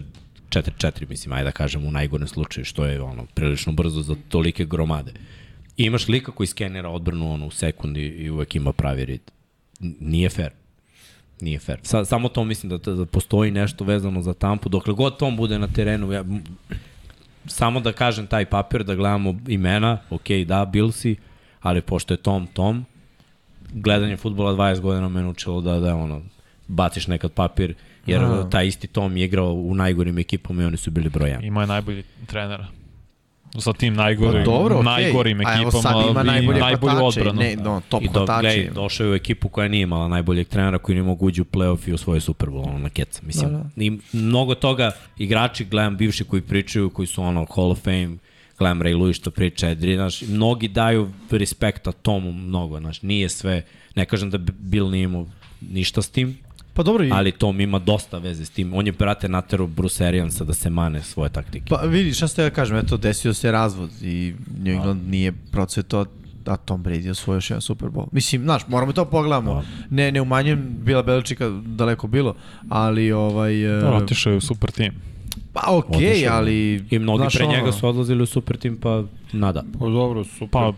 B: 4-4, mislim, ajde da kažem, u najgorem slučaju, što je ono prilično brzo za tolike gromade. I imaš lika koji skenira odbranu ono, u sekundi i uvek ima pravi rid. N- Nije fair. Nije fair. Sa, samo to mislim da, da postoji nešto vezano za tampu. Dokle god Tom bude na terenu, ja, samo da kažem taj papir, da gledamo imena, ok, da, Billsi, ali pošto je Tom Tom, gledanje futbola 20 godina me naučilo da, da ono, baciš nekad papir, jer
E: A.
B: taj isti Tom je igrao u najgorim ekipama i oni su bili brojan.
C: Ima je najbolji trenera. Sa tim najgorim,
E: Pa dobro, okej.
C: najgorim
E: A evo
C: ekipama
E: sad ima
C: i
E: najbolje
C: najbolju
E: hvatače,
C: odbranu.
E: Ne, no, top
B: I do,
E: hvatače.
B: gledaj, došao je u ekipu koja nije imala najboljeg trenera, koji ne mogu uđi u play-off i osvoje Super Bowl, ono na keca. Mislim,
E: Da,
B: da,
E: da.
B: I mnogo toga igrači, gledam bivši koji pričaju, koji su ono Hall of Fame, gledam Ray Lewis što priča, Edri, znaš, mnogi daju respekta tomu mnogo, znaš, nije sve, ne kažem da bi- Bill nije imao ništa s tim,
E: Pa dobro, i,
B: ali Tom ima dosta veze s tim. On je, brate, natero Bruce Ariansa da se mane svoje taktike.
E: pa vidi, šta ste ja kažem, eto, desio se razvod i
B: Da.
E: New England nije procvetao a Tom Brady je osvojio još jedan Super Bowl. Mislim, znaš, moramo to
B: Da.
E: pogledamo. Ne, ne umanjujem, bila Beličika daleko bilo, ali ovaj... e,
C: Dobro, Da, Otišao je u super tim.
E: Pa okej,
B: Da, Otišao je.
E: ali...
B: I mnogi
E: znaš,
B: pre
E: ono, da.
B: njega su odlazili u super tim, pa nada.
A: Pa dobro, super.
C: Pa,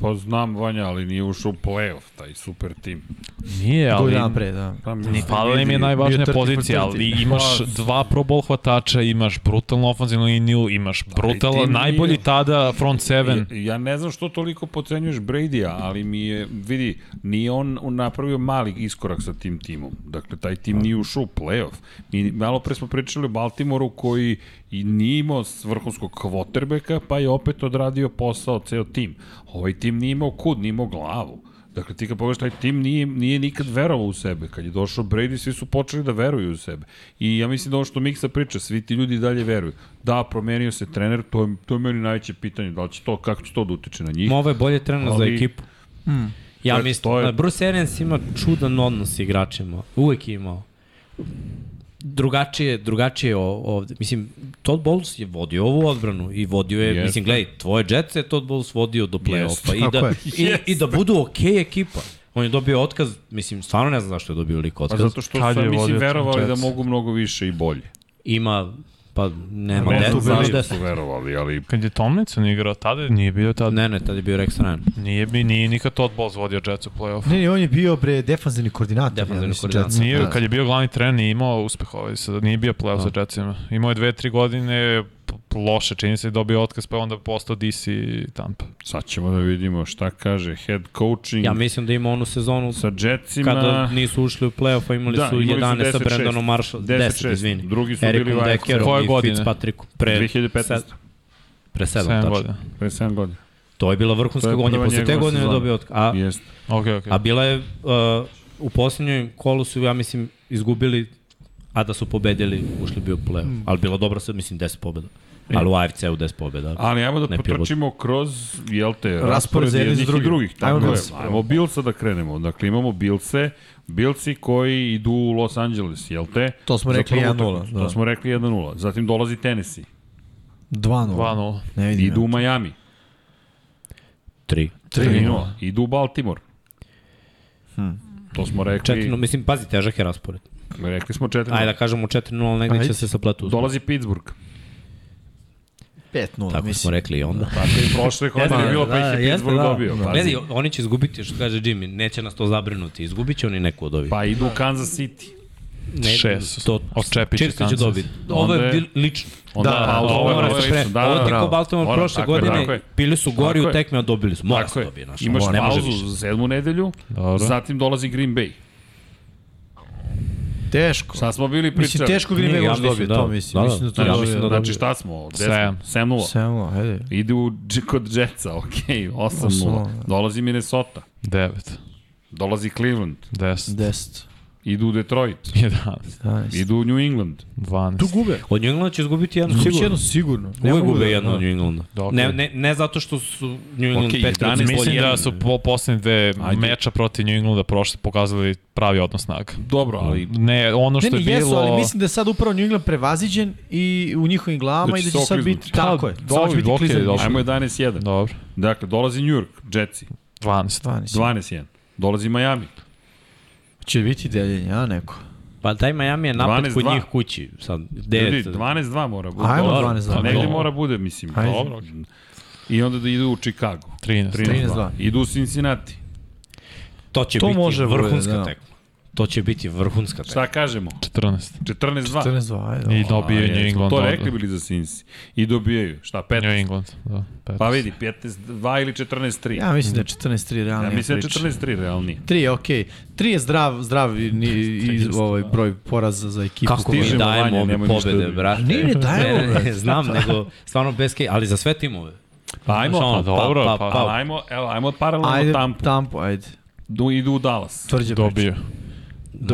A: Pa znam Vanja, ali nije ušao u play-off, taj super tim.
C: Nije,
E: Godinu
C: ali...
E: dana pre, da.
A: Pa mi
C: Ni falila im je najvažnija
E: bio 30
C: pozicija,
E: for 30.
C: ali imaš
A: Pa,
C: dva pro ball hvatača, imaš brutalnu ofenzivnu liniju,
E: Da,
C: imaš brutal,
A: tim
C: najbolji
A: nije-
C: tada front seven.
A: Ja, ja ne znam što toliko pocenjuješ Brady-a, ali mi je, vidi, nije on napravio mali iskorak sa tim timom. Dakle, taj tim nije ušao u play-off. Mi malo pre smo pričali o Baltimoru koji i nije imao s- vrhunskog kvotrbeka, pa je opet odradio posao ceo tim. Ovaj tim nije imao kud, nije imao glavu. Dakle, ti kad pogledaš, taj tim nije, nije nikad verovao u sebe. Kad je došao Brady, svi su počeli da veruju u sebe. I ja mislim da ovo što Miksa priča, svi ti ljudi dalje veruju. Da, promenio se trener, to je, to je meni najveće pitanje, da li će to, kako će to da utiče na njih.
B: Ovo je bolje trener za
A: Ali- Hmm.
B: ekipu. Ja
A: To je-
B: mislim,
A: to je-
B: da Bruce Arians ima čudan odnos s igračima. Uvek je imao. Drugačije, drugačije o- ovde. Mislim, Todd Bowles je vodio ovu odbranu i vodio je,
A: Jeste.
B: mislim, gledaj, tvoje Jets je Todd Bowles vodio do play-offa i,
E: Tako
B: da,
E: je.
B: i, i da budu okej okay ekipa. On je dobio otkaz, mislim, stvarno ne znam zašto je dobio lik
A: Pa
B: otkaz.
A: zato što
C: Kad
A: su,
C: je
A: ja mislim,
C: vodio
A: verovali da
C: Jets?
A: mogu mnogo više i bolje.
B: Ima, pa nema,
A: Ne
B: ne,
A: znam
B: znaš
A: zašto
B: da...
A: su verovali, ali
C: Kad je Tomlinson igrao, tada nije bio tada.
B: Ne, ne, tad je bio Rex Ryan.
A: Hmm.
C: Nije, bi, nije nikad Todd Bowles vodio Jets u play-offu.
E: Ne, ne, on je bio bre defanzivni koordinator.
B: Defanzivni
E: mislim,
B: koordinator.
E: Jetsa.
C: Nije,
E: Da.
C: kad je bio glavni trener, nije imao uspeh ovaj, sad nije bio playoff sa Jetsima. Imao je dve, tri godine, p- loše, čini se, dobio otkaz, pa je onda postao DC Tampa.
A: sad ćemo da vidimo šta kaže head coaching
B: Ja mislim da ima onu sezonu
A: sa Jetsima.
B: kada nisu ušli u play-off, a imali
A: Da,
B: da, su
A: imali su
B: 11 sa
A: 10-6.
B: Brandonom Marshall.
A: 10-6,
B: 10, 10 izvini.
A: drugi su bili
B: Erikom
A: Vikings.
C: Koje
B: Deckerom i
C: godine?
B: Fitzpatrickom. Pre,
A: 2015.
B: sed- pre 7,
C: 7
B: tačno.
C: godina.
A: Pre 7 godina.
B: To je bila
A: To
B: vrhunska
A: je
B: gonja.
A: prva
B: Posle te
A: njegova
B: godine je
A: sezona.
B: dobio otkaz. A,
A: Jeste.
C: Ok, ok.
B: a bila je, uh, u posljednjoj kolu su, ja mislim, izgubili a da su pobedili, ušli bi u play-off.
A: Hmm.
B: Ali bila dobra sad, mislim, 10 pobjeda. Ali u AFC u 10 pobjeda.
A: Ali ajmo da
B: Ne pivot.
A: potrčimo kroz, jel te,
E: Raspored
A: raspored
E: za jedne i
A: jednih i
E: druge.
A: drugih. Tako
E: Ajmo
A: ajmo, je.
E: Bills.
A: ajmo Bilsa da krenemo. Dakle, imamo Bilse, Bilsi koji idu u Los Angeles, jel te?
E: To smo
A: Za
E: rekli
A: prvu
E: 1:0,
A: utakmicu.
E: da.
A: To smo rekli 1-0. Zatim dolazi Tennessee,
E: 2-0.
C: 2-0.
E: Ne vidim.
A: idu u Miami,
B: 3.
A: 3-0, idu u Baltimore.
E: Hm.
A: To smo rekli,
B: 4 mislim, pazi, težak je raspored.
A: rekli smo 4
B: Ajde da kažemo 4-0, negde
E: Ajde.
B: će se sapletu.
A: Dolazi Pittsburgh.
E: 5-0,
B: Tako smo
E: mislim.
B: rekli i onda.
A: Tako je i prošle godine
B: Jeste,
A: je bilo, pa
E: da,
A: ih je
E: jeste,
A: Pittsburgh
E: da.
A: dobio. pa.
E: Da.
A: pazi.
B: Gledaj, oni će izgubiti, što kaže Jimmy, neće nas to zabrinuti. Izgubit će oni neku od ovih.
A: Pa idu u Kansas City.
C: Šest. Odčepit će
B: će Kansas. će
C: Kansas.
B: dobiti. Ovo
A: Onda
B: je
A: je-
B: bil- lično.
A: Onda
E: Da,
A: pauza,
B: Ovo
E: ovo je
B: mora
A: je
B: se
A: lično,
B: pre.
A: da,
B: ovo
A: da,
B: je
A: bravo.
B: tako Baltimore
A: Mora,
B: prošle
A: tako je,
B: godine.
A: tako je.
B: Bili su gori
A: Tako
B: u
A: je.
B: tekmi, a dobili su. Mora
A: Tako
B: se
A: je.
B: dobije. Znaš,
A: Imaš
B: ovo ne može
A: pauzu
B: više.
A: za sedmu nedelju,
C: Dobro.
A: zatim dolazi Green Bay.
E: Teško.
A: Šta smo bili pričali?
E: Mislim, teško Green
B: Nije,
E: Bay
B: ja
E: može
B: mislim,
E: dobiti
B: da.
E: to, mislim.
B: Da,
E: Mislim
B: da,
E: da
B: ja
E: to
B: mislim
E: dobije.
B: da
A: Znači šta smo? 10,
C: Sedam.
A: 7-0.
E: 7-0, hajde.
A: Ide u, dž- kod Jetsa, ok, 8-0.
E: Osam nula.
A: Dolazi Minnesota,
C: 9,
A: dolazi Cleveland,
C: 10,
E: 10.
A: idu u Detroit,
C: 11,
E: 11.
A: idu u New England.
C: 12.
E: Tu gube.
B: Od New Englanda će izgubiti jedno
E: Gubit će
B: sigurno.
E: jedno sigurno. Ne
B: Uvijek
E: mogu
B: gube
E: da-
B: jedno
E: da.
B: od New Englanda.
C: Dokle?
B: Ne, ne, ne zato što su New England
A: Okej,
B: okay, Patriots
A: 11
B: bolji.
C: Mislim da su po poslednje dve
A: Ajde.
C: meča protiv New Englanda prošle pokazali pravi odnos snaga.
A: Dobro, ali
C: Ne,
E: Ne,
C: ono što
E: ne,
C: je bilo...
E: jesu, ali mislim da je sad upravo New England prevaziđen i u njihovim glavama
A: Znači,
E: i da će
A: sve
E: sad biti...
A: okliznuti.
E: Tako je. Samo će biti
C: okej,
E: klizan.
C: dobro.
A: ajmo
E: Da.
A: 11-1.
C: Dobro,
A: Dakle, dolazi New York, Jetsi,
C: 12.
E: 12.
A: 12-1. Dolazi Miami,
E: Će biti deljenje, a neko.
B: Pa taj Miami je napad kod
A: 12-2.
B: njih kući. Sad,
A: Ljudi,
B: 9.
A: 12-2 mora bude.
E: da. Ajmo,
A: Dobro,
E: 12-2.
A: pa Negde
C: Dobro.
A: mora bude, mislim.
E: Ajde.
A: Dobro. I onda da idu u Chicago.
C: 13.
A: 13-2.
E: 13-2.
A: Idu u Cincinnati.
B: To će
E: To
B: biti
E: može bude,
B: vrhunska
E: da.
B: tekma. To će biti vrhunska tekma.
A: Šta kažemo?
C: 14.
A: 14-2.
E: 14-2, ajde.
C: I dobio Pa je
A: A,
C: New
A: jesmo
C: England.
A: To
C: odmah.
A: rekli bili za Cincy. I dobijaju. Šta, 15?
C: New England, da. 15.
A: Pa vidi, 15-2 ili 14-3. Ja,
E: Ja mislim da je 14-3 realnija
A: ja mislim da je
E: priča.
A: 14-3 realnije.
E: 3 je okej. 3 je zdrav, zdrav i, ni- i ovaj broj poraza za ekipu.
B: Kako mi
A: Stižemo,
B: dajemo
A: Vanja,
B: ove
A: nemoj ništa
B: pobede,
A: da-
B: brate?
E: Ne, ne dajemo,
B: Ne, ne, znam, nego stvarno bez kej, ali za sve timove.
A: Pa ajmo,
B: Znaš, ono,
A: pa,
C: dobro,
B: pa,
C: pa-
B: pa,
A: pa,
B: pa,
A: ajmo, evo, ajmo paralelno
E: Ajde,
A: ajde, tampu.
E: tampo. tampo, ajde.
A: Du, idu u Dallas.
E: Tvrđe priča.
C: Dobio.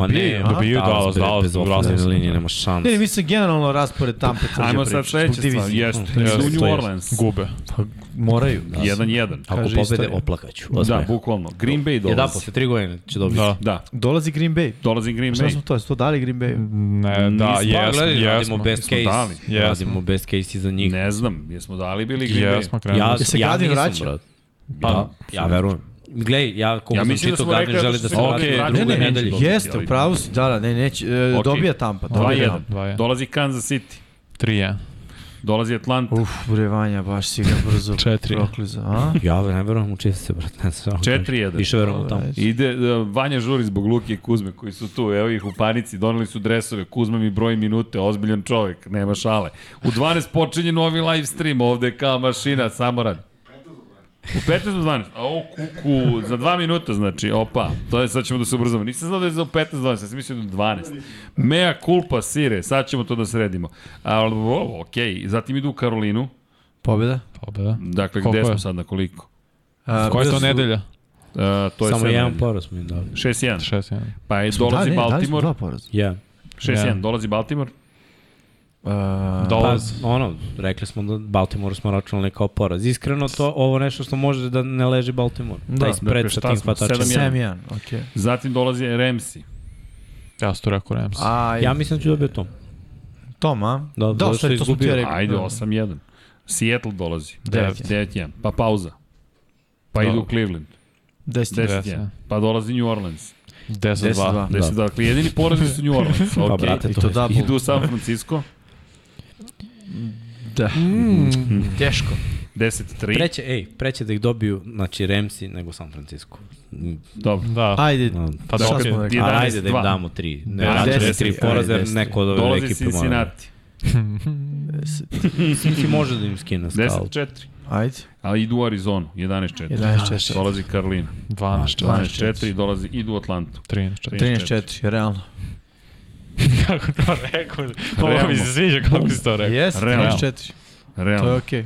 B: ma ne,
E: dobijaju,
B: ono,
E: a?
C: Dobijaju
B: Dallas
C: Dallas,
B: bez-
C: Dallas,
B: bez
C: u
B: ofenzivne
C: raznosu,
B: linije
C: da.
B: nema šanse.
E: Ne, ne, mislim generalno raspored tampe tvrđe
A: Ajmo
E: priča.
A: sad sledeća stvar. Jeste,
C: Jeste,
A: idu u
C: to
A: New
C: je.
A: Orleans.
C: Gube.
E: Moraju. da.
A: 1-1.
B: Ako
E: kaže
B: pobede,
E: istorija.
B: oplakaću.
A: Da,
B: ozbiljno.
A: bukvalno. Green Bay
B: Jedan
A: dolazi.
B: posle tri godine će dobiti.
C: Da.
A: Da,
E: Dolazi Green Bay.
A: dolazi Green
E: Šta
A: Bay. Mm.
E: smo to, smo dali Green Bay?
C: Ne, da,
B: Pa,
C: jesmo,
B: gledaj, radimo
C: jesmo.
B: best
A: Jesmo
B: case.
A: dali.
B: Radimo best case i za njih.
A: Ne znam, jesmo dali bili Green Bay.
C: Jesmo krenuli.
B: Ja,
E: se
B: ja
E: Gardin
B: nisam,
E: vraća?
B: brat.
A: Pa,
B: Da, ja verujem. Glej, ja koliko
A: Ja
B: sam
A: mislim da
B: čitao,
A: smo
B: Gardin
A: rekli da
B: želi
A: su
B: da se
A: se
B: vrati
A: okej,
B: okay, druge
A: ranije
E: Ne, ne,
B: nedelje.
A: neće dobiti,
E: jeste,
A: ali-
E: pravo si, da, da, ne, neće, e,
A: Okej.
E: dobija tampa. Dobija
A: 2-1.
E: tampa.
C: 2:1.
A: Dolazi Kansas City.
C: 3-1.
A: Dolazi Atlanta.
E: Uf, bre, Vanja, baš si ga brzo
C: Četiri.
E: prokliza. A?
B: Ja ne verujem u Chiefs, brate. Ne znam.
A: 4-1.
B: Više verujem u tamo.
A: Ide, e, Vanja žuri zbog Luke i Kuzme koji su tu, evo ih u panici, doneli su dresove, Kuzma mi broji minute, ozbiljan čovjek, nema šale. U 12 počinje novi live stream, ovde je kao mašina, samo radi. U 15 do 12. A o, kuku, za 2 minuta znači, opa, to je, sad ćemo da se ubrzamo. Nisam znao da je za 15 do 12, ja sam mislio da je do 12. Mea culpa, sire, sad ćemo to da sredimo. Ali, ovo, okej, zatim idu u Karolinu,
E: Pobjeda.
C: Pobeda.
A: dakle,
C: Koliko
A: gde
C: je?
A: smo sad, na koliko?
E: A,
C: Koja je to
E: su-
C: nedelja?
A: E, to je
B: Samo
A: sedam
B: jedan
A: nedelja.
B: poraz mi je dao.
A: 6-1.
C: 6, ja.
A: Pa je,
E: Da,
A: dolazi
E: ne, dali smo
A: Baltimore,
E: dva poraza.
B: Ja.
A: 6-1,
B: Da.
C: Ja.
A: dolazi Baltimore. Da,
E: A,
B: Pa,
C: Dolaz.
B: ono, rekli smo da Baltimore smo računali kao poraz. Iskreno, to ovo nešto što može da ne leži Baltimore.
E: Da.
B: Da, Taj
A: Dakle,
B: spread sa
A: šta
B: tim
A: smo,
B: hvatačima.
A: sedam jedan.
E: Sam jedan, okej.
A: Zatim dolazi Remsi.
C: Ja sam to rekao Rams.
E: Aj,
B: Ja mislim da ću dobiti to.
E: Tom, a?
B: Da,
E: da,
B: zato što
E: sve,
B: je
E: to smo ti da,
B: izgubio.
E: ja rekao.
A: Ajde, 8-1. Seattle dolazi.
E: Devet.
A: 9-1. Pa pauza. Pa
C: Da.
A: idu u Cleveland.
E: Deset.
A: 10-1.
B: da.
A: Pa dolazi New Orleans.
C: 10-2.
E: 10-2.
A: 10 da. Dakle, jedini porazni su New Orleans.
B: Pa,
A: Okay.
B: brate,
E: I
B: to,
E: to
B: je-
E: da,
A: Idu u San Francisco.
E: Da.
A: Mm.
E: Teško.
A: 10-3.
B: Preće, ej, preće da ih dobiju, znači, Remsi nego San Francisco. Mm,
A: Dobro.
C: Da.
E: Ajde,
B: no.
C: Pa
E: šta
C: dobro,
E: smo
C: ti-
E: rekli?
B: A,
A: 11-2.
B: ajde da im damo tri. Ne,
A: Da,
B: računaj
E: deset,
B: tri
E: ajde,
B: poraza, jer
E: deset.
B: neko od ove
A: Dolazi
B: ekipe mora. da-
A: Cincinnati.
B: Mislim, može da im skine skal.
A: 10-4.
E: Ajde.
A: Ali idu u Arizonu. 11-4.
E: 11-4.
A: Dolazi Karolina.
C: 12-4.
A: 12-4. Dolazi, idu u Atlantu.
C: 13-4.
E: 13-4, realno.
C: Kako ti to rekao? Ovo
A: Realno.
C: mi se sviđa kako si to rekao.
E: Jes,
A: Realno.
E: 13-4. To je
A: Realno.
E: okej.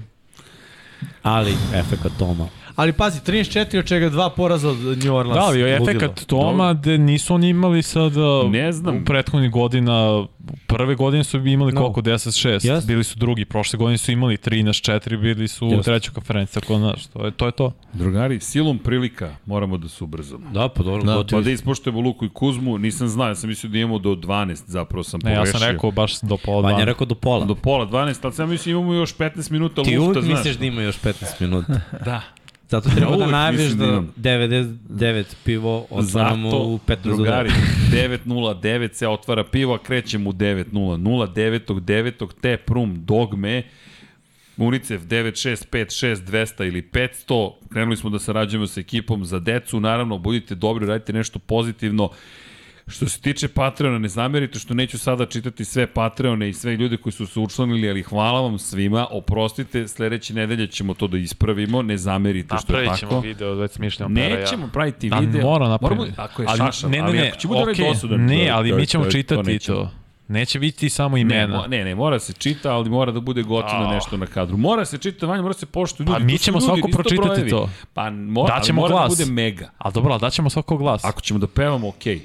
B: Ali, efekat Toma.
E: Ali pazi, 13-4 od čega dva poraza od New Orleans.
C: Da, bio je
E: Ludilo.
C: efekat Toma gde nisu oni imali sad
A: Ne znam.
C: u prethodnih godina, prve godine su imali
B: No.
C: koliko, 10-6,
B: Jeste.
C: bili su drugi, prošle godine su imali 13-4, bili su u
B: Jeste.
C: trećoj konferenciji, tako da, znaš, to je to. Je to.
A: Drugari, silom prilika moramo da se ubrzamo.
B: Da, pa dobro, da,
A: Pa
B: gotovi.
A: da ispoštujemo Luku i Kuzmu, nisam znao, ja sam mislio da imamo do 12, zapravo sam
C: Ne,
A: pogrešio.
C: ja sam rekao baš do pola
B: Vanja je
C: dva.
B: rekao do pola.
A: Do pola 12, ali sam mislio imamo još 15 minuta
B: Ti
A: lufta,
B: uvijek
A: znaš.
B: misliš da ima još 15 minuta.
A: Da.
B: Zato treba da
A: uvek
B: najaviš
A: mislim da
B: da
A: imam.
B: 99 pivo otvaramo
A: Zato,
B: u 15 do
A: drugari,
B: 9.
A: 9.09 se otvara pivo, a krećemo u 9.00. 09.09. Tap Room Dogme, Unicef 9656 200 ili 500. Krenuli smo da sarađujemo sa ekipom za decu. Naravno, budite dobri, radite nešto pozitivno. Što se tiče Patreona, ne zamerite što neću sada čitati sve Patreone i sve ljude koji su se učlanili, ali hvala vam svima, oprostite, sledeće nedelje ćemo to da ispravimo, ne zamerite što je tako.
C: video, već smišljamo.
A: Nećemo praviti
C: Da,
A: video.
C: mora napraviti.
A: Moramo, ako je
C: ali,
A: Saša, da
C: ne, ne,
A: ali
C: ne,
A: ako će bude
C: okej,
A: okay, dosadan.
C: ne, ali
A: to je-
C: mi ćemo
A: to je- to
C: čitati
A: nećemo.
C: to. Neće biti samo
A: Ne,
C: imena.
A: mo- ne, ne, mora se čita, ali mora da bude gotivno
C: Ah.
A: nešto na kadru. Mora se čita, Vanja, mora se poštuju ljudi.
C: Pa mi
A: tu su
C: ćemo
A: ljudi,
C: svako
A: nisu
C: pročitati
A: brojevi.
C: to.
A: Pa mora, ali
C: Daćemo
A: mora
C: glas.
A: da bude mega.
C: Ali dobro, ali daćemo svako glas.
A: Ako ćemo da pevamo, okej.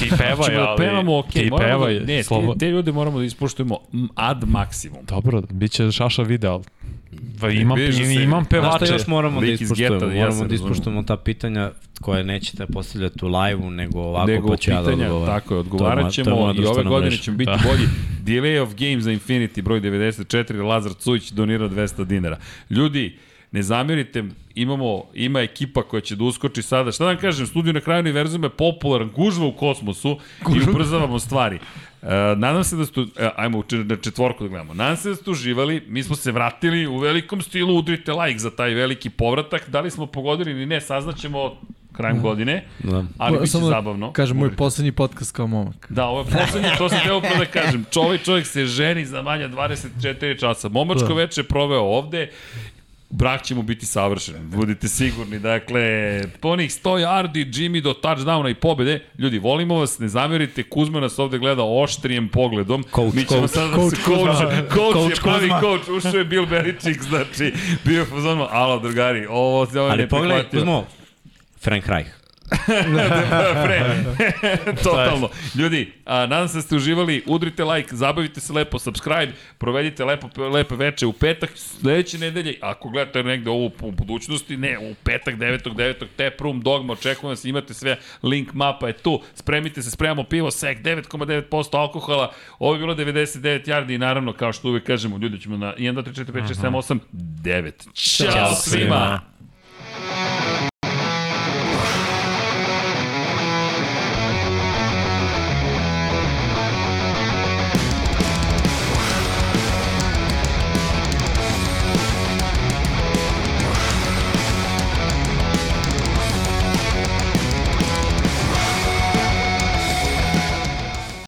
C: ti pevaj,
A: Ako ćemo da pevamo, okej.
C: Ti
A: Moramo
C: pevaj,
A: da, ne,
C: slobo-
A: te, te ljude moramo da ispoštujemo m, ad maksimum.
C: Dobro, bit će šaša video, ali va- imam,
A: vidiš da se-
C: imam
B: Znaš šta
C: pevače.
B: još moramo da
A: Lik iz
B: ispoštujemo?
A: geta, ja
B: moramo
A: se
B: da
A: razumem.
B: ispoštujemo ta pitanja koje nećete postavljati u live-u, nego ovako
A: nego
B: pa ću ja da
A: pitanja,
B: odgovorim.
A: tako je,
B: To moja- to je
A: odgovarat ćemo
B: moja
A: i ove
B: društvena
A: godine
B: mreža.
A: ćemo biti
C: Da.
A: bolji. Delay of Game za Infinity, broj 94, Lazar Cujić donira 200 dinara. Ljudi, ne zamirite, imamo, ima ekipa koja će da uskoči sada. Šta da vam kažem, studiju na kraju univerzuma je popularan, gužva u kosmosu i ubrzavamo stvari. Uh, nadam se da ste, uh, ajmo u čet- na četvorku da gledamo, nadam se da ste uživali, mi smo se vratili u velikom stilu, udrite like za taj veliki povratak, da li smo pogodili ili ne, saznaćemo krajem godine,
B: Da.
A: ali biće
E: Samo da
A: zabavno.
E: Kažem, moj poslednji podcast kao momak.
A: Da, ovo je poslednje, to sam teo prvo da kažem. Čovjek, čovjek se ženi za manja 24 časa.
B: Da.
A: Momačko veče je proveo ovde, brak će mu biti savršen, budite sigurni. Dakle, po onih 100 yardi, Jimmy do touchdowna i pobede. Ljudi, volimo vas, ne zamerite, Kuzma nas ovde gleda oštrijem pogledom.
B: Coach,
A: Mi ćemo
B: coach.
A: sada da se coach, coach, coach, je pravi coach, ušao je Bill Belichick, znači, bio je pozorno, alo, drugari, ovo, ovaj ovo je
B: Ali pogledaj,
A: neprihvatljivo.
B: Kuzmo, Frank Reich.
A: pre. Totalno. Ljudi, a, nadam se da ste uživali. Udrite like, zabavite se lepo, subscribe, provedite lepo, lepe veče u petak. Sledeće nedelje, ako gledate negde ovo u budućnosti, ne, u petak 9.9. Tap Room Dogma, očekujem vas, imate sve, link mapa je tu. Spremite se, spremamo pivo, sek, 9,9% alkohola. Ovo je bilo 99 yardi i naravno, kao što uvek kažemo, ljudi ćemo na 1, 2, 3, 4, 5, 6, 7, 8, 9. Ćao,
B: Ćao
A: svima!
B: svima.